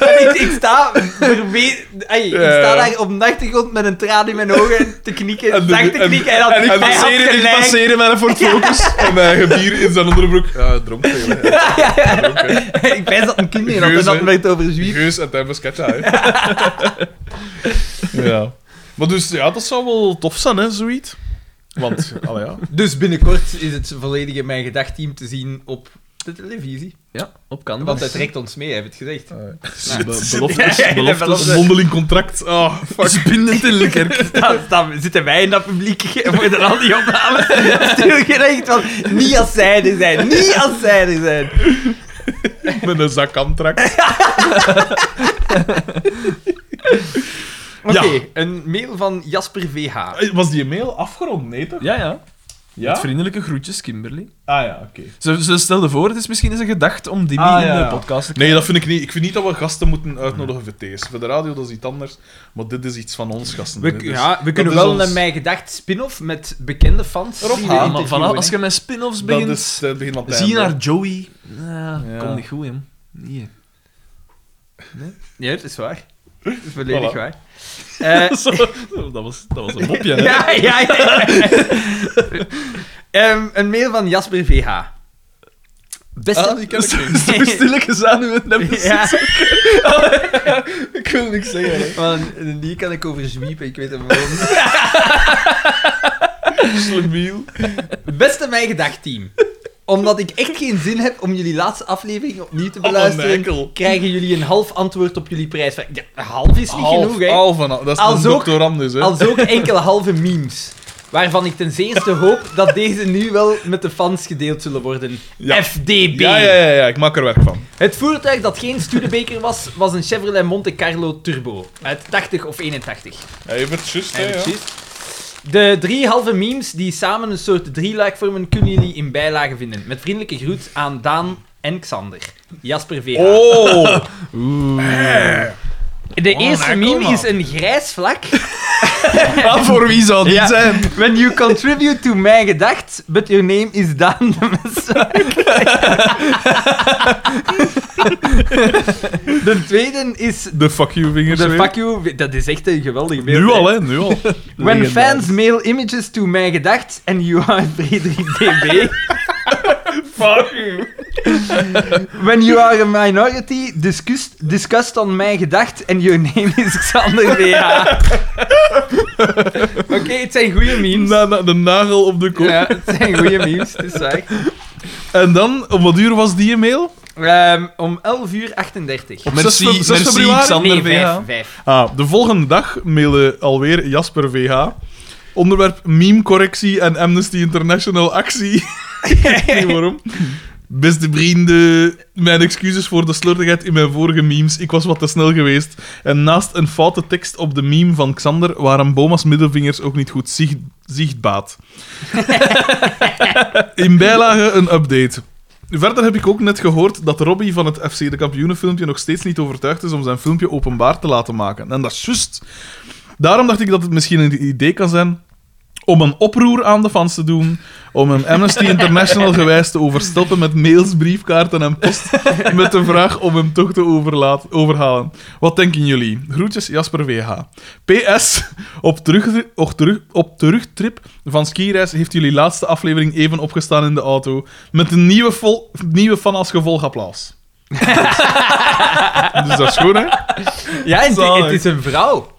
[SPEAKER 1] En ik, ik sta verwe- ai, ik
[SPEAKER 2] Ja.
[SPEAKER 1] sta daar op de achtergrond met een traan in mijn ogen te knikken,
[SPEAKER 2] En de-
[SPEAKER 1] zacht te
[SPEAKER 2] en-
[SPEAKER 1] knikken en dan
[SPEAKER 2] en ik
[SPEAKER 1] hij had
[SPEAKER 2] passeer- ik
[SPEAKER 1] gelijk.
[SPEAKER 3] Passeren met een Ford Focus.
[SPEAKER 2] En mijn eigen bier in zijn onderbroek. Ja, dronken. hè.
[SPEAKER 1] ik ben dat een kind in had en
[SPEAKER 2] Geus,
[SPEAKER 1] dat
[SPEAKER 2] hè.
[SPEAKER 1] werd over zwier.
[SPEAKER 2] Geus en Timbers hè. ja. Maar dus, ja, dat zou wel tof zijn, hè, zoiets. Want, allee, ja.
[SPEAKER 1] Dus binnenkort is het volledig in mijn gedachtteam te zien op de televisie.
[SPEAKER 3] Ja, op kan.
[SPEAKER 1] Want het trekt ons mee, heb je het gezegd.
[SPEAKER 2] Shit,
[SPEAKER 3] be-
[SPEAKER 2] shit.
[SPEAKER 3] beloftes,
[SPEAKER 2] Ja, ja,
[SPEAKER 1] beloftes.
[SPEAKER 2] beloftes. Mondeling contract. Ah, fuck.
[SPEAKER 3] Spindend in de kerk.
[SPEAKER 1] Dan, dan zitten wij in dat publiek voor de al die opnames. Stil gerecht van, niet als zij er zijn, niet als zij er zijn.
[SPEAKER 2] Met een zakcontract.
[SPEAKER 1] Oké,
[SPEAKER 2] Ja.
[SPEAKER 1] een mail van Jasper VH.
[SPEAKER 2] Was die mail afgerond? Nee, toch?
[SPEAKER 3] Ja, ja.
[SPEAKER 2] Ja?
[SPEAKER 3] Met vriendelijke groetjes, Kimberly.
[SPEAKER 2] Ah ja, oké.
[SPEAKER 3] Ze, ze stelde voor, het is misschien eens een gedachte om die
[SPEAKER 2] Ah,
[SPEAKER 3] in
[SPEAKER 2] ja.
[SPEAKER 3] de podcast te
[SPEAKER 2] Nee, dat vind ik niet. Ik vind niet dat we gasten moeten uitnodigen voor deze. Voor de radio, dat is iets anders. Maar dit is iets van ons gasten. Dus
[SPEAKER 1] We,
[SPEAKER 2] Dit is-
[SPEAKER 1] ja, dus we
[SPEAKER 2] dat
[SPEAKER 1] kunnen
[SPEAKER 2] is
[SPEAKER 1] wel
[SPEAKER 2] ons-
[SPEAKER 1] een Mijn Gedacht spin-off met bekende fans.
[SPEAKER 2] Rob
[SPEAKER 1] die we
[SPEAKER 2] Haan,
[SPEAKER 3] Ja,
[SPEAKER 2] maar
[SPEAKER 3] maar
[SPEAKER 1] interviewen,
[SPEAKER 3] vanaf, ah, als
[SPEAKER 1] hè.
[SPEAKER 3] je met spin-offs
[SPEAKER 2] Dat
[SPEAKER 3] begint,
[SPEAKER 2] is eh, het begin van het
[SPEAKER 3] zie je
[SPEAKER 2] einde.
[SPEAKER 3] naar Joey. Ja,
[SPEAKER 2] Ja.
[SPEAKER 3] Komt niet goed, hè. Nee.
[SPEAKER 1] Ja, het is waar. Het is volledig
[SPEAKER 2] Voilà.
[SPEAKER 1] waar. Eh,
[SPEAKER 3] Zo, dat, was, dat was een mopje, hè.
[SPEAKER 1] ja, ja, ja. Ehm, een mail van Jasper VH. Beste...
[SPEAKER 2] Ah, die ken ik niet.
[SPEAKER 3] Zo stilletjes aan uw neus.
[SPEAKER 1] ja,
[SPEAKER 3] Ik wil niks zeggen. hè.
[SPEAKER 1] want die kan ik over zwiepen, ik weet hem waarom.
[SPEAKER 2] Slemiel.
[SPEAKER 1] Beste Mijn Gedacht team. Omdat ik echt geen zin heb om jullie laatste aflevering opnieuw te
[SPEAKER 2] Oh,
[SPEAKER 1] beluisteren,
[SPEAKER 2] Michael.
[SPEAKER 1] krijgen jullie een half antwoord op jullie prijsvraag. Ja, half is niet
[SPEAKER 2] Half, Oh,
[SPEAKER 1] genoeg, hè.
[SPEAKER 2] half en half. Dat is
[SPEAKER 1] Als
[SPEAKER 2] een
[SPEAKER 1] ook-
[SPEAKER 2] doctorandus, hè.
[SPEAKER 1] Als ook enkele halve memes. Waarvan ik ten zeerste hoop dat deze nu wel met de fans gedeeld zullen worden.
[SPEAKER 2] Ja.
[SPEAKER 1] FDB.
[SPEAKER 2] Ja, ja, ja, ja, ik maak er werk van.
[SPEAKER 1] Het voertuig dat geen Studebaker was, was een Chevrolet Monte Carlo Turbo. Uit 80 of 81.
[SPEAKER 2] Evert, juist, hè,
[SPEAKER 1] Ja,
[SPEAKER 2] ja.
[SPEAKER 1] precies. De drie halve memes die samen een soort drieluik vormen, kunnen jullie in bijlagen vinden. Met vriendelijke groet aan Daan en Xander. Jasper VH.
[SPEAKER 2] Oh!
[SPEAKER 1] de eerste
[SPEAKER 2] Michael,
[SPEAKER 1] meme
[SPEAKER 2] man.
[SPEAKER 1] is een grijs vlak
[SPEAKER 3] Maar Ah, voor wie zou dit
[SPEAKER 1] Ja.
[SPEAKER 3] zijn?
[SPEAKER 1] When you contribute to mijn gedacht, but your name is Daan de Messer. De tweede is
[SPEAKER 2] De fuck you vingers
[SPEAKER 1] de
[SPEAKER 2] weer.
[SPEAKER 1] fuck you. Dat is echt een geweldig beeld.
[SPEAKER 2] Nu al, hè. Nu al.
[SPEAKER 1] When fans mail images to mijn gedacht and you are Frederik DB.
[SPEAKER 2] Fuck you.
[SPEAKER 1] When you are a minority, discuss, discussed on mijn gedacht and your name is Xander BH. Oké, het zijn goede memes.
[SPEAKER 2] Na, na- de nagel op de kop.
[SPEAKER 1] Ja, het zijn goede memes, het is waar.
[SPEAKER 2] En dan, om wat uur was die mail?
[SPEAKER 1] Ehm, om 11 uur 38.
[SPEAKER 3] Merci,
[SPEAKER 2] 6 fe- 6
[SPEAKER 3] merci
[SPEAKER 2] februari?
[SPEAKER 1] nee,
[SPEAKER 3] Xander VH.
[SPEAKER 1] vijf, vijf.
[SPEAKER 2] Ah, de volgende dag mailen alweer Jasper VH. Onderwerp meme-correctie en Amnesty International actie. Ik weet niet waarom. Beste vrienden, mijn excuses voor de slordigheid in mijn vorige memes. Ik was wat te snel geweest. En naast een foute tekst op de meme van Xander waren Boma's middelvingers ook niet goed zicht zichtbaat. in bijlage een update. Verder heb ik ook net gehoord dat Robbie van het FC de Kampioenen filmpje nog steeds niet overtuigd is om zijn filmpje openbaar te laten maken. En dat is juist. Daarom dacht ik dat het misschien een idee kan zijn om een oproer aan de fans te doen, om een Amnesty International gewijs te overstelpen met mails, briefkaarten en post met de vraag om hem toch te overlaat, overhalen. Wat denken jullie? Groetjes, Jasper VH. PS, op, terug, op, terug, op terugtrip van skireis heeft jullie laatste aflevering even opgestaan in de auto met een nieuwe, vol, nieuwe fan als gevolg applaus. dus dat is goed, hè?
[SPEAKER 1] Ja, en het,
[SPEAKER 2] Zalig.
[SPEAKER 1] het is een vrouw.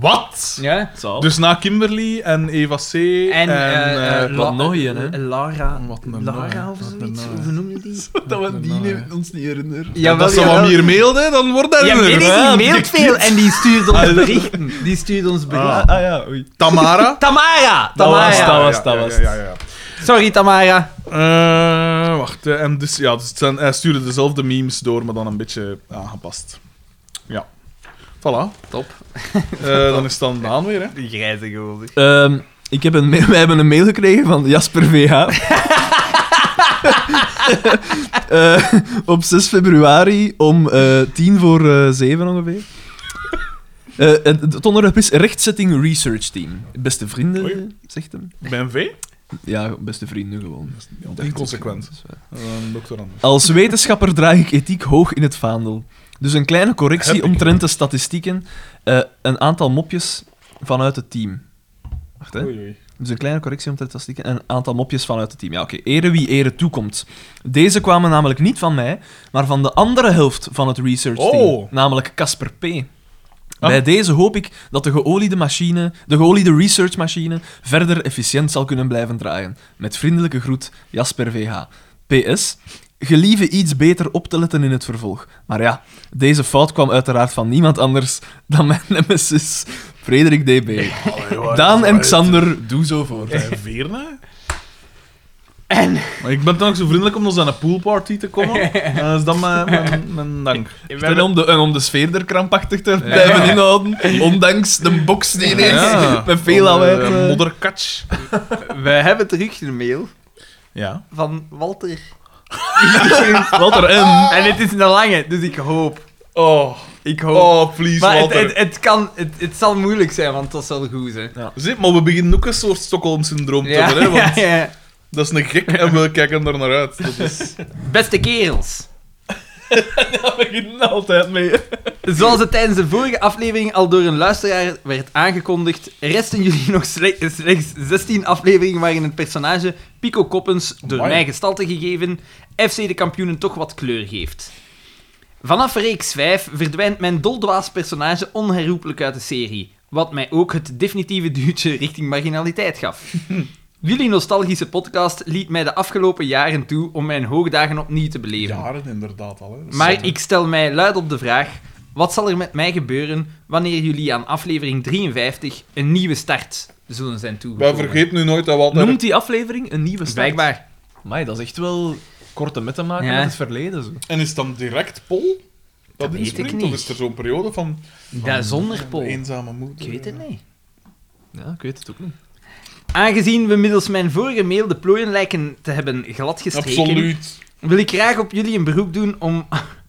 [SPEAKER 2] Wat?
[SPEAKER 1] Ja.
[SPEAKER 4] Zalig.
[SPEAKER 2] Dus na Kimberly en Eva C. Dus- En,
[SPEAKER 1] En, eh,
[SPEAKER 2] eh,
[SPEAKER 1] eh,
[SPEAKER 4] wat
[SPEAKER 1] La-
[SPEAKER 4] nog een, hè?
[SPEAKER 1] Lara,
[SPEAKER 2] Wat een
[SPEAKER 1] Lara
[SPEAKER 2] naai,
[SPEAKER 1] of
[SPEAKER 2] wat een
[SPEAKER 1] zoiets,
[SPEAKER 2] naai.
[SPEAKER 1] hoe noem je die?
[SPEAKER 3] Dat we die
[SPEAKER 2] Nou,
[SPEAKER 3] niet- ons niet herinneren.
[SPEAKER 1] Jawel,
[SPEAKER 2] dat ze wat meer mailden, dan wordt dat
[SPEAKER 1] Ja,
[SPEAKER 2] er-
[SPEAKER 1] Melis,
[SPEAKER 2] Ja,
[SPEAKER 1] die mailt veel en die stuurt ons berichten. Die stuurt ons
[SPEAKER 2] Ah.
[SPEAKER 1] berichten.
[SPEAKER 4] Ah ja, oei.
[SPEAKER 2] Tamara.
[SPEAKER 1] Tamara!
[SPEAKER 4] Dat was,
[SPEAKER 1] Tamara.
[SPEAKER 4] dat was, dat was.
[SPEAKER 2] Ja, ja, ja, ja.
[SPEAKER 1] Sorry, Tamara.
[SPEAKER 2] Eh, wacht, eh, en dus, ja, dus het zijn, hij stuurde dezelfde memes door, maar dan een beetje aangepast. Ja. Voilà.
[SPEAKER 1] Top.
[SPEAKER 2] Eh, dan is het dan Daan weer, hè.
[SPEAKER 1] Die grijze geweldig.
[SPEAKER 4] Ehm, ik heb een mail, wij hebben een mail gekregen van Jasper VH. Eh, op 6 februari om eh, 10 voor eh 7 ongeveer. Eh, het- het onderwerp is rechtzetting research team. Beste vrienden,
[SPEAKER 2] Oei.
[SPEAKER 4] eh, zegt hem.
[SPEAKER 2] Ben V.
[SPEAKER 4] Ja, beste vrienden gewoon.
[SPEAKER 2] Ja, inconsequent. Eh, Dokter Anders.
[SPEAKER 4] Als wetenschapper draag ik ethiek hoog in het vaandel. Dus een kleine correctie omtrent de statistieken. eh, een aantal mopjes vanuit het team. Wacht hè.
[SPEAKER 2] Oei, oei.
[SPEAKER 4] Dus een kleine correctie omtrent de statistieken en een aantal mopjes vanuit het team. Ja, oké. Ere wie ere toekomt. Deze kwamen namelijk niet van mij, maar van de andere helft van het research team.
[SPEAKER 2] Oh.
[SPEAKER 4] Namelijk Casper P.
[SPEAKER 2] Ah.
[SPEAKER 4] Bij deze hoop ik dat de geoliede machine, de geoliede researchmachine, verder efficiënt zal kunnen blijven draaien. Met vriendelijke groet, Jasper VH. PS. Gelieve iets beter op te letten in het vervolg. Maar ja, deze fout kwam uiteraard van niemand anders dan mijn nemesis, Frederik DB. Daan en Xander, doe zo voort.
[SPEAKER 2] Eh, Veerna? En... Maar ik ben dan ook zo vriendelijk om ons aan een poolparty te komen. Dat is dan mijn, mijn, mijn dank.
[SPEAKER 4] En om, de, en om de sfeer er krampachtig te blijven inhouden, ondanks de box die ineens
[SPEAKER 2] Ja.
[SPEAKER 4] met veel
[SPEAKER 2] Van, eh,
[SPEAKER 4] aanwijt. eh.
[SPEAKER 2] Modderkatsch.
[SPEAKER 1] Wij hebben terug een mail
[SPEAKER 2] Ja.
[SPEAKER 1] van Walter.
[SPEAKER 4] Walter M.
[SPEAKER 1] En het is een lange, dus ik hoop.
[SPEAKER 2] Oh,
[SPEAKER 1] Ik hoop.
[SPEAKER 2] oh please,
[SPEAKER 1] maar het,
[SPEAKER 2] Walter.
[SPEAKER 1] het, het kan, het, het zal moeilijk zijn, want dat zal goed zijn.
[SPEAKER 2] Zit, maar we beginnen ook een soort Stockholm-syndroom te hebben, hè, want
[SPEAKER 1] ja, ja.
[SPEAKER 2] dat is een gek en we kijken er naar uit. Dat is...
[SPEAKER 1] Beste kerels.
[SPEAKER 4] Daar beginnen altijd mee.
[SPEAKER 1] Zoals het tijdens de vorige aflevering al door een luisteraar werd aangekondigd, resten jullie nog sle- slechts 16 afleveringen waarin het personage Pico Koppens door
[SPEAKER 2] Amai.
[SPEAKER 1] mij gestalte gegeven FC de kampioenen toch wat kleur geeft. Vanaf reeks 5 verdwijnt mijn doldwaas personage onherroepelijk uit de serie, wat mij ook het definitieve duwtje richting marginaliteit gaf. Jullie nostalgische podcast liet mij de afgelopen jaren toe om mijn hoogdagen opnieuw te beleven.
[SPEAKER 2] Jaren inderdaad al. Hè. Dat is zot,
[SPEAKER 1] Maar
[SPEAKER 2] hè.
[SPEAKER 1] ik stel mij luid op de vraag: wat zal er met mij gebeuren wanneer jullie aan aflevering 53 een nieuwe start zullen zijn
[SPEAKER 2] Maar
[SPEAKER 1] toegekomen?
[SPEAKER 2] vergeet nu nooit dat we altijd...
[SPEAKER 4] Noemt die aflevering een nieuwe start?
[SPEAKER 1] Blijkbaar.
[SPEAKER 4] Maar dat is echt wel korte met te maken
[SPEAKER 1] Ja.
[SPEAKER 4] met het verleden. Zo.
[SPEAKER 2] En is het dan direct Pol? Dat,
[SPEAKER 1] weet ik
[SPEAKER 2] inspringt?
[SPEAKER 1] niet.
[SPEAKER 2] Of is er zo'n periode van...
[SPEAKER 1] Ja, zonder
[SPEAKER 2] van
[SPEAKER 1] Pol.
[SPEAKER 2] Eenzame moeder.
[SPEAKER 1] Ik weet het niet.
[SPEAKER 4] Ja, ik weet het ook niet.
[SPEAKER 1] Aangezien we middels mijn vorige mail de plooien lijken te hebben gladgestreken,
[SPEAKER 2] Absoluut.
[SPEAKER 1] wil ik graag op jullie een beroep doen om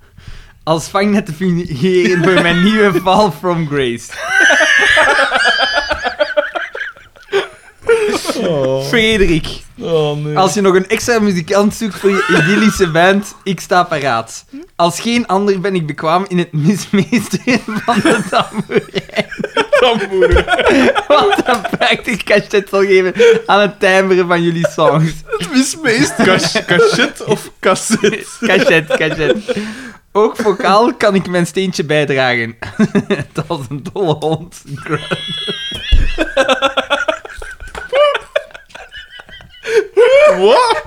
[SPEAKER 1] als vangnet te fungeren voor mijn nieuwe Fall from Grace.
[SPEAKER 2] Oh,
[SPEAKER 1] Frederik.
[SPEAKER 2] nee.
[SPEAKER 1] Als je nog een extra muzikant zoekt voor je idyllische band, ik sta paraat. Als geen ander ben ik bekwaam in het mismeesteren van de tamboerijn. Wat een prachtig cachet zal geven aan het timeren van jullie songs.
[SPEAKER 4] Het mismeest.
[SPEAKER 2] Kas- Cachet of cassette?
[SPEAKER 1] Cachet, cachet. Ook vocaal kan ik mijn steentje bijdragen. Dat was een dolle hond.
[SPEAKER 2] Wat?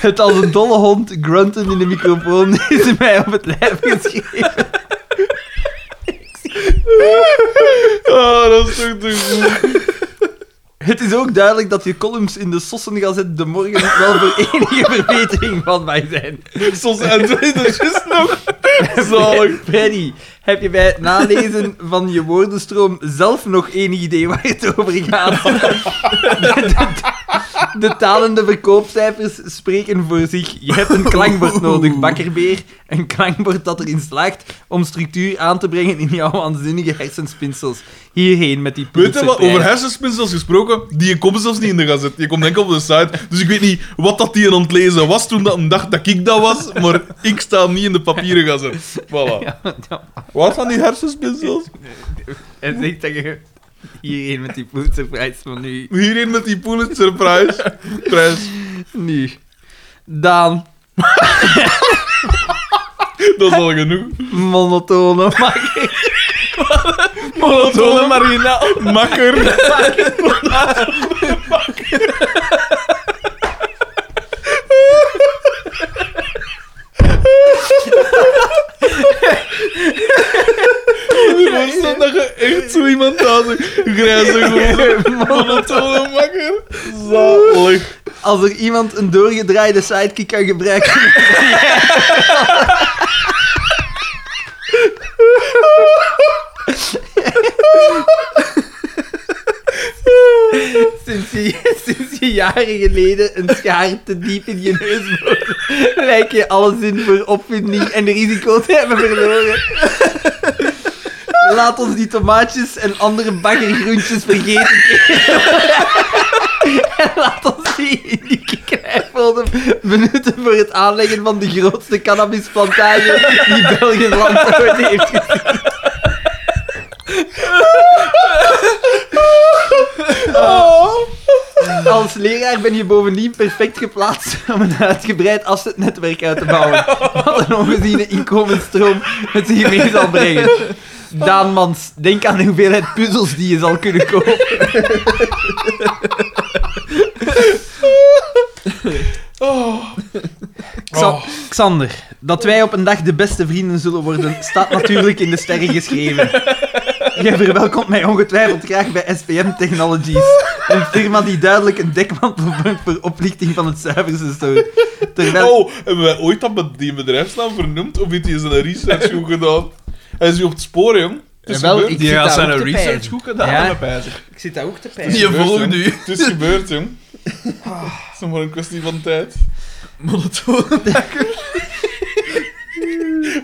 [SPEAKER 1] Het als een dolle hond grunten in de microfoon is mij op het lijf geschreven.
[SPEAKER 2] Oh, dat is toch te goed.
[SPEAKER 1] Het is ook duidelijk dat je columns in de Sossengazet de morgen wel voor enige verbetering van mij zijn.
[SPEAKER 2] Soms en twee, dat is juist nog. Zalig.
[SPEAKER 1] Freddy, heb je bij het nalezen van je woordenstroom zelf nog enig idee waar het over gaat? De, de talende verkoopcijfers spreken voor zich. Je hebt een klankbord nodig, bakkerbeer. Een klankbord dat erin slaagt om structuur aan te brengen in jouw waanzinnige hersenspinsels. Hierheen met die
[SPEAKER 2] Weet je
[SPEAKER 1] ploetse
[SPEAKER 2] wat,
[SPEAKER 1] prijs.
[SPEAKER 2] over hersenspinsels gesproken, die komt zelfs niet in de gazet. Die komt enkel op de site. Dus ik weet niet wat dat die aan het lezen was toen dat een dag dat ik dat was, maar ik sta niet in de papieren gazet. Voilà. Wat van die hersenspinsels?
[SPEAKER 1] En zegt dat je hierheen met die Pulitzerprijs van nu.
[SPEAKER 2] Hierin met die Pulitzer prijs. prijs.
[SPEAKER 1] Nu. Daan,
[SPEAKER 2] Dat is al genoeg.
[SPEAKER 1] monotone mag ik.
[SPEAKER 4] Monotone marginaal.
[SPEAKER 2] Makker.
[SPEAKER 4] Hoe dat dat je echt zo iemand aan grijze monotone makker?
[SPEAKER 2] Zalig.
[SPEAKER 1] Als er iemand een doorgedraaide sidekick kan gebruiken... sinds, je, sinds je jaren geleden een schaar te diep in je neus boort, lijkt je alle zin voor opwinding en risico te hebben verloren. Laat ons die tomaatjes en andere baggergroentjes vergeten. En laat ons die in die kikkerijvelden benutten voor het aanleggen van de grootste cannabisplantage die België land ooit heeft gezien. Als leraar ben je bovendien perfect geplaatst om een uitgebreid afzetnetwerk uit te bouwen. Wat een ongeziene inkomensstroom het hier mee zal brengen. Daan Mans, denk aan de hoeveelheid puzzels die je zal kunnen kopen. Xa- Xander, dat wij op een dag de beste vrienden zullen worden, staat natuurlijk in de sterren geschreven. Jij verwelkomt mij ongetwijfeld graag bij SPM Technologies, een firma die duidelijk een dekmantel vormt voor oplichting van het zuiversenstor. Terwijl...
[SPEAKER 2] Oh, hebben wij ooit dat met die bedrijfsnaam vernoemd? Of heeft hij zijn research goed gedaan? Hij is nu op het spoor, jong. Het is
[SPEAKER 1] Jawel,
[SPEAKER 2] gebeurd.
[SPEAKER 1] ik-
[SPEAKER 3] Die
[SPEAKER 1] zit
[SPEAKER 3] gaat
[SPEAKER 1] daar
[SPEAKER 3] zijn
[SPEAKER 1] ook te
[SPEAKER 3] research
[SPEAKER 1] peilen.
[SPEAKER 3] goed gedaan
[SPEAKER 1] Ja.
[SPEAKER 3] hebben, pijzer.
[SPEAKER 1] Ik zit daar ook te
[SPEAKER 2] Het is
[SPEAKER 1] pijzen.
[SPEAKER 3] Je
[SPEAKER 2] gebeurd,
[SPEAKER 3] volgt
[SPEAKER 2] jong.
[SPEAKER 3] nu.
[SPEAKER 2] Het is gebeurd, jong. Het is nog maar een kwestie van tijd.
[SPEAKER 3] Monotone.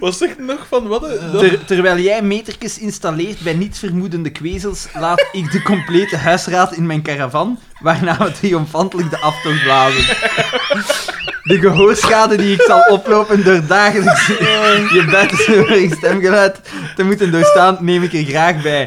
[SPEAKER 2] Wat zegt hij nog van wat? eh, dat-
[SPEAKER 1] Ter- terwijl jij metertjes installeert bij nietsvermoedende kwezels, laat ik de complete huisraad in mijn caravan, waarna we triomfantelijk de aftocht blazen. De gehoorschade die ik zal oplopen door dagelijks je buitensnorig stemgeluid te moeten doorstaan, neem ik er graag bij.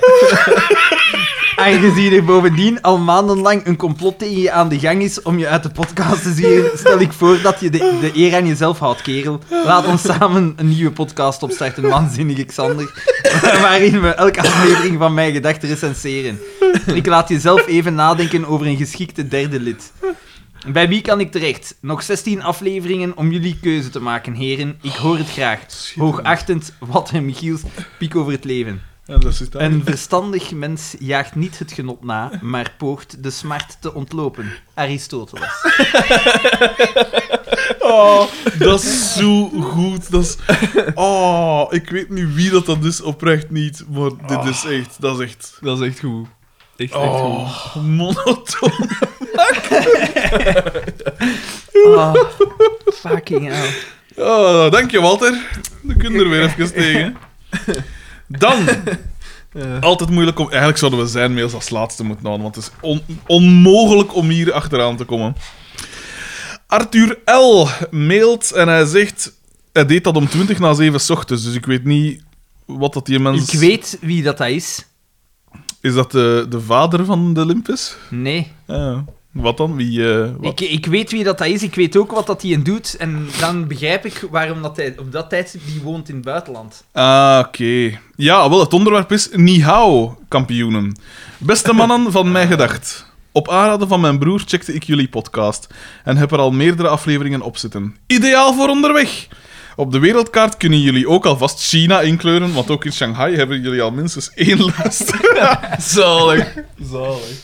[SPEAKER 1] Aangezien er bovendien al maandenlang een complot tegen je aan de gang is om je uit de podcast te zien, stel ik voor dat je de, de eer aan jezelf houdt, kerel. Laat ons samen een nieuwe podcast opstarten, waanzinnige Xander, waarin we elke aflevering van mijn gedachten recenseren. Ik laat jezelf even nadenken over een geschikte derde lid. Bij wie kan ik terecht? Nog 16 afleveringen om jullie keuze te maken, heren. Ik hoor het graag. Hoogachtend, Walter Michiels, piek over het leven.
[SPEAKER 2] Ja, dat zit daar.
[SPEAKER 1] Een verstandig mens jaagt niet het genot na, maar poogt de smart te ontlopen. Aristoteles.
[SPEAKER 2] Oh, dat is zo goed. Dat is... Oh, ik weet niet wie dat dat is, oprecht niet. Maar dit is echt, dat is echt...
[SPEAKER 3] Dat is echt goed. Echt, echt goed.
[SPEAKER 2] Oh. Oh, monotoon.
[SPEAKER 1] Oh, fucking hell.
[SPEAKER 2] Oh, dank je, Walter. We kunnen er weer even tegen. Dan. Altijd moeilijk om... Eigenlijk zouden we zijn mails als laatste moeten houden, want het is on- onmogelijk om hier achteraan te komen. Arthur L. mailt en hij zegt... Hij deed dat om 20 na 7 's ochtends, dus ik weet niet wat dat die mens...
[SPEAKER 1] Ik weet wie dat dat is.
[SPEAKER 2] Is dat de, de vader van de Limpus?
[SPEAKER 1] Nee.
[SPEAKER 2] Ja. wat dan? Wie... eh, wat?
[SPEAKER 1] Ik, ik weet wie dat dat is, ik weet ook wat dat hij doet. En dan begrijp ik waarom dat hij op dat tijdstip die woont in het buitenland.
[SPEAKER 2] Ah, oké. Ja, wel, het onderwerp is Nihao, kampioenen. Beste mannen van mij gedacht. Op aanraden van mijn broer checkte ik jullie podcast en heb er al meerdere afleveringen op zitten. Ideaal voor onderweg! Op de wereldkaart kunnen jullie ook alvast China inkleuren, want ook in Shanghai hebben jullie al minstens één luister.
[SPEAKER 3] Zalig. Zalig.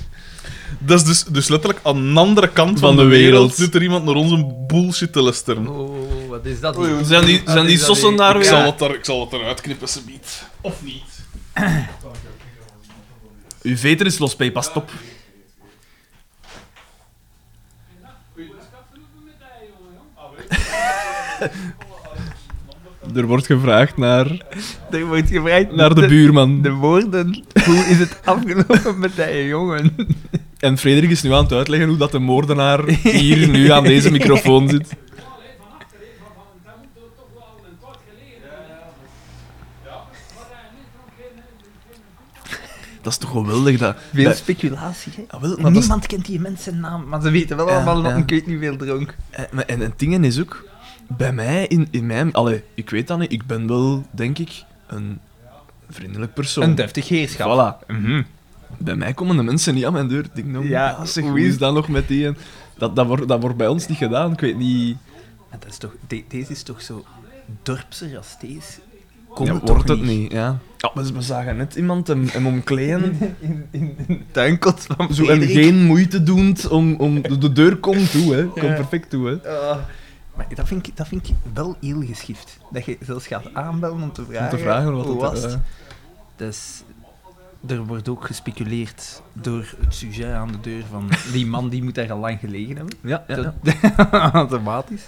[SPEAKER 2] Dat is dus, dus letterlijk aan de andere kant van,
[SPEAKER 3] Van
[SPEAKER 2] de,
[SPEAKER 3] de
[SPEAKER 2] wereld.
[SPEAKER 3] wereld.
[SPEAKER 2] zit er iemand naar onze bullshit te listeren.
[SPEAKER 1] Oh, wat is dat
[SPEAKER 3] oei.
[SPEAKER 1] hier?
[SPEAKER 3] Zijn die-
[SPEAKER 1] Wat
[SPEAKER 3] zijn
[SPEAKER 1] is
[SPEAKER 3] die
[SPEAKER 1] dat
[SPEAKER 3] sossen
[SPEAKER 1] hier?
[SPEAKER 3] daar
[SPEAKER 2] Ah, Ik,
[SPEAKER 3] Ja.
[SPEAKER 2] zal het er, ik zal het eruit knippen, ze biedt. Of niet.
[SPEAKER 3] Uw veter is los, P. Pas op. Er wordt gevraagd naar,
[SPEAKER 1] Er wordt gevraagd
[SPEAKER 3] naar de buurman.
[SPEAKER 1] De woorden. Hoe is het afgelopen met die jongen?
[SPEAKER 3] En Frederik is nu aan het uitleggen hoe dat de moordenaar hier nu aan deze microfoon zit. Dat is toch geweldig dat.
[SPEAKER 1] Veel
[SPEAKER 3] dat-
[SPEAKER 1] speculatie, hè?
[SPEAKER 3] ah, wel, maar dat
[SPEAKER 1] En
[SPEAKER 3] is-
[SPEAKER 1] niemand kent die mensen zijn naam, maar ze weten wel
[SPEAKER 3] Ja,
[SPEAKER 1] allemaal dat
[SPEAKER 3] ja.
[SPEAKER 1] een keut niet veel dronk.
[SPEAKER 3] eh, maar- En het ding is ook, bij mij, in, in mijn. Allee, ik weet dat niet, ik ben wel, denk ik, een
[SPEAKER 4] vriendelijk persoon.
[SPEAKER 1] Een deftig heerschap.
[SPEAKER 4] Voilà.
[SPEAKER 2] Mhm.
[SPEAKER 4] Bij mij komen de mensen niet aan mijn deur. Ik Denk,
[SPEAKER 1] Ja,
[SPEAKER 4] nou, ja, zeg,
[SPEAKER 1] hoe
[SPEAKER 4] hoe
[SPEAKER 1] is-
[SPEAKER 4] is dat nog met die? en- Dat, dat, wordt, dat wordt bij ons niet gedaan. Ik weet niet...
[SPEAKER 1] Maar dat is toch, de- deze is toch zo dorpser als deze? Komt
[SPEAKER 4] Ja,
[SPEAKER 1] het toch
[SPEAKER 4] wordt het niet, ja. ja we, we zagen net iemand hem, hem omkleden.
[SPEAKER 1] In, in, in de tuinkot van
[SPEAKER 4] Zo, en
[SPEAKER 1] Frederik.
[SPEAKER 4] geen moeite doend om, om... De, de deur komt toe, hè. Komt perfect toe, hè.
[SPEAKER 1] Ah. maar dat vind, ik, dat vind ik wel heel geschift. Dat je zelfs gaat aanbellen om te vragen,
[SPEAKER 4] Om te vragen wat
[SPEAKER 1] hoe
[SPEAKER 4] het
[SPEAKER 1] was.
[SPEAKER 4] eh,
[SPEAKER 1] het? Dus er wordt ook gespeculeerd door het sujet aan de deur van die man die moet daar al lang gelegen hebben.
[SPEAKER 4] ja, ja, ja.
[SPEAKER 1] Dat- Automatisch.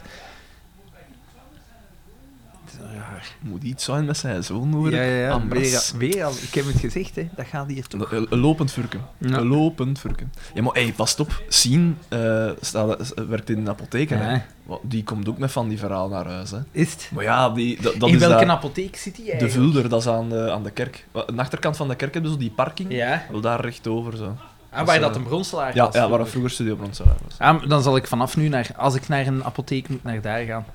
[SPEAKER 1] Het is wel raar.
[SPEAKER 4] Moet iets zijn met zijn zoon, hoor.
[SPEAKER 1] Ja, ja, ja.
[SPEAKER 4] Ambras.
[SPEAKER 1] Weer, al- weer al. Ik heb het gezegd, hè. Dat gaat hier toch.
[SPEAKER 4] Een een lopend furken.
[SPEAKER 1] Ja.
[SPEAKER 4] Een lopend furken. Ja, maar hey, pas op. Sien eh, staat- eh, werkt in een apotheek. hè.
[SPEAKER 1] Ja.
[SPEAKER 4] Wat- Die komt ook met van die verhaal naar huis. Hè.
[SPEAKER 1] Is het?
[SPEAKER 4] Maar ja, die, dat, dat
[SPEAKER 1] In
[SPEAKER 4] is
[SPEAKER 1] welke
[SPEAKER 4] daar-
[SPEAKER 1] apotheek zit hij
[SPEAKER 4] De
[SPEAKER 1] eigenlijk?
[SPEAKER 4] Vulder, dat is aan de, aan de kerk. Aan de achterkant van de kerk hebben ze zo die parking.
[SPEAKER 1] Ja.
[SPEAKER 4] Wel daar rechtover zo.
[SPEAKER 1] Ah, waar
[SPEAKER 4] Dat is,
[SPEAKER 1] dat
[SPEAKER 4] eh,
[SPEAKER 1] een bronslaar
[SPEAKER 4] Ja,
[SPEAKER 1] was.
[SPEAKER 4] ja waar dat vroeger studio Bronselaar was.
[SPEAKER 1] Ah, maar dan zal ik vanaf nu, naar, als ik naar een apotheek moet, naar daar gaan.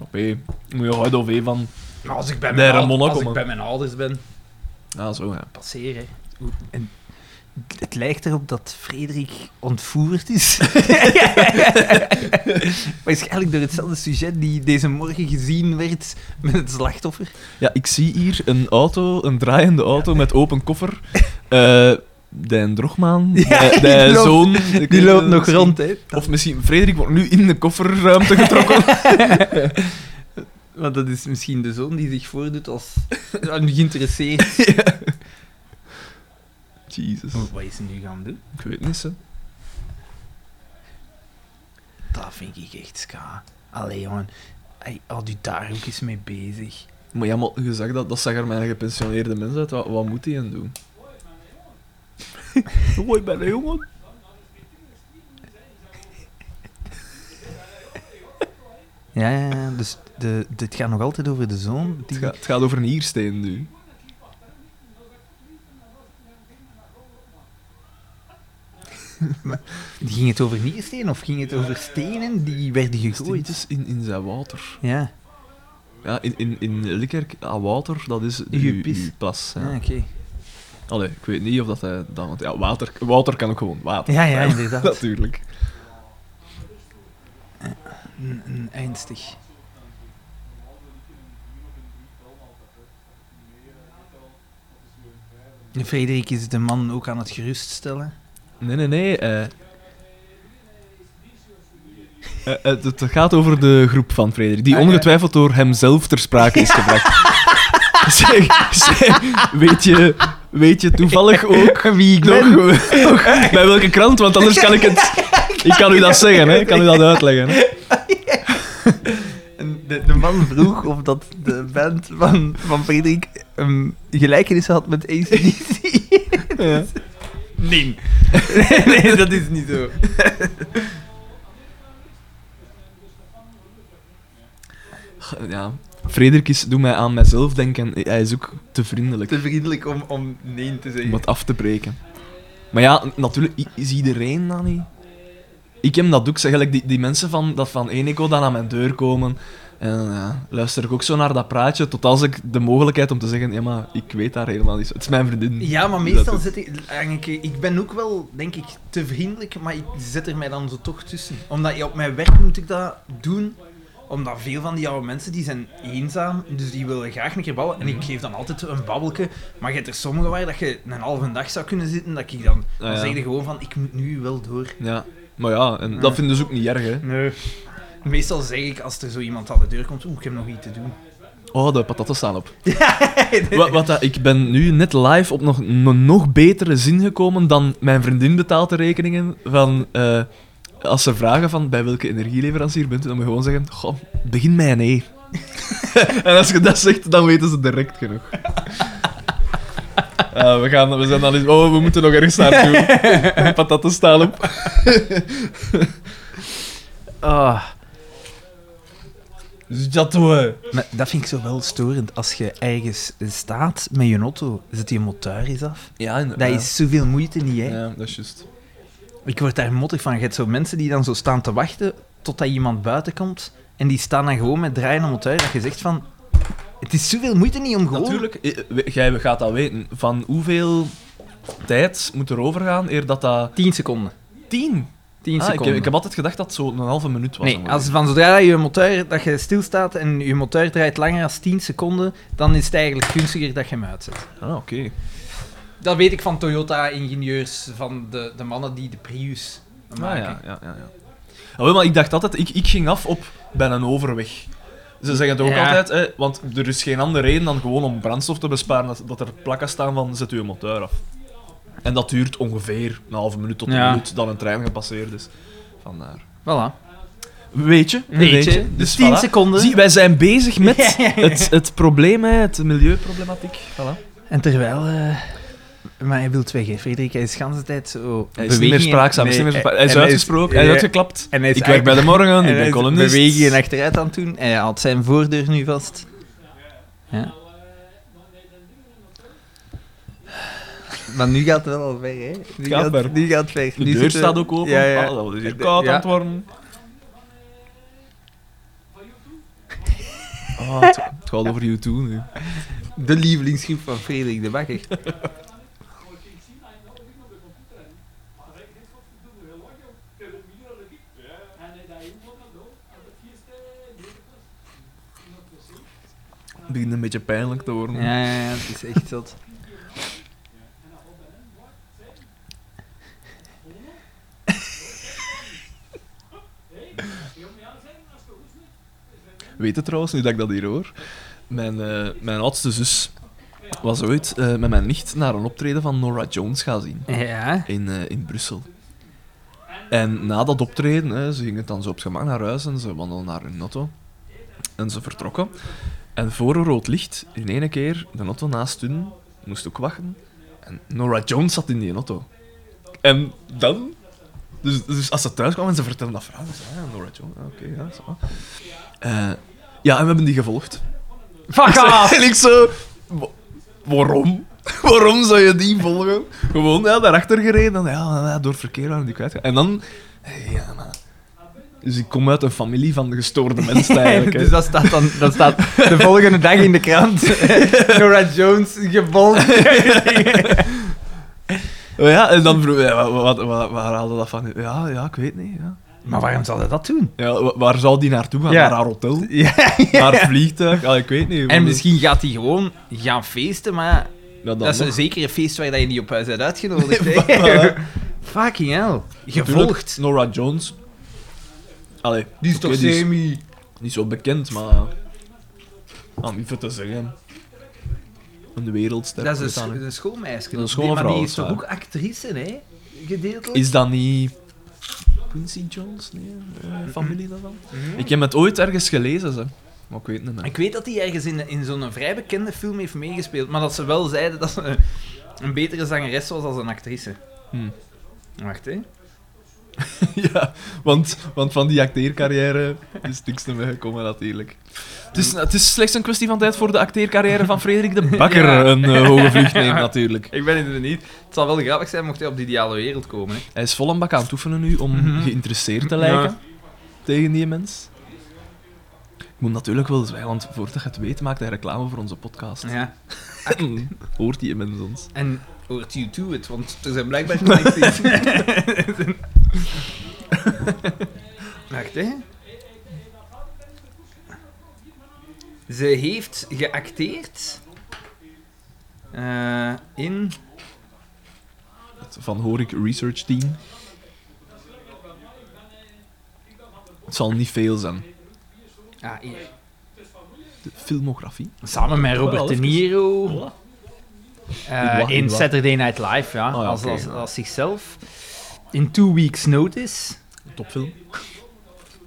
[SPEAKER 4] Op hé, moet je houden of hé van.
[SPEAKER 1] Als ik bij
[SPEAKER 4] Nee,
[SPEAKER 1] mijn,
[SPEAKER 4] Ramon
[SPEAKER 1] ouders-
[SPEAKER 4] ook,
[SPEAKER 1] als ik
[SPEAKER 4] man.
[SPEAKER 1] bij mijn ouders ben,
[SPEAKER 4] Ah, zo ja.
[SPEAKER 1] passeren. Hoe- En het- het lijkt erop dat Frederik ontvoerd is. Waarschijnlijk door hetzelfde sujet die deze morgen gezien werd met het slachtoffer.
[SPEAKER 4] Ja, ik zie hier een auto, een draaiende auto met open koffer. Eh Dijn Drogmaan,
[SPEAKER 1] Ja,
[SPEAKER 4] Dijn-
[SPEAKER 1] die
[SPEAKER 4] Dijn
[SPEAKER 1] loopt-
[SPEAKER 4] zoon. ik
[SPEAKER 1] Die
[SPEAKER 4] weet
[SPEAKER 1] loopt
[SPEAKER 4] het
[SPEAKER 1] nog
[SPEAKER 4] misschien.
[SPEAKER 1] rond, hè.
[SPEAKER 4] Of misschien, Frederik wordt nu in de kofferruimte getrokken.
[SPEAKER 1] Want dat is misschien de zoon die zich voordoet als een geïnteresseerd.
[SPEAKER 4] Jezus.
[SPEAKER 1] Wat is hij nu gaan doen?
[SPEAKER 4] Ik weet niet, hè.
[SPEAKER 1] Dat vind ik echt ska. Allee, jongen. Hij had u daar ook eens mee bezig.
[SPEAKER 4] Maar ja, maar je zag dat, dat zag er mijn gepensioneerde mens uit. Wat, wat moet hij aan doen? Hoi, ben een jongen.
[SPEAKER 1] Ja, ja, ja. Dus de, dit gaat nog altijd over de zoon.
[SPEAKER 4] Het
[SPEAKER 1] Die...
[SPEAKER 4] gaat, het gaat over een hiersteen nu.
[SPEAKER 1] Ging het over niersteen of ging het over stenen die werden gegooid?
[SPEAKER 4] Steentjes in, in zijn water.
[SPEAKER 1] Ja,
[SPEAKER 4] Ja, in, in, in Likkerk, aan water, dat is
[SPEAKER 1] In je
[SPEAKER 4] uw-
[SPEAKER 1] pis.
[SPEAKER 4] uw plas. Ja.
[SPEAKER 1] ah, oké.
[SPEAKER 4] Allee, ik weet niet of dat hij... Dat, want ja, water, water kan ook gewoon water.
[SPEAKER 1] Ja, ja, inderdaad.
[SPEAKER 4] Natuurlijk.
[SPEAKER 1] Een- een Ernstig. Frederik is de man ook aan het geruststellen.
[SPEAKER 4] Nee, nee, nee. eh. Eh, het, het gaat over de groep van Frederik, die
[SPEAKER 1] Ah, ja.
[SPEAKER 4] ongetwijfeld door hemzelf ter sprake is gebracht. zeg, zeg, weet, je, weet je toevallig ook wie ik nog, nog- bij welke krant? Want anders kan ik het. Ik kan u dat zeggen, hè? ik kan u dat uitleggen. Hè?
[SPEAKER 1] En De, de man vroeg of dat de band van, van Frederik ehm, gelijkenissen had met ACDC.
[SPEAKER 4] Ja.
[SPEAKER 1] Nee. nee, dat is niet zo.
[SPEAKER 4] ja. Frederik is, doe mij aan mijzelf denken, hij is ook te vriendelijk.
[SPEAKER 1] Te vriendelijk om, om nee te
[SPEAKER 4] om
[SPEAKER 1] zeggen.
[SPEAKER 4] het af te breken. Maar ja, n- natuurlijk i- is iedereen dat niet. Ik heb dat ook, zeg, gelijk die, die mensen van, dat van Eneco dan aan mijn deur komen. En ja, luister ik ook zo naar dat praatje, tot als ik de mogelijkheid om te zeggen, ja maar, ik weet daar helemaal niet. zo- Het is mijn vriendin.
[SPEAKER 1] Ja, maar
[SPEAKER 4] die
[SPEAKER 1] meestal
[SPEAKER 4] dat
[SPEAKER 1] zet ik... Eigenlijk, eh, ik ben ook wel, denk ik, te vriendelijk, maar ik zet er mij dan zo toch tussen. Omdat ja, op mijn werk moet ik dat doen, omdat veel van die oude mensen, die zijn eenzaam, dus die willen graag een keer babbelen. En ik
[SPEAKER 4] Mhm.
[SPEAKER 1] geef dan altijd een babbelke, maar je hebt er sommigen waar dat je een halve dag zou kunnen zitten, dat ik dan...
[SPEAKER 4] doet. Ah,
[SPEAKER 1] Dan
[SPEAKER 4] ja.
[SPEAKER 1] zeg je gewoon van, ik moet nu wel door.
[SPEAKER 4] Ja, maar ja, en
[SPEAKER 1] Ja.
[SPEAKER 4] dat vinden ze ook niet erg, hè.
[SPEAKER 1] Nee. Meestal zeg ik als er zo iemand aan de deur komt, oeh, ik heb nog iets te doen.
[SPEAKER 4] Oh, de patatten staan op. Wat, wat dat, ik ben nu net live op nog, een nog betere zin gekomen dan mijn vriendin betaalt de rekeningen. Van, eh, als ze vragen van bij welke energieleverancier bent u, dan moet je gewoon zeggen, goh, begin mij een E. en als je dat zegt, dan weten ze direct genoeg. Ah, we, gaan, we zijn al eens... Oh, we moeten nog ergens naartoe. Patatten staan op.
[SPEAKER 1] Ah.
[SPEAKER 4] Jatoe.
[SPEAKER 1] Maar dat vind ik zo wel storend. Als je ergens staat met je auto, zet je motor eens af.
[SPEAKER 4] Ja,
[SPEAKER 1] Dat is zoveel moeite niet, hè?
[SPEAKER 4] Ja, dat is juist.
[SPEAKER 1] Ik word daar mottig van. Je hebt zo mensen die dan zo staan te wachten totdat iemand buiten komt. En die staan dan gewoon met draaiende motor. Dat je zegt van... Het is zoveel moeite niet om gewoon...
[SPEAKER 4] Natuurlijk, eh, we- jij gaat dat weten. Van hoeveel tijd moet er overgaan eer dat dat...
[SPEAKER 1] 10 seconden.
[SPEAKER 4] Tien?
[SPEAKER 1] 10
[SPEAKER 4] Ah, ik,
[SPEAKER 1] seconden.
[SPEAKER 4] heb, ik heb altijd gedacht dat het zo'n halve minuut was.
[SPEAKER 1] Nee,
[SPEAKER 4] ongeveer.
[SPEAKER 1] als van zodra dat je motor dat je stilstaat en je motor draait langer dan 10 seconden, dan is het eigenlijk gunstiger dat je hem uitzet.
[SPEAKER 4] Ah, oké.
[SPEAKER 1] Dat weet ik van Toyota-ingenieurs, van de, de mannen die de Prius
[SPEAKER 4] Ah,
[SPEAKER 1] maken.
[SPEAKER 4] ja, ja, ja. ja. Ah, wel, maar ik dacht altijd, ik, ik ging af op bij een overweg. Ze zeggen het ook
[SPEAKER 1] Ja.
[SPEAKER 4] altijd, hè, want er is geen andere reden dan gewoon om brandstof te besparen, dat, dat er plakken staan van zet uw motor af. En dat duurt ongeveer een halve minuut tot een
[SPEAKER 1] Ja.
[SPEAKER 4] minuut dat een trein gepasseerd is. Vandaar.
[SPEAKER 1] Voilà.
[SPEAKER 4] Weet je?
[SPEAKER 1] Weet je. Dus 10 seconden.
[SPEAKER 4] Zie, wij zijn bezig met
[SPEAKER 1] Ja, ja, ja.
[SPEAKER 4] Het, het probleem, hè, het milieuproblematiek. Voilà.
[SPEAKER 1] En terwijl... eh, maar hij wil het weg, hè. Frederik. Hij is de hele tijd zo...
[SPEAKER 4] Hij is niet meer spraakzaam, hij is, niet meer spra- hij is uitgesproken, hij is uitgeklapt.
[SPEAKER 1] En hij is
[SPEAKER 4] Ik werk bij de morgen, ik ben columnist.
[SPEAKER 1] bewegingen achteruit aan het doen. En hij had zijn voordeur nu vast. Ja. Maar nu gaat het wel al ver, hè? Nu
[SPEAKER 4] Gaat
[SPEAKER 1] gaat,
[SPEAKER 4] ver.
[SPEAKER 1] nu gaat het ver.
[SPEAKER 4] De
[SPEAKER 1] nu
[SPEAKER 4] deur
[SPEAKER 1] zitten-
[SPEAKER 4] staat ook open.
[SPEAKER 1] Ja, ja.
[SPEAKER 4] Ah, dat is hier
[SPEAKER 1] De-
[SPEAKER 4] koud
[SPEAKER 1] ja.
[SPEAKER 4] aan het worden. Ah, het, het gaat over U2 nu.
[SPEAKER 1] De lievelingsgroep van Frederik de Bakker.
[SPEAKER 4] Het begint een beetje pijnlijk te worden.
[SPEAKER 1] Ja, ja, ja, het is echt zot.
[SPEAKER 4] Weet het trouwens, nu dat ik dat hier hoor. Mijn, eh, mijn oudste zus was ooit eh, met mijn nicht naar een optreden van Nora Jones gaan zien.
[SPEAKER 1] Ja.
[SPEAKER 4] in, eh, in Brussel. En na dat optreden, hè, ze gingen dan zo op het gemak naar huis en ze wandelden naar hun auto. En ze vertrokken. En voor een rood licht, in één keer, de auto naast hun moest ook wachten. En Nora Jones zat in die auto. En dan... Dus, dus als ze thuis kwamen en ze vertelden dat verhaal, ze zeiden, ah, Nora Jones, ah, oké, ja, zo. Eh, ja, en we hebben die gevolgd.
[SPEAKER 1] Fuck
[SPEAKER 4] En ik zo... "Wa- Waarom? Waarom zou je die volgen? Gewoon ja, daarachter gereden. En ja, ja, door verkeer waren die kwijtgegaan. En dan... Ja, maar... Dus ik kom uit een familie van gestoorde mensen eigenlijk. hè.
[SPEAKER 1] dus dat staat dan dat staat de volgende dag in de krant. Nora Jones gevolgd.
[SPEAKER 4] Maar Oh, ja, en dan vroeg ja, wa- wa- wat, wa- waar haalde dat van? Ja, ja, ik weet niet. Ja.
[SPEAKER 1] Maar waarom zal hij dat doen?
[SPEAKER 4] Ja, wa- waar zou die naartoe gaan?
[SPEAKER 1] Ja.
[SPEAKER 4] Naar haar hotel?
[SPEAKER 1] Ja.
[SPEAKER 4] Naar haar vliegtuig? Ja, ik weet niet.
[SPEAKER 1] En misschien gaat hij gewoon gaan feesten, maar
[SPEAKER 4] Ja, dan
[SPEAKER 1] dat is
[SPEAKER 4] nog.
[SPEAKER 1] een zekere feest waar dat je niet op huis bent uitgenodigd. hè. Fucking hell. Gevolgd.
[SPEAKER 4] Natuurlijk, Nora Jones. Allee,
[SPEAKER 1] Die is
[SPEAKER 4] oké,
[SPEAKER 1] toch semi...
[SPEAKER 4] Niet zo bekend, maar. Ah, Om even te zeggen. Een wereldster.
[SPEAKER 1] Dat is een,
[SPEAKER 4] uiteindelijk.
[SPEAKER 1] een schoolmeisje.
[SPEAKER 4] Dat is een schone
[SPEAKER 1] Nee, maar die
[SPEAKER 4] vrouw,
[SPEAKER 1] is toch
[SPEAKER 4] dat is
[SPEAKER 1] ook actrice, hè? Gedeeltelijk.
[SPEAKER 4] Is dat niet. Quincy Jones? Nee,
[SPEAKER 1] Mhm.
[SPEAKER 4] eh, familie daarvan? Ik heb het ooit ergens gelezen, ze. Maar ik weet het niet. meer.
[SPEAKER 1] Ik weet dat hij ergens in, in zo'n vrij bekende film heeft meegespeeld, maar dat ze wel zeiden dat ze een, een betere zangeres was als een actrice.
[SPEAKER 4] Hmm.
[SPEAKER 1] Wacht, hè.
[SPEAKER 4] ja, want, want van die acteercarrière is niks meer gekomen, natuurlijk. Het is, het is slechts een kwestie van tijd voor de acteercarrière van Frederik de Bakker
[SPEAKER 1] Ja.
[SPEAKER 4] een eh, hoge vlucht neemt, natuurlijk.
[SPEAKER 1] Ik ben het er niet. Het zal wel grappig zijn mocht hij op de ideale wereld komen, hè.
[SPEAKER 4] Hij is vol een bak aan het oefenen nu om
[SPEAKER 1] Mhm.
[SPEAKER 4] geïnteresseerd te lijken
[SPEAKER 1] Ja.
[SPEAKER 4] tegen die mens. Ik moet natuurlijk wel zwijgen, want voordat je het weet maakt hij reclame voor onze podcast.
[SPEAKER 1] Ja.
[SPEAKER 4] Hoort die mens ons?
[SPEAKER 1] En hoort you to it, want er zijn blijkbaar connecties. Wacht, hè. Ze heeft geacteerd eh, in...
[SPEAKER 4] Het Van Horik Research Team. Het zal niet veel zijn.
[SPEAKER 1] Ah, hier.
[SPEAKER 4] De filmografie.
[SPEAKER 1] Samen met Robert
[SPEAKER 4] Wel,
[SPEAKER 1] De
[SPEAKER 4] even.
[SPEAKER 1] Niro.
[SPEAKER 4] In
[SPEAKER 1] eh,
[SPEAKER 4] wat- in
[SPEAKER 1] in
[SPEAKER 4] wat?
[SPEAKER 1] Saturday Night Live, ja.
[SPEAKER 4] Oh ja,
[SPEAKER 1] als,
[SPEAKER 4] oké,
[SPEAKER 1] als,
[SPEAKER 4] ja.
[SPEAKER 1] als zichzelf. In Two Weeks Notice.
[SPEAKER 4] Topfilm.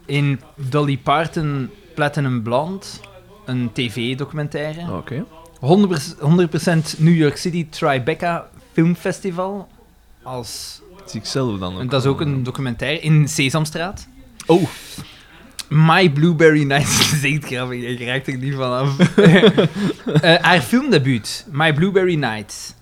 [SPEAKER 1] In Dolly Parton Platinum Blonde. Een tv-documentaire.
[SPEAKER 4] Ah, Oké.
[SPEAKER 1] 100%, 100% New York City Tribeca Film Festival. Als,
[SPEAKER 4] Dat zie ik zelf dan.
[SPEAKER 1] en dat is ook een documentaire in Sesamstraat.
[SPEAKER 4] Oh,
[SPEAKER 1] My Blueberry Nights is echt grappig, ik raak er niet van af. Eh, haar filmdebuut, My Blueberry Nights.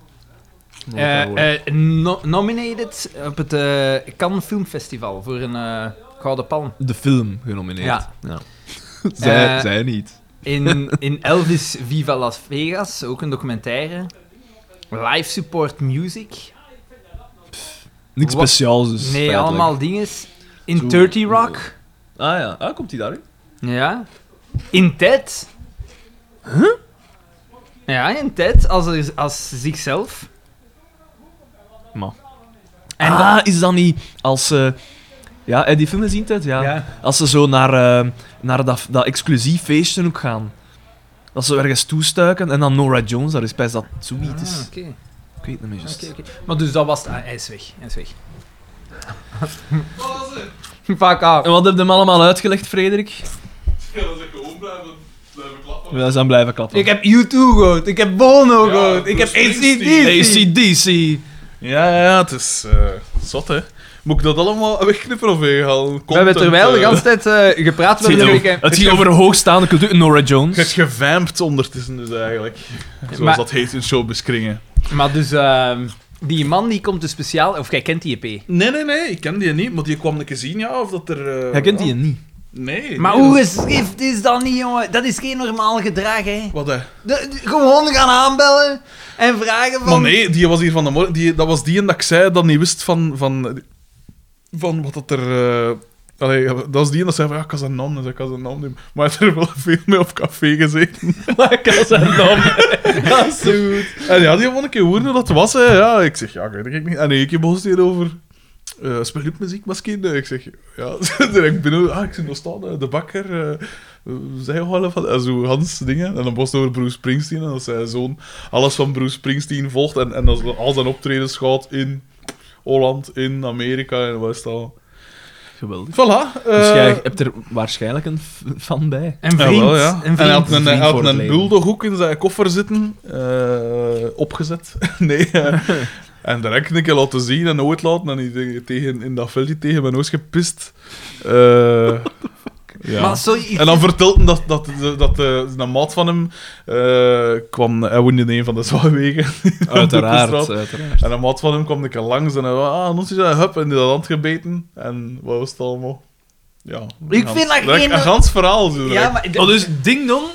[SPEAKER 1] Eh, eh, no- nominated op het eh, Cannes Film Festival voor een eh, Gouden Palm.
[SPEAKER 4] de film genomineerd.
[SPEAKER 1] Ja.
[SPEAKER 4] Ja. Zij,
[SPEAKER 1] Eh,
[SPEAKER 4] zij niet.
[SPEAKER 1] In, in Elvis Viva Las Vegas, ook een documentaire. Live support music.
[SPEAKER 4] Niks
[SPEAKER 1] Wat?
[SPEAKER 4] speciaals dus.
[SPEAKER 1] Nee,
[SPEAKER 4] feitelijk.
[SPEAKER 1] allemaal dingen. In
[SPEAKER 4] Zo.
[SPEAKER 1] 30 Rock.
[SPEAKER 4] Ah ja, ah, komt die daarin?
[SPEAKER 1] Ja. In Ted. Huh? Ja, in Ted, als, er- als zichzelf.
[SPEAKER 4] Maar.
[SPEAKER 1] En
[SPEAKER 4] ah,
[SPEAKER 1] dan-
[SPEAKER 4] is dat niet als ze... ja, heb je die film gezien, Ted? Ja.
[SPEAKER 1] Ja.
[SPEAKER 4] Als ze zo naar, eh, naar dat, dat exclusief feestje ook gaan. Dat ze ergens toestuiken en dan Nora Jones, daar is bij dat zoiets
[SPEAKER 1] Ah,
[SPEAKER 4] is.
[SPEAKER 1] oké.
[SPEAKER 4] Ik weet het niet meer.
[SPEAKER 1] Oké, oké. Maar dus dat was het. Ah, hij is weg. Hij is weg. Fuck af.
[SPEAKER 4] En wat heb je hem allemaal uitgelegd, Frederik?
[SPEAKER 2] Ja, dat is gewoon blijven, blijven klappen.
[SPEAKER 4] We zijn blijven klappen.
[SPEAKER 1] Ik heb U2 gehoord. Ik heb Bono
[SPEAKER 2] Ja,
[SPEAKER 1] gehoord. Ik heb
[SPEAKER 2] Bruce
[SPEAKER 1] ACDC.
[SPEAKER 2] Springsteen.
[SPEAKER 4] ACDC.
[SPEAKER 2] Ja, ja, ja, het is eh, zot, hè. Moet ik dat allemaal wegknippen of weghalen?
[SPEAKER 1] We hebben terwijl de hele tijd eh, gepraat. We
[SPEAKER 4] Het
[SPEAKER 1] hebben
[SPEAKER 4] ging
[SPEAKER 1] weekend.
[SPEAKER 4] over- Het ging over hoogstaande cultuur. Nora
[SPEAKER 2] Je hebt
[SPEAKER 4] Jones.
[SPEAKER 2] gevampt ondertussen dus eigenlijk. Zoals
[SPEAKER 1] Maar-
[SPEAKER 2] dat heet in showbiskringen.
[SPEAKER 1] Maar dus, ehm, die man die komt dus speciaal... Of jij kent die E EP.
[SPEAKER 2] Nee, nee, nee, ik ken die niet, maar die kwam een keer zien, ja, of dat er... eh,
[SPEAKER 4] Jij kent die niet.
[SPEAKER 2] Nee.
[SPEAKER 1] Maar
[SPEAKER 2] nee,
[SPEAKER 1] hoe
[SPEAKER 2] dat-
[SPEAKER 1] geschift is dat niet, jongen? Dat is geen normaal gedrag, hè.
[SPEAKER 2] Wat, hè?
[SPEAKER 1] De- de- gewoon gaan aanbellen en vragen van...
[SPEAKER 2] Maar nee, die was hier van de morgen. Die, dat was die en dat ik zei dat niet wist van, van, van wat dat er. eh, allee, dat was die en dat zei van ja, ik kan zijn naam nemen, ik kan zijn naam nemen. Maar hij heeft er wel veel mee op café gezeten.
[SPEAKER 4] Dat is zo goed.
[SPEAKER 2] En ja, die won een keer horen hoe dat was. Hè. Ja, ik zeg ja, ik weet het eigenlijk niet. En ik heb ons hierover. eh speel je ook muziek misschien? Eh, Ik zeg ja, direct binnen. Ah, ik zie nog staan, eh, de bakker. eh zij wel van en zo Hans dingen. En dan was het over Bruce Springsteen. En dat zijn zoon alles van Bruce Springsteen volgt. En, en dat ze al zijn optredens gaat in Holland, in Amerika en wat is dat.
[SPEAKER 4] Geweldig.
[SPEAKER 2] Voilà. eh,
[SPEAKER 4] Dus jij hebt er waarschijnlijk een f- fan bij.
[SPEAKER 1] Een vriend.
[SPEAKER 2] jawel, ja.
[SPEAKER 1] Een
[SPEAKER 2] En hij
[SPEAKER 1] vriend.
[SPEAKER 2] had een, hij
[SPEAKER 4] Vriend
[SPEAKER 2] had
[SPEAKER 4] voor het
[SPEAKER 2] een
[SPEAKER 4] leven.
[SPEAKER 2] bulldog ook in zijn koffer zitten, eh, opgezet. nee. eh, en direct een keer laten zien en ooit laten. En die tegen, in dat veldje tegen mijn neus gepist. Eh, ja.
[SPEAKER 1] Maar Ah, sorry, ik-
[SPEAKER 2] En dan vertelt hij dat, dat, dat eh een maat van hem eh, kwam. Hij woonde in een van de zwaarwegen. Op de
[SPEAKER 4] Uiteraard.
[SPEAKER 2] straat.
[SPEAKER 4] uiteraard.
[SPEAKER 2] En een maat van hem kwam een keer langs en hij was, ah, ons is een hup, en die had hand gebeten. En wat was het allemaal?
[SPEAKER 1] Ik
[SPEAKER 2] Ja. een
[SPEAKER 1] vind
[SPEAKER 2] gans-
[SPEAKER 1] dat geen-
[SPEAKER 2] Een gans verhaal. Zo
[SPEAKER 1] Ja,
[SPEAKER 2] direct.
[SPEAKER 1] maar...
[SPEAKER 4] Oh, dus ding dong.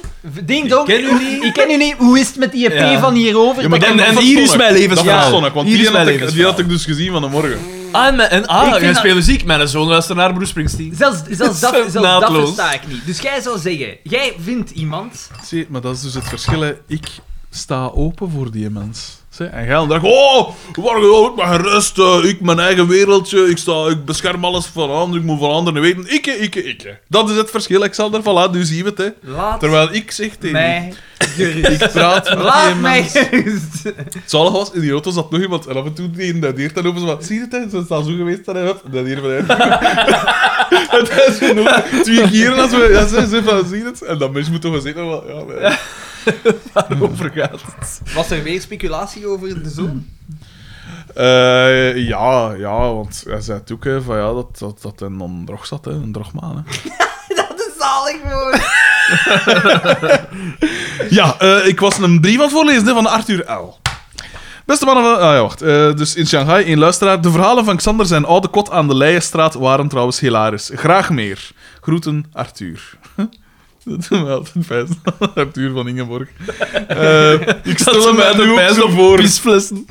[SPEAKER 1] Ding dong,
[SPEAKER 4] Ik ken u niet.
[SPEAKER 1] Ik ken u niet. Hoe is het met die EP
[SPEAKER 4] Ja.
[SPEAKER 1] van hierover?
[SPEAKER 2] Ja, maar
[SPEAKER 1] Dat
[SPEAKER 2] dan-
[SPEAKER 1] ik-
[SPEAKER 4] en
[SPEAKER 2] dat
[SPEAKER 4] hier is
[SPEAKER 2] verstond
[SPEAKER 4] mijn
[SPEAKER 2] ik.
[SPEAKER 4] levensverhaal.
[SPEAKER 2] Dat verstond ik, want
[SPEAKER 4] Hier
[SPEAKER 2] die,
[SPEAKER 4] is mijn
[SPEAKER 2] had ik, die
[SPEAKER 4] levensverhaal.
[SPEAKER 2] had ik dus gezien vanmorgen.
[SPEAKER 4] Ah, en, mijn- en
[SPEAKER 1] Ik
[SPEAKER 4] ah,
[SPEAKER 1] vind
[SPEAKER 4] jij
[SPEAKER 1] dat-
[SPEAKER 4] speelt muziek. Mijn zoon luistert naar Bruce Springsteen.
[SPEAKER 1] Zelfs, zelfs, dat,
[SPEAKER 4] Zo
[SPEAKER 1] zelfs dat
[SPEAKER 4] naadloos.
[SPEAKER 1] versta ik niet. Dus jij zou zeggen, jij vindt iemand...
[SPEAKER 2] Zie, maar dat is dus het verschil. hè. Ik sta open voor die mens. Zie, en jij dan dacht, oh, waar ook maar gerust. eh, ik, mijn eigen wereldje. Ik, sta, ik bescherm alles van anderen. Ik moet van anderen weten. Ikke, ikke, ikke. Dat is het verschil, Alexander. Voilà, nu zien we het. Hè.
[SPEAKER 1] Laat
[SPEAKER 2] Terwijl ik zeg tegen
[SPEAKER 1] mij gerust.
[SPEAKER 2] Ik praat met die
[SPEAKER 1] Laat mij
[SPEAKER 2] mens.
[SPEAKER 1] gerust.
[SPEAKER 2] Het zalig was, in die auto zat nog iemand. En af en toe die dat deert en open ze van, zie je het? hè? Ze staan zo geweest en hij hup, dat hier vanuit. Het is genoeg. Twee keer als we, ja, ze ze van, zie je het? En dat mens moet toch wel zeggen, van, ja, nee. Waarover gaat het?
[SPEAKER 1] Was er weer speculatie over de zoon?
[SPEAKER 2] Eh, ja, ja, want hij zei het ook, hè, van ja, dat, dat, dat hij dan drog zat, hè, een drogmaan. Hè.
[SPEAKER 1] Dat is zalig gewoon.
[SPEAKER 2] Ja, eh, ik was een brief aan het voorlezen hè, van Arthur L. Beste mannen van... Ah ja, wacht. Eh, dus in Shanghai, één luisteraar. De verhalen van Xander zijn oude kot aan de Leienstraat waren trouwens hilarisch. Graag meer. Groeten, Arthur. Dat doet me altijd fijn. Arthur van Ingeborg. Eh, ik stel hem mij nu ook zo voor.
[SPEAKER 4] Pisflessen.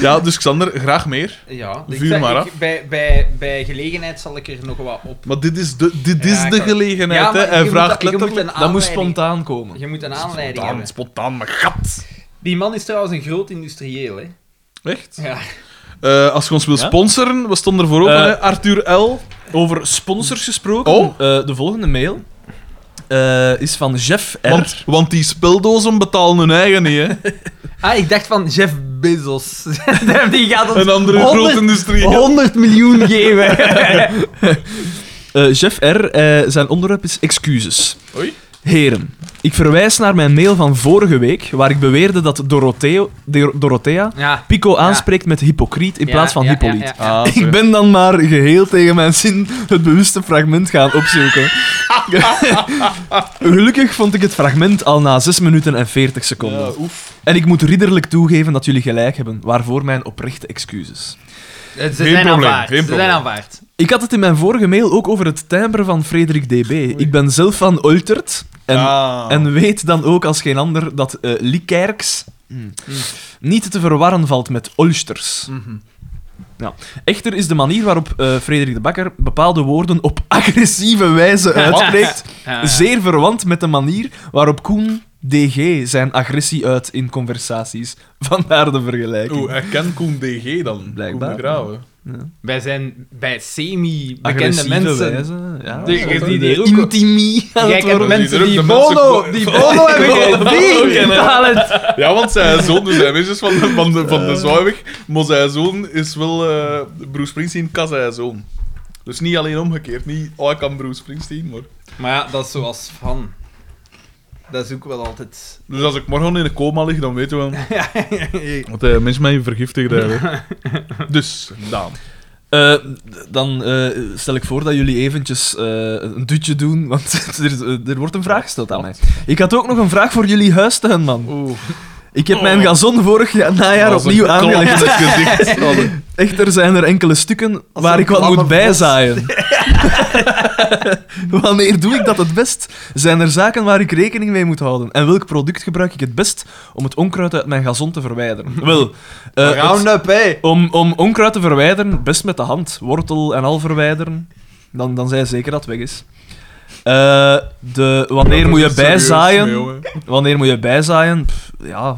[SPEAKER 2] Ja, dus Xander, graag meer.
[SPEAKER 1] Ja,
[SPEAKER 2] ik Vuur zeg- maar ik- af.
[SPEAKER 1] bij, bij, bij gelegenheid zal ik er nog wat op.
[SPEAKER 2] Maar dit is de, dit is
[SPEAKER 1] Ja,
[SPEAKER 2] de
[SPEAKER 1] ik-
[SPEAKER 2] gelegenheid,
[SPEAKER 1] Ja,
[SPEAKER 2] hè.
[SPEAKER 1] maar
[SPEAKER 2] Hij
[SPEAKER 1] je moet
[SPEAKER 2] vraagt
[SPEAKER 1] een- je moet
[SPEAKER 2] letterlijk...
[SPEAKER 1] een
[SPEAKER 4] Dat moest
[SPEAKER 1] aanleiding-
[SPEAKER 4] spontaan komen.
[SPEAKER 1] Je moet een aanleiding
[SPEAKER 2] Spontaan,
[SPEAKER 1] hebben.
[SPEAKER 2] spontaan, maar gat.
[SPEAKER 1] Die man is trouwens een groot industrieel, hè?
[SPEAKER 2] Echt?
[SPEAKER 1] Ja.
[SPEAKER 2] Eh, als je ons wil
[SPEAKER 4] Ja?
[SPEAKER 2] sponsoren, we stonden er voor open,
[SPEAKER 4] Eh,
[SPEAKER 2] hè. Arthur L.
[SPEAKER 4] Over sponsors gesproken.
[SPEAKER 2] Oh.
[SPEAKER 4] eh, de volgende mail eh, is van Jeff R.
[SPEAKER 2] Want, want die speldozen betalen hun eigen niet, hè?
[SPEAKER 1] Ah, ik dacht van Jeff Bezos. Die gaat ons
[SPEAKER 2] Een
[SPEAKER 1] 100
[SPEAKER 2] andere grote industrie.
[SPEAKER 1] 100 miljoen geven.
[SPEAKER 4] Eh, Jeff R. eh, zijn onderwerp is excuses.
[SPEAKER 2] Oei.
[SPEAKER 4] Heren, ik verwijs naar mijn mail van vorige week, waar ik beweerde dat Dorotheo, Dor- Dorothea
[SPEAKER 1] Ja.
[SPEAKER 4] Pico aanspreekt met hypocriet in
[SPEAKER 1] Ja,
[SPEAKER 4] plaats van
[SPEAKER 1] ja,
[SPEAKER 4] hippolyt.
[SPEAKER 1] ja, ja.
[SPEAKER 2] Ah,
[SPEAKER 4] Ik ben dan maar geheel tegen mijn zin het bewuste fragment gaan opzoeken. Gelukkig vond ik het fragment al na 6 minuten en 40 seconden.
[SPEAKER 2] Ja, oef.
[SPEAKER 4] En ik moet ridderlijk toegeven dat jullie gelijk hebben, waarvoor mijn oprechte excuses.
[SPEAKER 1] Eh, Ze
[SPEAKER 2] probleem,
[SPEAKER 1] zijn aanvaard.
[SPEAKER 2] geen
[SPEAKER 1] Ze zijn
[SPEAKER 2] probleem.
[SPEAKER 1] aanvaard.
[SPEAKER 4] Ik had het in mijn vorige mail ook over het timbre van Frederik DB. Ik ben zelf van Oltert en,
[SPEAKER 2] Ah.
[SPEAKER 4] en weet dan ook als geen ander dat eh Liekerks niet te verwarren valt met Ulsters. Ja. Echter is de manier waarop eh, Frederik de Bakker bepaalde woorden op agressieve wijze uitspreekt zeer verwant met de manier waarop Koen DG zijn agressie uit in conversaties. Vandaar de vergelijking.
[SPEAKER 2] Oeh, hij kent Koen DG dan.
[SPEAKER 4] Blijkbaar.
[SPEAKER 2] Koen de Grauwe.
[SPEAKER 1] Wij zijn bij semi-bekende
[SPEAKER 4] Agressieve
[SPEAKER 1] mensen.
[SPEAKER 4] wijze, ja,
[SPEAKER 1] Die-
[SPEAKER 4] zo,
[SPEAKER 1] die-
[SPEAKER 4] de
[SPEAKER 1] die- die-
[SPEAKER 4] intimie aan
[SPEAKER 1] Jij
[SPEAKER 4] het
[SPEAKER 1] kent
[SPEAKER 4] worden.
[SPEAKER 1] mensen
[SPEAKER 2] Die
[SPEAKER 1] die
[SPEAKER 2] drukt de mensen
[SPEAKER 1] Bono,
[SPEAKER 2] ko-
[SPEAKER 1] die Bono hebben geen
[SPEAKER 2] Bono
[SPEAKER 1] ding
[SPEAKER 2] kennen.
[SPEAKER 1] talent.
[SPEAKER 2] Ja, want zijn zoon, dus hij is van de, van de, van de Zwaaiweg, maar zijn zoon is wel eh Bruce Springsteen, kan zijn zoon. Dus niet alleen omgekeerd, niet, oh, ik kan Bruce Springsteen, maar...
[SPEAKER 1] Maar ja, dat is zoals van. Dat is ook wel altijd.
[SPEAKER 2] Dus als ik morgen in een coma lig, dan weten we wel... Want eh mensen mij vergiftigd hebben. Dus, Daan.
[SPEAKER 4] Eh, d- dan eh, stel ik voor dat jullie eventjes eh, een dutje doen, want er, er wordt een vraag gesteld aan mij. Ik had ook nog een vraag voor jullie huistuinman.
[SPEAKER 2] Oeh.
[SPEAKER 4] Ik heb mijn gazon vorig ja- najaar
[SPEAKER 2] Als een
[SPEAKER 4] opnieuw
[SPEAKER 2] klap
[SPEAKER 4] aangelegd.
[SPEAKER 2] in het gezicht.
[SPEAKER 4] Echter zijn er enkele stukken
[SPEAKER 1] Als
[SPEAKER 4] waar
[SPEAKER 1] een
[SPEAKER 4] ik wat
[SPEAKER 1] klamme
[SPEAKER 4] moet
[SPEAKER 1] vos.
[SPEAKER 4] bijzaaien. Wanneer doe ik dat het best? Zijn er zaken waar ik rekening mee moet houden? En welk product gebruik ik het best om het onkruid uit mijn gazon te verwijderen? Wel, eh, het-
[SPEAKER 1] Round-up, hé.
[SPEAKER 4] om, om onkruid te verwijderen, best met de hand. Wortel en al verwijderen. Dan, dan zij zeker dat het weg is. Eh, de, wanneer moet je bijzaaien? Wanneer moet je bijzaaien? Pff, ja,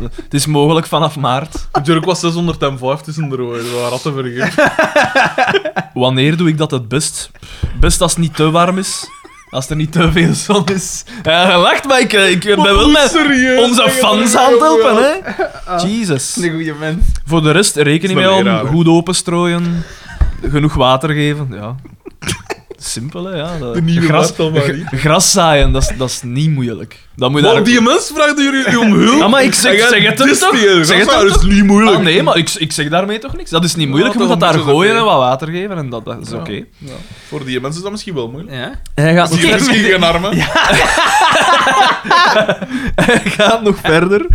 [SPEAKER 4] het is mogelijk vanaf maart.
[SPEAKER 2] Jurk was 605 tussen de rode, we waren ratten vergiftigd.
[SPEAKER 4] Wanneer doe ik dat het best? Best als het niet te warm is. Als er niet te veel zon is. Ja, gelacht, maar ik, eh, ik ben wel met
[SPEAKER 2] Serieus?
[SPEAKER 4] onze fans aan het helpen, hè? Jesus.
[SPEAKER 1] Een goede mens.
[SPEAKER 4] Voor de rest, reken
[SPEAKER 2] Dat
[SPEAKER 4] niet mee
[SPEAKER 2] is wel
[SPEAKER 4] om.
[SPEAKER 2] leraar, hè?
[SPEAKER 4] Goed openstrooien. Genoeg water geven. Ja. Simpel, hè? Ja, dat-
[SPEAKER 2] De nieuwe
[SPEAKER 4] gras,
[SPEAKER 2] Martel, maar niet.
[SPEAKER 4] gras zaaien, dat is, dat is niet moeilijk. Dan moet je
[SPEAKER 2] Maar
[SPEAKER 4] daar...
[SPEAKER 2] die mens vraagt jullie om hulp.
[SPEAKER 4] Ja, maar ik zeg-
[SPEAKER 2] En jij
[SPEAKER 4] zeg het hem
[SPEAKER 2] dist
[SPEAKER 4] toch?
[SPEAKER 2] die,
[SPEAKER 4] Zeg
[SPEAKER 2] gast,
[SPEAKER 4] het hem
[SPEAKER 2] maar Dat is niet moeilijk.
[SPEAKER 4] Ah, nee, maar ik, ik zeg daarmee toch niks. Dat is niet moeilijk. Je moet dat daar
[SPEAKER 2] Water moeten
[SPEAKER 4] gooien en
[SPEAKER 2] erbij.
[SPEAKER 4] wat water geven en dat, dat is
[SPEAKER 2] Ja.
[SPEAKER 4] oké.
[SPEAKER 2] Voor die mensen is dat misschien wel moeilijk.
[SPEAKER 1] Ja?
[SPEAKER 4] Hij gaat
[SPEAKER 2] Zie je misschien geen armen?
[SPEAKER 4] gaat nog verder.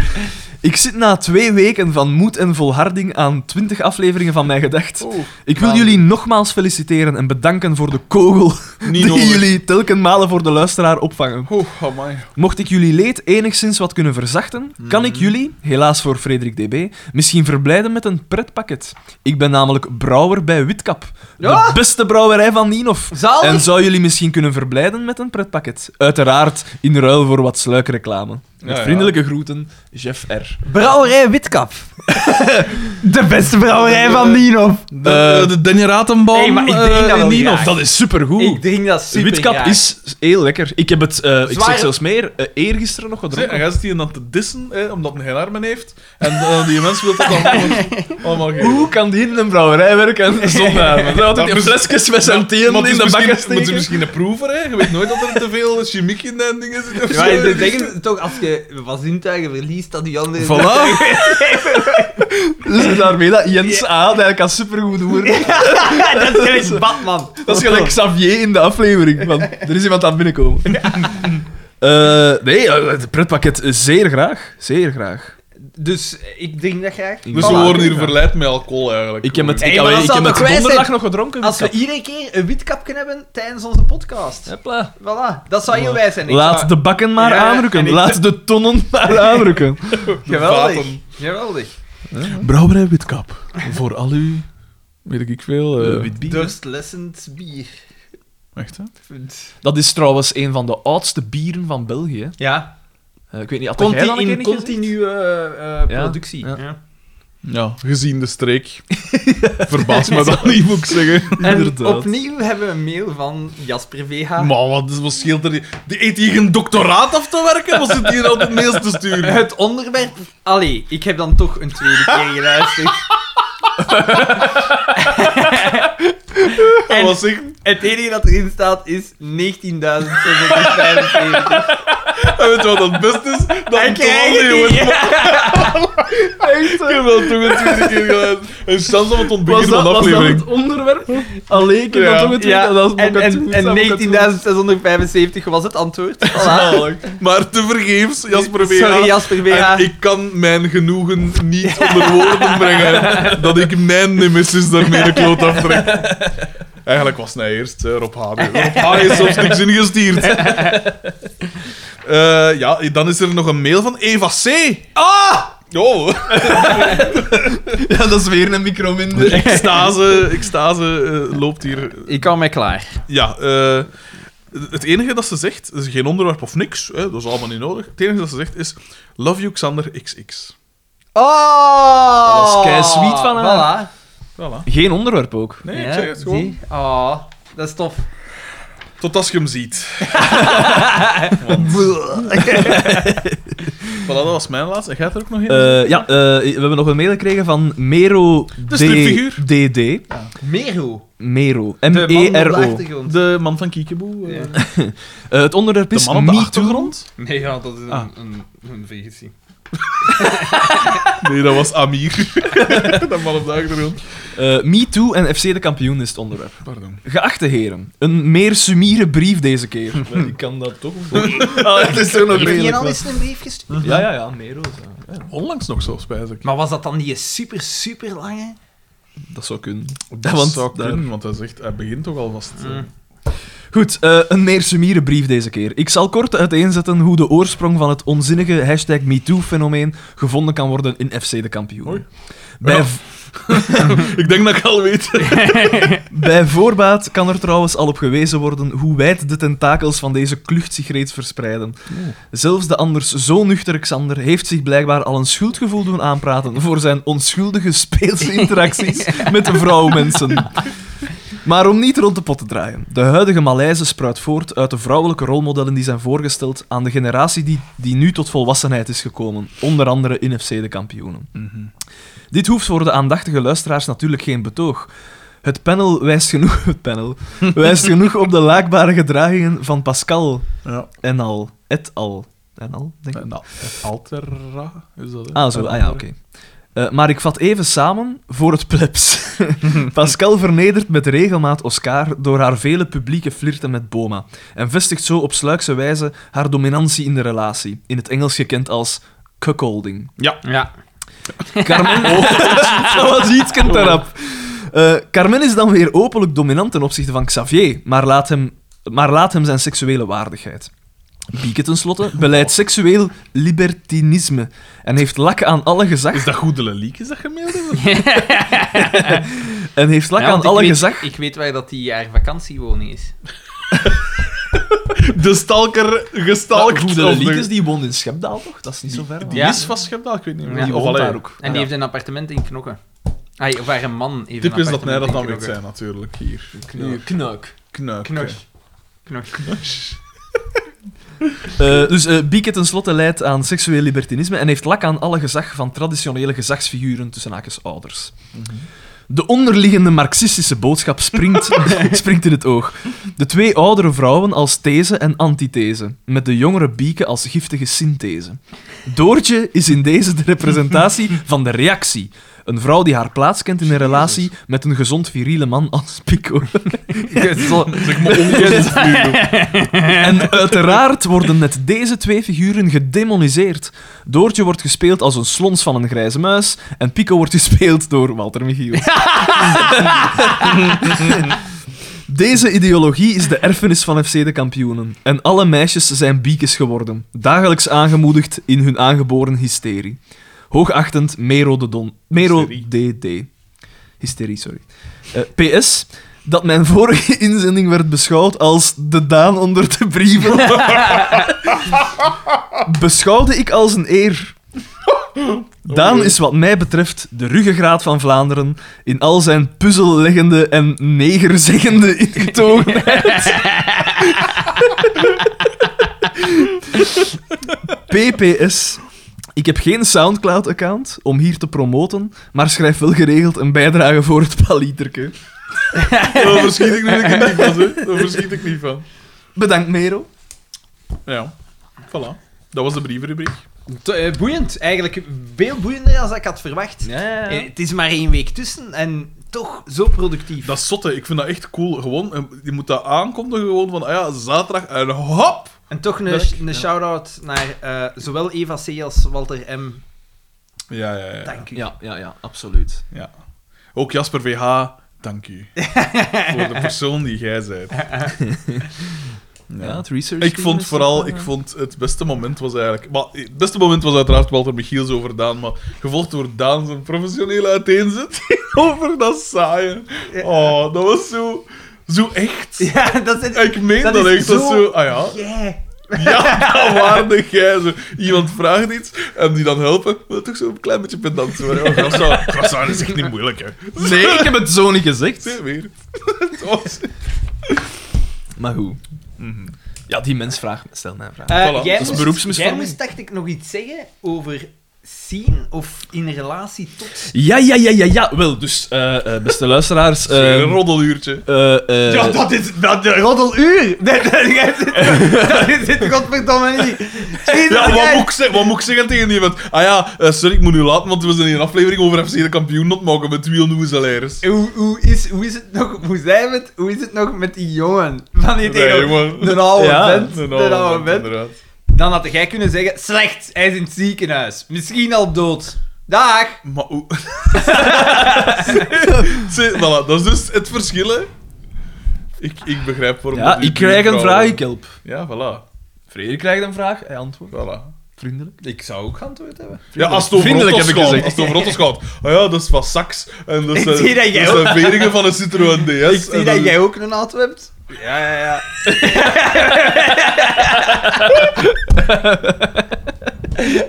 [SPEAKER 4] Ik zit na twee weken van moed en volharding aan 20 afleveringen van mijn gedacht.
[SPEAKER 2] Oeh. Nou,
[SPEAKER 4] Ik wil
[SPEAKER 1] man.
[SPEAKER 4] jullie nogmaals feliciteren en bedanken voor de kogel
[SPEAKER 2] Niet
[SPEAKER 4] die
[SPEAKER 2] nodig.
[SPEAKER 4] jullie telkenmalen voor de luisteraar opvangen.
[SPEAKER 2] Oeh, amai.
[SPEAKER 4] Mocht ik jullie leed enigszins wat kunnen verzachten, kan
[SPEAKER 2] Mhm.
[SPEAKER 4] ik jullie, helaas voor Frederik DB, misschien verblijden met een pretpakket. Ik ben namelijk brouwer bij Witkap, de
[SPEAKER 1] Ja?
[SPEAKER 4] beste brouwerij van Nienhof.
[SPEAKER 1] Zalig.
[SPEAKER 4] En zou jullie misschien kunnen verblijden met een pretpakket? Uiteraard in ruil voor wat sluikreclame. Met
[SPEAKER 2] Ja, ja.
[SPEAKER 4] vriendelijke groeten, Jeff R.
[SPEAKER 1] Brouwerij Witkap. De beste brouwerij van Nienhof.
[SPEAKER 4] Eh,
[SPEAKER 2] De, eh, de Denny Ratenbaum
[SPEAKER 1] Nee, maar ik drink dat
[SPEAKER 2] eh, in
[SPEAKER 1] wel
[SPEAKER 2] Nienhof.
[SPEAKER 1] graag.
[SPEAKER 4] Dat is supergoed.
[SPEAKER 1] Ik drink dat super
[SPEAKER 4] Witkap is heel lekker. Ik heb het, eh, ik
[SPEAKER 1] Zware-
[SPEAKER 4] zeg zelfs meer, eh, eergisteren nog
[SPEAKER 2] Zie, En
[SPEAKER 4] gedronken.
[SPEAKER 2] jij zit die dan te dissen, hè, omdat hij geen armen heeft. En eh, die mens wil dat dan allemaal- allemaal geven.
[SPEAKER 4] Hoe kan die in een brouwerij werken zonder armen? Dat had
[SPEAKER 2] Dat
[SPEAKER 4] ik een
[SPEAKER 2] is-
[SPEAKER 4] flesjes met zijn tenen
[SPEAKER 2] Maar het
[SPEAKER 4] in
[SPEAKER 2] is
[SPEAKER 4] de
[SPEAKER 2] misschien-
[SPEAKER 4] bakken
[SPEAKER 2] maar het is
[SPEAKER 4] steken.
[SPEAKER 2] misschien een proever, hè. Je weet nooit dat er te veel chimiek in en dingen zit. of
[SPEAKER 1] Ja,
[SPEAKER 2] zo.
[SPEAKER 1] maar ik denk toch, als je van zintuigen verliest, dat die andere...
[SPEAKER 4] Voilà. dus daarmee dat Jens A. dat eigenlijk al supergoed hoort.
[SPEAKER 1] dat is echt Batman.
[SPEAKER 4] Dat is gelijk Xavier in de aflevering. Van, er is iemand aan het binnenkomen. Eh, nee, eh, het pretpakket eh, zeer graag. Zeer graag.
[SPEAKER 1] Dus eh, ik drink dat graag.
[SPEAKER 4] Dus
[SPEAKER 2] Dus we
[SPEAKER 1] Voilà.
[SPEAKER 2] worden hier verleid met alcohol, eigenlijk.
[SPEAKER 4] Ik heb het,
[SPEAKER 1] Hey,
[SPEAKER 4] ik,
[SPEAKER 1] maar
[SPEAKER 4] alweer-
[SPEAKER 1] dat
[SPEAKER 4] ik
[SPEAKER 1] zal
[SPEAKER 4] heb
[SPEAKER 1] toch
[SPEAKER 4] het
[SPEAKER 1] wijs
[SPEAKER 4] donderdag
[SPEAKER 1] zijn?
[SPEAKER 4] nog gedronken. dus
[SPEAKER 1] Als we
[SPEAKER 4] Witkap.
[SPEAKER 1] iedere keer een witkap kunnen hebben tijdens onze podcast.
[SPEAKER 4] Hopla.
[SPEAKER 1] Voilà, dat zou heel wijs zijn. Ik
[SPEAKER 4] Laat
[SPEAKER 1] zou-
[SPEAKER 4] de bakken maar
[SPEAKER 1] Ja, en
[SPEAKER 4] aanrukken.
[SPEAKER 1] ik-
[SPEAKER 4] Laat de tonnen maar aanrukken.
[SPEAKER 1] Geweldig.
[SPEAKER 2] Vaten.
[SPEAKER 1] Geweldig.
[SPEAKER 2] Brouwerij Witkap. Voor al uw... Weet ik veel. eh,
[SPEAKER 1] Durstlessend bier.
[SPEAKER 2] Echt, hè?
[SPEAKER 4] Dat is trouwens een van de oudste bieren van België.
[SPEAKER 1] Ja,
[SPEAKER 4] Eh, ik weet niet, had jij dat
[SPEAKER 1] Conti
[SPEAKER 4] een keer
[SPEAKER 1] in
[SPEAKER 4] niet gezien?
[SPEAKER 1] continue eh, eh,
[SPEAKER 4] Ja,
[SPEAKER 1] productie.
[SPEAKER 4] ja.
[SPEAKER 1] Ja.
[SPEAKER 2] Ja, gezien de streek. Verbaast me dat niet, moet ik zeggen.
[SPEAKER 1] En
[SPEAKER 4] Inderdaad.
[SPEAKER 1] opnieuw hebben we een mail van Jasper VH.
[SPEAKER 2] Maar wat, is- wat scheelt er? Die- Die eet hier een doctoraat af te werken? Of zit hier altijd mails te sturen?
[SPEAKER 1] Het onderwerp... Allee, ik heb dan toch een tweede keer geluisterd.
[SPEAKER 2] En...
[SPEAKER 1] En-
[SPEAKER 2] Was ik,
[SPEAKER 1] Het enige dat erin staat is 19.675.
[SPEAKER 2] en weet je wat het best is? Dat
[SPEAKER 1] Hij
[SPEAKER 2] een
[SPEAKER 1] krijgt
[SPEAKER 2] troll, jongen.
[SPEAKER 1] het niet.
[SPEAKER 2] Ik heb wel toch een tweede keer geluisterd. Een chance eh, dat het
[SPEAKER 4] Was
[SPEAKER 2] ontbegin
[SPEAKER 4] dat,
[SPEAKER 2] van de
[SPEAKER 4] was dat
[SPEAKER 2] aflevering.
[SPEAKER 4] het onderwerp? Allee, ik heb
[SPEAKER 2] Ja.
[SPEAKER 4] dat ook getweet.
[SPEAKER 1] Ja,
[SPEAKER 4] dat is
[SPEAKER 1] en,
[SPEAKER 4] Bokkatoe,
[SPEAKER 1] en, en
[SPEAKER 4] Bokkatoe.
[SPEAKER 1] 19.675 was het antwoord. Voilà. Dus-
[SPEAKER 2] Zalig. Maar tevergeefs, Jasper Vega.
[SPEAKER 1] Sorry, Jasper
[SPEAKER 2] En
[SPEAKER 1] VH.
[SPEAKER 2] ik kan mijn genoegen niet onder woorden brengen dat ik mijn nemesis daarmee de kloot aftrek. Eigenlijk was hij eerst eh, Rob H. Rob H. heeft soms niks ingestuurd. Eh, ja, dan is er nog een mail van Eva C. Ah! Oh,
[SPEAKER 3] Ja, dat is weer een micro minder.
[SPEAKER 2] extase, extase eh, loopt hier.
[SPEAKER 1] Ik kan mij klaar.
[SPEAKER 2] Ja, eh, het enige dat ze zegt, is geen onderwerp of niks, hè, dat is allemaal niet nodig. Het enige dat ze zegt is, love you Xander XX.
[SPEAKER 1] Oh!
[SPEAKER 4] Dat is kei sweet van haar.
[SPEAKER 1] Voilà.
[SPEAKER 2] Voilà.
[SPEAKER 4] Geen onderwerp ook.
[SPEAKER 2] Nee,
[SPEAKER 1] Ja,
[SPEAKER 2] ik zeg het gewoon.
[SPEAKER 1] zie. Oh, dat is tof.
[SPEAKER 2] Tot als je hem ziet. Voilà, dat was mijn laatste. En jij hebt er ook nog een?
[SPEAKER 4] Eh, ja, eh, we hebben nog een mail gekregen van Mero
[SPEAKER 2] De stripfiguur.
[SPEAKER 4] DD.
[SPEAKER 1] Mero.
[SPEAKER 4] Mero.
[SPEAKER 1] De man op de
[SPEAKER 4] M-E-R-O.
[SPEAKER 1] achtergrond.
[SPEAKER 2] de man van Kiekeboe. eh.
[SPEAKER 1] Ja.
[SPEAKER 4] Eh, het onderwerp
[SPEAKER 2] De
[SPEAKER 4] is
[SPEAKER 2] man op de
[SPEAKER 4] Me Too.
[SPEAKER 2] achtergrond?
[SPEAKER 1] Nee, ja, dat is een,
[SPEAKER 2] Ah.
[SPEAKER 1] een, een VGC.
[SPEAKER 2] Nee, dat was Amir. dat man op de achtergrond.
[SPEAKER 4] Eh, Me Too en FC de kampioen is het onderwerp.
[SPEAKER 2] Pardon.
[SPEAKER 4] Geachte heren, een meer sumiere brief deze keer. Ik kan dat toch? ah, het is toch nog
[SPEAKER 1] Heeft je
[SPEAKER 4] redelijk
[SPEAKER 1] al
[SPEAKER 4] wat.
[SPEAKER 1] eens een brief gestuurd?
[SPEAKER 4] Ja, ja, ja, Mero. ja.
[SPEAKER 2] Onlangs nog zo, spijs ik.
[SPEAKER 1] Maar was dat dan die super, super lange?
[SPEAKER 4] Dat zou kunnen.
[SPEAKER 2] Dat
[SPEAKER 4] want
[SPEAKER 2] zou
[SPEAKER 4] daar-
[SPEAKER 2] kunnen, want hij, zegt, hij begint toch alvast. eh.
[SPEAKER 1] Mm.
[SPEAKER 4] Goed, eh, een meer sumiere brief deze keer. Ik zal kort uiteenzetten hoe de oorsprong van het onzinnige hashtag MeToo-fenomeen gevonden kan worden in FC de kampioen.
[SPEAKER 2] Hoi.
[SPEAKER 4] Bij,
[SPEAKER 2] Ja.
[SPEAKER 4] v-
[SPEAKER 2] Ik denk dat ik al weet.
[SPEAKER 4] bij voorbaat kan er trouwens al op gewezen worden hoe wijd de tentakels van deze klucht zich reeds verspreiden. Zelfs de anders zo nuchtere Xander heeft zich blijkbaar al een schuldgevoel doen aanpraten voor zijn onschuldige speelse interacties met vrouwmensen. Maar om niet rond de pot te draaien. De huidige malaise spruit voort uit de vrouwelijke rolmodellen die zijn voorgesteld aan de generatie die, die nu tot volwassenheid is gekomen. Onder andere in FC de kampioenen.
[SPEAKER 2] Mhm.
[SPEAKER 4] Dit hoeft voor de aandachtige luisteraars natuurlijk geen betoog. Het panel wijst genoeg, het panel wijst genoeg op de laakbare gedragingen van Pascal
[SPEAKER 2] ja.
[SPEAKER 4] en al. Et al. En al, denk ik.
[SPEAKER 2] Nou, Altera is dat? hè?
[SPEAKER 4] Ah, zo. Ah ja, oké. Eh, maar ik vat even samen voor het plebs. Pascal vernedert met regelmaat Oscar door haar vele publieke flirten met Boma. En vestigt zo op sluikse wijze haar dominantie in de relatie. In het Engels gekend als cuckolding.
[SPEAKER 1] Ja.
[SPEAKER 4] Carmen... Oh. dat was iets daarop. Eh Carmen is dan weer openlijk dominant ten opzichte van Xavier, maar laat hem, maar laat hem zijn seksuele waardigheid. Bieke tenslotte beleidt seksueel libertinisme en heeft lak aan alle gezag.
[SPEAKER 2] Is dat goed de leliek? Is dat gemeld?
[SPEAKER 4] En heeft lak
[SPEAKER 1] Ja,
[SPEAKER 4] aan
[SPEAKER 1] want ik
[SPEAKER 4] alle
[SPEAKER 1] weet-
[SPEAKER 4] gezag.
[SPEAKER 1] Ik weet waar dat die haar vakantiewoning is.
[SPEAKER 2] De stalker gestalkt.
[SPEAKER 4] Goede
[SPEAKER 2] of de-
[SPEAKER 4] Liekes, die woont in Schepdaal toch? Dat is niet zo ver.
[SPEAKER 2] Die,
[SPEAKER 4] man.
[SPEAKER 2] die
[SPEAKER 1] Ja.
[SPEAKER 2] is van Schepdaal, ik weet niet meer.
[SPEAKER 1] Ja,
[SPEAKER 2] Die
[SPEAKER 4] of
[SPEAKER 2] woont
[SPEAKER 4] allee.
[SPEAKER 2] daar ook.
[SPEAKER 1] En die heeft een appartement in Knokken. Ay, of haar man heeft
[SPEAKER 2] Tip
[SPEAKER 1] een
[SPEAKER 2] is dat hij
[SPEAKER 1] appartement
[SPEAKER 2] dat
[SPEAKER 1] in
[SPEAKER 2] dan weet
[SPEAKER 1] Knokke.
[SPEAKER 2] zijn, natuurlijk. Hier.
[SPEAKER 4] Kneuk. Kneuk.
[SPEAKER 2] Knuik.
[SPEAKER 1] Knok. Knok.
[SPEAKER 4] Eh, dus eh Bieke tenslotte leidt aan seksueel libertinisme en heeft lak aan alle gezag van traditionele gezagsfiguren tussen haakjes ouders. De onderliggende marxistische boodschap springt, springt in het oog. De twee oudere vrouwen als these en antithese, met de jongere Bieke als giftige synthese. Doortje is in deze de representatie van de reactie. Een vrouw die haar plaats kent in een relatie met een gezond viriele man als Pico.
[SPEAKER 2] Zeg maar ongezond nu.
[SPEAKER 4] En uiteraard worden net deze twee figuren gedemoniseerd. Doortje wordt gespeeld als een slons van een grijze muis en Pico wordt gespeeld door Walter Michiels. Deze ideologie is de erfenis van FC de kampioenen. En alle meisjes zijn biekes geworden, dagelijks aangemoedigd in hun aangeboren hysterie. Hoogachtend Mero de Don... Mero DD. Hysterie, sorry. Eh, PS, dat mijn vorige inzending werd beschouwd als de Daan onder de brieven. Beschouwde ik als een eer. Daan is wat mij betreft de ruggengraat van Vlaanderen in al zijn puzzelleggende en negerzeggende ingetogenheid. PPS. Ik heb geen Soundcloud-account om hier te promoten, maar schrijf wel geregeld een bijdrage voor het palieterke.
[SPEAKER 2] Daar verschiet ik nu een keer niet van. hè. Daar verschiet ik niet van.
[SPEAKER 4] Bedankt, Mero.
[SPEAKER 2] Ja, voilà. Dat was de brievenrubriek.
[SPEAKER 1] T- eh, boeiend. Eigenlijk veel boeiender dan ik had verwacht. Eh, Het is maar één week tussen en toch zo productief.
[SPEAKER 2] Dat is zotte, ik vind dat echt cool. Gewoon, eh, je moet dat aankondigen gewoon van, ah ja, zaterdag en hop!
[SPEAKER 1] En toch een,
[SPEAKER 2] Dank.
[SPEAKER 1] een shout-out naar eh, zowel Eva C. als Walter M.
[SPEAKER 2] Ja, ja, ja.
[SPEAKER 1] Dank u.
[SPEAKER 4] Ja, ja, ja, absoluut.
[SPEAKER 2] Ook Jasper VH, Dank u. voor de persoon die jij bent.
[SPEAKER 4] Ja, het research.
[SPEAKER 2] Ik vond vooral,
[SPEAKER 4] eh,
[SPEAKER 2] ik vond het beste moment was eigenlijk. Maar het beste moment was uiteraard Walter Michiels over Daan, maar gevolgd door Daan zijn professionele uiteenzetting over dat saaien. Oh, dat was zo, zo echt.
[SPEAKER 1] Ja, dat is...
[SPEAKER 2] Ik meen dat,
[SPEAKER 1] dat is
[SPEAKER 2] echt. Dat is
[SPEAKER 1] zo-
[SPEAKER 2] zo, ah ja.
[SPEAKER 1] Yeah.
[SPEAKER 2] Ja, dat waarde jij. Zo. Iemand vraagt iets en die dan helpen, maar toch zo'n klein beetje pedant worden. Oh, croissant, croissant is echt niet moeilijk, hè?
[SPEAKER 3] Nee, ik heb het zo niet gezegd.
[SPEAKER 2] Zie je weer. Het was-
[SPEAKER 4] Maar hoe?
[SPEAKER 2] Mhm.
[SPEAKER 4] Ja, die mens vraagt me. Stel mij een vraag.
[SPEAKER 1] Eh, jij,
[SPEAKER 2] Voilà, dat is
[SPEAKER 1] moest, jij
[SPEAKER 2] beroepsmisvorming.
[SPEAKER 1] moest, dacht ik, nog iets zeggen over zien of in relatie tot...
[SPEAKER 4] Ja, ja, ja, ja, ja. Wel, dus, eh, eh, beste luisteraars.
[SPEAKER 2] Het is
[SPEAKER 4] eh,
[SPEAKER 2] Een roddeluurtje.
[SPEAKER 4] eh, eh,
[SPEAKER 1] Ja, dat is... Dat, dat, roddeluur! Dat, dat, jij zit- dat zit godverdomme niet. Jezus,
[SPEAKER 2] Ja, wat
[SPEAKER 1] jij-
[SPEAKER 2] moet, ik zeggen, wat moet ik zeggen tegen die iemand? Ah ja, eh, sorry, ik moet nu laten, want we zijn hier een aflevering over FC de kampioen not maken met Wiel Noezelaires.
[SPEAKER 1] Hoe, hoe, is, hoe is het nog... Hoe zijn we het? Hoe is het nog met die jongen? Van die
[SPEAKER 2] Nee,
[SPEAKER 1] tegen-
[SPEAKER 2] jongen.
[SPEAKER 1] De oude
[SPEAKER 4] Ja,
[SPEAKER 1] vent.
[SPEAKER 2] Een
[SPEAKER 1] De oude vent.
[SPEAKER 2] inderdaad.
[SPEAKER 1] Dan had jij kunnen zeggen... Slecht, hij is in het ziekenhuis. Misschien al dood. Dag!
[SPEAKER 2] Maar hoe... Zie, voilà, dat is dus het verschil, hè. Ik, ik begrijp waarom...
[SPEAKER 4] ja,
[SPEAKER 2] dat die
[SPEAKER 4] ik krijg een
[SPEAKER 2] buurvrouwen-
[SPEAKER 4] vraag, ik help.
[SPEAKER 2] Ja, voilà.
[SPEAKER 4] Frederik krijgt een vraag, hij antwoordt.
[SPEAKER 2] voilà.
[SPEAKER 4] Vriendelijk.
[SPEAKER 1] Ik zou ook geantwoord hebben.
[SPEAKER 2] Ja, als het over
[SPEAKER 3] Vriendelijk
[SPEAKER 2] auto's
[SPEAKER 3] heb ik
[SPEAKER 2] gaat,
[SPEAKER 3] gezegd.
[SPEAKER 2] Als het over auto's gaat. Ah ja, dat is van Sax. En dat
[SPEAKER 1] Ik
[SPEAKER 2] zijn,
[SPEAKER 1] zie dat jij
[SPEAKER 2] dat zijn veringen van een Citroën DS.
[SPEAKER 1] Ik zie
[SPEAKER 2] en
[SPEAKER 1] dat
[SPEAKER 2] is-
[SPEAKER 1] jij ook een auto hebt. Ja, ja, ja.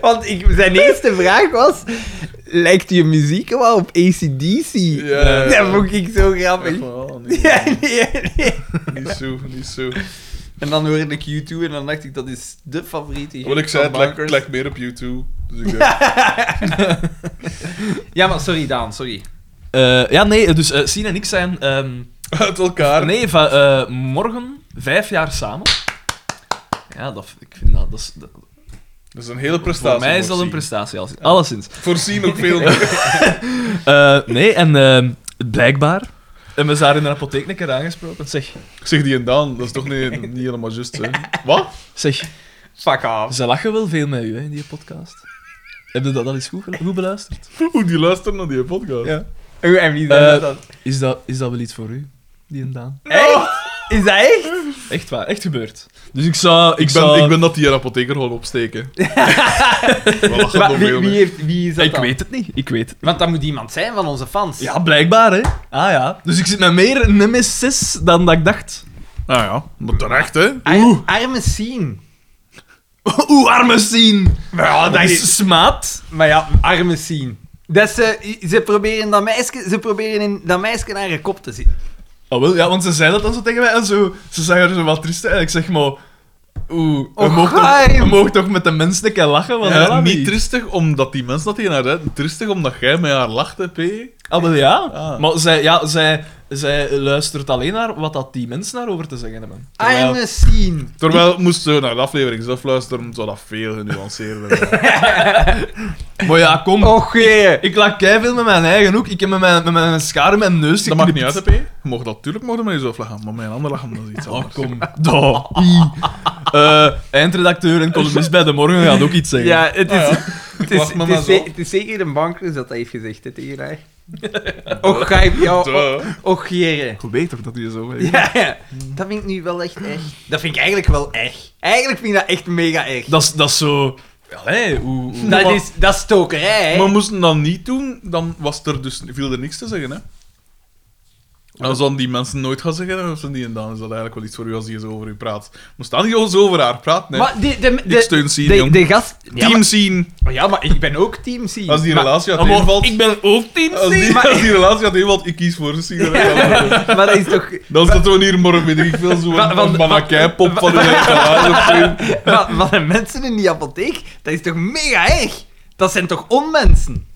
[SPEAKER 1] Want ik, zijn eerste vraag was... Lijkt je muziek wel op ACDC?
[SPEAKER 2] Ja.
[SPEAKER 1] Dat vond ik zo grappig.
[SPEAKER 2] Voilà, nee,
[SPEAKER 1] Ja, nee, nee.
[SPEAKER 2] Niet zo, niet zo.
[SPEAKER 1] En dan hoorde ik U2 en dan dacht ik, dat is de favoriete hit
[SPEAKER 2] Wat ik zei,
[SPEAKER 1] van
[SPEAKER 2] het lijkt,
[SPEAKER 1] Bankers.
[SPEAKER 2] het lijkt meer op YouTube. Dus ik dacht,
[SPEAKER 1] Ja, maar sorry Daan, sorry.
[SPEAKER 4] Eh, ja, nee, dus eh Sien en ik zijn ehm,
[SPEAKER 2] uit elkaar.
[SPEAKER 4] nee, va- eh, morgen vijf jaar samen. Ja, dat, ik vind dat, dat, is, dat-
[SPEAKER 2] Dat is een hele prestatie.
[SPEAKER 4] voor mij is dat
[SPEAKER 2] Sien.
[SPEAKER 4] een prestatie. Als, alleszins.
[SPEAKER 2] Voor Sien ook veel meer.
[SPEAKER 4] Eh, nee, en ehm, blijkbaar hebben ze daar in de apotheek een keer aangesproken. Zeg,
[SPEAKER 2] Zeg die en Daan, dat is toch niet, niet helemaal juist, hè. Wat?
[SPEAKER 4] zeg,
[SPEAKER 1] Fuck off.
[SPEAKER 4] ze lachen wel veel met u hè, in die podcast. Heb je dat al eens goed, gelu- goed beluisterd?
[SPEAKER 2] Hoe die luisteren naar die podcast.
[SPEAKER 4] Ja.
[SPEAKER 1] Hoe en wie zei
[SPEAKER 4] Eh,
[SPEAKER 1] dat?
[SPEAKER 4] Is dat, is dat wel iets voor u, die en Daan?
[SPEAKER 1] Echt? Is dat echt?
[SPEAKER 4] Echt waar, echt gebeurd. Dus ik zou... Ik,
[SPEAKER 2] Ik ben,
[SPEAKER 4] zou...
[SPEAKER 2] ik ben dat die een apotheker gewoon opsteken. Wel, dat gaat
[SPEAKER 1] Maar
[SPEAKER 2] nog
[SPEAKER 1] wie,
[SPEAKER 2] veel
[SPEAKER 1] wie,
[SPEAKER 2] meer.
[SPEAKER 1] heeft, wie is dat
[SPEAKER 4] ik
[SPEAKER 1] dan?
[SPEAKER 4] weet het niet, ik weet het.
[SPEAKER 1] Want dat moet iemand zijn van onze fans.
[SPEAKER 4] Ja, blijkbaar, hè. Ah ja. Dus ik zit met meer nemesis dan dat ik dacht.
[SPEAKER 2] Ah ja, maar terecht, hè.
[SPEAKER 1] Ar- Arme Sien.
[SPEAKER 4] Oeh, arme Sien!
[SPEAKER 1] Ja,
[SPEAKER 4] Ah, Dat is smaad.
[SPEAKER 1] Maar ja, arme Sien. Dat ze, ze, proberen dat meisje, ze proberen in dat meisje naar haar kop te zitten.
[SPEAKER 4] Oh wel, ja, want ze zei dat dan zo tegen mij en zo... Ze zag er zo wat triest uit en ik zeg maar... Oeh, we
[SPEAKER 1] Och,
[SPEAKER 4] mogen toch,
[SPEAKER 1] Oh, geheim.
[SPEAKER 4] we mogen toch met de mensen een keer lachen? Want
[SPEAKER 2] Ja,
[SPEAKER 4] ja,
[SPEAKER 2] niet tristig omdat die mensen dat hier naar rijden, tristig omdat jij met haar lacht, hè, P.
[SPEAKER 4] Ah, wel ja.
[SPEAKER 2] Ah.
[SPEAKER 4] Maar zij, ja, zij, zij luistert alleen naar wat dat die mensen daarover te zeggen hebben. Terwijl-
[SPEAKER 1] Arme Sien.
[SPEAKER 2] Terwijl moest ze naar de aflevering zelf luisteren, zou dat veel genuanceerder zijn.
[SPEAKER 4] Maar ja, kom.
[SPEAKER 1] Och, jee.
[SPEAKER 4] Ik lach veel met mijn eigen hoek. Ik heb met mijn, met mijn schaar in mijn neus
[SPEAKER 2] Dat maakt
[SPEAKER 4] geknipt.
[SPEAKER 2] niet uit, hè, P. Je mag dat, tuurlijk mag je met jezelf lachen, maar met een ander lachen, dat is iets
[SPEAKER 4] Oh,
[SPEAKER 2] anders.
[SPEAKER 4] kom. Da. Eh, eindredacteur en columnist bij De Morgen gaat ook iets zeggen.
[SPEAKER 1] Ja, het is,
[SPEAKER 2] Ah, ja.
[SPEAKER 1] het, is,
[SPEAKER 2] wacht maar
[SPEAKER 1] het is
[SPEAKER 2] maar
[SPEAKER 1] ze-
[SPEAKER 2] zo.
[SPEAKER 1] het is zeker de banker dat hij heeft gezegd hè, tegen haar. Och, ga je jou...
[SPEAKER 2] Duh.
[SPEAKER 1] Och, jere.
[SPEAKER 4] Ik weet toch dat hij zo weet.
[SPEAKER 1] Ja, ja. dat vind ik nu wel echt erg. Dat vind ik eigenlijk wel erg. Eigenlijk vind ik dat echt mega erg.
[SPEAKER 4] Dat is- dat is zo... Allee, hoe... hoe-
[SPEAKER 1] Dat is, dat is stokerij, hè.
[SPEAKER 2] Maar moesten dat niet doen, dan was er dus, viel er niks te zeggen, hè? Dan zouden die mensen nooit gaan zeggen, dan zijn die en dan is dat eigenlijk wel iets voor u als die eens over u praat. Moest dan niet eens over haar praten, hè?
[SPEAKER 1] Maar die- de, de,
[SPEAKER 2] Ik steun Sien,
[SPEAKER 1] de,
[SPEAKER 2] jong.
[SPEAKER 1] de gast... Ja,
[SPEAKER 2] Team zien.
[SPEAKER 1] maar, ja, maar ik ben ook team Sien.
[SPEAKER 2] Als die
[SPEAKER 1] Maar-
[SPEAKER 2] relatie
[SPEAKER 4] Ah, maar
[SPEAKER 2] uiteenvalt...
[SPEAKER 4] ik ben ook team
[SPEAKER 2] Als
[SPEAKER 4] C.
[SPEAKER 2] die,
[SPEAKER 1] maar-
[SPEAKER 2] als die relatie uiteenvalt, ik kies voor Sien. Dan-
[SPEAKER 1] Maar dat is toch...
[SPEAKER 2] Dan zitten we hier morgen met ik veel zo'n
[SPEAKER 1] Wa- wa- wa-
[SPEAKER 2] manakijpop van uw huis of zo.
[SPEAKER 1] Maar, maar de mensen in die apotheek, dat is toch mega erg? Dat zijn toch onmensen?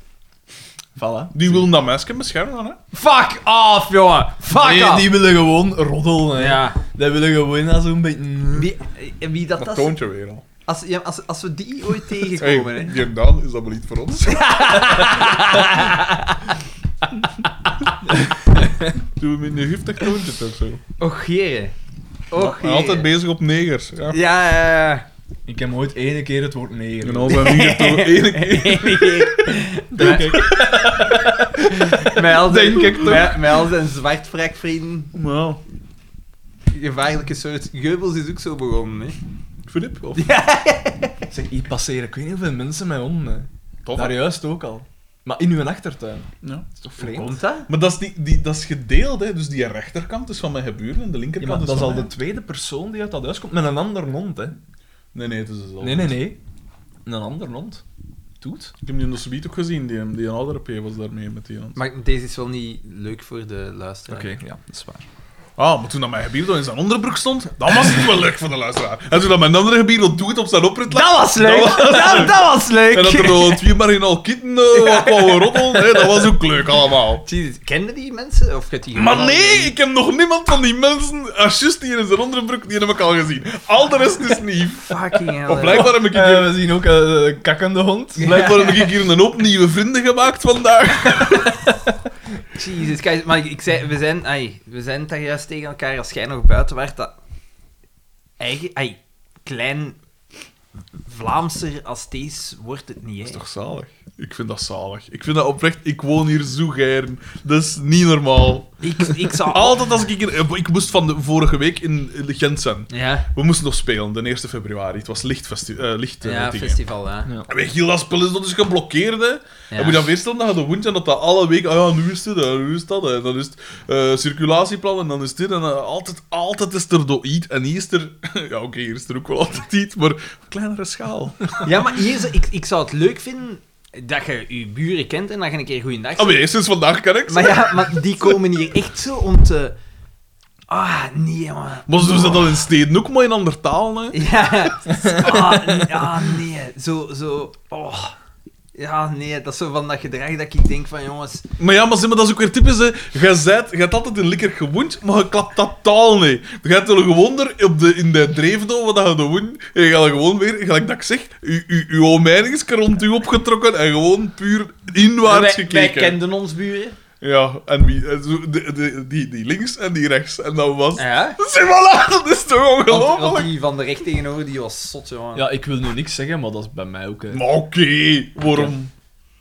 [SPEAKER 4] Voilà.
[SPEAKER 2] Die willen dat meisje beschermen, hè?
[SPEAKER 1] Fuck off, jongen! Fuck
[SPEAKER 4] Nee,
[SPEAKER 1] off!
[SPEAKER 4] die willen gewoon roddelen. hè.
[SPEAKER 1] Ja.
[SPEAKER 4] Die willen gewoon als zo'n beetje...
[SPEAKER 1] Wie, eh, wie dat,
[SPEAKER 2] Dat
[SPEAKER 1] dat
[SPEAKER 2] toont je weer al.
[SPEAKER 1] als, ja, als, als we die ooit
[SPEAKER 2] Hey,
[SPEAKER 1] tegenkomen, hè.
[SPEAKER 2] die en dan is dat wel iets voor ons. Doe hem in je giftig toontje of zo.
[SPEAKER 1] Och, jere. Och,
[SPEAKER 2] Maar
[SPEAKER 1] jere.
[SPEAKER 2] Altijd bezig op negers. Ja.
[SPEAKER 1] Ja, ja, ja.
[SPEAKER 4] Ik heb ooit ene keer het woord neger.
[SPEAKER 2] En al zijn vinger toch één keer.
[SPEAKER 1] Denk ik. Mijl zijn,
[SPEAKER 2] Denk ik toch.
[SPEAKER 1] mij- mijl zijn zwartvrekvrienden.
[SPEAKER 2] Nou,
[SPEAKER 1] Gevaarlijke soort. Geubels is ook zo begonnen, hè.
[SPEAKER 2] Filip? Of...
[SPEAKER 4] Zeg, hier passeren ik weet niet hoeveel mensen mij om. hè.
[SPEAKER 2] Tof.
[SPEAKER 4] Daar juist ook al. Maar in uw achtertuin.
[SPEAKER 2] Ja.
[SPEAKER 4] Dat is toch vreemd?
[SPEAKER 1] Komt dat?
[SPEAKER 2] Maar dat is, die, die, dat is gedeeld, hè. dus die rechterkant is van mijn geburen en de
[SPEAKER 4] Ja,
[SPEAKER 2] linkerkant
[SPEAKER 4] maar
[SPEAKER 2] is
[SPEAKER 4] dat is
[SPEAKER 2] van
[SPEAKER 4] al de
[SPEAKER 2] mij.
[SPEAKER 4] tweede persoon die uit dat huis komt met een ander hond, hè?
[SPEAKER 2] Nee, nee, het is al.
[SPEAKER 4] Nee, nee, nee. Een ander hond. Doet.
[SPEAKER 2] Ik heb die in de subiet ook gezien, die, die een oudere P was daarmee met die hand.
[SPEAKER 1] Maar deze is wel niet leuk voor de luisteraar.
[SPEAKER 4] ja, dat is waar.
[SPEAKER 2] Ah, maar toen dat mijn gebier in zijn onderbroek stond, dat was niet wel leuk voor de luisteraar. En toen dat mijn andere gebier doet doet op zijn opritlag...
[SPEAKER 1] Dat was leuk! Dat was, dat, was leuk!
[SPEAKER 2] En dat er nog twee marginaal kitten eh, wat kwamen roddelen, hè, dat was ook leuk allemaal.
[SPEAKER 1] Jezus, kenden die mensen? Of gaat die
[SPEAKER 2] Maar
[SPEAKER 1] gewoon-
[SPEAKER 2] nee, ik heb nog niemand van die mensen, als just die in zijn onderbroek, die heb ik al gezien. Al de rest is nieuw.
[SPEAKER 1] Fucking hell.
[SPEAKER 2] Of blijkbaar heb ik hier
[SPEAKER 4] we zien ook eh, een kakkende hond.
[SPEAKER 2] Blijkbaar heb ik hier een hoop nieuwe vrienden gemaakt vandaag.
[SPEAKER 1] Jezus, kijk, maar ik, ik zei, we zijn, ai, we zijn daar juist tegen elkaar als jij nog buiten werd. Dat eigen, ai, klein Vlaamser als deze wordt het niet. Hè.
[SPEAKER 2] Toch zalig? Ik vind dat zalig. Ik vind dat oprecht. Ik woon hier zo gern. Dat is niet normaal.
[SPEAKER 1] Ik, ik zou
[SPEAKER 2] Altijd als ik hier... eh, Ik moest van de vorige week in de Gent zijn.
[SPEAKER 1] Ja,
[SPEAKER 2] We moesten nog spelen, de 1 februari. Het was lichtfesti eh, licht eh,
[SPEAKER 1] ja
[SPEAKER 2] dingen.
[SPEAKER 1] festival, ja.
[SPEAKER 4] Ja.
[SPEAKER 2] En Weet je, dat spel is dat dus geblokkeerd, hè.
[SPEAKER 1] Ja.
[SPEAKER 2] En moet je dan weerstellen dat je de woont en dat dat alle weken... Ah ja, nu is dit, en nu is dat. En dan is het eh, circulatieplan en dan is dit. En eh, altijd, altijd is er door iets. En hier is er... Ja, oké, hier is er ook wel altijd iets, maar op kleinere schaal.
[SPEAKER 1] Ja, maar hier, zo- ik, ik zou het leuk vinden dat je je buren kent en dat je een keer goeiedag
[SPEAKER 2] Ah,
[SPEAKER 1] zegt.
[SPEAKER 2] maar ja, sinds vandaag kan ik ze.
[SPEAKER 1] Oh, Maar ja, maar die komen hier echt zo om te... Ah, nee, jongen.
[SPEAKER 2] Maar ze doen dat dan in steden ook maar in andere talen, hè.
[SPEAKER 1] Ja. Ah, nee, ah, nee. Zo, zo... Oh. Ja, nee. Dat is zo van dat gedrag dat ik denk van, jongens...
[SPEAKER 2] Maar ja, maar, zeg maar dat is ook weer typisch, hè. Jij zijt- jij hebt altijd een lekker gewoond, maar je klapt dat taal niet. Je gaat wel gewoon er op de, in de dreefdoel wat dat je doet woont, en je gaat gewoon weer, gelijk dat ik zeg, je- je- je omheining is rond u opgetrokken en gewoon puur inwaarts
[SPEAKER 1] wij, wij
[SPEAKER 2] gekeken.
[SPEAKER 1] kenden ons buren.
[SPEAKER 2] Ja, en, wie, en zo, de- de- die, die links en die rechts. En dat was...
[SPEAKER 1] Ja.
[SPEAKER 2] Zeg maar, dat is toch
[SPEAKER 1] Want, want
[SPEAKER 2] ongelooflijk?
[SPEAKER 1] die van de recht tegenover, die was zot, jongen.
[SPEAKER 4] Ja, ik wil nu niks zeggen, maar dat is bij mij ook. Hè.
[SPEAKER 2] Maar oké, waarom?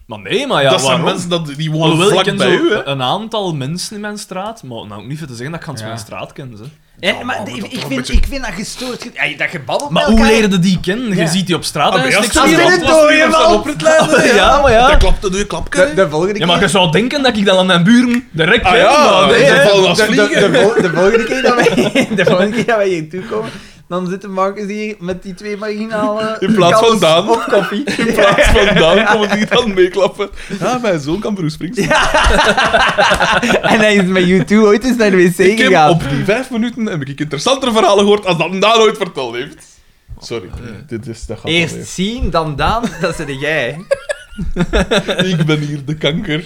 [SPEAKER 4] Maar nee, maar ja,
[SPEAKER 2] dat zijn
[SPEAKER 4] waarom?
[SPEAKER 2] mensen dat, die wonen
[SPEAKER 4] Alhoewel, ik
[SPEAKER 2] vlak
[SPEAKER 4] ken
[SPEAKER 2] bij
[SPEAKER 4] zo
[SPEAKER 2] u, hè.
[SPEAKER 4] een aantal mensen in mijn straat, maar nou ook niet veel te zeggen dat ik Hans
[SPEAKER 1] Ja.
[SPEAKER 4] mijn straat ken. Ze.
[SPEAKER 1] Hè,
[SPEAKER 2] Ja,
[SPEAKER 1] maar
[SPEAKER 2] maar
[SPEAKER 1] ik,
[SPEAKER 2] dat
[SPEAKER 1] ik,
[SPEAKER 2] toch
[SPEAKER 1] vind,
[SPEAKER 2] een
[SPEAKER 1] ik vind dat gestoord... ge- Ey, Dat gebabbel
[SPEAKER 4] Maar
[SPEAKER 1] met
[SPEAKER 4] hoe
[SPEAKER 1] elkaar.
[SPEAKER 4] leerde die kennen? Je
[SPEAKER 1] Ja.
[SPEAKER 4] ziet die op straat
[SPEAKER 2] Ah,
[SPEAKER 4] en
[SPEAKER 2] maar
[SPEAKER 4] is
[SPEAKER 2] ja,
[SPEAKER 4] niks
[SPEAKER 2] stel
[SPEAKER 4] aan
[SPEAKER 2] je
[SPEAKER 4] de
[SPEAKER 1] dat
[SPEAKER 4] hand.
[SPEAKER 1] het
[SPEAKER 2] was
[SPEAKER 1] dode
[SPEAKER 2] niet op
[SPEAKER 1] man.
[SPEAKER 2] zijn opritleider, hè,
[SPEAKER 4] Ja, maar ja.
[SPEAKER 2] Dat klapt, dat doe je klapken,
[SPEAKER 1] De,
[SPEAKER 2] hè.
[SPEAKER 1] de volgende
[SPEAKER 4] Ja, maar je
[SPEAKER 1] keer...
[SPEAKER 4] zou denken dat ik dan aan mijn buren direct
[SPEAKER 2] Ah
[SPEAKER 4] ken,
[SPEAKER 2] ja,
[SPEAKER 4] maar nee,
[SPEAKER 2] ze
[SPEAKER 4] hè.
[SPEAKER 2] vallen als
[SPEAKER 1] de, de,
[SPEAKER 2] vliegen.
[SPEAKER 1] de vol- de volgende keer dat wij, de volgende keer dat wij hier toekomen, dan zitten Marcus hier met die twee marginale...
[SPEAKER 2] In plaats van
[SPEAKER 1] kalfs
[SPEAKER 2] Daan.
[SPEAKER 1] Op koffie.
[SPEAKER 2] In plaats van Daan komen die dan meeklappen. Ja, mijn zoon kan Bruce Springsteen.
[SPEAKER 1] En hij is met U2 ooit eens naar de wc
[SPEAKER 2] ik heb
[SPEAKER 1] gegaan.
[SPEAKER 2] op die vijf minuten heb ik interessantere verhalen gehoord als dat Daan ooit verteld heeft. Sorry, dit is, dat gaat wel
[SPEAKER 1] Eerst zien, dan Daan, dat zei jij.
[SPEAKER 2] even. Ik ben hier de kanker.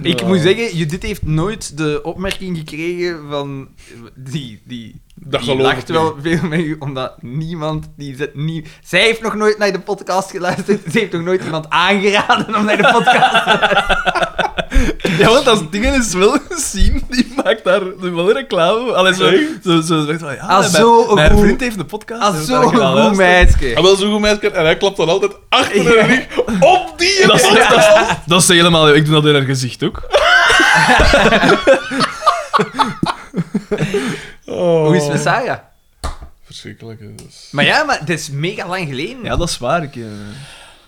[SPEAKER 1] Ik moet zeggen, Judith heeft nooit de opmerking gekregen van... Die, die,
[SPEAKER 2] Dat
[SPEAKER 1] die
[SPEAKER 2] geloof ik
[SPEAKER 1] lacht wel veel met u, omdat niemand... Die zet niet, zij heeft nog nooit naar de podcast geluisterd. Ze heeft nog nooit iemand aangeraden om naar de podcast...
[SPEAKER 4] Ja, want als dingen is wel gezien, die maakt daar wel reclame. Allee, zo, zo, zo zegt van, ja,
[SPEAKER 1] Ah,
[SPEAKER 4] mijn,
[SPEAKER 1] zo een
[SPEAKER 4] mijn
[SPEAKER 1] goed-
[SPEAKER 4] vriend heeft een podcast.
[SPEAKER 1] Ah,
[SPEAKER 4] die moet daar
[SPEAKER 1] zo'n
[SPEAKER 4] gaan
[SPEAKER 1] goed
[SPEAKER 4] luisteren.
[SPEAKER 1] meisje.
[SPEAKER 2] Hij wil Ah, zo'n goed meisje en hij klapt dan altijd achter de rug op die
[SPEAKER 4] Dat is, dat, is- dat is helemaal... Ik doe dat in haar gezicht ook.
[SPEAKER 2] Oh.
[SPEAKER 1] Hoe is het met Sarah?
[SPEAKER 2] Verschrikkelijk. hè, dus. dat is-
[SPEAKER 1] Maar ja, maar het is mega lang geleden.
[SPEAKER 4] Ja, dat is waar. Ik, eh,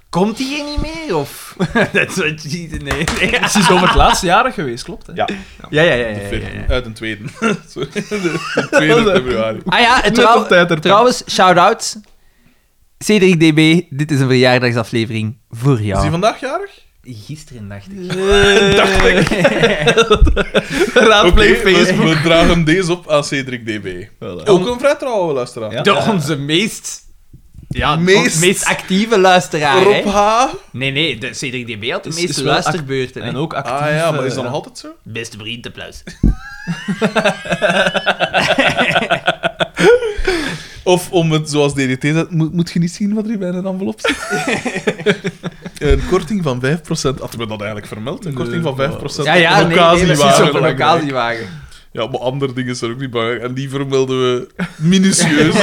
[SPEAKER 1] Komt hij hier niet meer? Of... dat is wat je ziet, nee. nee.
[SPEAKER 4] Ze is over het laatste jaar geweest, klopt. Hè?
[SPEAKER 2] Ja,
[SPEAKER 1] Ja, ja, ja. ja,
[SPEAKER 2] de
[SPEAKER 1] ja,
[SPEAKER 2] veertiende-
[SPEAKER 1] ja.
[SPEAKER 2] uit een tweede. Sorry, de 2 februari.
[SPEAKER 1] Ah ja, en trouw-
[SPEAKER 4] op tijd ervan.
[SPEAKER 1] trouwens, shout-out. Cedric DB, dit is een verjaardagsaflevering voor
[SPEAKER 2] Is hij
[SPEAKER 1] jou.
[SPEAKER 2] vandaag jarig?
[SPEAKER 1] Gisteren dacht ik.
[SPEAKER 2] Dacht ik. Oké,
[SPEAKER 4] Raadpleeg
[SPEAKER 2] we,
[SPEAKER 4] Facebook.
[SPEAKER 2] we dragen deze op aan Cedric DB. Ook een vrij trouwe luisteraar.
[SPEAKER 4] Ja.
[SPEAKER 1] De onze meest, ja,
[SPEAKER 2] Meest-
[SPEAKER 1] meest... meest actieve luisteraar.
[SPEAKER 2] Rob
[SPEAKER 1] Ah, hè.
[SPEAKER 2] H. Ah,
[SPEAKER 1] Nee, nee, de Cedric DB had de
[SPEAKER 4] Is-
[SPEAKER 1] meeste
[SPEAKER 4] is wel
[SPEAKER 1] luisterbeurten. hè.
[SPEAKER 4] En ook actief.
[SPEAKER 2] Ah ja, maar
[SPEAKER 4] eh,
[SPEAKER 2] is dat nog altijd zo?
[SPEAKER 1] Beste vriend, applaus.
[SPEAKER 2] Of om het zoals DDT zegt, moet, moet je niet zien wat er bij een envelop zit? een korting van 5%. Hadden we dat eigenlijk vermeld? Een korting van 5%
[SPEAKER 1] Ja, ja,
[SPEAKER 2] op
[SPEAKER 1] nee, nee, dat is
[SPEAKER 2] occasiewaren.
[SPEAKER 1] op een occasiewagen. Dus, eh,
[SPEAKER 2] Ja, maar andere dingen zijn ook niet belangrijk. En die vermelden we minutieus.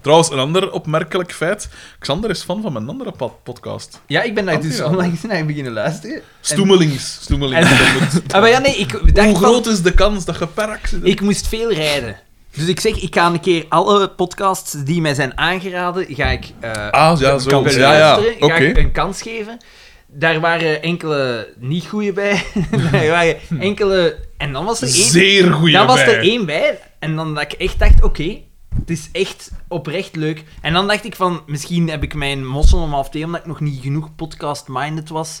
[SPEAKER 2] Trouwens, een ander opmerkelijk feit. Xander is fan van mijn andere pa- podcast.
[SPEAKER 1] Ja, ik ben daar dus
[SPEAKER 2] Antiraden.
[SPEAKER 1] onlangs naar beginnen luisteren.
[SPEAKER 2] Stoemelings. Stoemelings.
[SPEAKER 1] Ah, maar ja, nee, ik dacht
[SPEAKER 2] Hoe
[SPEAKER 1] van,
[SPEAKER 2] groot is de kans dat je per accident...
[SPEAKER 1] ik moest veel rijden. Dus ik zeg, ik ga een keer alle podcasts die mij zijn aangeraden, ga ik eh,
[SPEAKER 2] Ah, ja,
[SPEAKER 1] kan
[SPEAKER 2] zo.
[SPEAKER 1] wel
[SPEAKER 2] Ja, ja.
[SPEAKER 1] luisteren,
[SPEAKER 2] Oké.
[SPEAKER 1] ga ik een kans geven. Daar waren enkele niet goeie bij. Daar waren enkele... En dan was er één...
[SPEAKER 2] Zeer goeie
[SPEAKER 1] dan was er
[SPEAKER 2] bij.
[SPEAKER 1] één bij. En dan dat ik echt dacht, oké, het is echt oprecht leuk. En dan dacht ik van, misschien heb ik mijn mossel om half twee, omdat ik nog niet genoeg podcast-minded was.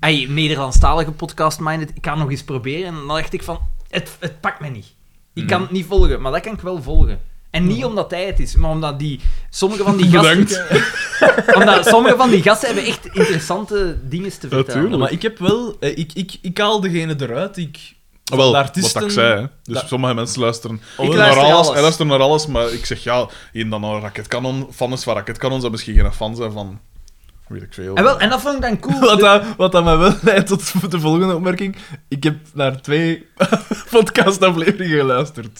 [SPEAKER 1] Ay, Nederlandstalige podcast-minded. Ik kan nog eens proberen. En dan dacht ik van, het, het pakt me niet. Ik
[SPEAKER 2] Mhm.
[SPEAKER 1] kan het niet volgen, maar dat kan ik wel volgen. En niet omdat hij het is, maar omdat die... Sommige van die gasten...
[SPEAKER 2] Bedankt.
[SPEAKER 1] Omdat sommige van die gasten hebben echt interessante dingen te vertellen.
[SPEAKER 4] Maar ik heb wel... eh, Ik, ik, ik haal degene eruit die ik...
[SPEAKER 2] Ah, wel,
[SPEAKER 4] de artiesten-
[SPEAKER 2] wat ik zei. hè. Dus
[SPEAKER 4] Da-
[SPEAKER 2] sommige mensen luisteren
[SPEAKER 1] luister
[SPEAKER 2] naar alles.
[SPEAKER 1] alles.
[SPEAKER 2] Hij luistert naar alles, maar ik zeg ja, één dan een raketkanon. Fan is van raketkanon, zou misschien geen fan zijn van... Weet ik veel.
[SPEAKER 1] en, wel, en dat vond ik dan cool.
[SPEAKER 4] Wat dat, wat dat mij wel leidt tot de volgende opmerking. Ik heb naar twee podcastafleveringen geluisterd.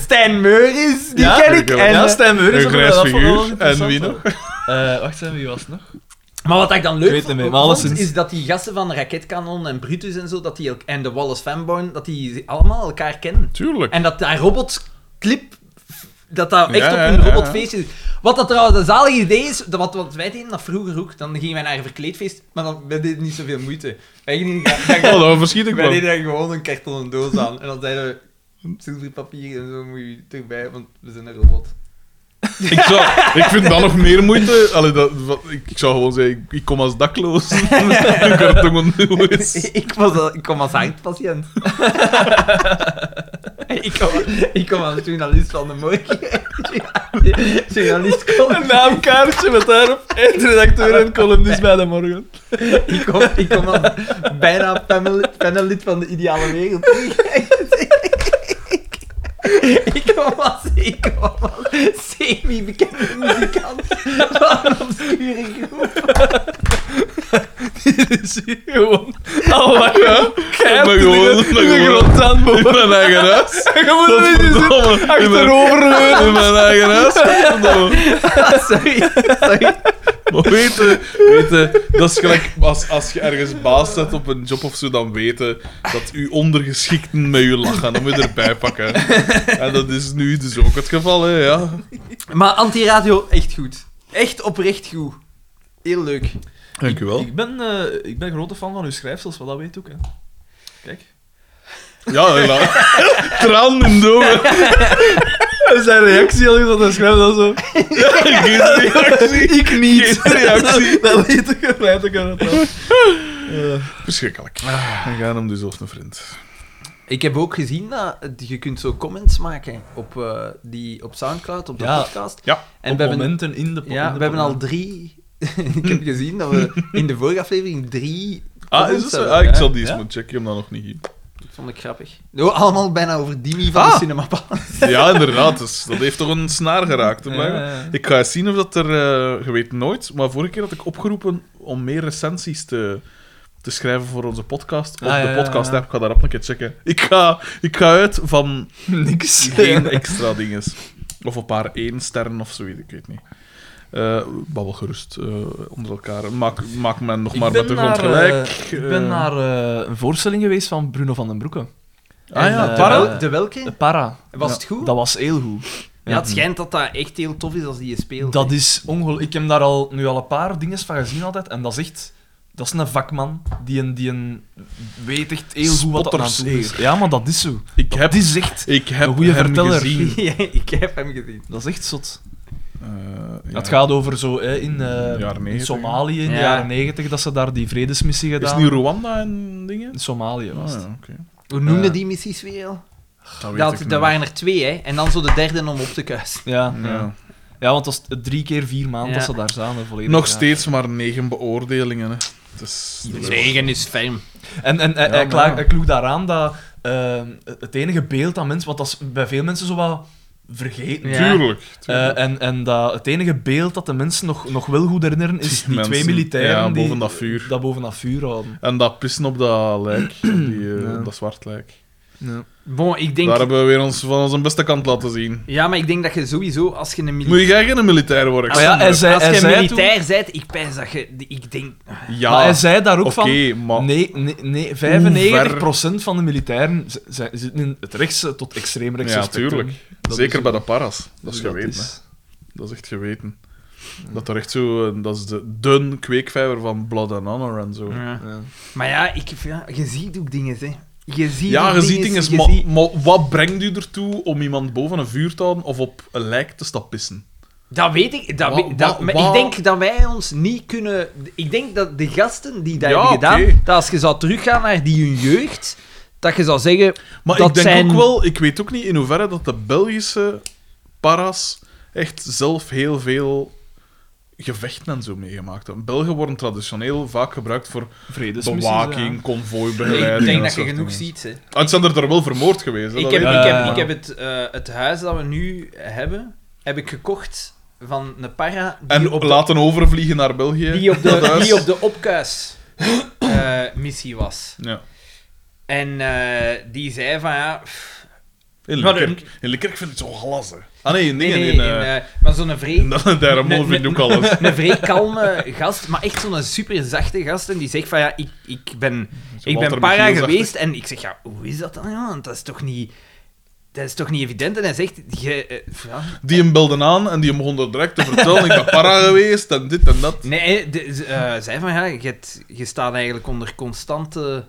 [SPEAKER 1] Stijn Meuris, die
[SPEAKER 4] Ja,
[SPEAKER 1] ken ik.
[SPEAKER 2] ik
[SPEAKER 1] En, eh,
[SPEAKER 2] wel.
[SPEAKER 4] ja, Stijn Meuris.
[SPEAKER 2] een
[SPEAKER 4] dat vond ik
[SPEAKER 2] grijs
[SPEAKER 4] wel- dus dat vond ik wel
[SPEAKER 2] figuur. En wie
[SPEAKER 4] interessant,
[SPEAKER 2] nog?
[SPEAKER 4] hoor. Eh, wacht, hè, wie was het nog?
[SPEAKER 1] eh, maar wat ik dan
[SPEAKER 4] Ik
[SPEAKER 1] leuk
[SPEAKER 4] weet het
[SPEAKER 1] vond,
[SPEAKER 4] niet, maar alleszins.
[SPEAKER 1] is dat die gasten van Raketkanon en Brutus en zo, dat die, elk- en de Wallace Fanborn, dat die allemaal elkaar kennen.
[SPEAKER 2] Tuurlijk.
[SPEAKER 1] En dat daar robotclip, dat dat echt
[SPEAKER 2] Ja,
[SPEAKER 1] op
[SPEAKER 2] ja,
[SPEAKER 1] hun
[SPEAKER 2] ja,
[SPEAKER 1] robotfeestje is. Wat dat trouwens een zalig idee is, dat wat, wat wij deden dat vroeger ook, dan gingen wij naar een verkleedfeest, maar dan we deden niet zoveel moeite. Wij, gingen,
[SPEAKER 2] Oh, dan verschiet ik
[SPEAKER 1] wij
[SPEAKER 2] wel.
[SPEAKER 1] deden daar gewoon een kartonnen doos aan en dan zeiden we, zilverpapier en zo moet je erbij, want we zijn een robot.
[SPEAKER 2] Ik, zou, ik vind dat nog meer moeite. Allee, dat, wat- ik, ik zou gewoon zeggen, ik, ik kom als dakloos. Ik word toch een nieuws.
[SPEAKER 1] Ik, was, al- ik kom als hartpatiënt. ik, kom, ik kom als journalist van de morgen. journalist kom,
[SPEAKER 4] Een naamkaartje met daarop eindredacteur en columnist bij de morgen.
[SPEAKER 1] ik kom, ik kom als bijna panel- panellid van de ideale wereld. ik kom als, ik kom als semi-bekende muzikant van een obscure groep.
[SPEAKER 4] Dit is hier gewoon Oh al wat je
[SPEAKER 2] maar gewoon-
[SPEAKER 4] keihard in
[SPEAKER 2] maar
[SPEAKER 4] de
[SPEAKER 2] gewoon-
[SPEAKER 4] grond aan
[SPEAKER 2] In mijn eigen huis.
[SPEAKER 4] Je moet er niet in zitten.
[SPEAKER 2] Godverdomme. In mijn,
[SPEAKER 4] Achterover
[SPEAKER 2] in mijn eigen huis. Godverdomme.
[SPEAKER 1] Sorry, sorry.
[SPEAKER 2] Maar weten, weten, dat is gelijk als, als je ergens baas zet op een job of zo, dan weten dat uw ondergeschikten met je lachen. Dan moet je erbij pakken. En dat is nu dus ook het geval, hè, ja.
[SPEAKER 1] Maar anti-radio, echt goed. Echt oprecht goed. Heel leuk.
[SPEAKER 2] Dank u wel.
[SPEAKER 4] Ik ben, eh, ik ben grote fan van uw schrijfsels, wat dat weet ook. Hè. Kijk.
[SPEAKER 2] Ja, ja. Traan in de ogen.
[SPEAKER 4] Zijn reactie al is dat hij schrijft dan zo.
[SPEAKER 2] Geen reactie.
[SPEAKER 4] Ik niet.
[SPEAKER 2] Geen reactie.
[SPEAKER 4] Dat weet ik er feit ook aan.
[SPEAKER 2] Verschrikkelijk. We gaan hem dus op een vriend.
[SPEAKER 1] Ik heb ook gezien dat eh, je kunt zo comments maken op, eh, die, op Soundcloud, op de
[SPEAKER 4] Ja.
[SPEAKER 1] podcast.
[SPEAKER 2] Ja,
[SPEAKER 1] en
[SPEAKER 4] Op
[SPEAKER 1] we hebben,
[SPEAKER 4] momenten in de po- in
[SPEAKER 1] ja,
[SPEAKER 4] de
[SPEAKER 1] we hebben al
[SPEAKER 4] podcast.
[SPEAKER 1] drie... ik heb gezien dat we in de vorige aflevering drie
[SPEAKER 2] Ah, is
[SPEAKER 1] comments
[SPEAKER 2] dat zo?
[SPEAKER 1] hebben.
[SPEAKER 2] Ah, ik zal die eens
[SPEAKER 4] Ja?
[SPEAKER 2] moeten checken. Ik heb hem dan nog niet hier.
[SPEAKER 1] Dat vond ik grappig. Oh, allemaal bijna over Dimi van de
[SPEAKER 2] Ah.
[SPEAKER 1] Cinema Palace.
[SPEAKER 2] Ja, inderdaad. Dus, dat heeft toch een snaar geraakt. hè, maar-
[SPEAKER 4] Ja, ja, ja.
[SPEAKER 2] Ik ga eens zien of dat er... eh, je weet nooit, maar vorige keer had ik opgeroepen om meer recensies te, te schrijven voor onze podcast. Op
[SPEAKER 4] Ah, ja, ja,
[SPEAKER 2] de
[SPEAKER 4] ja,
[SPEAKER 2] podcast
[SPEAKER 4] ja.
[SPEAKER 2] app. Ik ga daar op een keer checken. Ik ga, ik ga uit van
[SPEAKER 4] Niks.
[SPEAKER 2] geen extra dinges. Of een paar één sterren of zoiets, ik weet niet. Eh, babbel gerust eh, onder elkaar. Maak, maak men nog maar met de grond gelijk.
[SPEAKER 4] eh, ik ben
[SPEAKER 2] Eh,
[SPEAKER 4] naar eh, een voorstelling geweest van Bruno van den Broeke.
[SPEAKER 2] Ah
[SPEAKER 4] en,
[SPEAKER 2] ja,
[SPEAKER 4] eh,
[SPEAKER 2] Parel?
[SPEAKER 1] De
[SPEAKER 4] De
[SPEAKER 1] welke?
[SPEAKER 4] Para.
[SPEAKER 1] Was
[SPEAKER 4] Ja.
[SPEAKER 1] het goed?
[SPEAKER 4] Dat was heel goed.
[SPEAKER 1] Ja, het schijnt dat dat echt heel tof is als die je speelt.
[SPEAKER 4] Dat
[SPEAKER 1] hè.
[SPEAKER 4] is ongelooflijk. Ik heb daar al, nu al een paar dingen van gezien altijd. En dat is echt... Dat is een vakman die een, die een weet echt heel goed wat dat aan toe is.
[SPEAKER 2] Spotterseer.
[SPEAKER 4] Ja, maar dat is zo.
[SPEAKER 2] Ik heb,
[SPEAKER 4] Dat is echt...
[SPEAKER 2] ik heb
[SPEAKER 4] een goeie
[SPEAKER 2] hem
[SPEAKER 4] verteller.
[SPEAKER 2] gezien.
[SPEAKER 1] Ja, ik heb hem gezien.
[SPEAKER 4] Dat is echt zot.
[SPEAKER 2] Eh, ja.
[SPEAKER 4] Het gaat over zo hè, in, eh,
[SPEAKER 2] jaren
[SPEAKER 4] in
[SPEAKER 2] 90,
[SPEAKER 4] Somalië in
[SPEAKER 1] hè?
[SPEAKER 4] de
[SPEAKER 1] Ja.
[SPEAKER 4] jaren negentig dat ze daar die vredesmissie
[SPEAKER 2] Is
[SPEAKER 4] gedaan.
[SPEAKER 2] het niet Rwanda en dingen?
[SPEAKER 4] in Somalië
[SPEAKER 2] Ah,
[SPEAKER 4] was het.
[SPEAKER 2] ja, oké.
[SPEAKER 1] Hoe noemde
[SPEAKER 4] Ja.
[SPEAKER 1] die missies weer al?
[SPEAKER 2] Dat Eh, oh, weet ik
[SPEAKER 1] Dat,
[SPEAKER 2] niet.
[SPEAKER 1] dat waren er twee, hè. En dan zo de derde om op te kuisen.
[SPEAKER 4] Ja.
[SPEAKER 2] Ja.
[SPEAKER 4] ja, want dat was drie keer vier maanden
[SPEAKER 1] Ja.
[SPEAKER 4] dat ze daar zaten. Volledig
[SPEAKER 2] Nog
[SPEAKER 4] ja.
[SPEAKER 2] steeds maar negen beoordelingen. Hè. Het is
[SPEAKER 1] Negen is ferm.
[SPEAKER 4] En, en eh, hij-
[SPEAKER 2] Ja,
[SPEAKER 4] hij,
[SPEAKER 2] maar
[SPEAKER 4] kla-
[SPEAKER 2] ja.
[SPEAKER 4] hij kloeg daaraan dat eh, het enige beeld dat mensen, want dat is bij veel mensen zo wat vergeten.
[SPEAKER 1] Ja.
[SPEAKER 2] Tuurlijk. tuurlijk.
[SPEAKER 4] Eh, en en dat het enige beeld dat de mensen nog, nog wel goed herinneren is die
[SPEAKER 2] Mensen,
[SPEAKER 4] twee militairen
[SPEAKER 2] ja,
[SPEAKER 4] die
[SPEAKER 2] boven dat vuur.
[SPEAKER 4] dat boven dat vuur houden.
[SPEAKER 2] En dat pissen op dat lijk, op die, eh,
[SPEAKER 4] Ja.
[SPEAKER 2] op dat zwart lijk.
[SPEAKER 1] Bon, ik denk...
[SPEAKER 2] Daar hebben we weer ons van onze beste kant laten zien.
[SPEAKER 1] Ja, maar ik denk dat je sowieso, als je een militair...
[SPEAKER 2] Moet jij geen militair worden?
[SPEAKER 1] Als,
[SPEAKER 3] ja,
[SPEAKER 2] Xander?
[SPEAKER 3] hij zei-
[SPEAKER 1] als je
[SPEAKER 3] hij
[SPEAKER 1] een
[SPEAKER 3] zei
[SPEAKER 1] militair bent, ik pijs dat je... Ik denk...
[SPEAKER 2] ja,
[SPEAKER 3] Maar hij zei daar ook
[SPEAKER 2] oké,
[SPEAKER 3] van...
[SPEAKER 2] maar...
[SPEAKER 3] Nee, nee, nee, 95% van de militairen z- zijn- zitten in het rechtse tot extreem rechtse
[SPEAKER 2] Ja,
[SPEAKER 3] spectrum.
[SPEAKER 2] tuurlijk.
[SPEAKER 3] Dat
[SPEAKER 2] Zeker
[SPEAKER 3] is-
[SPEAKER 2] bij de paras. Dat is
[SPEAKER 3] dat
[SPEAKER 2] geweten,
[SPEAKER 4] Dus
[SPEAKER 2] hè.
[SPEAKER 3] is-
[SPEAKER 2] Dat is echt geweten. Dat er echt zo... eh, Dat is de dun kweekvijver van Blood and Honor en zo.
[SPEAKER 1] Ja.
[SPEAKER 3] ja.
[SPEAKER 1] Maar ja, ik, ja, je ziet ook dingen, hè. Je ziet
[SPEAKER 2] Ja,
[SPEAKER 1] ook
[SPEAKER 2] je ziet
[SPEAKER 1] dinges,
[SPEAKER 2] dingen,
[SPEAKER 1] je
[SPEAKER 2] maar,
[SPEAKER 1] ziet-
[SPEAKER 2] maar wat brengt u ertoe om iemand boven een vuur te houden of op een lijk te stapissen?
[SPEAKER 1] Dat weet ik. Dat
[SPEAKER 2] Wa-
[SPEAKER 1] we- dat,
[SPEAKER 2] wa-
[SPEAKER 1] maar
[SPEAKER 2] wa-
[SPEAKER 1] ik denk dat wij ons niet kunnen... Ik denk dat de gasten die dat
[SPEAKER 2] Ja,
[SPEAKER 1] hebben gedaan,
[SPEAKER 2] oké.
[SPEAKER 1] dat als je zou teruggaan naar die hun jeugd, dat je zou zeggen...
[SPEAKER 2] Maar
[SPEAKER 1] Dat
[SPEAKER 2] ik denk
[SPEAKER 1] zijn-
[SPEAKER 2] ook wel... Ik weet ook niet in hoeverre dat de Belgische paras echt zelf heel veel gevechten en zo meegemaakt hebben. Belgen worden traditioneel vaak gebruikt voor
[SPEAKER 4] dus
[SPEAKER 3] Vredesmissies,
[SPEAKER 2] bewaking,
[SPEAKER 1] Nee,
[SPEAKER 2] konvooibegeleiding...
[SPEAKER 1] Dus ik denk
[SPEAKER 2] en
[SPEAKER 1] dat je
[SPEAKER 2] soort
[SPEAKER 1] genoeg
[SPEAKER 2] dingen.
[SPEAKER 1] ziet, hè.
[SPEAKER 2] Ah, het zijn er daar wel vermoord geweest. hè,
[SPEAKER 1] Ik
[SPEAKER 2] dat
[SPEAKER 1] heb,
[SPEAKER 2] weet
[SPEAKER 1] ik
[SPEAKER 3] Ja,
[SPEAKER 1] heb,
[SPEAKER 3] ja.
[SPEAKER 1] ik heb het, eh, het huis dat we nu hebben, heb ik gekocht van een para die
[SPEAKER 2] En
[SPEAKER 1] op de,
[SPEAKER 2] laten overvliegen naar België.
[SPEAKER 1] die op
[SPEAKER 2] dat
[SPEAKER 1] de,
[SPEAKER 2] huis.
[SPEAKER 1] die op de opkuis eh, missie was.
[SPEAKER 2] Ja.
[SPEAKER 1] En eh, die zei van ja... pff,
[SPEAKER 2] In
[SPEAKER 1] Maar
[SPEAKER 2] Likkerk. In Likkerk vind ik het zo glazig. Ah nee, in
[SPEAKER 1] Nou, nee,
[SPEAKER 2] dingen.
[SPEAKER 1] nee,
[SPEAKER 2] in,
[SPEAKER 1] in,
[SPEAKER 2] eh,
[SPEAKER 1] eh, maar zo'n
[SPEAKER 2] in
[SPEAKER 1] vreemd...
[SPEAKER 2] dat- daar
[SPEAKER 1] Nee,
[SPEAKER 2] nee, vind ik
[SPEAKER 1] nee,
[SPEAKER 2] ook alles.
[SPEAKER 1] Een vrij kalme gast, maar echt zo'n super zachte gast. En die zegt van ja, ik, ik ben, ik ben
[SPEAKER 2] Walter
[SPEAKER 1] para
[SPEAKER 2] Michiels-achtig.
[SPEAKER 1] geweest. En ik zeg ja, hoe is dat dan? Ja, want dat is toch niet, dat is toch niet evident? En hij zegt, je, eh, ja.
[SPEAKER 2] Die hem belden aan en die hem begon er direct te vertellen. ik ben para geweest en dit en dat.
[SPEAKER 1] nee, de, z- eh, zei van ja, je, hebt- je staat eigenlijk onder constante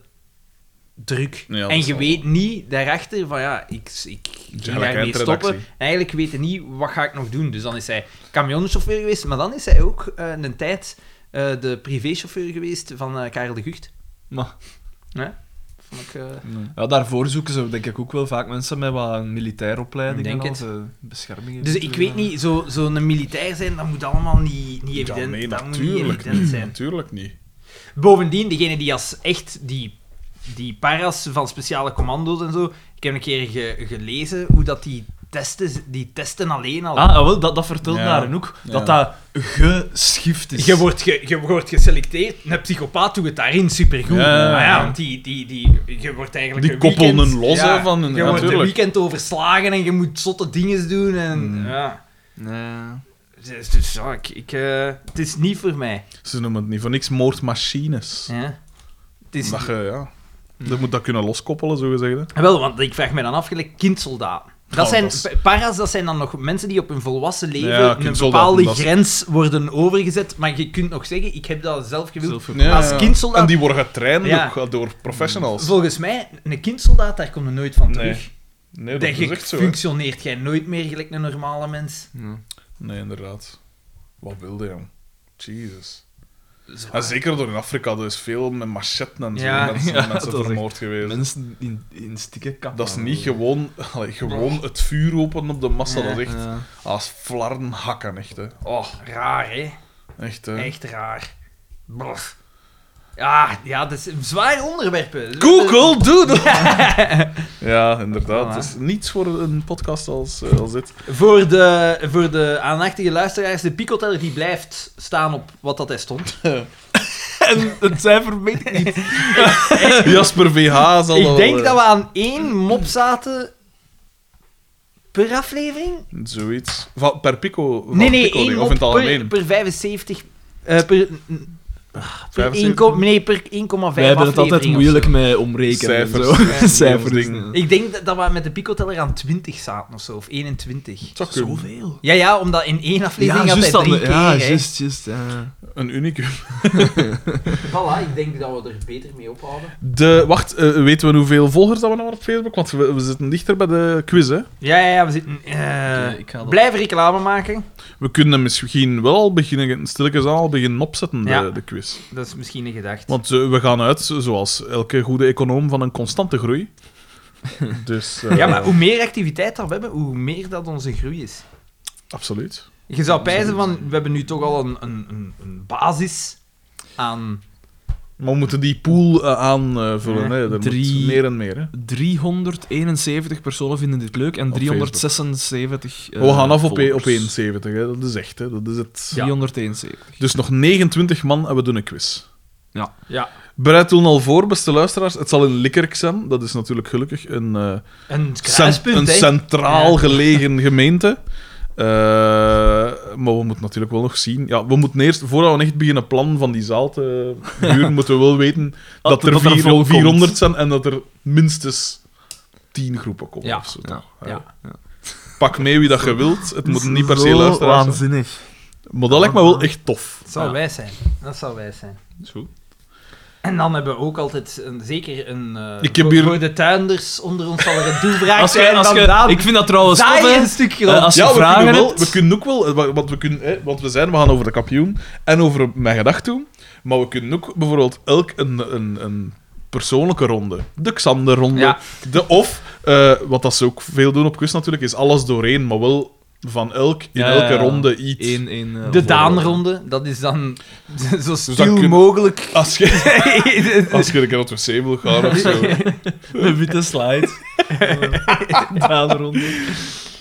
[SPEAKER 1] druk.
[SPEAKER 2] Ja, dat
[SPEAKER 1] en
[SPEAKER 2] is
[SPEAKER 1] je
[SPEAKER 2] wel-
[SPEAKER 1] weet niet daarachter van ja, ik, ik
[SPEAKER 2] Ja,
[SPEAKER 1] ging daarmee
[SPEAKER 2] eindredactie.
[SPEAKER 1] stoppen. En eigenlijk weet hij niet, wat ga ik nog doen? Dus dan is hij camionchauffeur geweest, maar dan is hij ook eh, een tijd eh, de privéchauffeur geweest van eh, Karel de Gucht.
[SPEAKER 3] Maar
[SPEAKER 1] Vond ik, eh,
[SPEAKER 3] ja, daarvoor zoeken ze denk ik ook wel vaak mensen met wat een militaire opleiding
[SPEAKER 1] Denk
[SPEAKER 3] en al,
[SPEAKER 1] het.
[SPEAKER 3] ze bescherming.
[SPEAKER 1] Dus ik weet niet, zo'n zo zo'n militair zijn, dat moet allemaal niet, niet
[SPEAKER 2] Ja,
[SPEAKER 1] evident,
[SPEAKER 2] nee,
[SPEAKER 1] dat moet niet
[SPEAKER 2] natuurlijk
[SPEAKER 1] evident
[SPEAKER 2] niet.
[SPEAKER 1] zijn.
[SPEAKER 2] Natuurlijk niet.
[SPEAKER 1] Bovendien, degene die als echt die, die paras van speciale commando's en zo, ik heb een keer ge- gelezen hoe dat die testen, die testen alleen al.
[SPEAKER 3] Ah, ah, wel, dat, dat vertelt
[SPEAKER 2] Ja.
[SPEAKER 3] daarin ook.
[SPEAKER 2] Ja.
[SPEAKER 3] Dat dat geschift is.
[SPEAKER 1] Je wordt, ge- je wordt geselecteerd, een psychopaat doet het daarin supergoed.
[SPEAKER 2] Ja.
[SPEAKER 1] Maar ja, want die, die, die, je wordt eigenlijk
[SPEAKER 2] Die
[SPEAKER 1] een
[SPEAKER 2] koppelen
[SPEAKER 1] weekend-
[SPEAKER 2] een los,
[SPEAKER 1] ja,
[SPEAKER 2] hè, van hun-
[SPEAKER 1] Je
[SPEAKER 2] ja,
[SPEAKER 1] wordt een
[SPEAKER 2] tuurlijk.
[SPEAKER 1] weekend overslagen en je moet zotte dingen doen. En,
[SPEAKER 2] Mm.
[SPEAKER 3] Hmm.
[SPEAKER 1] ja.
[SPEAKER 3] Nee.
[SPEAKER 1] Dus, dus ja, ik, ik, eh, het is niet voor mij.
[SPEAKER 2] Ze noemen het niet voor niks moordmachines.
[SPEAKER 1] Ja. Het is...
[SPEAKER 2] Dat je, ja... Je moet dat kunnen loskoppelen, zo gezegd. hè.
[SPEAKER 1] Wel, want ik vraag me dan af, gelijk kindsoldaten. Dat
[SPEAKER 2] Oh,
[SPEAKER 1] zijn,
[SPEAKER 2] dat is-
[SPEAKER 1] pa- Paras, dat zijn dan nog mensen die op hun volwassen leven
[SPEAKER 2] Ja,
[SPEAKER 1] een
[SPEAKER 2] kindsoldaten,
[SPEAKER 1] bepaalde
[SPEAKER 2] dat is-
[SPEAKER 1] grens worden overgezet. Maar je kunt nog zeggen, ik heb dat zelf gewild.
[SPEAKER 2] Ja,
[SPEAKER 1] Als
[SPEAKER 2] ja.
[SPEAKER 1] kindsoldaat-
[SPEAKER 2] En die worden getraind
[SPEAKER 1] Ja.
[SPEAKER 2] ook door professionals.
[SPEAKER 1] Volgens mij, een kindsoldaat, daar kom je nooit van
[SPEAKER 2] Nee,
[SPEAKER 1] terug.
[SPEAKER 2] Nee, dat
[SPEAKER 1] Daar
[SPEAKER 2] is echt zo. hè.
[SPEAKER 1] functioneert jij nooit meer gelijk een normale mens.
[SPEAKER 2] Nee, inderdaad. Wat wilde, jong. Jesus. En zeker door in Afrika, er is veel met machetten en zo
[SPEAKER 1] Ja.
[SPEAKER 2] mensen,
[SPEAKER 3] Ja,
[SPEAKER 2] mensen
[SPEAKER 3] dat is
[SPEAKER 2] vermoord geweest.
[SPEAKER 3] Eh, Mensen in, in stikken kappen. Eh,
[SPEAKER 2] Dat is niet gewoon, allee, gewoon het vuur openen op de massa,
[SPEAKER 1] Ja.
[SPEAKER 2] dat is echt
[SPEAKER 3] Ja.
[SPEAKER 2] als flarden hakken, echt hè.
[SPEAKER 1] Oh, raar, hè?
[SPEAKER 2] Echt hè.
[SPEAKER 1] Echt raar. Blf. Ja, ja, dat is zwaar onderwerpen.
[SPEAKER 2] Google Doodle! ja, inderdaad.
[SPEAKER 1] Voilà.
[SPEAKER 2] Het is niets voor een podcast als, eh, als dit.
[SPEAKER 1] Voor de, voor de aandachtige luisteraars, de picoteller die blijft staan op wat dat hij stond.
[SPEAKER 3] En het cijfer weet ik niet.
[SPEAKER 2] Jasper VH zal
[SPEAKER 1] Ik
[SPEAKER 2] wel,
[SPEAKER 1] denk
[SPEAKER 2] eh,
[SPEAKER 1] dat we aan één mop zaten per aflevering.
[SPEAKER 2] Zoiets. Va- per pico? van
[SPEAKER 1] nee, nee,
[SPEAKER 2] pico
[SPEAKER 1] één
[SPEAKER 2] ding,
[SPEAKER 1] mop
[SPEAKER 2] Of in het
[SPEAKER 1] per,
[SPEAKER 2] algemeen?
[SPEAKER 1] per 75... eh, per... n- ah, per
[SPEAKER 2] 75?
[SPEAKER 1] 1,5 nee, per 1,5
[SPEAKER 3] Wij hebben het altijd
[SPEAKER 1] aflevering of
[SPEAKER 3] moeilijk
[SPEAKER 1] zo.
[SPEAKER 3] met omrekenen. en
[SPEAKER 2] Cijfers.
[SPEAKER 3] zo.
[SPEAKER 2] Ja, die
[SPEAKER 3] Cijfers.
[SPEAKER 2] ons ding.
[SPEAKER 1] Ik denk dat, dat we met de picoteller aan 20 zaten of zo, of 21.
[SPEAKER 2] Het zou kunnen.
[SPEAKER 3] Zoveel.
[SPEAKER 1] Ja, ja, omdat in één aflevering
[SPEAKER 3] Ja,
[SPEAKER 1] had hij
[SPEAKER 3] juist dan.
[SPEAKER 1] drie keer.
[SPEAKER 3] Ja,
[SPEAKER 1] hè.
[SPEAKER 3] juist, juist. ja.
[SPEAKER 2] Een unicum.
[SPEAKER 1] Voilà, ik denk dat we er beter mee ophouden.
[SPEAKER 2] De, wacht, eh, weten we hoeveel volgers dat we nou hebben op Facebook? Want we, we zitten dichter bij de quiz, hè.
[SPEAKER 1] Ja, ja, ja, we zitten... eh,
[SPEAKER 3] ik ga dat-
[SPEAKER 1] blijf reclame maken.
[SPEAKER 2] We kunnen misschien wel al beginnen, stilletjes aan al beginnen opzetten, de,
[SPEAKER 1] Ja.
[SPEAKER 2] de quiz.
[SPEAKER 1] Dat is misschien een gedachte.
[SPEAKER 2] Want eh, we gaan uit, zoals elke goede econoom, van een constante groei. Dus... eh,
[SPEAKER 1] Ja, maar hoe meer activiteit dat we hebben, hoe meer dat onze groei is.
[SPEAKER 2] Absoluut.
[SPEAKER 1] Je zou pijzen van, we hebben nu toch al een, een, een, een basis aan...
[SPEAKER 2] Maar we moeten die pool eh, aanvullen,
[SPEAKER 1] Ja,
[SPEAKER 2] hè. Er
[SPEAKER 3] drie-
[SPEAKER 2] moet meer en meer, hè.
[SPEAKER 4] eh,
[SPEAKER 3] 371 personen vinden dit leuk en
[SPEAKER 2] Op
[SPEAKER 3] 376. eh,
[SPEAKER 2] we gaan af op, e- op
[SPEAKER 3] volgers.
[SPEAKER 2] 71, hè. Dat is echt, hè. Dat is het.
[SPEAKER 1] Ja.
[SPEAKER 3] 371.
[SPEAKER 2] Dus nog 29 man en we doen een quiz.
[SPEAKER 1] Ja.
[SPEAKER 2] Bereid toen al voor, beste luisteraars. Het zal in Likkerk zijn. Dat is natuurlijk gelukkig een, eh,
[SPEAKER 1] Een
[SPEAKER 2] cent- een
[SPEAKER 1] kruispunt, hè.
[SPEAKER 2] centraal
[SPEAKER 1] Ja.
[SPEAKER 2] gelegen gemeente. Eh, maar we moeten natuurlijk wel nog zien. Ja, we moeten eerst, voordat we echt beginnen plan van die zaal te huren, moeten we wel weten dat, er,
[SPEAKER 3] dat er
[SPEAKER 2] vier-
[SPEAKER 3] vol komt.
[SPEAKER 2] 400 zijn en dat er minstens 10 groepen komen.
[SPEAKER 1] Ja.
[SPEAKER 2] of zo,
[SPEAKER 3] Ja.
[SPEAKER 2] toch?
[SPEAKER 1] Ja.
[SPEAKER 2] Pak mee wie dat je wilt. Het moet niet per se
[SPEAKER 3] Zo
[SPEAKER 2] luisteraars zijn.
[SPEAKER 3] waanzinnig.
[SPEAKER 2] Maar dat lijkt me wel echt tof.
[SPEAKER 1] Dat zou
[SPEAKER 3] Ja.
[SPEAKER 1] wij zijn. Dat zou wij zijn.
[SPEAKER 2] Is goed.
[SPEAKER 1] En dan hebben we ook altijd een, zeker een... eh,
[SPEAKER 2] Ik heb
[SPEAKER 1] voor-
[SPEAKER 2] hier-
[SPEAKER 1] Voor de tuinders onder ons zal er een doelbraak
[SPEAKER 4] Als
[SPEAKER 1] zijn.
[SPEAKER 4] je, als
[SPEAKER 1] dan
[SPEAKER 4] je,
[SPEAKER 1] daar-
[SPEAKER 4] ik vind dat trouwens
[SPEAKER 1] zaai
[SPEAKER 4] tof,
[SPEAKER 1] je
[SPEAKER 4] hè.
[SPEAKER 1] een stuk grond.
[SPEAKER 4] Eh, als je
[SPEAKER 2] ja, we
[SPEAKER 4] vragen
[SPEAKER 2] kunnen, wel,
[SPEAKER 4] hebt-
[SPEAKER 2] we kunnen ook wel, eh, wa- want we, kunnen, hè, want we zijn, we gaan over de kampioen en over mijn gedacht doen, maar we kunnen ook bijvoorbeeld elk een, een, een persoonlijke ronde, de Xander-ronde,
[SPEAKER 1] Ja.
[SPEAKER 2] de, of, eh, wat dat ze ook veel doen op kus natuurlijk, is alles doorheen, maar wel van elk, in
[SPEAKER 4] Ja, ja,
[SPEAKER 2] elke
[SPEAKER 4] ja.
[SPEAKER 2] ronde iets.
[SPEAKER 4] Eén, één, eh,
[SPEAKER 1] de
[SPEAKER 4] voorbeeld.
[SPEAKER 1] Daanronde, dat is dan zo stil
[SPEAKER 2] Dus kun-
[SPEAKER 1] mogelijk.
[SPEAKER 2] Als je, als je een keer op het wc wil gaan of zo.
[SPEAKER 4] Een witte slide. Daanronde.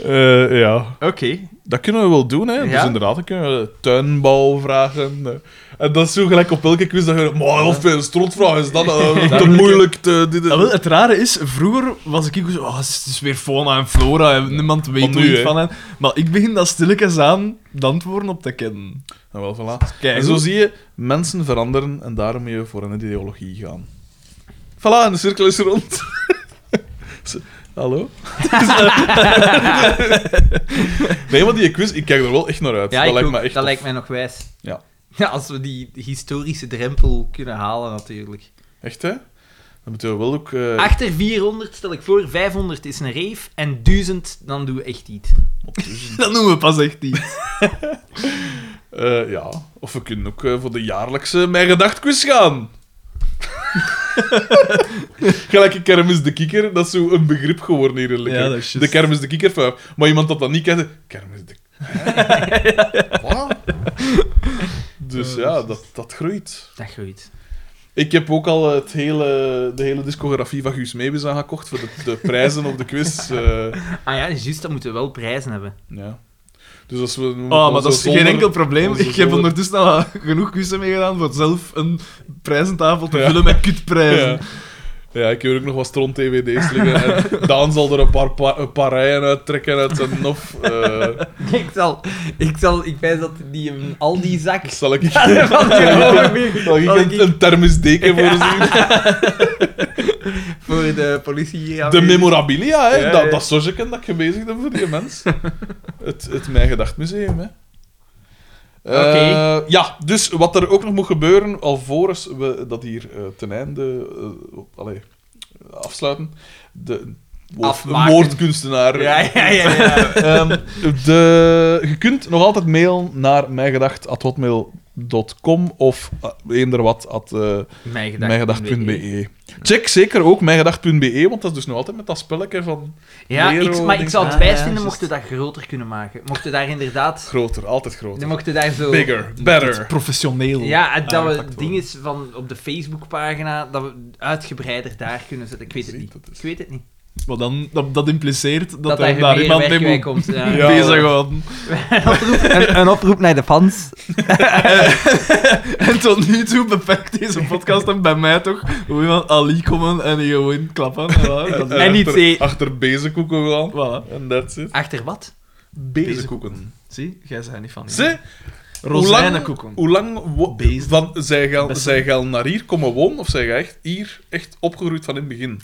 [SPEAKER 2] Eh, ja,
[SPEAKER 1] Oké.
[SPEAKER 2] dat kunnen we wel doen, hè. Dus
[SPEAKER 1] Ja.
[SPEAKER 2] inderdaad, dan kunnen we tuinbouw vragen. eh. En dat is zo gelijk op elke quiz dat je... Maar of een strotvraag is dat, eh, te moeilijk, te... dit-
[SPEAKER 1] Ah,
[SPEAKER 3] Ja, Ah, wel, het rare is, vroeger was ik ook zo, oh, het is weer fauna en flora en niemand weet
[SPEAKER 2] Maar
[SPEAKER 3] er
[SPEAKER 2] nu,
[SPEAKER 3] iets
[SPEAKER 2] hè.
[SPEAKER 3] van. En, maar ik begin dat stilletjes aan de antwoorden op te kennen.
[SPEAKER 2] Nou, wel, voilà.
[SPEAKER 3] Kijk,
[SPEAKER 2] En zo zie je, mensen veranderen en daarom moet je voor een ideologie gaan. Voilà, en de cirkel is rond. Ze- Hallo? Dus, eh, nee, maar die quiz, ik kijk er wel echt naar uit.
[SPEAKER 1] Ja,
[SPEAKER 2] dat
[SPEAKER 1] ik
[SPEAKER 2] lijkt
[SPEAKER 1] ook.
[SPEAKER 2] me echt
[SPEAKER 1] dat
[SPEAKER 2] tof.
[SPEAKER 1] lijkt mij nog wijs.
[SPEAKER 2] Ja.
[SPEAKER 1] Ja, als we die historische drempel kunnen halen, natuurlijk.
[SPEAKER 2] Echt, hè? Dan moeten we wel ook... eh,
[SPEAKER 1] Achter 400 stel ik voor, 500 is een reef en 1000, dan doen we echt iets.
[SPEAKER 3] dat noemen we pas echt niet.
[SPEAKER 2] eh, ja, of we kunnen ook eh, voor de jaarlijkse Mijn Gedacht quiz gaan. Gelijk Kermis de Kikker, dat is zo een begrip geworden hier in Lekker.
[SPEAKER 3] Ja, dat is
[SPEAKER 2] de
[SPEAKER 3] juist.
[SPEAKER 2] Kermis de Kikker vijf. Maar iemand dat dat niet kent, Kermis de Hè? Wat? Dus ja,
[SPEAKER 3] Eh,
[SPEAKER 2] dat, dat groeit.
[SPEAKER 1] Dat groeit.
[SPEAKER 2] Ik heb ook al het hele, de hele discografie van Guus Meeuwis aangekocht voor de, de prijzen op de quiz. eh,
[SPEAKER 1] Ah ja, juist, dat moeten we wel prijzen hebben.
[SPEAKER 2] ja. Dus als we...
[SPEAKER 3] Oh, maar dat is geen enkel probleem.
[SPEAKER 2] onze
[SPEAKER 3] Ik heb
[SPEAKER 2] zolder-
[SPEAKER 3] ondertussen al genoeg kussen meegedaan voor zelf een prijzentafel te
[SPEAKER 2] Ja.
[SPEAKER 3] vullen met kutprijzen.
[SPEAKER 2] Ja. ja, ik heb hier ook nog wat stront tvd's liggen. En Daan zal er een paar, pa- een paar rijen uittrekken uit zijn nof. eh
[SPEAKER 1] Ik zal, ik zal, ik wijs dat die een Aldi-zak...
[SPEAKER 2] zal ik,
[SPEAKER 1] van die gewoon weer-
[SPEAKER 2] zal ik
[SPEAKER 1] zal ik-
[SPEAKER 2] een, een thermisdeken voorzien?
[SPEAKER 1] voor de politie hier
[SPEAKER 2] De
[SPEAKER 1] aanwezig.
[SPEAKER 2] memorabilia, hè.
[SPEAKER 1] Ja,
[SPEAKER 2] Dat,
[SPEAKER 1] ja.
[SPEAKER 2] dat sojeken dat ik gebezigd heb voor die mens. Het, het Mijn Gedacht Museum, hè. Eh, ja, dus wat er ook nog moet gebeuren, alvorens we dat hier eh, ten einde eh, op- allee, afsluiten, de woord-
[SPEAKER 1] Afmaken.
[SPEAKER 2] woordkunstenaar
[SPEAKER 1] Ja, ja, ja. ja.
[SPEAKER 2] Ehm, de, je kunt nog altijd mailen naar mijngedacht.hotmail.com of eh, eender wat at eh,
[SPEAKER 1] Mijn gedacht.
[SPEAKER 2] mijngedacht.be. E.
[SPEAKER 3] E.
[SPEAKER 2] Check zeker ook mijngedacht.be, want dat is dus nog altijd met dat spelletje van
[SPEAKER 1] Ja,
[SPEAKER 2] Nero,
[SPEAKER 1] ik, maar ik zou het
[SPEAKER 2] denk ik.
[SPEAKER 1] wijs vinden
[SPEAKER 2] Ah, ja, juist.
[SPEAKER 1] mochten we dat groter kunnen maken. Mochten we daar inderdaad...
[SPEAKER 2] groter, altijd groter.
[SPEAKER 1] Dan mochten we daar zo... Ah,
[SPEAKER 2] Bigger,
[SPEAKER 3] Dat
[SPEAKER 2] better.
[SPEAKER 3] het professioneel.
[SPEAKER 1] Ja, en dat
[SPEAKER 3] aangepakt
[SPEAKER 1] we
[SPEAKER 3] worden.
[SPEAKER 1] dingen van op de Facebookpagina, dat we uitgebreider daar kunnen zetten. Ik weet het
[SPEAKER 2] Zie,
[SPEAKER 1] niet.
[SPEAKER 2] dat is-
[SPEAKER 1] Ik weet het niet.
[SPEAKER 3] Maar dan, dat, dat impliceert dat,
[SPEAKER 1] Dat,
[SPEAKER 3] er
[SPEAKER 1] daar
[SPEAKER 3] daar
[SPEAKER 1] meer
[SPEAKER 3] iemand
[SPEAKER 1] werk
[SPEAKER 3] mee
[SPEAKER 1] bij
[SPEAKER 3] moet
[SPEAKER 1] komt. Ja.
[SPEAKER 2] Ja.
[SPEAKER 3] bezig worden.
[SPEAKER 1] Een, oproep, een, een oproep naar de fans.
[SPEAKER 3] En tot nu toe beperkt deze podcast dan bij mij toch. Hoe iemand Ali komen en die gewoon klappen. En voilà, dat-
[SPEAKER 1] En niet
[SPEAKER 2] Eh, achter,
[SPEAKER 1] zee.
[SPEAKER 2] achter bezenkoeken gaan.
[SPEAKER 3] voilà.
[SPEAKER 2] En that's it.
[SPEAKER 1] Achter wat?
[SPEAKER 2] Bezenkoeken.
[SPEAKER 3] Zie, jij bent niet van.
[SPEAKER 2] Ze,
[SPEAKER 3] Rozijnenkoeken.
[SPEAKER 2] hoe lang wo-
[SPEAKER 3] Bezen.
[SPEAKER 2] van, zij gaan,
[SPEAKER 3] Bessen.
[SPEAKER 2] zij gaan naar hier komen wonen of zij gaan echt hier echt opgegroeid van in het begin?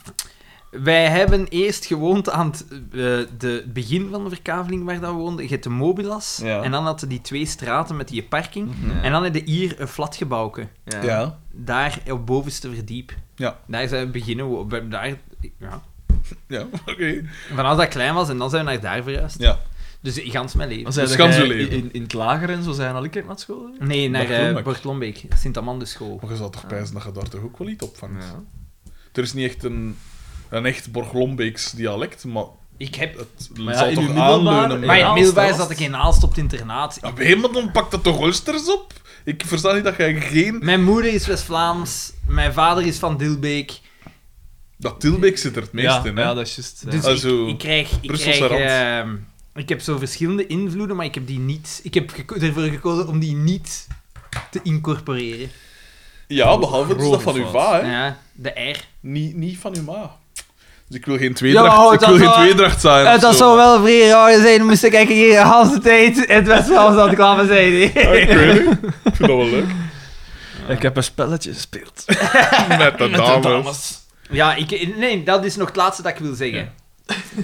[SPEAKER 1] Wij hebben eerst gewoond aan het eh, de begin van de verkaveling waar dat we woonden. Je hebt de Mobilas.
[SPEAKER 2] Ja.
[SPEAKER 1] En dan hadden die twee straten met die parking. En dan hadden hier een flatgebouwke.
[SPEAKER 3] Mhm. Ja.
[SPEAKER 1] Daar op bovenste verdiep.
[SPEAKER 2] Ja.
[SPEAKER 1] Daar zijn we beginnen. wo- we hebben daar, ja.
[SPEAKER 2] Ja, oké.
[SPEAKER 1] Vanaf dat ik klein was en dan zijn we naar daar verhuisd.
[SPEAKER 2] Ja.
[SPEAKER 1] Dus ik gans mijn leven.
[SPEAKER 3] Dan zijn
[SPEAKER 2] Dus
[SPEAKER 3] dat
[SPEAKER 2] kan ze
[SPEAKER 3] jij
[SPEAKER 2] leven.
[SPEAKER 3] In, in het lager en zo zijn al ik naar school.
[SPEAKER 1] Nee, naar
[SPEAKER 2] Bart Lombeek.
[SPEAKER 1] eh, Bart Lombeek, Sint-Amandus School.
[SPEAKER 2] Maar je zou toch pijzen dat je daar toch ook wel iets opvangt? Er is niet echt een, een echt Borglombeeks dialect, maar
[SPEAKER 1] Ik heb...
[SPEAKER 2] het
[SPEAKER 3] Maar ja,
[SPEAKER 2] zal
[SPEAKER 3] in
[SPEAKER 2] toch
[SPEAKER 3] uw middelbaar-
[SPEAKER 2] aanleunen.
[SPEAKER 1] Maar in het
[SPEAKER 3] Aalst,
[SPEAKER 1] middelbaar
[SPEAKER 3] Aalst.
[SPEAKER 1] zat ik in Aalst op het internaat.
[SPEAKER 2] Ja, maar helemaal dan pakt dat toch Ulsters op? Ik versta niet dat jij geen...
[SPEAKER 1] Mijn moeder is West-Vlaams, mijn vader is van Dilbeek.
[SPEAKER 2] Dat Tilbeek zit er het meest
[SPEAKER 3] Ja,
[SPEAKER 2] in, hè?
[SPEAKER 3] ja, dat is juist.
[SPEAKER 1] Dus
[SPEAKER 3] Dus,
[SPEAKER 2] Ah, zo.
[SPEAKER 1] ik, ik krijg... Ik,
[SPEAKER 2] Brusselse
[SPEAKER 1] krijg ehm, ik heb zo verschillende invloeden, maar ik heb die niet... Ik heb geko- ervoor gekozen om die niet te incorporeren.
[SPEAKER 2] Ja, behalve dus dat van uw va, hè.
[SPEAKER 1] Ja, de R.
[SPEAKER 2] Niet, niet van uw ma. Dus ik wil geen tweedracht,
[SPEAKER 1] Ja, oh,
[SPEAKER 2] ik
[SPEAKER 1] dat
[SPEAKER 2] wil geen
[SPEAKER 1] zou-
[SPEAKER 2] tweedracht zijn.
[SPEAKER 1] Eh,
[SPEAKER 2] of
[SPEAKER 1] dat
[SPEAKER 2] zo.
[SPEAKER 1] zou wel vrij raar zijn, moest ik eigenlijk hier de hele tijd in het West-Vlaams aan het klappen zijn. hè.
[SPEAKER 2] Ja, ik weet het. Ik vind dat wel leuk.
[SPEAKER 4] Ik heb een spelletje gespeeld.
[SPEAKER 2] Met de dames.
[SPEAKER 1] Ja, ik, nee, dat is nog het laatste dat ik wil zeggen.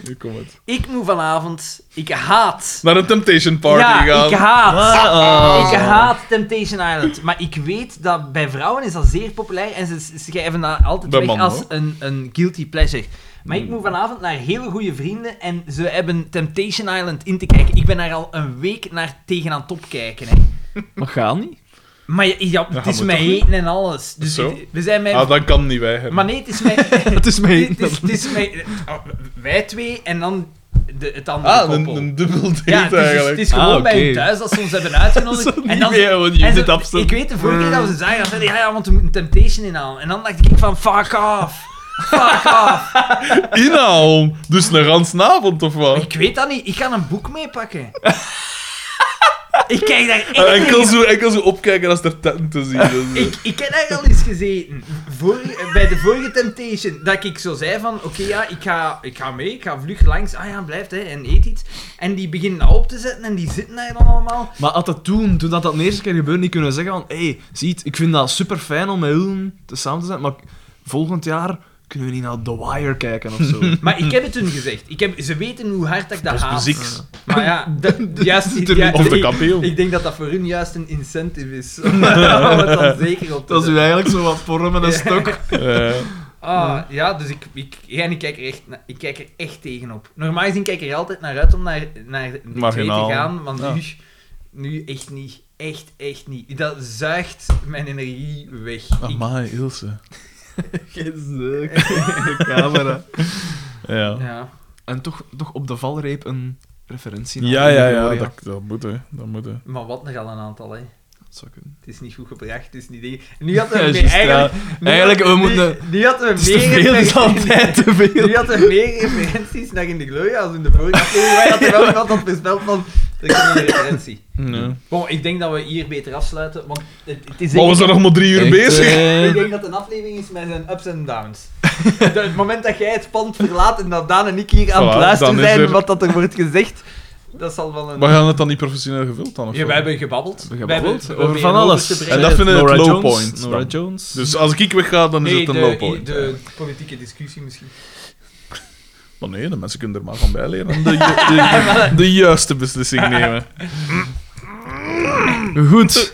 [SPEAKER 2] Nu komt het.
[SPEAKER 1] Ik moet vanavond... Ik haat...
[SPEAKER 2] Naar een Temptation Party
[SPEAKER 1] ja,
[SPEAKER 2] gaan.
[SPEAKER 1] ik haat...
[SPEAKER 4] Ah,
[SPEAKER 1] Ik haat Temptation Island, maar ik weet dat bij vrouwen is dat zeer populair en ze ze schrijven dat altijd
[SPEAKER 2] Bij
[SPEAKER 1] weg
[SPEAKER 2] mannen,
[SPEAKER 1] als
[SPEAKER 2] hoor. Hmm.
[SPEAKER 1] een, een guilty pleasure. Maar ik moet vanavond naar hele goede vrienden en ze hebben Temptation Island in te kijken. Ik ben daar al een week naar tegen aan het opkijken. Hè.
[SPEAKER 4] Maar ga niet.
[SPEAKER 1] Maar ja, ja, het
[SPEAKER 2] je
[SPEAKER 1] is
[SPEAKER 2] moet
[SPEAKER 1] mij
[SPEAKER 2] toch
[SPEAKER 1] eten en alles. Dus
[SPEAKER 2] Zo.
[SPEAKER 1] het- we zijn mij...
[SPEAKER 2] Ah, dat kan niet wij.
[SPEAKER 1] Maar nee, het is mij...
[SPEAKER 4] Het is mee.
[SPEAKER 1] het, is, het is mij... oh, Wij twee en dan de, het andere
[SPEAKER 2] Ah,
[SPEAKER 1] koppel.
[SPEAKER 2] een, een dubbel date
[SPEAKER 1] Ja, dus- het is,
[SPEAKER 2] eigenlijk.
[SPEAKER 1] het is gewoon
[SPEAKER 4] Ah,
[SPEAKER 1] bij
[SPEAKER 4] oké.
[SPEAKER 1] hun thuis dat ze ons hebben uitgenodigd. en dan, en ze- ik weet de vorige keer dat we ze zagen, dat zeiden ja, ja, want we moeten Temptation inhalen. En dan dacht ik van, fuck off. Fuck off.
[SPEAKER 2] Inhaal! Dus een ransavond of wat?
[SPEAKER 1] ik weet dat niet. Ik ga een boek meepakken. ik kijk daar echt
[SPEAKER 2] En enkel
[SPEAKER 1] tegen-
[SPEAKER 2] zo, enkel zo opkijken als er tenten te zien dus- is.
[SPEAKER 1] Ik, ik heb daar al eens gezeten, voor, bij de vorige Temptation, dat ik zo zei van, oké ja, ik ga, ik ga mee, ik ga vlug langs, ah ja, blijft hè, en eet iets. En die beginnen dat op te zetten en die zitten daar dan allemaal.
[SPEAKER 4] Maar had dat toen, toen dat, dat de eerste keer gebeurde, niet kunnen zeggen van hey, ziet, ik vind dat super fijn om met hun te samen te zijn, maar volgend jaar kunnen we niet naar The Wire kijken of zo.
[SPEAKER 1] Maar ik heb het hun gezegd. Ik heb, ze weten hoe hard ik dat haat.
[SPEAKER 2] muziek.
[SPEAKER 1] Maar ja, dat- juist... ja,
[SPEAKER 2] Of de
[SPEAKER 1] ik-
[SPEAKER 2] kampioen.
[SPEAKER 1] Ik denk dat dat voor hun juist een incentive is. Om het dan zeker op te
[SPEAKER 4] dat is u
[SPEAKER 1] zetten.
[SPEAKER 4] eigenlijk zo wat porren met een stok.
[SPEAKER 2] Eh,
[SPEAKER 1] Ah, ja, dus ik, ik, ja, en ik, kijk er echt, na- ik kijk er echt tegenop. Normaal gezien kijk ik er altijd naar uit om naar, naar de twee te
[SPEAKER 2] Marginaal.
[SPEAKER 1] gaan, want
[SPEAKER 2] Ja.
[SPEAKER 1] nu, nu echt niet. Echt, echt niet. Dat zuigt mijn energie weg.
[SPEAKER 4] Ah,
[SPEAKER 1] Ik-
[SPEAKER 2] Amai, Ilse.
[SPEAKER 4] De camera.
[SPEAKER 2] Ja,
[SPEAKER 1] ja.
[SPEAKER 4] En toch, toch op de valreep een referentie naar
[SPEAKER 2] ja, ja, ja,
[SPEAKER 4] Gloria.
[SPEAKER 2] dat, dat moet hè. Dat moet hè.
[SPEAKER 1] Maar wat nog al een aantal, hè.
[SPEAKER 4] Dat zou kunnen.
[SPEAKER 1] Het is niet goed gebracht, het is niet dingen. Nu hadden
[SPEAKER 4] Ja,
[SPEAKER 1] we meer-
[SPEAKER 4] juist, ja.
[SPEAKER 1] eigenlijk... nu
[SPEAKER 4] Eigenlijk,
[SPEAKER 1] had-
[SPEAKER 4] we
[SPEAKER 1] nu-
[SPEAKER 4] moeten-
[SPEAKER 1] Nu hadden we
[SPEAKER 4] Het is te
[SPEAKER 1] meer
[SPEAKER 4] veel, het is
[SPEAKER 1] referenties-
[SPEAKER 4] altijd te veel.
[SPEAKER 1] Nu hadden we meer referenties naar in de gloria als in de vorige aflevering. Wij hadden wel iemand dat voorspeld van... Er komt een referentie.
[SPEAKER 2] Nee.
[SPEAKER 1] Bon, ik denk dat we hier beter afsluiten, want het, het is...
[SPEAKER 2] Maar we
[SPEAKER 1] denk
[SPEAKER 2] zijn nog maar drie uur
[SPEAKER 4] Echt,
[SPEAKER 2] bezig.
[SPEAKER 4] eh,
[SPEAKER 1] ik denk dat het een aflevering is met zijn ups en downs. Dat het moment dat jij het pand verlaat en dat Daan en ik hier aan het
[SPEAKER 2] Voilà,
[SPEAKER 1] luisteren
[SPEAKER 2] dan is
[SPEAKER 1] zijn
[SPEAKER 2] er-
[SPEAKER 1] wat dat er wordt gezegd, dat zal wel een...
[SPEAKER 2] Maar gaan we het dan niet professioneel gevuld dan? Of
[SPEAKER 1] Ja,
[SPEAKER 2] zo?
[SPEAKER 1] wij hebben gebabbeld.
[SPEAKER 4] we
[SPEAKER 1] Wij hebben-
[SPEAKER 4] gebabbeld
[SPEAKER 1] we
[SPEAKER 4] over
[SPEAKER 1] proberen
[SPEAKER 4] van
[SPEAKER 1] over
[SPEAKER 4] alles.
[SPEAKER 1] te brengen.
[SPEAKER 2] En dat vinden we het
[SPEAKER 4] Norah
[SPEAKER 2] low
[SPEAKER 4] Jones,
[SPEAKER 2] point dan.
[SPEAKER 4] Norah Jones.
[SPEAKER 2] Dus als ik wegga, dan is
[SPEAKER 1] Nee,
[SPEAKER 2] het een
[SPEAKER 1] de,
[SPEAKER 2] low point.
[SPEAKER 1] de politieke discussie misschien.
[SPEAKER 2] Maar nee, de mensen kunnen er maar van bijleren. en De, ju- de, de juiste beslissing nemen.
[SPEAKER 4] Goed,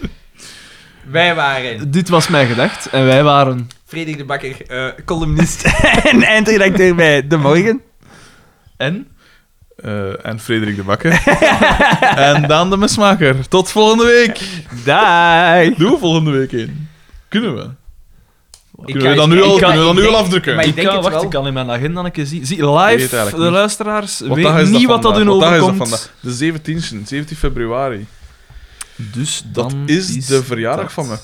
[SPEAKER 1] Wij waren
[SPEAKER 4] dit was mijn gedacht. En wij waren...
[SPEAKER 1] Frederik de Bakker, eh, columnist en eindredacteur bij De Morgen.
[SPEAKER 4] En?
[SPEAKER 2] Eh, en Frederik de Bakker. en Daan de Mesmaker. Tot volgende week.
[SPEAKER 1] Daag!
[SPEAKER 2] Doe volgende week in. Kunnen we?
[SPEAKER 1] Ik
[SPEAKER 2] Kunnen
[SPEAKER 1] kan-
[SPEAKER 2] we dat nu
[SPEAKER 1] ik
[SPEAKER 2] al,
[SPEAKER 1] kan-
[SPEAKER 2] kunnen we dat
[SPEAKER 1] ik
[SPEAKER 2] nu al
[SPEAKER 1] denk-
[SPEAKER 2] afdrukken?
[SPEAKER 1] maar
[SPEAKER 4] Ik,
[SPEAKER 1] ik denk
[SPEAKER 4] kan,
[SPEAKER 1] het
[SPEAKER 4] wacht,
[SPEAKER 1] wel.
[SPEAKER 4] ik kan in mijn agenda een keer zien. Zie,
[SPEAKER 2] Ik weet het
[SPEAKER 4] live,
[SPEAKER 2] eigenlijk
[SPEAKER 4] de
[SPEAKER 2] niet.
[SPEAKER 4] luisteraars
[SPEAKER 2] Wat dag is
[SPEAKER 4] weten niet wat dat hun
[SPEAKER 2] vandaag? dag is dat
[SPEAKER 4] overkomt.
[SPEAKER 2] vandaag? De 17e, 17 februari.
[SPEAKER 4] Dus
[SPEAKER 2] Dat
[SPEAKER 4] dan
[SPEAKER 2] is de verjaardag van
[SPEAKER 4] dat.
[SPEAKER 2] me.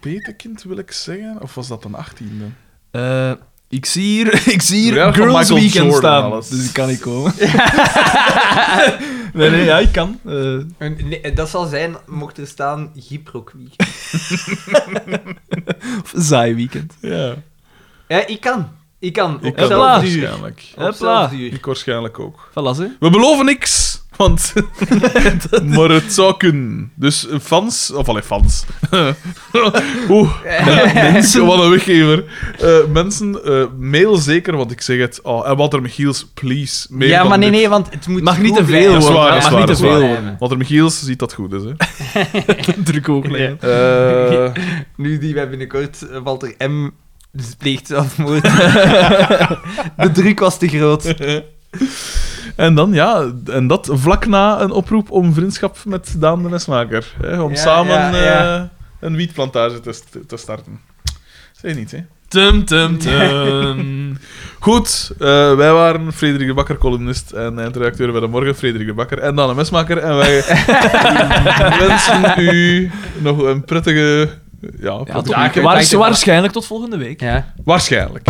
[SPEAKER 2] Peterkind wil ik zeggen? Of was dat een 18e?
[SPEAKER 4] Eh, ik zie hier, ik zie hier
[SPEAKER 2] Verjaardag van
[SPEAKER 4] Girls
[SPEAKER 2] Michael
[SPEAKER 4] Weekend
[SPEAKER 2] Jordan,
[SPEAKER 4] staan.
[SPEAKER 2] alles.
[SPEAKER 4] Dus ik kan niet komen. nee, nee, ja, ik kan. Eh,
[SPEAKER 1] Een- nee, dat zal zijn, mocht er staan, Gyproc Week.
[SPEAKER 4] of Zaai Weekend.
[SPEAKER 2] Ja,
[SPEAKER 1] Ja, Eh, ik kan. Ik kan.
[SPEAKER 2] ik
[SPEAKER 1] Op
[SPEAKER 2] kan
[SPEAKER 4] zelf
[SPEAKER 2] dat
[SPEAKER 1] hetzelfde
[SPEAKER 4] niet.
[SPEAKER 1] uur.
[SPEAKER 2] waarschijnlijk.
[SPEAKER 1] Op
[SPEAKER 4] Hopla.
[SPEAKER 1] hetzelfde uur.
[SPEAKER 2] Ik waarschijnlijk ook.
[SPEAKER 4] Voilà, ze.
[SPEAKER 2] We beloven niks, want... maar het zou kunnen. Dus eh, fans... Of allee, fans. Oeh, mensen. wat een weggever. Eh, mensen, eh, mail zeker, want ik zeg het. Oh, en Walter Michiels, please. mail
[SPEAKER 1] Ja,
[SPEAKER 2] dan
[SPEAKER 1] maar nee,
[SPEAKER 2] dit.
[SPEAKER 1] nee, want het moet
[SPEAKER 4] Mag niet
[SPEAKER 1] goed
[SPEAKER 4] te veel
[SPEAKER 1] blijven.
[SPEAKER 2] Dat is
[SPEAKER 4] worden.
[SPEAKER 2] waar,
[SPEAKER 4] hè.
[SPEAKER 2] dat is
[SPEAKER 4] Mag
[SPEAKER 2] waar,
[SPEAKER 4] niet te
[SPEAKER 2] dat is
[SPEAKER 4] veel
[SPEAKER 2] waar.
[SPEAKER 4] worden.
[SPEAKER 2] Walter Michiels ziet dat goed is, hè.
[SPEAKER 4] Druk ook
[SPEAKER 1] Nee.
[SPEAKER 4] leggen.
[SPEAKER 2] Eh,
[SPEAKER 1] Nu die wij binnenkort, eh, Walter M. dus pleegt zelfmoord. de druk was te groot.
[SPEAKER 2] en dan, ja, en dat vlak na een oproep om vriendschap met Daan de Mesmaker. Hè, om
[SPEAKER 1] Ja,
[SPEAKER 2] samen
[SPEAKER 1] ja, ja.
[SPEAKER 2] eh, een wietplantage te, st- te starten. Zeg niet, hè.
[SPEAKER 4] Tum, tum, tum.
[SPEAKER 2] Goed, eh, wij waren Frederik de Bakker, columnist en eindredacteur bij de Morgen, Frederik de Bakker en Daan de Mesmaker. En wij wensen u nog een prettige... Ja,
[SPEAKER 4] Ja,
[SPEAKER 2] prettige
[SPEAKER 4] tot,
[SPEAKER 1] Dag,
[SPEAKER 4] waar,
[SPEAKER 1] dag, dag.
[SPEAKER 4] waarschijnlijk tot volgende week.
[SPEAKER 1] Ja.
[SPEAKER 2] Waarschijnlijk.